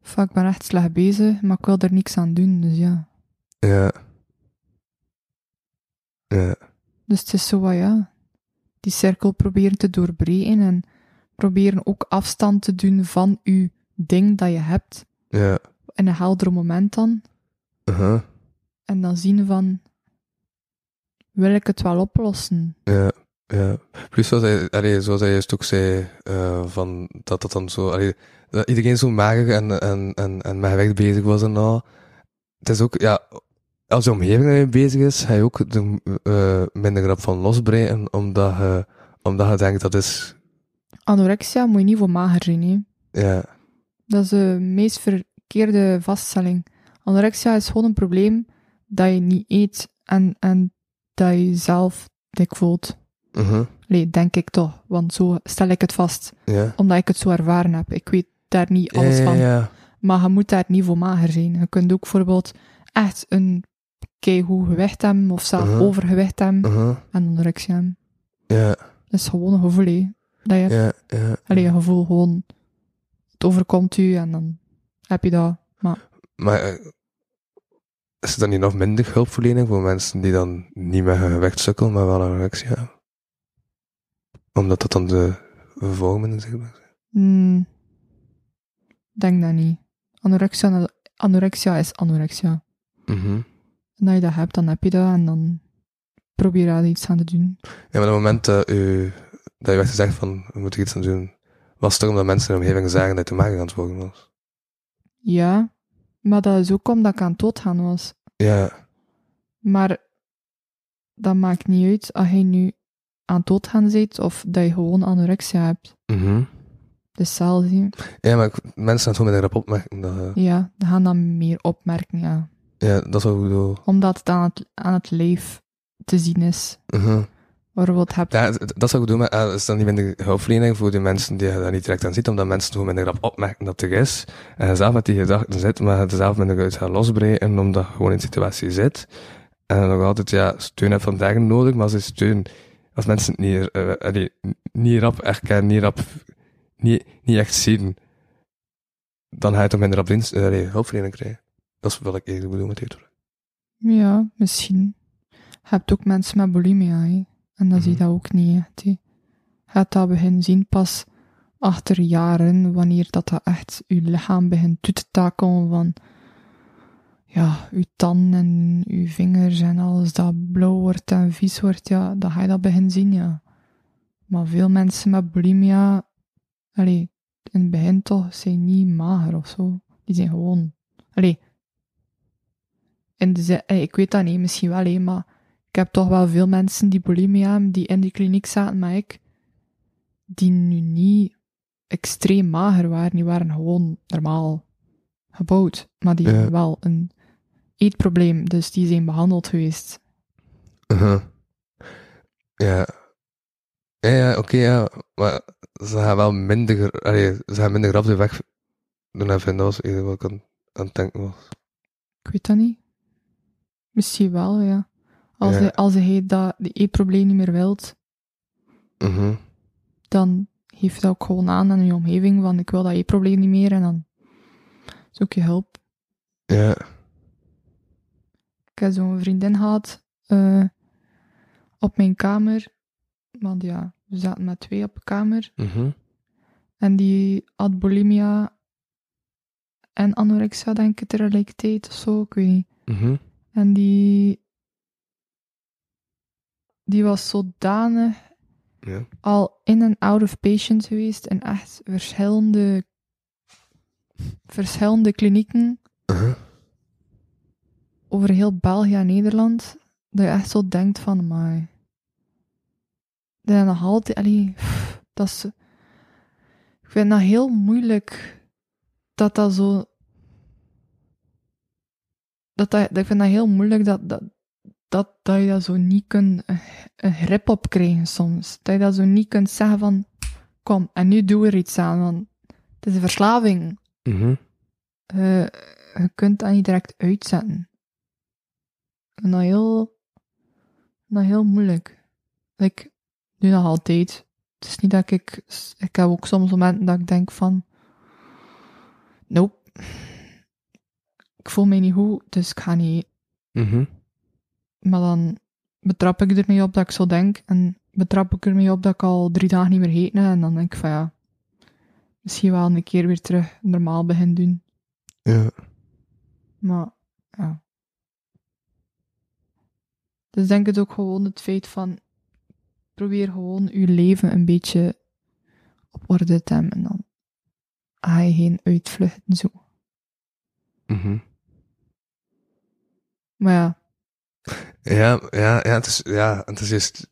[SPEAKER 3] Fuck, ik ben echt slecht bezig, maar ik wil er niks aan doen, dus ja.
[SPEAKER 2] Ja. Ja.
[SPEAKER 3] Dus het is zo wat, ja... Die cirkel proberen te doorbreken en proberen ook afstand te doen van je ding dat je hebt.
[SPEAKER 2] Ja.
[SPEAKER 3] in een helder moment dan.
[SPEAKER 2] Uh-huh.
[SPEAKER 3] En dan zien van, wil ik het wel oplossen?
[SPEAKER 2] Ja. Ja. Plus, zoals hij, allee, zoals hij juist ook zei, eh, van dat dat dan zo... Allee, dat iedereen zo mager en, en, en, en met werk bezig was en al. Het is ook, ja... Als je omgeving ermee bezig is, ga je ook de, eh, minder grap van losbreken, omdat je, omdat je denkt dat is...
[SPEAKER 3] Anorexia moet je niet voor mager zijn, hè.
[SPEAKER 2] Ja.
[SPEAKER 3] Dat is de meest verkeerde vaststelling. Anorexia is gewoon een probleem dat je niet eet en, en dat je jezelf dik voelt.
[SPEAKER 2] Mhm.
[SPEAKER 3] Nee, denk ik toch, want zo stel ik het vast.
[SPEAKER 2] Ja.
[SPEAKER 3] Omdat ik het zo ervaren heb. Ik weet daar niet
[SPEAKER 2] Ja,
[SPEAKER 3] alles
[SPEAKER 2] ja,
[SPEAKER 3] van.
[SPEAKER 2] ja.
[SPEAKER 3] Maar je moet daar niet voor mager zijn. Je kunt ook bijvoorbeeld echt een keigoed gewicht hebben, of zelf
[SPEAKER 2] Mhm.
[SPEAKER 3] overgewicht hebben.
[SPEAKER 2] Uh-huh.
[SPEAKER 3] en anorexia hebben.
[SPEAKER 2] Ja,
[SPEAKER 3] Dat is gewoon een gevoel, hè. Dat je,
[SPEAKER 2] ja, ja.
[SPEAKER 3] allee, een gevoel gewoon, het overkomt u en dan heb je dat.
[SPEAKER 2] Maar eh, is er dan niet nog minder hulpverlening voor mensen die dan niet met hun gewicht sukkelen, maar wel een reactie hebben? Omdat dat dan de vormen in zich brengt?
[SPEAKER 3] Hmm, denk dat niet. Anorexia, anorexia is anorexia.
[SPEAKER 2] Mhm.
[SPEAKER 3] En dat je dat hebt, dan heb je dat en dan probeer je daar iets aan te doen.
[SPEAKER 2] Ja, maar op het moment dat, u, dat je werd gezegd van, we moeten hier iets aan doen, was het toch omdat mensen in de omgeving zagen dat je te maken aan het worden was?
[SPEAKER 3] Ja, maar dat is ook omdat ik aan het doodgaan was.
[SPEAKER 2] Ja,
[SPEAKER 3] Maar dat maakt niet uit als je nu aan het doodgaan bent of dat je gewoon anorexia hebt.
[SPEAKER 2] mhm.
[SPEAKER 3] Dus zelfs, hè.
[SPEAKER 2] ja maar ik- mensen gaan het gewoon met een rap opmerken. Dat, eh,
[SPEAKER 3] Ja, dan gaan dan meer opmerken, ja.
[SPEAKER 2] ja, dat is wat ik bedoel.
[SPEAKER 3] Omdat het aan het, aan het lijf te zien is.
[SPEAKER 2] Mhm.
[SPEAKER 3] Bijvoorbeeld heb
[SPEAKER 2] Ja, d- dat zou ik doen, maar eh, is dan niet minder hulpverlening voor die mensen die je daar niet direct aan ziet, omdat mensen gewoon minder grap opmerken dat er is. En je zelf met die gedachten zit, maar het zelf minder uit gaat losbreken, omdat je gewoon in de situatie zit. En nog altijd, ja, steun heb vandaag nodig, maar als je steun, als mensen het niet, eh, eh, die- niet rap erkennen, niet rap, niet, niet echt zien, dan ga je toch minder rap dienst, eh, nee, hulpverlening krijgen. Dat is wat ik eigenlijk bedoel met dit.
[SPEAKER 3] Ja, misschien. Je hebt ook mensen met bulimia, hè. En dan zie je dat ook niet echt, hè. Je gaat dat beginnen zien pas achter jaren, wanneer dat, dat echt uw lichaam begint toe te takelen van ja, uw tanden en uw vingers en alles dat blauw wordt en vies wordt, ja, dan ga je dat beginnen zien, ja. Maar veel mensen met bulimia, allee, in het begin toch, zijn niet mager of zo. Die zijn gewoon, allee, in de zin- allee, eh, ik weet dat niet, misschien wel, hé, maar ik heb toch wel veel mensen die bulimia hebben, die in de kliniek zaten, maar ik, die nu niet extreem mager waren, die waren gewoon normaal gebouwd, maar die
[SPEAKER 2] Ja.
[SPEAKER 3] hebben wel een eetprobleem, dus die zijn behandeld geweest.
[SPEAKER 2] Uh-huh. Ja. Ja, ja oké, ja. Maar ze gaan wel minder... Allee, ze gaan minder rap de weg doen naar vinden, als eerder wat ik aan, aan het denken was.
[SPEAKER 3] Ik weet dat niet. Misschien wel, ja. Als,
[SPEAKER 2] Ja.
[SPEAKER 3] Hij, als hij dat die eetprobleem niet meer wilt,
[SPEAKER 2] Mhm.
[SPEAKER 3] dan geef dat ook gewoon aan aan je omgeving, van ik wil dat eetprobleem niet meer, en dan zoek je hulp.
[SPEAKER 2] Ja.
[SPEAKER 3] Ik heb zo'n vriendin gehad eh, op mijn kamer. Want ja, we zaten met twee op de kamer.
[SPEAKER 2] Mhm.
[SPEAKER 3] En die had bulimia en anorexia, denk ik, tegelijkertijd of zo. Ik weet niet.
[SPEAKER 2] Mhm.
[SPEAKER 3] En die... Die was zodanig
[SPEAKER 2] Ja.
[SPEAKER 3] al in en out of patient geweest. En echt verschillende... Verschillende klinieken
[SPEAKER 2] Uh-huh.
[SPEAKER 3] over heel België en Nederland, dat je echt zo denkt van, maar... Dat je nog altijd... Allee, pff, dat is... Ik vind dat heel moeilijk, dat dat zo... Dat dat, dat- ik vind dat heel moeilijk dat, dat, dat, dat je daar zo niet kunt een- een grip op krijgen soms. Dat je dat zo niet kunt zeggen van, kom, en nu doe er iets aan, want het is een verslaving
[SPEAKER 2] Mhm.
[SPEAKER 3] eh je kunt dat niet direct uitzetten. En dat heel, dat heel moeilijk. Ik doe dat altijd. Het is niet dat ik, ik heb ook soms momenten dat ik denk van, nope, ik voel mij niet goed, dus ik ga niet.
[SPEAKER 2] Mhm.
[SPEAKER 3] Maar dan betrap ik ermee op dat ik zo denk en betrap ik ermee op dat ik al drie dagen niet meer gegeten heb. En dan denk ik van ja, misschien wel een keer weer terug normaal beginnen doen.
[SPEAKER 2] Ja.
[SPEAKER 3] Maar, ja. Dus denk het ook gewoon het feit van, probeer gewoon je leven een beetje op orde te hebben en dan ga je geen uitvluchten zo.
[SPEAKER 2] Mhm.
[SPEAKER 3] Maar ja,
[SPEAKER 2] Ja, ja, ja, het is, ja, het is juist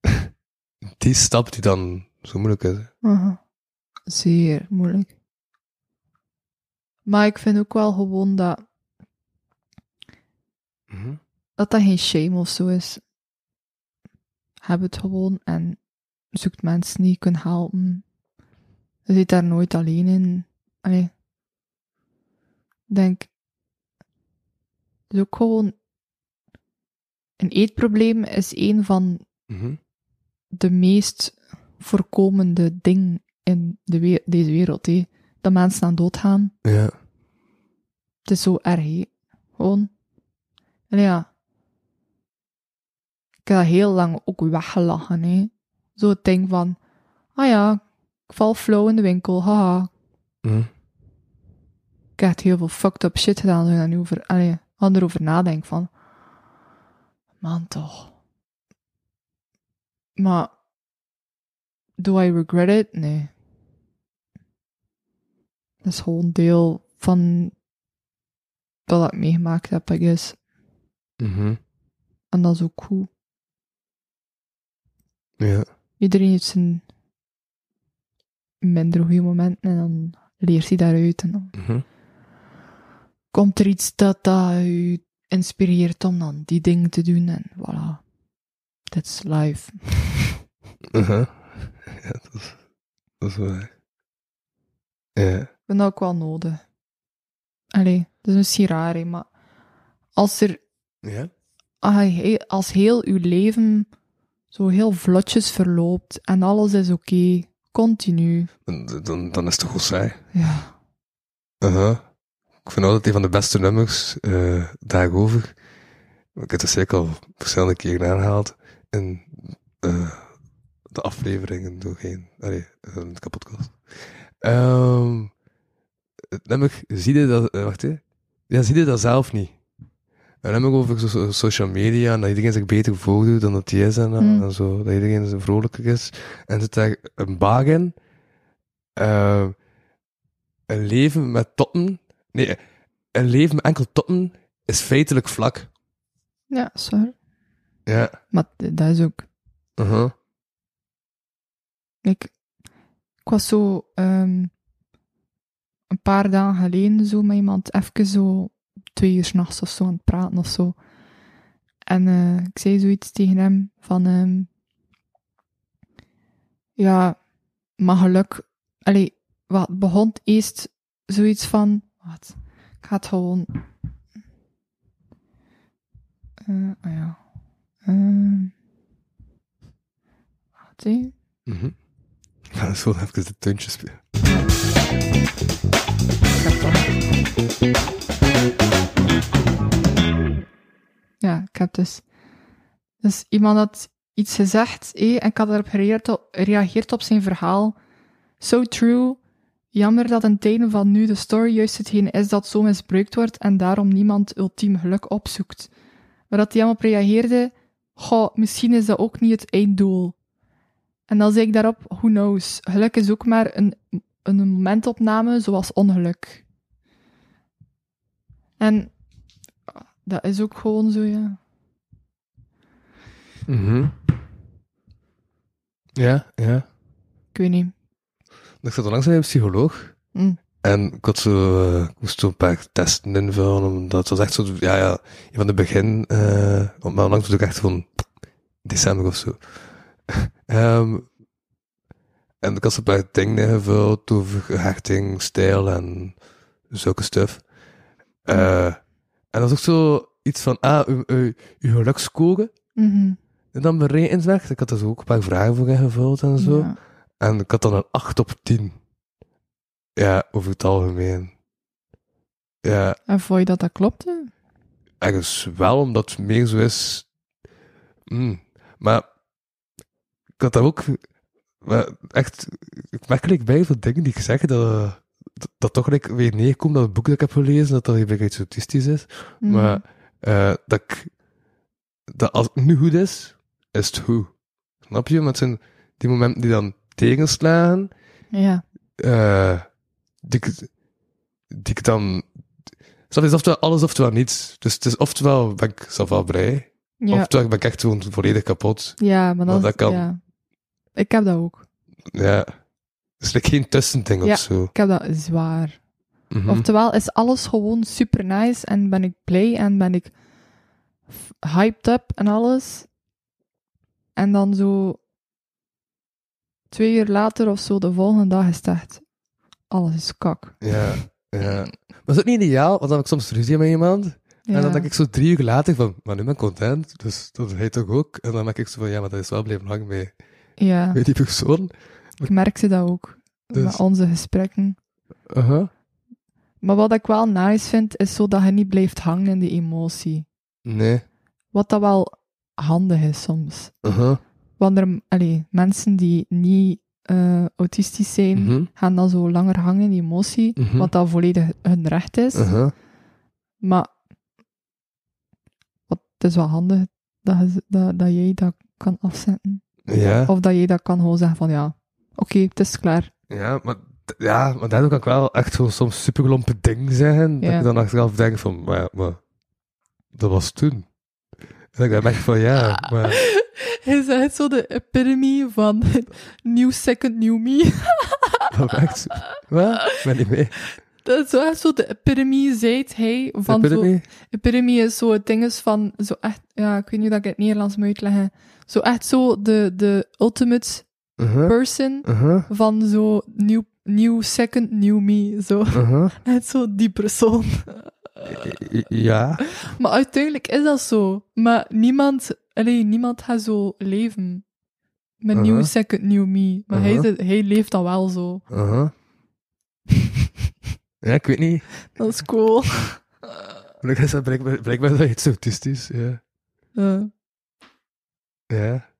[SPEAKER 2] die stap die dan zo moeilijk is. hè.
[SPEAKER 3] aha. zeer moeilijk. Maar ik vind ook wel gewoon dat
[SPEAKER 2] Mhm.
[SPEAKER 3] dat, dat geen shame of zo is. Heb het gewoon en zoekt mensen die je kunt helpen. Je zit daar nooit alleen in. Allee. Ik Denk. Het is ook gewoon. Een eetprobleem is een van
[SPEAKER 2] Mhm.
[SPEAKER 3] de meest voorkomende dingen in de we- deze wereld. Hé. Dat mensen aan doodgaan.
[SPEAKER 2] Ja.
[SPEAKER 3] Het is zo erg, hè. Gewoon. En ja. Ik heb dat heel lang ook weggelachen, hè. Zo het ding van... Ah ja, ik val flow in de winkel, haha.
[SPEAKER 2] Mhm.
[SPEAKER 3] Ik heb echt heel veel fucked up shit gedaan. En nu over, allee, aan erover nadenk van... Man, toch. Maar... Do I regret it? Nee. Dat is gewoon deel van... Wat ik meegemaakt heb, I guess.
[SPEAKER 2] Mhm.
[SPEAKER 3] En dat is ook goed.
[SPEAKER 2] Ja.
[SPEAKER 3] Iedereen heeft zijn minder goede momenten en dan leert hij daaruit. En dan
[SPEAKER 2] Mhm.
[SPEAKER 3] komt er iets dat, dat u inspireert om dan die dingen te doen. En voilà. That's life.
[SPEAKER 2] Uh-huh. Ja, dat is, dat is waar. Ja.
[SPEAKER 3] Ik vind dat ook wel nodig. Allee, dat is misschien raar, hè, maar als er
[SPEAKER 2] Ja?
[SPEAKER 3] als hij he- als heel uw leven zo heel vlotjes verloopt en alles is oké, continu,
[SPEAKER 2] Dan, dan, dan is het toch wel saai.
[SPEAKER 3] ja,
[SPEAKER 2] Uh-huh. Ik vind altijd een van de beste nummers, eh daarover. Ik heb het zeker al verschillende keren aangehaald. En eh, de afleveringen doorheen. Allee, eh, de kapotkast. Ehm het nummer, zie je dat... eh, wacht, hè. Ja, zie je dat zelf niet. Een nummer over so- so- social media en dat iedereen zich beter voordoet dan dat hij is en, eh,
[SPEAKER 3] Hmm.
[SPEAKER 2] en zo. Dat iedereen zo vrolijker is. En zit daar een baag in. Ehm, een leven met toppen... Nee, een leven met enkel toppen is feitelijk vlak.
[SPEAKER 3] Ja, sorry.
[SPEAKER 2] Ja.
[SPEAKER 3] Maar d- dat is ook...
[SPEAKER 2] Uh-huh.
[SPEAKER 3] Ik, ik was zo ehm, een paar dagen geleden zo met iemand even zo twee uur 's nachts of zo aan het praten of zo. En eh, ik zei zoiets tegen hem van... ehm, ja, maar geluk... Allee, wat het begon eerst zoiets van... Wat? Ik ga het gewoon... Eh, ah ja. Ehm. wacht, hè.
[SPEAKER 2] Mhm. Ja, dat is wel even de tuntje spelen.
[SPEAKER 3] Ja, ik heb dus. Dus iemand had iets gezegd hé, en ik had daarop gereageerd op, gereageerd op zijn verhaal. So true. Jammer dat in tijden van nu de story juist hetgeen is dat zo misbruikt wordt en daarom niemand ultiem geluk opzoekt. Maar dat hij hem op reageerde, goh, misschien is dat ook niet het einddoel. En dan zei ik daarop, who knows, geluk is ook maar een, een momentopname zoals ongeluk. En dat is ook gewoon zo, ja.
[SPEAKER 2] Ja, ja.
[SPEAKER 3] Ik weet niet.
[SPEAKER 2] Ik zat onlangs bij een psycholoog.
[SPEAKER 3] Mm.
[SPEAKER 2] En ik, had zo, eh, ik moest zo een paar testen invullen. Omdat het was echt zo, ja, ja, een van de begin. eh want maar onlangs was ik echt van december of zo. Ehm, en ik had zo een paar dingen ingevuld over hechting, stijl en zulke stuff. Eh, en dat was ook zo iets van, ah, uw, uw, uw geluksscore.
[SPEAKER 3] Mhm.
[SPEAKER 2] En dan berekend Ik had er zo ook een paar vragen voor ingevuld en zo.
[SPEAKER 3] Ja.
[SPEAKER 2] En ik had dan een 8 op 10. Ja, over het algemeen. Ja,
[SPEAKER 3] En vond je dat dat klopte?
[SPEAKER 2] ergens wel, omdat het meer zo is. Mm. Maar ik had daar ook maar echt opmerkelijk bij veel dingen die ik zeg, dat, eh, dat, dat toch like, weer neerkomt dat het boek dat ik heb gelezen, dat dat weer iets autistisch is.
[SPEAKER 3] Mhm.
[SPEAKER 2] Maar eh, dat, ik, dat als het nu goed is, is het goed. Snap je? Maar het zijn die momenten die dan tegenslaan,
[SPEAKER 3] Ja.
[SPEAKER 2] eh, die, ik- die ik dan... Snap je? Het is oftewel alles, oftewel niets. Dus het is oftewel ben ik zelf wel blij,
[SPEAKER 3] Ja.
[SPEAKER 2] oftewel ben ik echt gewoon volledig kapot.
[SPEAKER 3] ja, maar dat,
[SPEAKER 2] Maar dat kan.
[SPEAKER 3] Ja. Ik heb dat ook.
[SPEAKER 2] Ja. Dus er is geen tussending
[SPEAKER 3] Ja.
[SPEAKER 2] of zo.
[SPEAKER 3] Ik heb dat zwaar.
[SPEAKER 2] Mhm.
[SPEAKER 3] Oftewel is alles gewoon super nice en ben ik blij en ben ik f- hyped up en alles. En dan zo twee uur later of zo de volgende dag is het echt alles is kak.
[SPEAKER 2] Ja, ja. Maar is het niet ideaal? Want dan heb ik soms ruzie met iemand.
[SPEAKER 3] Ja.
[SPEAKER 2] En dan denk ik zo drie uur later van, maar nu ben ik content, dus dat heet toch ook? En dan merk ik zo van, ja, maar dat is wel blijven hangen bij,
[SPEAKER 3] ja,
[SPEAKER 2] bij die persoon.
[SPEAKER 3] ik merk ze dat ook.
[SPEAKER 2] Dus-
[SPEAKER 3] Met onze gesprekken.
[SPEAKER 2] Uh-huh.
[SPEAKER 3] Maar wat ik wel nice vind, is zo dat je niet blijft hangen in die emotie.
[SPEAKER 2] Nee.
[SPEAKER 3] Wat dat wel handig is soms.
[SPEAKER 2] Uh-huh.
[SPEAKER 3] Want er, allee, mensen die niet eh, autistisch zijn,
[SPEAKER 2] Mhm.
[SPEAKER 3] gaan dan zo langer hangen in die emotie,
[SPEAKER 2] Mhm.
[SPEAKER 3] wat dat volledig hun recht is.
[SPEAKER 2] Uh-huh.
[SPEAKER 3] Maar wat, het is wel handig dat, je, dat, dat jij dat kan afzetten.
[SPEAKER 2] Ja.
[SPEAKER 3] Of dat jij dat kan gewoon zeggen van ja, oké, het is klaar.
[SPEAKER 2] Ja, maar, d- ja, maar daardoor kan ik wel echt zo soms superlompe dingen zeggen, dat
[SPEAKER 3] Ja.
[SPEAKER 2] ik dan achteraf denk van, maar, ja, maar dat was toen. En dat ik dan merk van, ja, maar...
[SPEAKER 3] Hij is echt zo de epitome van new second new me.
[SPEAKER 2] Dat was echt zo. Wat? Ik ben niet mee.
[SPEAKER 3] Dat is zo echt zo de epitome, zijt hij. Van
[SPEAKER 2] Heb je dat
[SPEAKER 3] zo,
[SPEAKER 2] mee?
[SPEAKER 3] epitome is zo het ding is van, zo echt, ja, ik weet niet hoe dat ik het in het Nederlands moet uitleggen. Zo echt zo de, de ultimate
[SPEAKER 2] Uh-huh.
[SPEAKER 3] person
[SPEAKER 2] Uh-huh.
[SPEAKER 3] van zo new, new second, new me. Zo,
[SPEAKER 2] Uh-huh.
[SPEAKER 3] net zo die persoon.
[SPEAKER 2] I- Ja.
[SPEAKER 3] Maar uiteindelijk is dat zo. Maar niemand, alleen niemand gaat zo leven. Met new
[SPEAKER 2] Uh-huh.
[SPEAKER 3] second, new me. Maar hij
[SPEAKER 2] Uh-huh.
[SPEAKER 3] is hij, hij leeft dan wel zo.
[SPEAKER 2] Uh-huh. Ja, ik weet niet.
[SPEAKER 3] Dat is cool.
[SPEAKER 2] Gelukkig is dat blijkbaar, blijkbaar is dat iets autistisch, ja.
[SPEAKER 3] Ja.
[SPEAKER 2] Ja.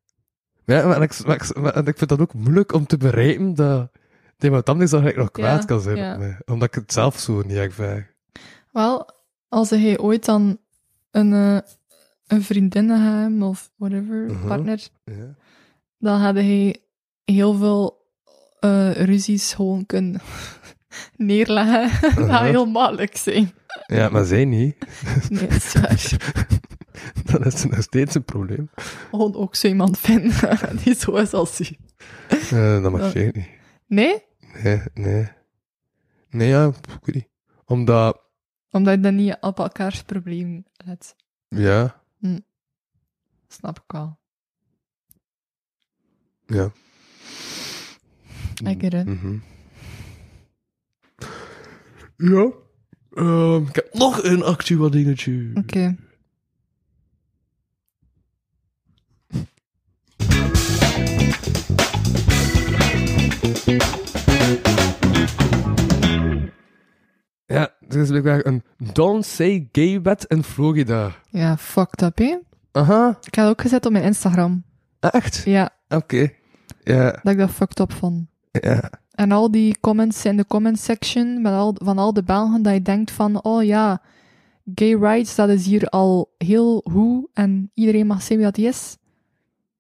[SPEAKER 2] Ja, maar ik, maar ik, maar ik vind dat ook moeilijk om te bereiken dat dat iemand anders dan eigenlijk nog kwaad
[SPEAKER 3] Ja,
[SPEAKER 2] kan zijn
[SPEAKER 3] ja.
[SPEAKER 2] op mij. Omdat ik het zelf zo niet echt vraag.
[SPEAKER 3] Wel, als hij ooit dan een, eh, een vriendin hem of whatever,
[SPEAKER 2] Mhm.
[SPEAKER 3] partner,
[SPEAKER 2] Ja.
[SPEAKER 3] dan had hij heel veel eh, ruzies gewoon kunnen neerleggen. dat
[SPEAKER 2] Mhm.
[SPEAKER 3] zou heel makkelijk zijn.
[SPEAKER 2] ja, maar zij niet.
[SPEAKER 3] Nee, dat is waar.
[SPEAKER 2] Dan is het nog steeds een probleem.
[SPEAKER 3] Gewoon ook zo iemand vinden die zo is als hij.
[SPEAKER 2] Eh, dat mag
[SPEAKER 3] Ja.
[SPEAKER 2] jij niet.
[SPEAKER 3] Nee?
[SPEAKER 2] Nee, nee. Nee, ja, ik weet niet. Omdat,
[SPEAKER 3] Omdat je dan niet op elkaars probleem let.
[SPEAKER 2] ja,
[SPEAKER 3] Snap ik wel.
[SPEAKER 2] ja.
[SPEAKER 3] I get it.
[SPEAKER 2] Mhm. Ja. Ehm, ik heb nog een actueel dingetje.
[SPEAKER 3] Oké.
[SPEAKER 2] Ja, er is blijkbaar een Don't Say Gay Wet in Florida.
[SPEAKER 3] Ja, fucked up, hè?
[SPEAKER 2] Aha,
[SPEAKER 3] Ik had het ook gezet op mijn Instagram.
[SPEAKER 2] Ah, echt?
[SPEAKER 3] Ja,
[SPEAKER 2] Oké. Ja,
[SPEAKER 3] dat ik dat fucked up vond.
[SPEAKER 2] ja.
[SPEAKER 3] En al die comments in de comment section met al, van al de Belgen dat je denkt van, oh ja, gay rights, dat is hier al heel hoe en iedereen mag zijn wie dat hij is.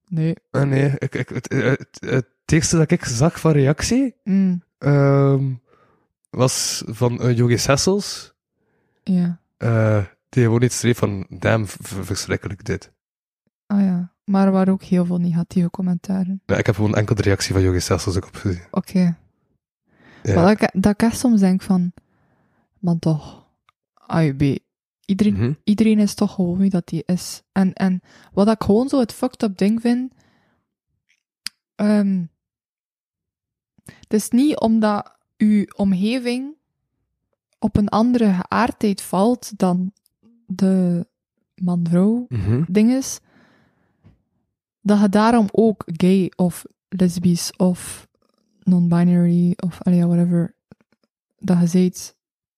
[SPEAKER 3] Nee.
[SPEAKER 2] Ah, nee, ik, ik, het, het, het eerste dat ik zag van reactie
[SPEAKER 3] Mm,
[SPEAKER 2] ehm, was van eh, Jogi Sessels.
[SPEAKER 3] ja.
[SPEAKER 2] eh, die gewoon iets schreef van, damn, v- v- verschrikkelijk dit.
[SPEAKER 3] Ah ja. Maar er waren ook heel veel negatieve commentaren.
[SPEAKER 2] Ja, ik heb gewoon enkel de reactie van Jogi Sessels ook op gezien.
[SPEAKER 3] Oké.
[SPEAKER 2] Ja.
[SPEAKER 3] Maar dat, ik- dat ik echt soms denk van, man toch, AUB. Iedereen,
[SPEAKER 2] Mhm.
[SPEAKER 3] iedereen is toch gewoon wie dat die is. En, en wat ik gewoon zo het fucked up ding vind, ehm, het is niet omdat uw omgeving op een andere geaardheid valt dan de man-vrouw
[SPEAKER 2] Mhm.
[SPEAKER 3] ding is, dat je daarom ook gay of lesbisch of non-binary of allee, ja, whatever, dat je zijt.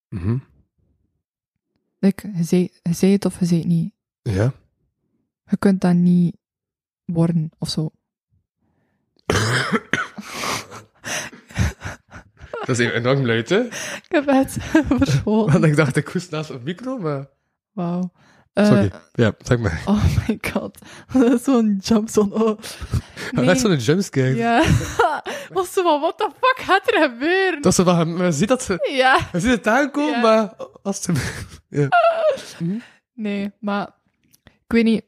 [SPEAKER 2] Mhm.
[SPEAKER 3] Like, je zei- je zei het of je zei het niet.
[SPEAKER 2] Ja.
[SPEAKER 3] Je kunt dat niet worden of zo.
[SPEAKER 2] Dat is even enorm luid, hè?
[SPEAKER 3] Ik heb het verscholen.
[SPEAKER 2] Want ik dacht, ik hoest naast een micro, maar...
[SPEAKER 3] Wauw.
[SPEAKER 2] Sorry.
[SPEAKER 3] Eh,
[SPEAKER 2] Ja, zeg maar.
[SPEAKER 3] oh my god. Dat is zo'n jump zone. Oh.
[SPEAKER 2] Dat is
[SPEAKER 3] Nee.
[SPEAKER 2] zo'n jumpscare.
[SPEAKER 3] Ja. Was zo van, what the fuck gaat er gebeuren?
[SPEAKER 2] Dat ze van, men ziet dat ze...
[SPEAKER 3] Ja.
[SPEAKER 2] men ziet het aankomen,
[SPEAKER 3] Ja.
[SPEAKER 2] maar... Als ze... Ja.
[SPEAKER 3] Nee, maar ik weet niet.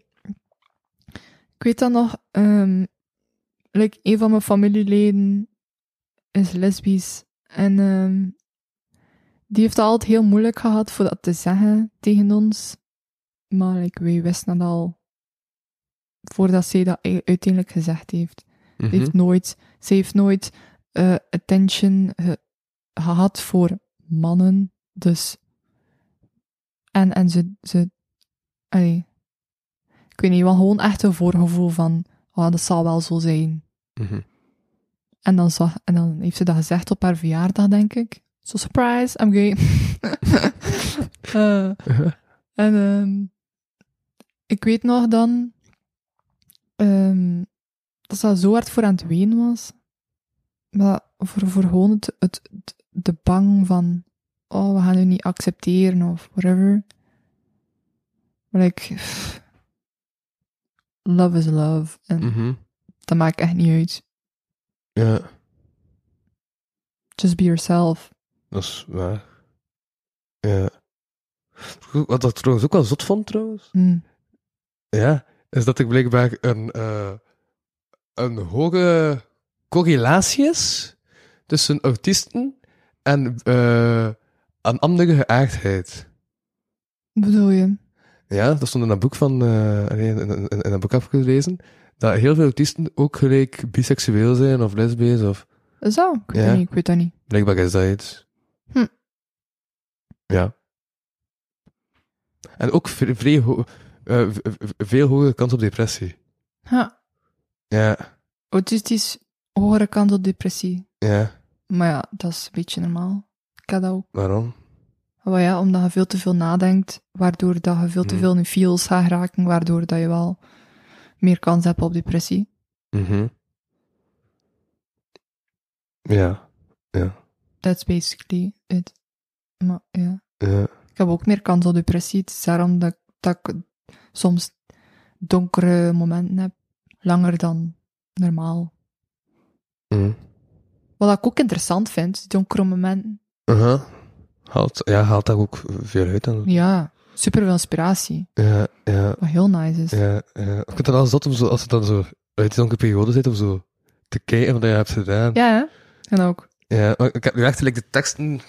[SPEAKER 3] Ik weet dan nog, ehm like, een van mijn familieleden is lesbisch. En ehm, die heeft het altijd heel moeilijk gehad voor dat te zeggen tegen ons. Maar like, wij wisten dat al voordat zij dat e- uiteindelijk gezegd heeft.
[SPEAKER 2] Mhm.
[SPEAKER 3] Ze heeft nooit, ze heeft nooit eh, attention ge- gehad voor mannen. Dus. En, en ze. ze allee. Ik weet niet, wel gewoon echt een voorgevoel van. Oh, dat zal wel zo zijn.
[SPEAKER 2] Mhm.
[SPEAKER 3] En dan, zag, en dan heeft ze dat gezegd op haar verjaardag, denk ik. Zo, surprise, I'm gay. Eh, en ehm, ik weet nog dan ehm, dat ze zo hard voor aan het ween was. Maar voor, voor gewoon het, het, het- de bang van, oh, we gaan u niet accepteren of whatever. Maar ik, pff, love is love. En
[SPEAKER 2] Mhm.
[SPEAKER 3] dat maakt echt niet uit.
[SPEAKER 2] Ja,
[SPEAKER 3] Just be yourself.
[SPEAKER 2] dat is waar. Ja. Wat ik trouwens ook wel zot vond, trouwens...
[SPEAKER 3] Hm.
[SPEAKER 2] Ja, is dat ik blijkbaar een, eh, een hoge correlatie is tussen autisten en eh een andere geaardheid.
[SPEAKER 3] Bedoel je?
[SPEAKER 2] Ja, dat stond in dat boek van, eh, nee, in, in, in dat boek heb ik gelezen, dat heel veel autisten ook gelijk biseksueel zijn of lesbisch of
[SPEAKER 3] Zo, ik weet
[SPEAKER 2] Ja.
[SPEAKER 3] dat niet, ik weet dat niet.
[SPEAKER 2] blijkbaar is dat iets.
[SPEAKER 3] Hm.
[SPEAKER 2] Ja. En ook vre- vrij ho- eh, v- v- veel hogere kans op depressie.
[SPEAKER 3] Ha.
[SPEAKER 2] Ja,
[SPEAKER 3] Autistisch, hogere kans op depressie.
[SPEAKER 2] ja.
[SPEAKER 3] Maar ja, dat is een beetje normaal. Ik had dat ook.
[SPEAKER 2] Waarom?
[SPEAKER 3] Maar ja, omdat je veel te veel nadenkt, waardoor dat je veel te
[SPEAKER 2] Hmm.
[SPEAKER 3] veel in feels gaat raken, waardoor dat je wel meer kans hebt op depressie.
[SPEAKER 2] Mhm. Ja.
[SPEAKER 3] That's basically it. Maar ja.
[SPEAKER 2] Ja.
[SPEAKER 3] Ik heb ook meer kans op depressie. Het is daarom dat, dat ik soms donkere momenten heb. Langer dan normaal.
[SPEAKER 2] Mhm.
[SPEAKER 3] Wat ik ook interessant vind, donkere momenten.
[SPEAKER 2] Aha. Haalt, ja, haalt daar ook veel uit. Dan.
[SPEAKER 3] Ja, super veel inspiratie.
[SPEAKER 2] Ja, ja,
[SPEAKER 3] Wat heel nice is.
[SPEAKER 2] ja, ja. Ik vind het wel zot om zo, als het dan zo uit zo'n periode zit, om zo te kijken wat je hebt gedaan.
[SPEAKER 3] Ja, hè? En ook.
[SPEAKER 2] Ja, maar ik heb nu echt like, de teksten.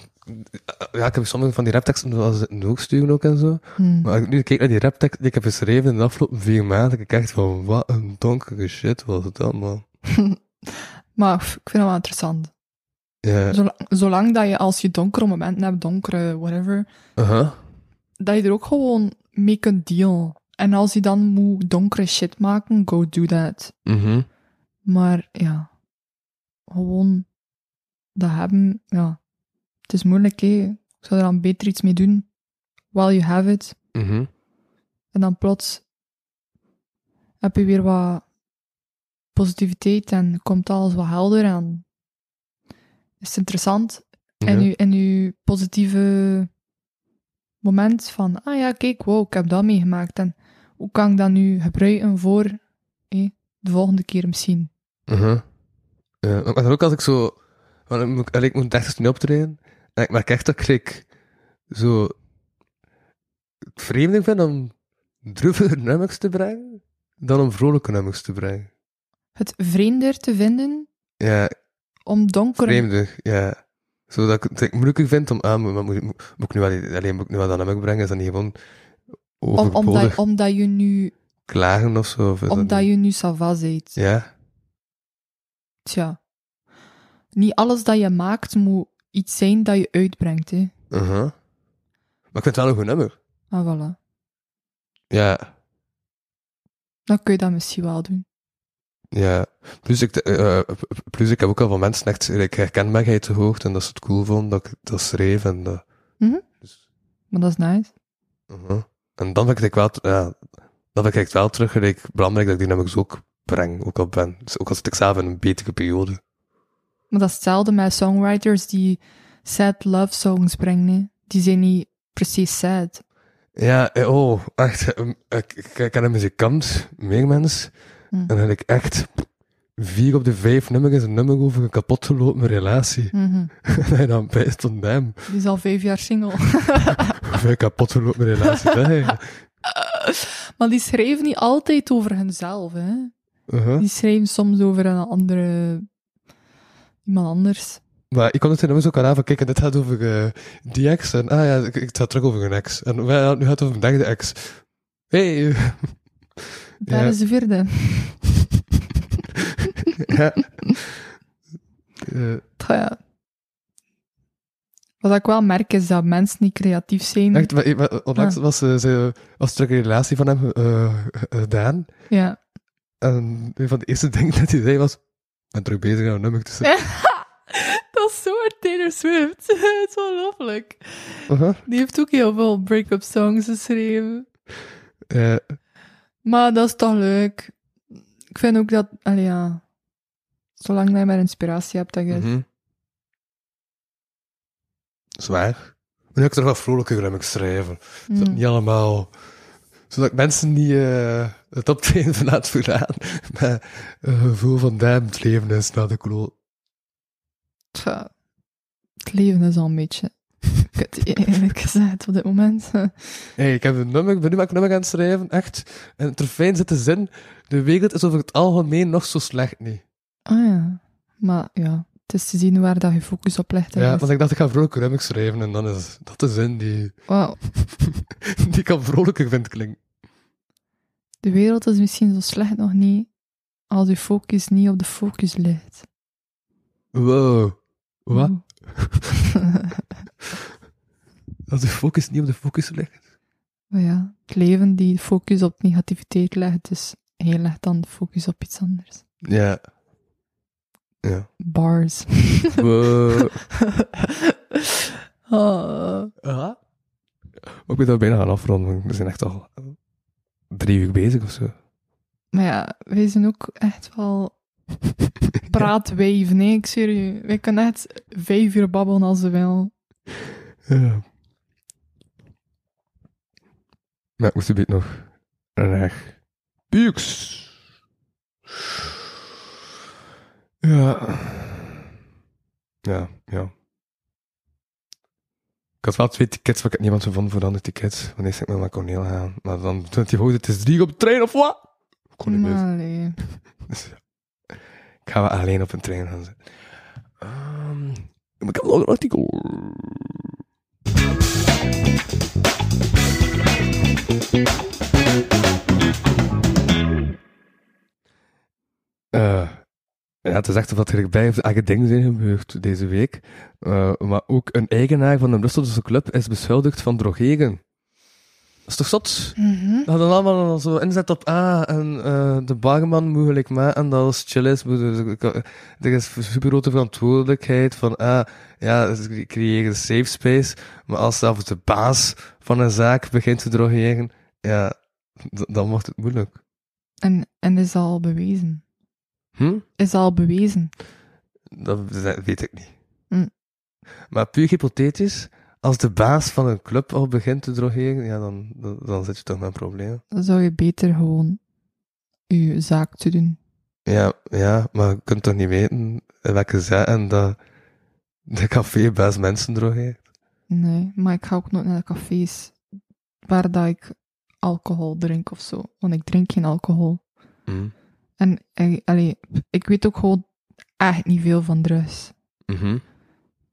[SPEAKER 2] Ja, ik heb sommige van die rapteksten wel eens in de hoek sturen ook en zo.
[SPEAKER 3] Hm.
[SPEAKER 2] Maar als ik nu kijk naar die raptekst die ik heb geschreven in de afgelopen vier maanden, kijk ik echt van wat een donkere shit was dat, man.
[SPEAKER 3] Maar pff, ik vind het wel interessant.
[SPEAKER 2] Ja.
[SPEAKER 3] Zolang, zolang dat je als je donkere momenten hebt, donkere whatever,
[SPEAKER 2] Aha.
[SPEAKER 3] dat je er ook gewoon mee kunt dealen. En als je dan moet donkere shit maken, go do that.
[SPEAKER 2] Mhm.
[SPEAKER 3] Maar ja, gewoon dat hebben, ja. Het is moeilijk, hè. Ik zou er dan beter iets mee doen. While you have it.
[SPEAKER 2] Mhm.
[SPEAKER 3] En dan plots heb je weer wat positiviteit en komt alles wat helder en is het interessant. En
[SPEAKER 2] Ja.
[SPEAKER 3] je, en je positieve moment van, ah ja, kijk, wow, ik heb dat meegemaakt. En hoe kan ik dat nu gebruiken voor hé, de volgende keer misschien?
[SPEAKER 2] Uh-huh. Ja, maar dan ook als ik zo... Want ik moet, allee, ik moet ergens niet optreden. En ik merk echt dat ik like, zo... het vreemder vind om droevige nummers te brengen dan om vrolijke nummers te brengen.
[SPEAKER 3] Het vreemder te vinden
[SPEAKER 2] Ja,
[SPEAKER 3] om donkere...
[SPEAKER 2] vreemder, ja. Zodat ik het like, moeilijker vind om aan... Maar moet, moet ik nu wel, alleen moet ik nu wel dat nummer brengen? Is dat niet gewoon
[SPEAKER 3] om,
[SPEAKER 2] overbodig
[SPEAKER 3] omdat, omdat je nu,
[SPEAKER 2] klagen of zo? Of is dat
[SPEAKER 3] omdat
[SPEAKER 2] niet-
[SPEAKER 3] je nu sava bent.
[SPEAKER 2] Ja?
[SPEAKER 3] Tja. Niet alles dat je maakt moet iets zijn dat je uitbrengt, hè.
[SPEAKER 2] Uh-huh. Maar ik vind het wel een goed nummer.
[SPEAKER 3] Ah, voilà.
[SPEAKER 2] Ja.
[SPEAKER 3] Dan kun je dat misschien wel doen.
[SPEAKER 2] Ja, plus ik, eh, eh, plus ik heb ook al van mensen echt like, herkenbaarheid gehoord en dat ze het cool vonden dat ik dat schreef en dat...
[SPEAKER 3] Maar dat is nice.
[SPEAKER 2] Mhm. En dan vind ik het wel, t- ja, dan vind ik het wel terug like, belangrijk dat ik die nummers ook breng, ook al ben. Dus ook al zit ik zelf in een betere periode.
[SPEAKER 3] Maar dat is hetzelfde met songwriters die sad love songs brengen, hè. Die zijn niet precies sad.
[SPEAKER 2] Ja, eh, oh, echt, eh, ik, ik, ik ken een muzikant, meer mensen,
[SPEAKER 3] Hm.
[SPEAKER 2] en dan heb ik echt vier op de vijf nummers is een nummer over een kapotgelopen relatie.
[SPEAKER 3] Mhm.
[SPEAKER 2] en dan bijst on hem.
[SPEAKER 3] Die is al vijf jaar single.
[SPEAKER 2] Hoeveel kapotgelopen relatie, hè?
[SPEAKER 3] maar die schrijven niet altijd over hunzelf, hè.
[SPEAKER 2] Mhm.
[SPEAKER 3] Die schrijven soms over een andere... Iemand anders.
[SPEAKER 2] Maar ik kon het in nummers ook aan van, kijk, en dit gaat over eh, die ex. En ah ja, ik, ik- het gaat terug over een ex. En wij- nu gaat het over een derde ex. Hey.
[SPEAKER 3] Daar
[SPEAKER 2] Ja.
[SPEAKER 3] is de vierde.
[SPEAKER 2] ja. Eh,
[SPEAKER 3] Tja, ja. Wat ik wel merk is dat mensen niet creatief zijn.
[SPEAKER 2] echt, maar, maar onlangs was ze, ze was terug een relatie van hem eh, gedaan.
[SPEAKER 3] Ja.
[SPEAKER 2] En een van de eerste dingen dat hij zei was, ik ben terug bezig aan een nummer tussen. Ja.
[SPEAKER 3] Dat is zo hard Taylor Swift. Het is ongelooflijk. Die heeft ook heel veel break-up songs geschreven.
[SPEAKER 2] Eh,
[SPEAKER 3] Maar dat is toch leuk. Ik vind ook dat, allee ja, zolang dat je maar inspiratie hebt, dat je...
[SPEAKER 2] Mhm. Zwaar. Maar nu heb ik er wel vrolijker aan schrijven. Zodat
[SPEAKER 3] Mm.
[SPEAKER 2] niet allemaal... Zodat ik mensen niet eh, het optreden van laat vooraan. Maar een gevoel van damn, het leven is naar de kloot.
[SPEAKER 3] Tja. Het leven is al een beetje... Kut, eerlijk gezegd, op dit moment.
[SPEAKER 2] Hey, ik heb een nummer, ik ben nu maar een nummer aan het schrijven, echt. En er fijn zit de zin, de wereld is over het algemeen nog zo slecht niet.
[SPEAKER 3] Ah ja. Maar ja, het is te zien waar dat je focus op ligt. hè.
[SPEAKER 2] ja,
[SPEAKER 3] Dus-
[SPEAKER 2] want ik dacht, ik ga vrolijker nummers schrijven en dan is dat de zin die,
[SPEAKER 3] Wauw.
[SPEAKER 2] die ik al vrolijker vind klinken.
[SPEAKER 3] De wereld is misschien zo slecht nog niet als je focus niet op de focus ligt.
[SPEAKER 2] Wow. Wat?
[SPEAKER 3] Oeh.
[SPEAKER 2] Als de focus niet op de focus ligt.
[SPEAKER 3] Maar ja, het leven die focus op negativiteit legt, is heel legt dan de focus op iets anders.
[SPEAKER 2] Ja. Ja.
[SPEAKER 3] Bars.
[SPEAKER 2] Wow.
[SPEAKER 3] Ah.
[SPEAKER 2] Aha. Maar ik ben dat bijna gaan afronden. want We zijn echt al drie uur bezig of zo.
[SPEAKER 3] Maar ja, wij zijn ook echt wel praatwijven, nee, ik zweer u. Wij kunnen echt vijf uur babbelen als ze wil.
[SPEAKER 2] Ja. Maar moest je nog naar Bux. Ja. Ja, ja. Ik had wel twee tickets, maar ik had niemand gevonden voor de andere tickets. Wanneer ik met mijn Corneel gaan? Maar dan doet hij hoog, het is drie op de trein of wat? Ik kon niet meer.
[SPEAKER 3] Maar allee.
[SPEAKER 2] Dus ja. Ik ga wel alleen op een trein gaan zitten. Ehm, maar ik heb nog een artikel. Eh, ja, het is echt wat er bij of eigen dingen zijn gebeurd deze week. Eh, maar ook een eigenaar van een Brusselse club is beschuldigd van drogeren. Dat is toch zot?
[SPEAKER 3] Mhm.
[SPEAKER 2] We hadden allemaal al zo inzet op, ah, en eh, de barman moet gelijk maken dat als het chill is. moet er- Er is super grote verantwoordelijkheid van, ah, ja, ze creëren een safe space. Maar als zelfs de baas van een zaak begint te drogeren, ja, d- dan wordt het moeilijk.
[SPEAKER 3] En, en is dat al bewezen?
[SPEAKER 2] Hm?
[SPEAKER 3] Is dat al bewezen?
[SPEAKER 2] Dat we- weet ik niet.
[SPEAKER 3] Hm.
[SPEAKER 2] Maar puur hypothetisch, als de baas van een club al begint te drogeren, ja, dan, dan, dan zit je toch met een probleem.
[SPEAKER 3] Dan zou je beter gewoon je zaak te doen.
[SPEAKER 2] Ja, ja, maar je kunt toch niet weten in welke zaken dat de café best mensen drogeert?
[SPEAKER 3] Nee, maar ik ga ook nooit naar de cafés waar dat ik alcohol drink of zo. Want ik drink geen alcohol.
[SPEAKER 2] Mm.
[SPEAKER 3] En eh, allee, ik weet ook gewoon echt niet veel van drugs.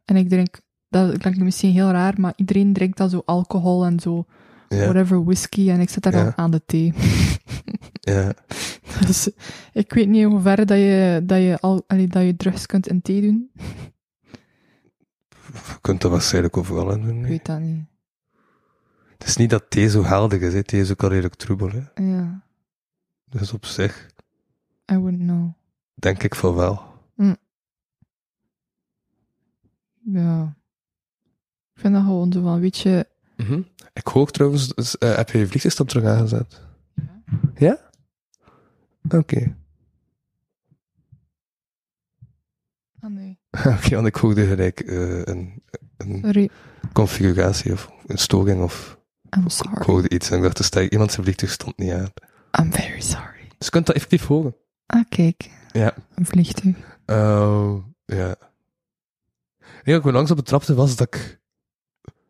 [SPEAKER 3] En ik drink, dat klinkt misschien heel raar, maar iedereen drinkt dan zo alcohol en zo,
[SPEAKER 2] Ja,
[SPEAKER 3] whatever, whisky. En ik zit daar
[SPEAKER 2] Ja.
[SPEAKER 3] dan aan de thee.
[SPEAKER 2] ja,
[SPEAKER 3] Dus ik weet niet in hoeverre dat je, dat je, al, allee, dat je drugs kunt in thee doen.
[SPEAKER 2] je kunt dat waarschijnlijk overal aan doen.
[SPEAKER 3] Ik
[SPEAKER 2] nee.
[SPEAKER 3] weet dat niet.
[SPEAKER 2] Het is niet dat thee zo helder is, hè. thee is ook al redelijk troebel. Hè.
[SPEAKER 3] Ja,
[SPEAKER 2] Dus op zich
[SPEAKER 3] I wouldn't know.
[SPEAKER 2] denk ik van wel.
[SPEAKER 3] Ja. Ik vind dat gewoon zo van, weet je...
[SPEAKER 2] Ik hoor trouwens, dus, eh, heb je je vliegtuigstap terug aangezet?
[SPEAKER 3] Ja.
[SPEAKER 2] Ja? Oké.
[SPEAKER 3] Ah nee.
[SPEAKER 2] Oké, want ik hoorde gelijk eh, een, een
[SPEAKER 3] Sorry,
[SPEAKER 2] configuratie of een storing of
[SPEAKER 3] I'm
[SPEAKER 2] Ik
[SPEAKER 3] sorry.
[SPEAKER 2] hoorde iets en ik dacht, er staat iemand zijn vliegtuig stond niet aan.
[SPEAKER 3] I'm very sorry.
[SPEAKER 2] Dus je kunt dat effectief horen.
[SPEAKER 3] Ah, kijk.
[SPEAKER 2] Ja.
[SPEAKER 3] Een vliegtuig.
[SPEAKER 2] Oh, ja. Nee, wat ik me langs op betrapte was dat ik...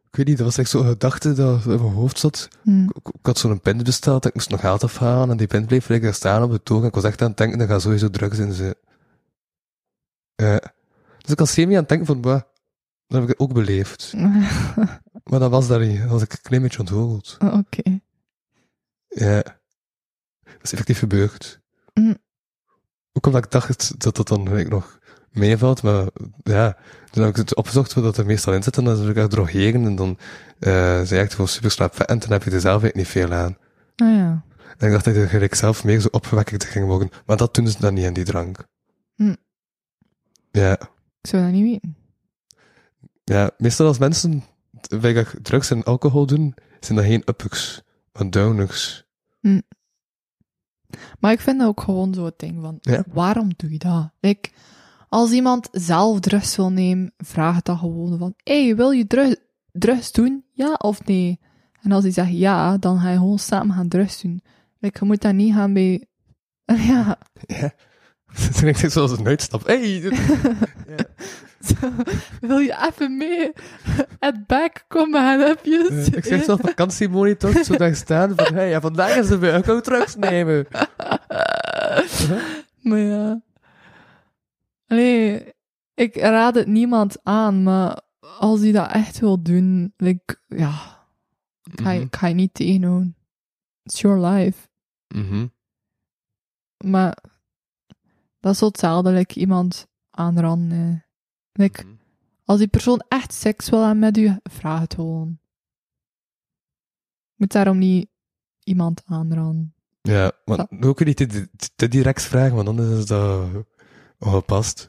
[SPEAKER 2] Ik weet niet, dat was echt zo'n gedachte dat in mijn hoofd zat.
[SPEAKER 3] Hm.
[SPEAKER 2] Ik, ik had zo'n pint besteld, dat ik moest nog geld afhalen. En die pint bleef lekker staan op de toren. Ik was echt aan het denken, daar gaan sowieso drugs in zitten. Ja. Dus ik was semi aan het denken van, bah, dat heb ik ook beleefd. Maar dat was daar niet. Dat was ik een klein beetje ontgoocheld.
[SPEAKER 3] Oké.
[SPEAKER 2] Ja. Dat is effectief gebeurd.
[SPEAKER 3] Mm.
[SPEAKER 2] Ook omdat ik dacht dat dat dan gelijk nog meevalt, maar ja, toen heb ik het opgezocht wat dat er meestal in zit, en dan is het ook echt drogeren, en dan eh zijn echt gewoon super slaap en dan heb je er zelf eigenlijk niet veel aan.
[SPEAKER 3] Ah ja.
[SPEAKER 2] En ik dacht dat ik er gelijk zelf meer zo opgewekkerd ging worden, maar dat doen ze dan niet aan die drank.
[SPEAKER 3] Mm.
[SPEAKER 2] Ja,
[SPEAKER 3] Ik zou dat niet weten.
[SPEAKER 2] ja, meestal als mensen weinig drugs en alcohol doen, zijn dat geen uppers, maar downers.
[SPEAKER 3] Maar ik vind dat ook gewoon zo'n ding van,
[SPEAKER 2] Ja.
[SPEAKER 3] waarom doe je dat? Like, als iemand zelf drugs wil nemen, vraag het dan gewoon van, hey, wil je drugs, drugs doen? Ja of nee? En als hij zegt ja, dan ga je gewoon samen gaan drugs doen. Like, je moet dat niet gaan bij... Ja,
[SPEAKER 2] Ja. Toen ik dit zoals een uitstap. Hey, dit-
[SPEAKER 3] Zo, wil je even mee? At back, kom maar gaan hupjes.
[SPEAKER 2] Eh, ik zeg zelf vakantiemonitor, zo daar staan van, hey, ja, vandaag is het weer, ik ook drugs nemen.
[SPEAKER 3] Maar ja. Nee, ik raad het niemand aan, maar als hij dat echt wil doen, like, ja, ik ga, je- ik ga je niet tegenhouden. It's your life.
[SPEAKER 2] Mhm.
[SPEAKER 3] Maar dat is zo hetzelfde, like, iemand aanranden. hè. eh. Like,
[SPEAKER 2] Mhm.
[SPEAKER 3] als die persoon echt seks wil hebben met u, vraag het gewoon. Je Moet daarom niet iemand aanranden.
[SPEAKER 2] Ja, maar ook niet te, te- te direct vragen, want anders is dat ongepast.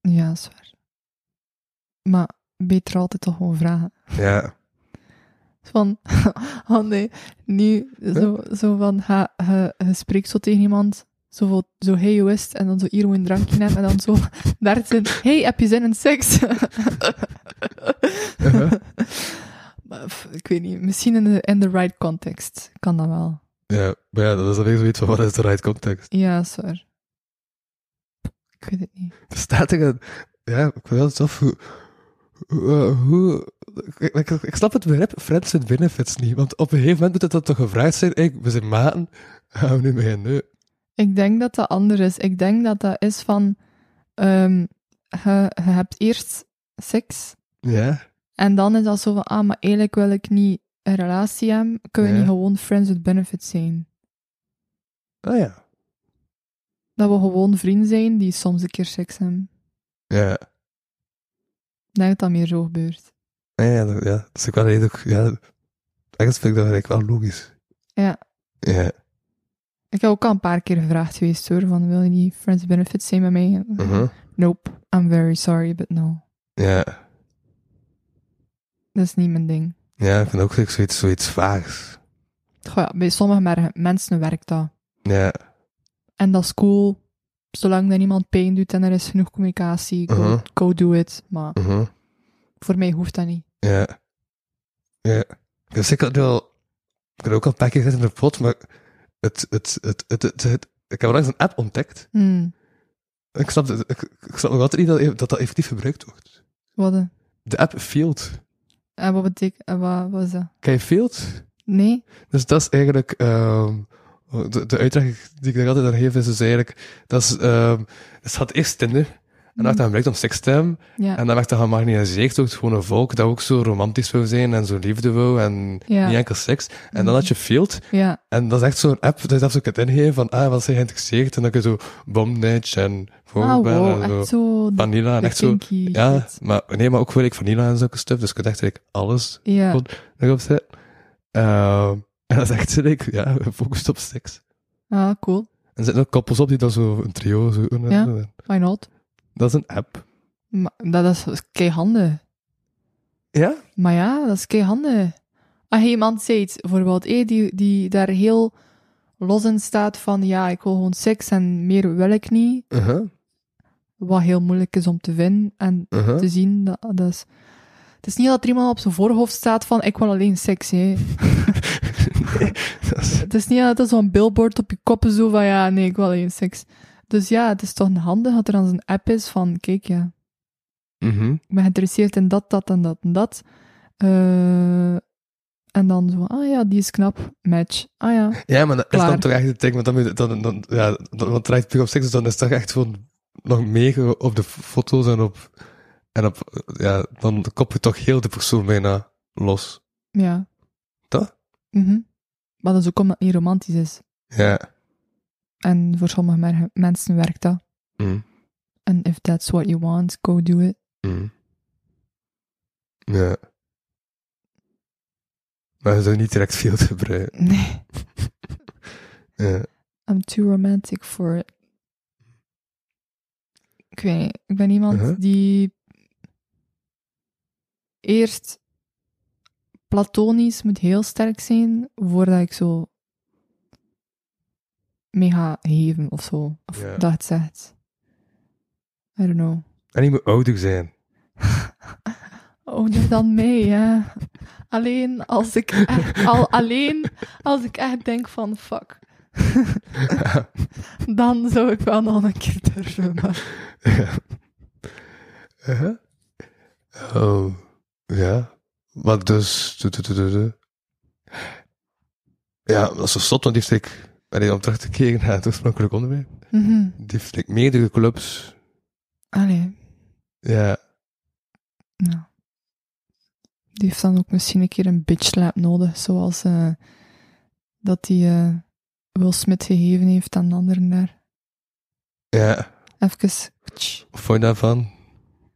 [SPEAKER 3] Ja, dat is waar. Maar beter altijd toch gewoon vragen.
[SPEAKER 2] Ja.
[SPEAKER 3] Van, oh nee, nu zo, zo van, ga, je, je spreekt zo tegen iemand, zo, van, zo hey, hoe is het? En dan zo, hier moet je een drankje nemen. En dan zo, dertien, hey, heb je zin in seks? Maar, pff, ik weet niet, misschien in de, in de right context kan dat wel.
[SPEAKER 2] Ja, maar ja, dat is dan weer zoiets van wat is de right context.
[SPEAKER 3] Ja, is waar. Ik weet het niet.
[SPEAKER 2] Er staat er een... Ja, ik wil het af hoe... hoe, eh, hoe- ik, ik, ik snap het begrip friends with benefits niet, want op een gegeven moment moet het dan toch gevraagd zijn, hey, we zijn maten, gaan we nu mee nee.
[SPEAKER 3] Ik denk dat dat anders is. Ik denk dat dat is van... ehm, je, je hebt eerst seks,
[SPEAKER 2] Ja,
[SPEAKER 3] en dan is dat zo van... Ah, maar eigenlijk wil ik niet een relatie hebben. Kunnen we
[SPEAKER 2] Ja.
[SPEAKER 3] niet gewoon friends with benefits zijn?
[SPEAKER 2] oh ja.
[SPEAKER 3] Dat we gewoon vrienden zijn die soms een keer seks hebben.
[SPEAKER 2] Ja,
[SPEAKER 3] Ik denk dat dat meer zo gebeurt.
[SPEAKER 2] ja, Ah, ja, dat, ja. dat is ook wel redelijk... Ja, ergens vind ik dat eigenlijk wel logisch.
[SPEAKER 3] Ja.
[SPEAKER 2] Ja,
[SPEAKER 3] Ik heb ook al een paar keer gevraagd geweest hoor, van wil je niet friends with benefits zijn met mij?
[SPEAKER 2] mhm.
[SPEAKER 3] Nope, I'm very sorry, but no.
[SPEAKER 2] ja.
[SPEAKER 3] Dat is niet mijn ding.
[SPEAKER 2] Ja, ik vind ook zoiets, zoiets vaags.
[SPEAKER 3] Goh, ja, bij sommige mer- mensen werkt dat.
[SPEAKER 2] Ja,
[SPEAKER 3] En dat is cool, zolang dat niemand pijn doet en er is genoeg communicatie, go,
[SPEAKER 2] Mhm.
[SPEAKER 3] go do it. Maar
[SPEAKER 2] mhm.
[SPEAKER 3] voor mij hoeft dat niet.
[SPEAKER 2] Ja. Ja. Dus ik had wel... Ik had ook al een paar keer gezet in de pot, maar... Het, het, het, het, het, het- ik heb langs een app ontdekt.
[SPEAKER 3] Hmm,
[SPEAKER 2] Ik snap, het- ik, ik snap nog altijd niet dat dat, dat effectief gebruikt wordt.
[SPEAKER 3] wat, de-
[SPEAKER 2] De app Field.
[SPEAKER 3] en wat betekent, en wat, wat is dat?
[SPEAKER 2] Ken je Field?
[SPEAKER 3] Nee?
[SPEAKER 2] Dus dat is eigenlijk... ehm, de, de uitleg die ik daar altijd aan geef is dus eigenlijk... Dat is... ehm dus het had eerst Tinder. En dat werd dan gebruikt om seks te hebben.
[SPEAKER 3] Mhm. Ja.
[SPEAKER 2] En dat werd dan gemagnetiseren door het gewone volk, dat ook zo romantisch wil zijn en zo liefde wil en
[SPEAKER 3] Ja. Mhm.
[SPEAKER 2] niet enkel seks. En dan had je Field,
[SPEAKER 3] ja.
[SPEAKER 2] En dat is echt zo'n app dat je zelfs ook kunt ingeven van, ah, wat zijn geïnteresseerd? En dan kun je zo bomnetje en
[SPEAKER 3] Ah,
[SPEAKER 2] voorbel
[SPEAKER 3] wow,
[SPEAKER 2] en zo
[SPEAKER 3] echt zo...
[SPEAKER 2] vanilla en
[SPEAKER 3] de
[SPEAKER 2] echt zo.
[SPEAKER 3] kinky
[SPEAKER 2] Ja,
[SPEAKER 3] shit.
[SPEAKER 2] maar nee, maar ook gewoon like, vanilla en zulke stuff. Dus je kunt echt like, alles
[SPEAKER 3] Ja.
[SPEAKER 2] Goed. erop zetten. Ehm, en dat is echt like, ja, gefocust op seks.
[SPEAKER 3] Ah, cool.
[SPEAKER 2] En er zitten ook koppels op die dan zo een trio zo. en
[SPEAKER 3] Ja.
[SPEAKER 2] zo.
[SPEAKER 3] Why not?
[SPEAKER 2] Dat is een app.
[SPEAKER 3] Maar, dat is keihandig.
[SPEAKER 2] Ja?
[SPEAKER 3] Maar ja, dat is Ah, keihandig. Als je iemand zegt, bijvoorbeeld, hé, die, die daar heel los in staat van, ja, ik wil gewoon seks en meer wil ik niet,
[SPEAKER 2] Uh-huh.
[SPEAKER 3] wat heel moeilijk is om te vinden en
[SPEAKER 2] Uh-huh.
[SPEAKER 3] te zien, dat, dat is... Het is niet dat er iemand op zijn voorhoofd staat van, ik wil alleen seks, hè.
[SPEAKER 2] Dat is-
[SPEAKER 3] Het is niet dat er zo'n billboard op je koppen zo van, ja, nee, ik wil alleen seks. Dus ja, het is toch handig dat er dan zo'n app is van, kijk, ja,
[SPEAKER 2] Mhm.
[SPEAKER 3] ik ben geïnteresseerd in dat, dat en dat en dat. Eh, en dan zo, ah ja, die is knap, match. Ah ja,
[SPEAKER 2] Ja, maar dat is
[SPEAKER 3] Klaar.
[SPEAKER 2] dan toch echt het ding, want dan moet je, dan, dan, ja, dan, want het draait puur op seks, dus dan is het toch echt gewoon nog mega op de f- foto's en op, en op, ja, dan kop je toch heel de persoon bijna los.
[SPEAKER 3] ja.
[SPEAKER 2] Toch?
[SPEAKER 3] Mhm. Maar dat is ook omdat het niet romantisch is.
[SPEAKER 2] Ja.
[SPEAKER 3] En voor sommige mer- mensen werkt dat.
[SPEAKER 2] Mm.
[SPEAKER 3] En if that's what you want, go do it.
[SPEAKER 2] Mm. Ja. Maar je zou niet direct veel te gebruiken.
[SPEAKER 3] Nee,
[SPEAKER 2] Ja.
[SPEAKER 3] I'm too romantic for it. Ik weet niet, ik ben iemand
[SPEAKER 2] Mhm.
[SPEAKER 3] die eerst platonisch moet heel sterk zijn voordat ik zo mee ga geven of zo. Of
[SPEAKER 2] Ja.
[SPEAKER 3] dat het zegt. I don't know.
[SPEAKER 2] En je Ah, moet ouder zijn.
[SPEAKER 3] Ouder Oh, dan mij, ja. Alleen als ik echt, al, alleen als ik echt denk van fuck. Dan zou ik wel nog een keer durven. maar-
[SPEAKER 2] Ja. Uh-huh. Oh, ja. Maar dus... du- du- du- du- du. Ja, dat is zo zot, want die heeft ik... Allee, om terug te keren naar het oorspronkelijk onderwerp.
[SPEAKER 3] Mhm.
[SPEAKER 2] Die heeft ik meerdere clubs.
[SPEAKER 3] Allee,
[SPEAKER 2] Ja.
[SPEAKER 3] nou. Die heeft dan ook misschien een keer een bitch slap nodig, zoals eh, dat die eh, Will Smith gegeven heeft aan de anderen daar.
[SPEAKER 2] Ja.
[SPEAKER 3] Even, tsch,
[SPEAKER 2] Wat vond je daarvan?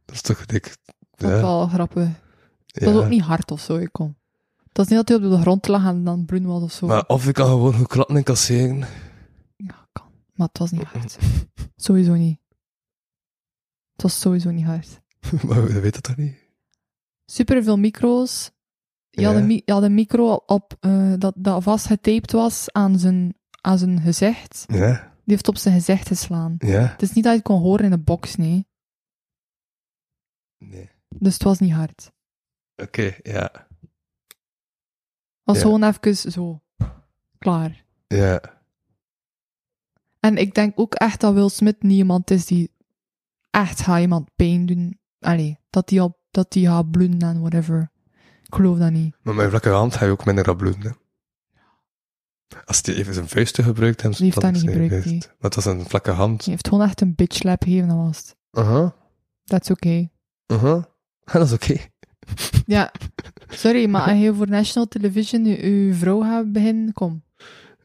[SPEAKER 2] Dat is toch dik.
[SPEAKER 3] dat
[SPEAKER 2] Ja.
[SPEAKER 3] wel grappig.
[SPEAKER 2] Ja.
[SPEAKER 3] Dat was ook niet hard of zo, ik kon. Het was niet dat hij op de grond lag en dan bruin was of zo.
[SPEAKER 2] Maar of ik kan gewoon goed klappen en kasseren.
[SPEAKER 3] Ja, kan. Maar het was niet hard. sowieso niet. Het was sowieso niet hard.
[SPEAKER 2] maar we weten dat toch niet?
[SPEAKER 3] Superveel micro's. Je had,
[SPEAKER 2] Ja.
[SPEAKER 3] een, mi- je had een micro op, eh, dat, dat vastgetaped was aan zijn, aan zijn gezicht.
[SPEAKER 2] Ja,
[SPEAKER 3] Die heeft op zijn gezicht geslaan.
[SPEAKER 2] ja.
[SPEAKER 3] Het is niet dat je het kon horen in de box, nee.
[SPEAKER 2] Nee.
[SPEAKER 3] Dus het was niet hard. Het
[SPEAKER 2] Oké, ja.
[SPEAKER 3] was
[SPEAKER 2] Ja.
[SPEAKER 3] gewoon even zo. Klaar.
[SPEAKER 2] Ja.
[SPEAKER 3] En ik denk ook echt dat Will Smith niet iemand is die echt gaat iemand pijn doen. Allee, dat die, al, dat die gaat bloeden en whatever. Ik geloof dat niet.
[SPEAKER 2] Maar met vlakke hand ga je ook minder rap bloeden, hè. Als hij even zijn vuisten gebruikt heeft,
[SPEAKER 3] Die heeft dat niet
[SPEAKER 2] is hij
[SPEAKER 3] gebruikt,
[SPEAKER 2] geweest. Maar het was een vlakke hand.
[SPEAKER 3] Je heeft gewoon echt een bitch slap gegeven, dat was het.
[SPEAKER 2] Aha,
[SPEAKER 3] That's okay.
[SPEAKER 2] aha. Ah, Dat is oké.
[SPEAKER 3] Ja, sorry, maar als je voor National Television je, je vrouw gaat beginnen, kom.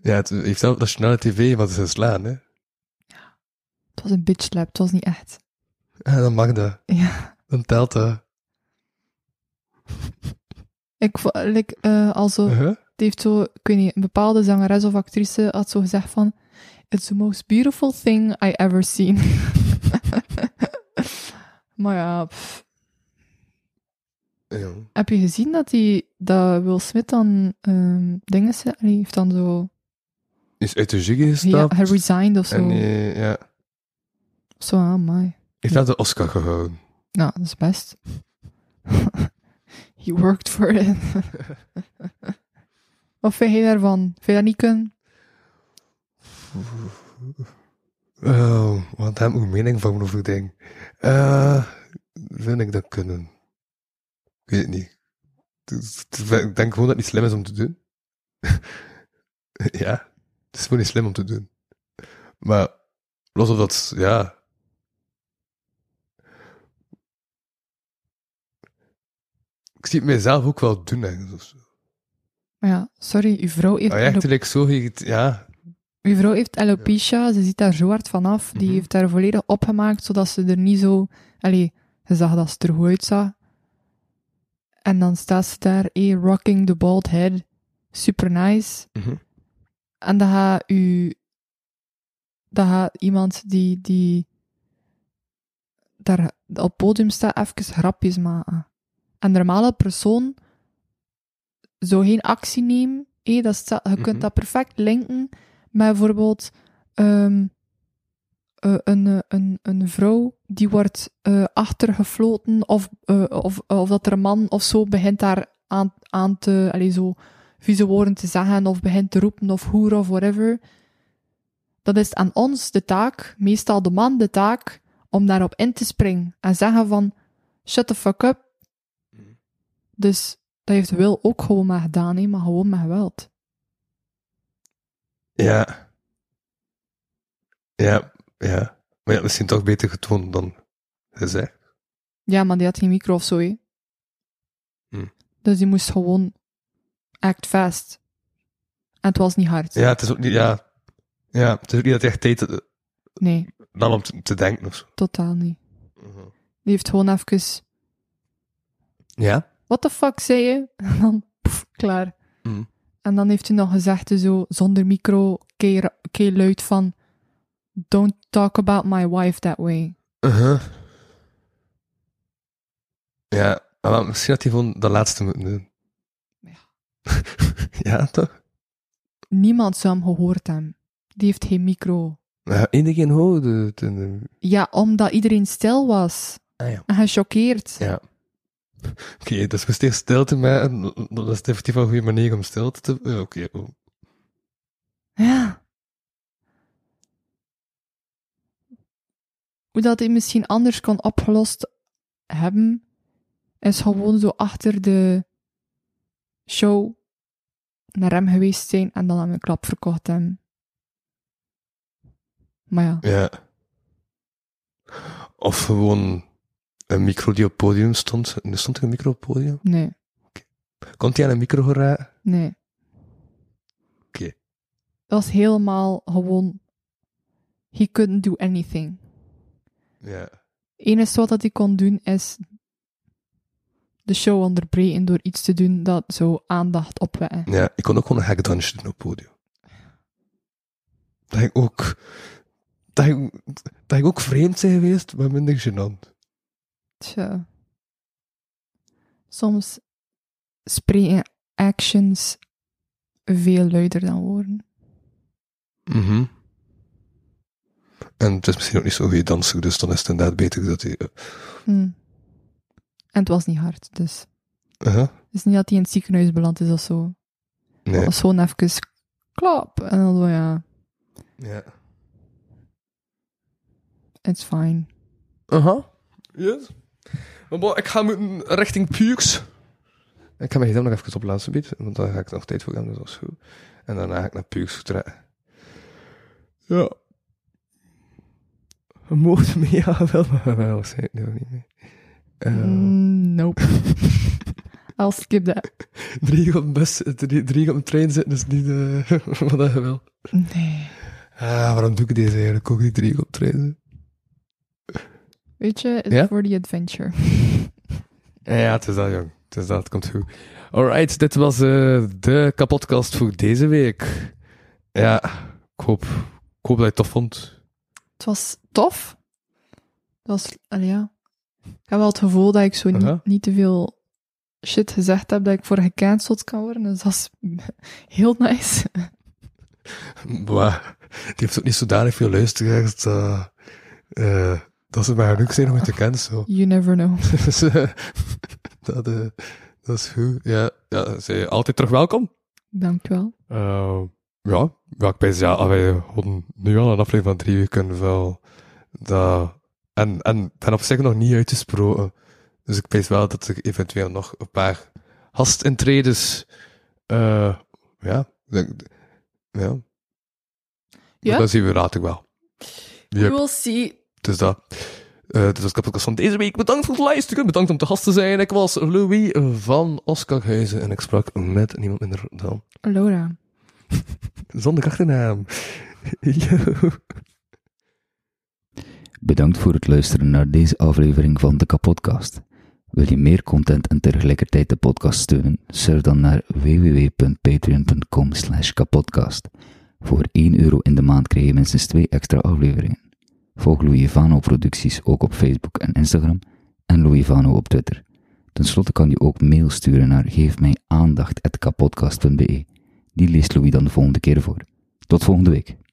[SPEAKER 2] Ja, het heeft wel nationale tv wat ze slaan, hè.
[SPEAKER 3] Het was een bitch slap, het was niet echt.
[SPEAKER 2] Ah, dan mag dat.
[SPEAKER 3] Ja.
[SPEAKER 2] Dan telt dat.
[SPEAKER 3] Ik vo- like, eh, also, het
[SPEAKER 2] Aha.
[SPEAKER 3] heeft zo, ik weet niet, een bepaalde zangeres of actrice had zo gezegd van It's the most beautiful thing I ever seen. maar ja, pff.
[SPEAKER 2] Ja.
[SPEAKER 3] heb je gezien dat, die, dat Will Smith dan ehm dingen zei? Allee, heeft dan zo...
[SPEAKER 2] Is uit de juggie
[SPEAKER 3] Ja,
[SPEAKER 2] gestapt.
[SPEAKER 3] hij resigned of zo.
[SPEAKER 2] en eh, ja.
[SPEAKER 3] Zo, ah, my.
[SPEAKER 2] Heeft dat de Oscar gehouden?
[SPEAKER 3] Nou, dat is best. He worked for it. Wat vind je daarvan? Vind je dat niet kunnen?
[SPEAKER 2] Oh, want daar heb ik een mening van over ding. Eh vind ik dat kunnen? Ik weet het niet. Het is- het is- Ik denk gewoon dat het niet slim is om te doen. ja, het is gewoon niet slim om te doen. Maar los of dat, ja. Ik zie het mezelf ook wel doen, ergens of zo.
[SPEAKER 3] Maar ja, sorry, uw vrouw heeft,
[SPEAKER 2] Maar eigenlijk zo, je- ja.
[SPEAKER 3] alo- uw vrouw heeft alopecia, ze ziet daar zo hard vanaf. Die
[SPEAKER 2] Mhm.
[SPEAKER 3] heeft daar volledig opgemaakt, zodat ze er niet zo... Allee, ze zag dat ze er goed uitzag. En dan staat ze daar, eh, rocking the bald head. Super nice.
[SPEAKER 2] Mhm.
[SPEAKER 3] En dan gaat u... Dan gaat iemand die, die daar op het podium staat even grapjes maken. Een normale persoon zou geen actie nemen. Hé, dat is hetzelfde. je
[SPEAKER 2] Mhm.
[SPEAKER 3] kunt dat perfect linken met bijvoorbeeld ehm, eh, een, eh, een, een vrouw die wordt eh, achtergefloten of, eh, of, of dat er een man of zo begint daar aan, aan te... Allez, zo vieze woorden te zeggen of begint te roepen of hoer of whatever. Dat is aan ons de taak, meestal de man de taak, om daarop in te springen en zeggen van shut the fuck up. Dus dat heeft Will ook gewoon maar gedaan, hè, maar gewoon met geweld.
[SPEAKER 2] Ja. Ja, ja. Maar ja, misschien toch beter getoond dan gezegd.
[SPEAKER 3] Ja, maar die had geen micro of zo, hè.
[SPEAKER 2] Hm.
[SPEAKER 3] Dus die moest gewoon act fast. En het was niet hard.
[SPEAKER 2] Ja, het is ook niet, ja. Ja, het is ook niet dat je echt tijd eh,
[SPEAKER 3] Nee,
[SPEAKER 2] nam om te, te denken of zo.
[SPEAKER 3] totaal niet. Die heeft gewoon even,
[SPEAKER 2] Ja?
[SPEAKER 3] what the fuck, zei je? En dan, poef, klaar.
[SPEAKER 2] Hm.
[SPEAKER 3] En dan heeft hij nog gezegd, zo, zonder micro, kei ra- kei luid van, don't talk about my wife that way.
[SPEAKER 2] Uh-huh. Ja, maar misschien had hij gewoon de laatste moeten doen.
[SPEAKER 3] Ja.
[SPEAKER 2] ja, toch?
[SPEAKER 3] Niemand zou hem gehoord hebben. Die heeft geen micro.
[SPEAKER 2] Ja, iedereen hoorde het. en, eh,
[SPEAKER 3] Ja, omdat iedereen stil was.
[SPEAKER 2] Ah ja.
[SPEAKER 3] En gechoqueerd.
[SPEAKER 2] Ja. Oké, dus we steeds stilte maken. Dat is definitief wel een goede manier om stilte te... eh, Oké, oh.
[SPEAKER 3] Ja. Hoe dat hij misschien anders kon opgelost hebben, is gewoon zo achter de show naar hem geweest zijn en dan hem een klap verkocht hebben. Maar ja,
[SPEAKER 2] Ja. Of gewoon een micro die op het podium stond. Er stond er een micro op het podium?
[SPEAKER 3] nee,
[SPEAKER 2] Komt hij aan een micro geraken?
[SPEAKER 3] nee.
[SPEAKER 2] Oké.
[SPEAKER 3] Dat was helemaal gewoon... He couldn't do anything.
[SPEAKER 2] Ja.
[SPEAKER 3] enige wat dat hij kon doen is de show onderbreken door iets te doen dat zo aandacht opwekken.
[SPEAKER 2] Ja, ik kon ook gewoon een hackdansje doen op het podium. Dat ik ook... Dat ik, dat ik ook vreemd zijn geweest, maar minder gênant.
[SPEAKER 3] Tja. Soms spreken actions veel luider dan woorden.
[SPEAKER 2] Mhm. En het is misschien ook niet zo'n goede danser, dus dan is het inderdaad beter dat hij... eh,
[SPEAKER 3] Hm. En het was niet hard, dus.
[SPEAKER 2] huh?
[SPEAKER 3] Het is niet dat hij in het ziekenhuis beland is of zo.
[SPEAKER 2] Nee.
[SPEAKER 3] Het was gewoon even klap. En dan zo, ja,
[SPEAKER 2] Ja.
[SPEAKER 3] it's fine.
[SPEAKER 2] Aha. Yes. Maar bon, ik ga moeten richting Pukes. Ik ga mijn gsm nog even op laatste bied, want daar ga ik nog tijd voor hebben, dus dat is goed. En daarna ga ik naar Pukes trekken. Ja. We mogen mee, ja, wel, maar wel, waarschijnlijk nu ook niet mee. Eh,
[SPEAKER 3] Mm, nope. I'll skip that.
[SPEAKER 2] Drie uur op een bus, drie, drie uur op een trein zitten, is niet eh, wat dat je wil.
[SPEAKER 3] Nee.
[SPEAKER 2] Ah, waarom doe ik deze eigenlijk ook niet drie uur op trein zitten?
[SPEAKER 3] Weet je, it's
[SPEAKER 2] Ja?
[SPEAKER 3] for the adventure.
[SPEAKER 2] Eh, Ja, het is dat, jong. Het is dat, het komt goed. Alright, dit was eh, de kapotkast voor deze week. Ja, ik hoop, ik hoop dat je het tof vond.
[SPEAKER 3] Het was tof. Het was, allee, ja. Ik heb wel het gevoel dat ik zo niet,
[SPEAKER 2] Aha.
[SPEAKER 3] niet te veel shit gezegd heb dat ik voor gecanceld kan worden. Dus dat is heel nice.
[SPEAKER 2] Maar die heeft ook niet zodanig veel luisteraars dat, eh, dat ze maar genoeg zijn om het te kennen. Zo.
[SPEAKER 3] You never know.
[SPEAKER 2] Dus, eh, dat, eh, dat is goed. Ja, ja zij altijd terug welkom.
[SPEAKER 3] Dankjewel.
[SPEAKER 2] Eh, ja, ja, ik pijs, ja, als wij hadden nu al een aflevering van drie uur kunnen wel dat... En, en ten op zich nog niet uitgesproken. Dus ik pijs wel dat er eventueel nog een paar gastintredes... eh ja, ik denk- ja. Maar
[SPEAKER 3] Ja?
[SPEAKER 2] Dat zien we later wel.
[SPEAKER 3] We
[SPEAKER 2] Yep.
[SPEAKER 3] will see.
[SPEAKER 2] Dus dat. eh dit was de podcast van deze week. Bedankt voor het luisteren. Bedankt om te gast te zijn. Ik was Louis van Oscarhuizen en ik sprak met niemand minder dan
[SPEAKER 3] Laura.
[SPEAKER 2] zonder achternaam. Yo.
[SPEAKER 7] Bedankt voor het luisteren naar deze aflevering van de Kapodcast. Wil je meer content en tegelijkertijd de podcast steunen? Surf dan naar www.patreon.com slash kapodcast. Voor 1 euro in de maand krijg je minstens 2 extra afleveringen. Volg Louis Vano producties ook op Facebook en Instagram en Louis Vano op Twitter. Ten slotte kan je ook mail sturen naar geefmijaandacht.kapodcast.be. Die leest Louis dan de volgende keer voor. Tot volgende week.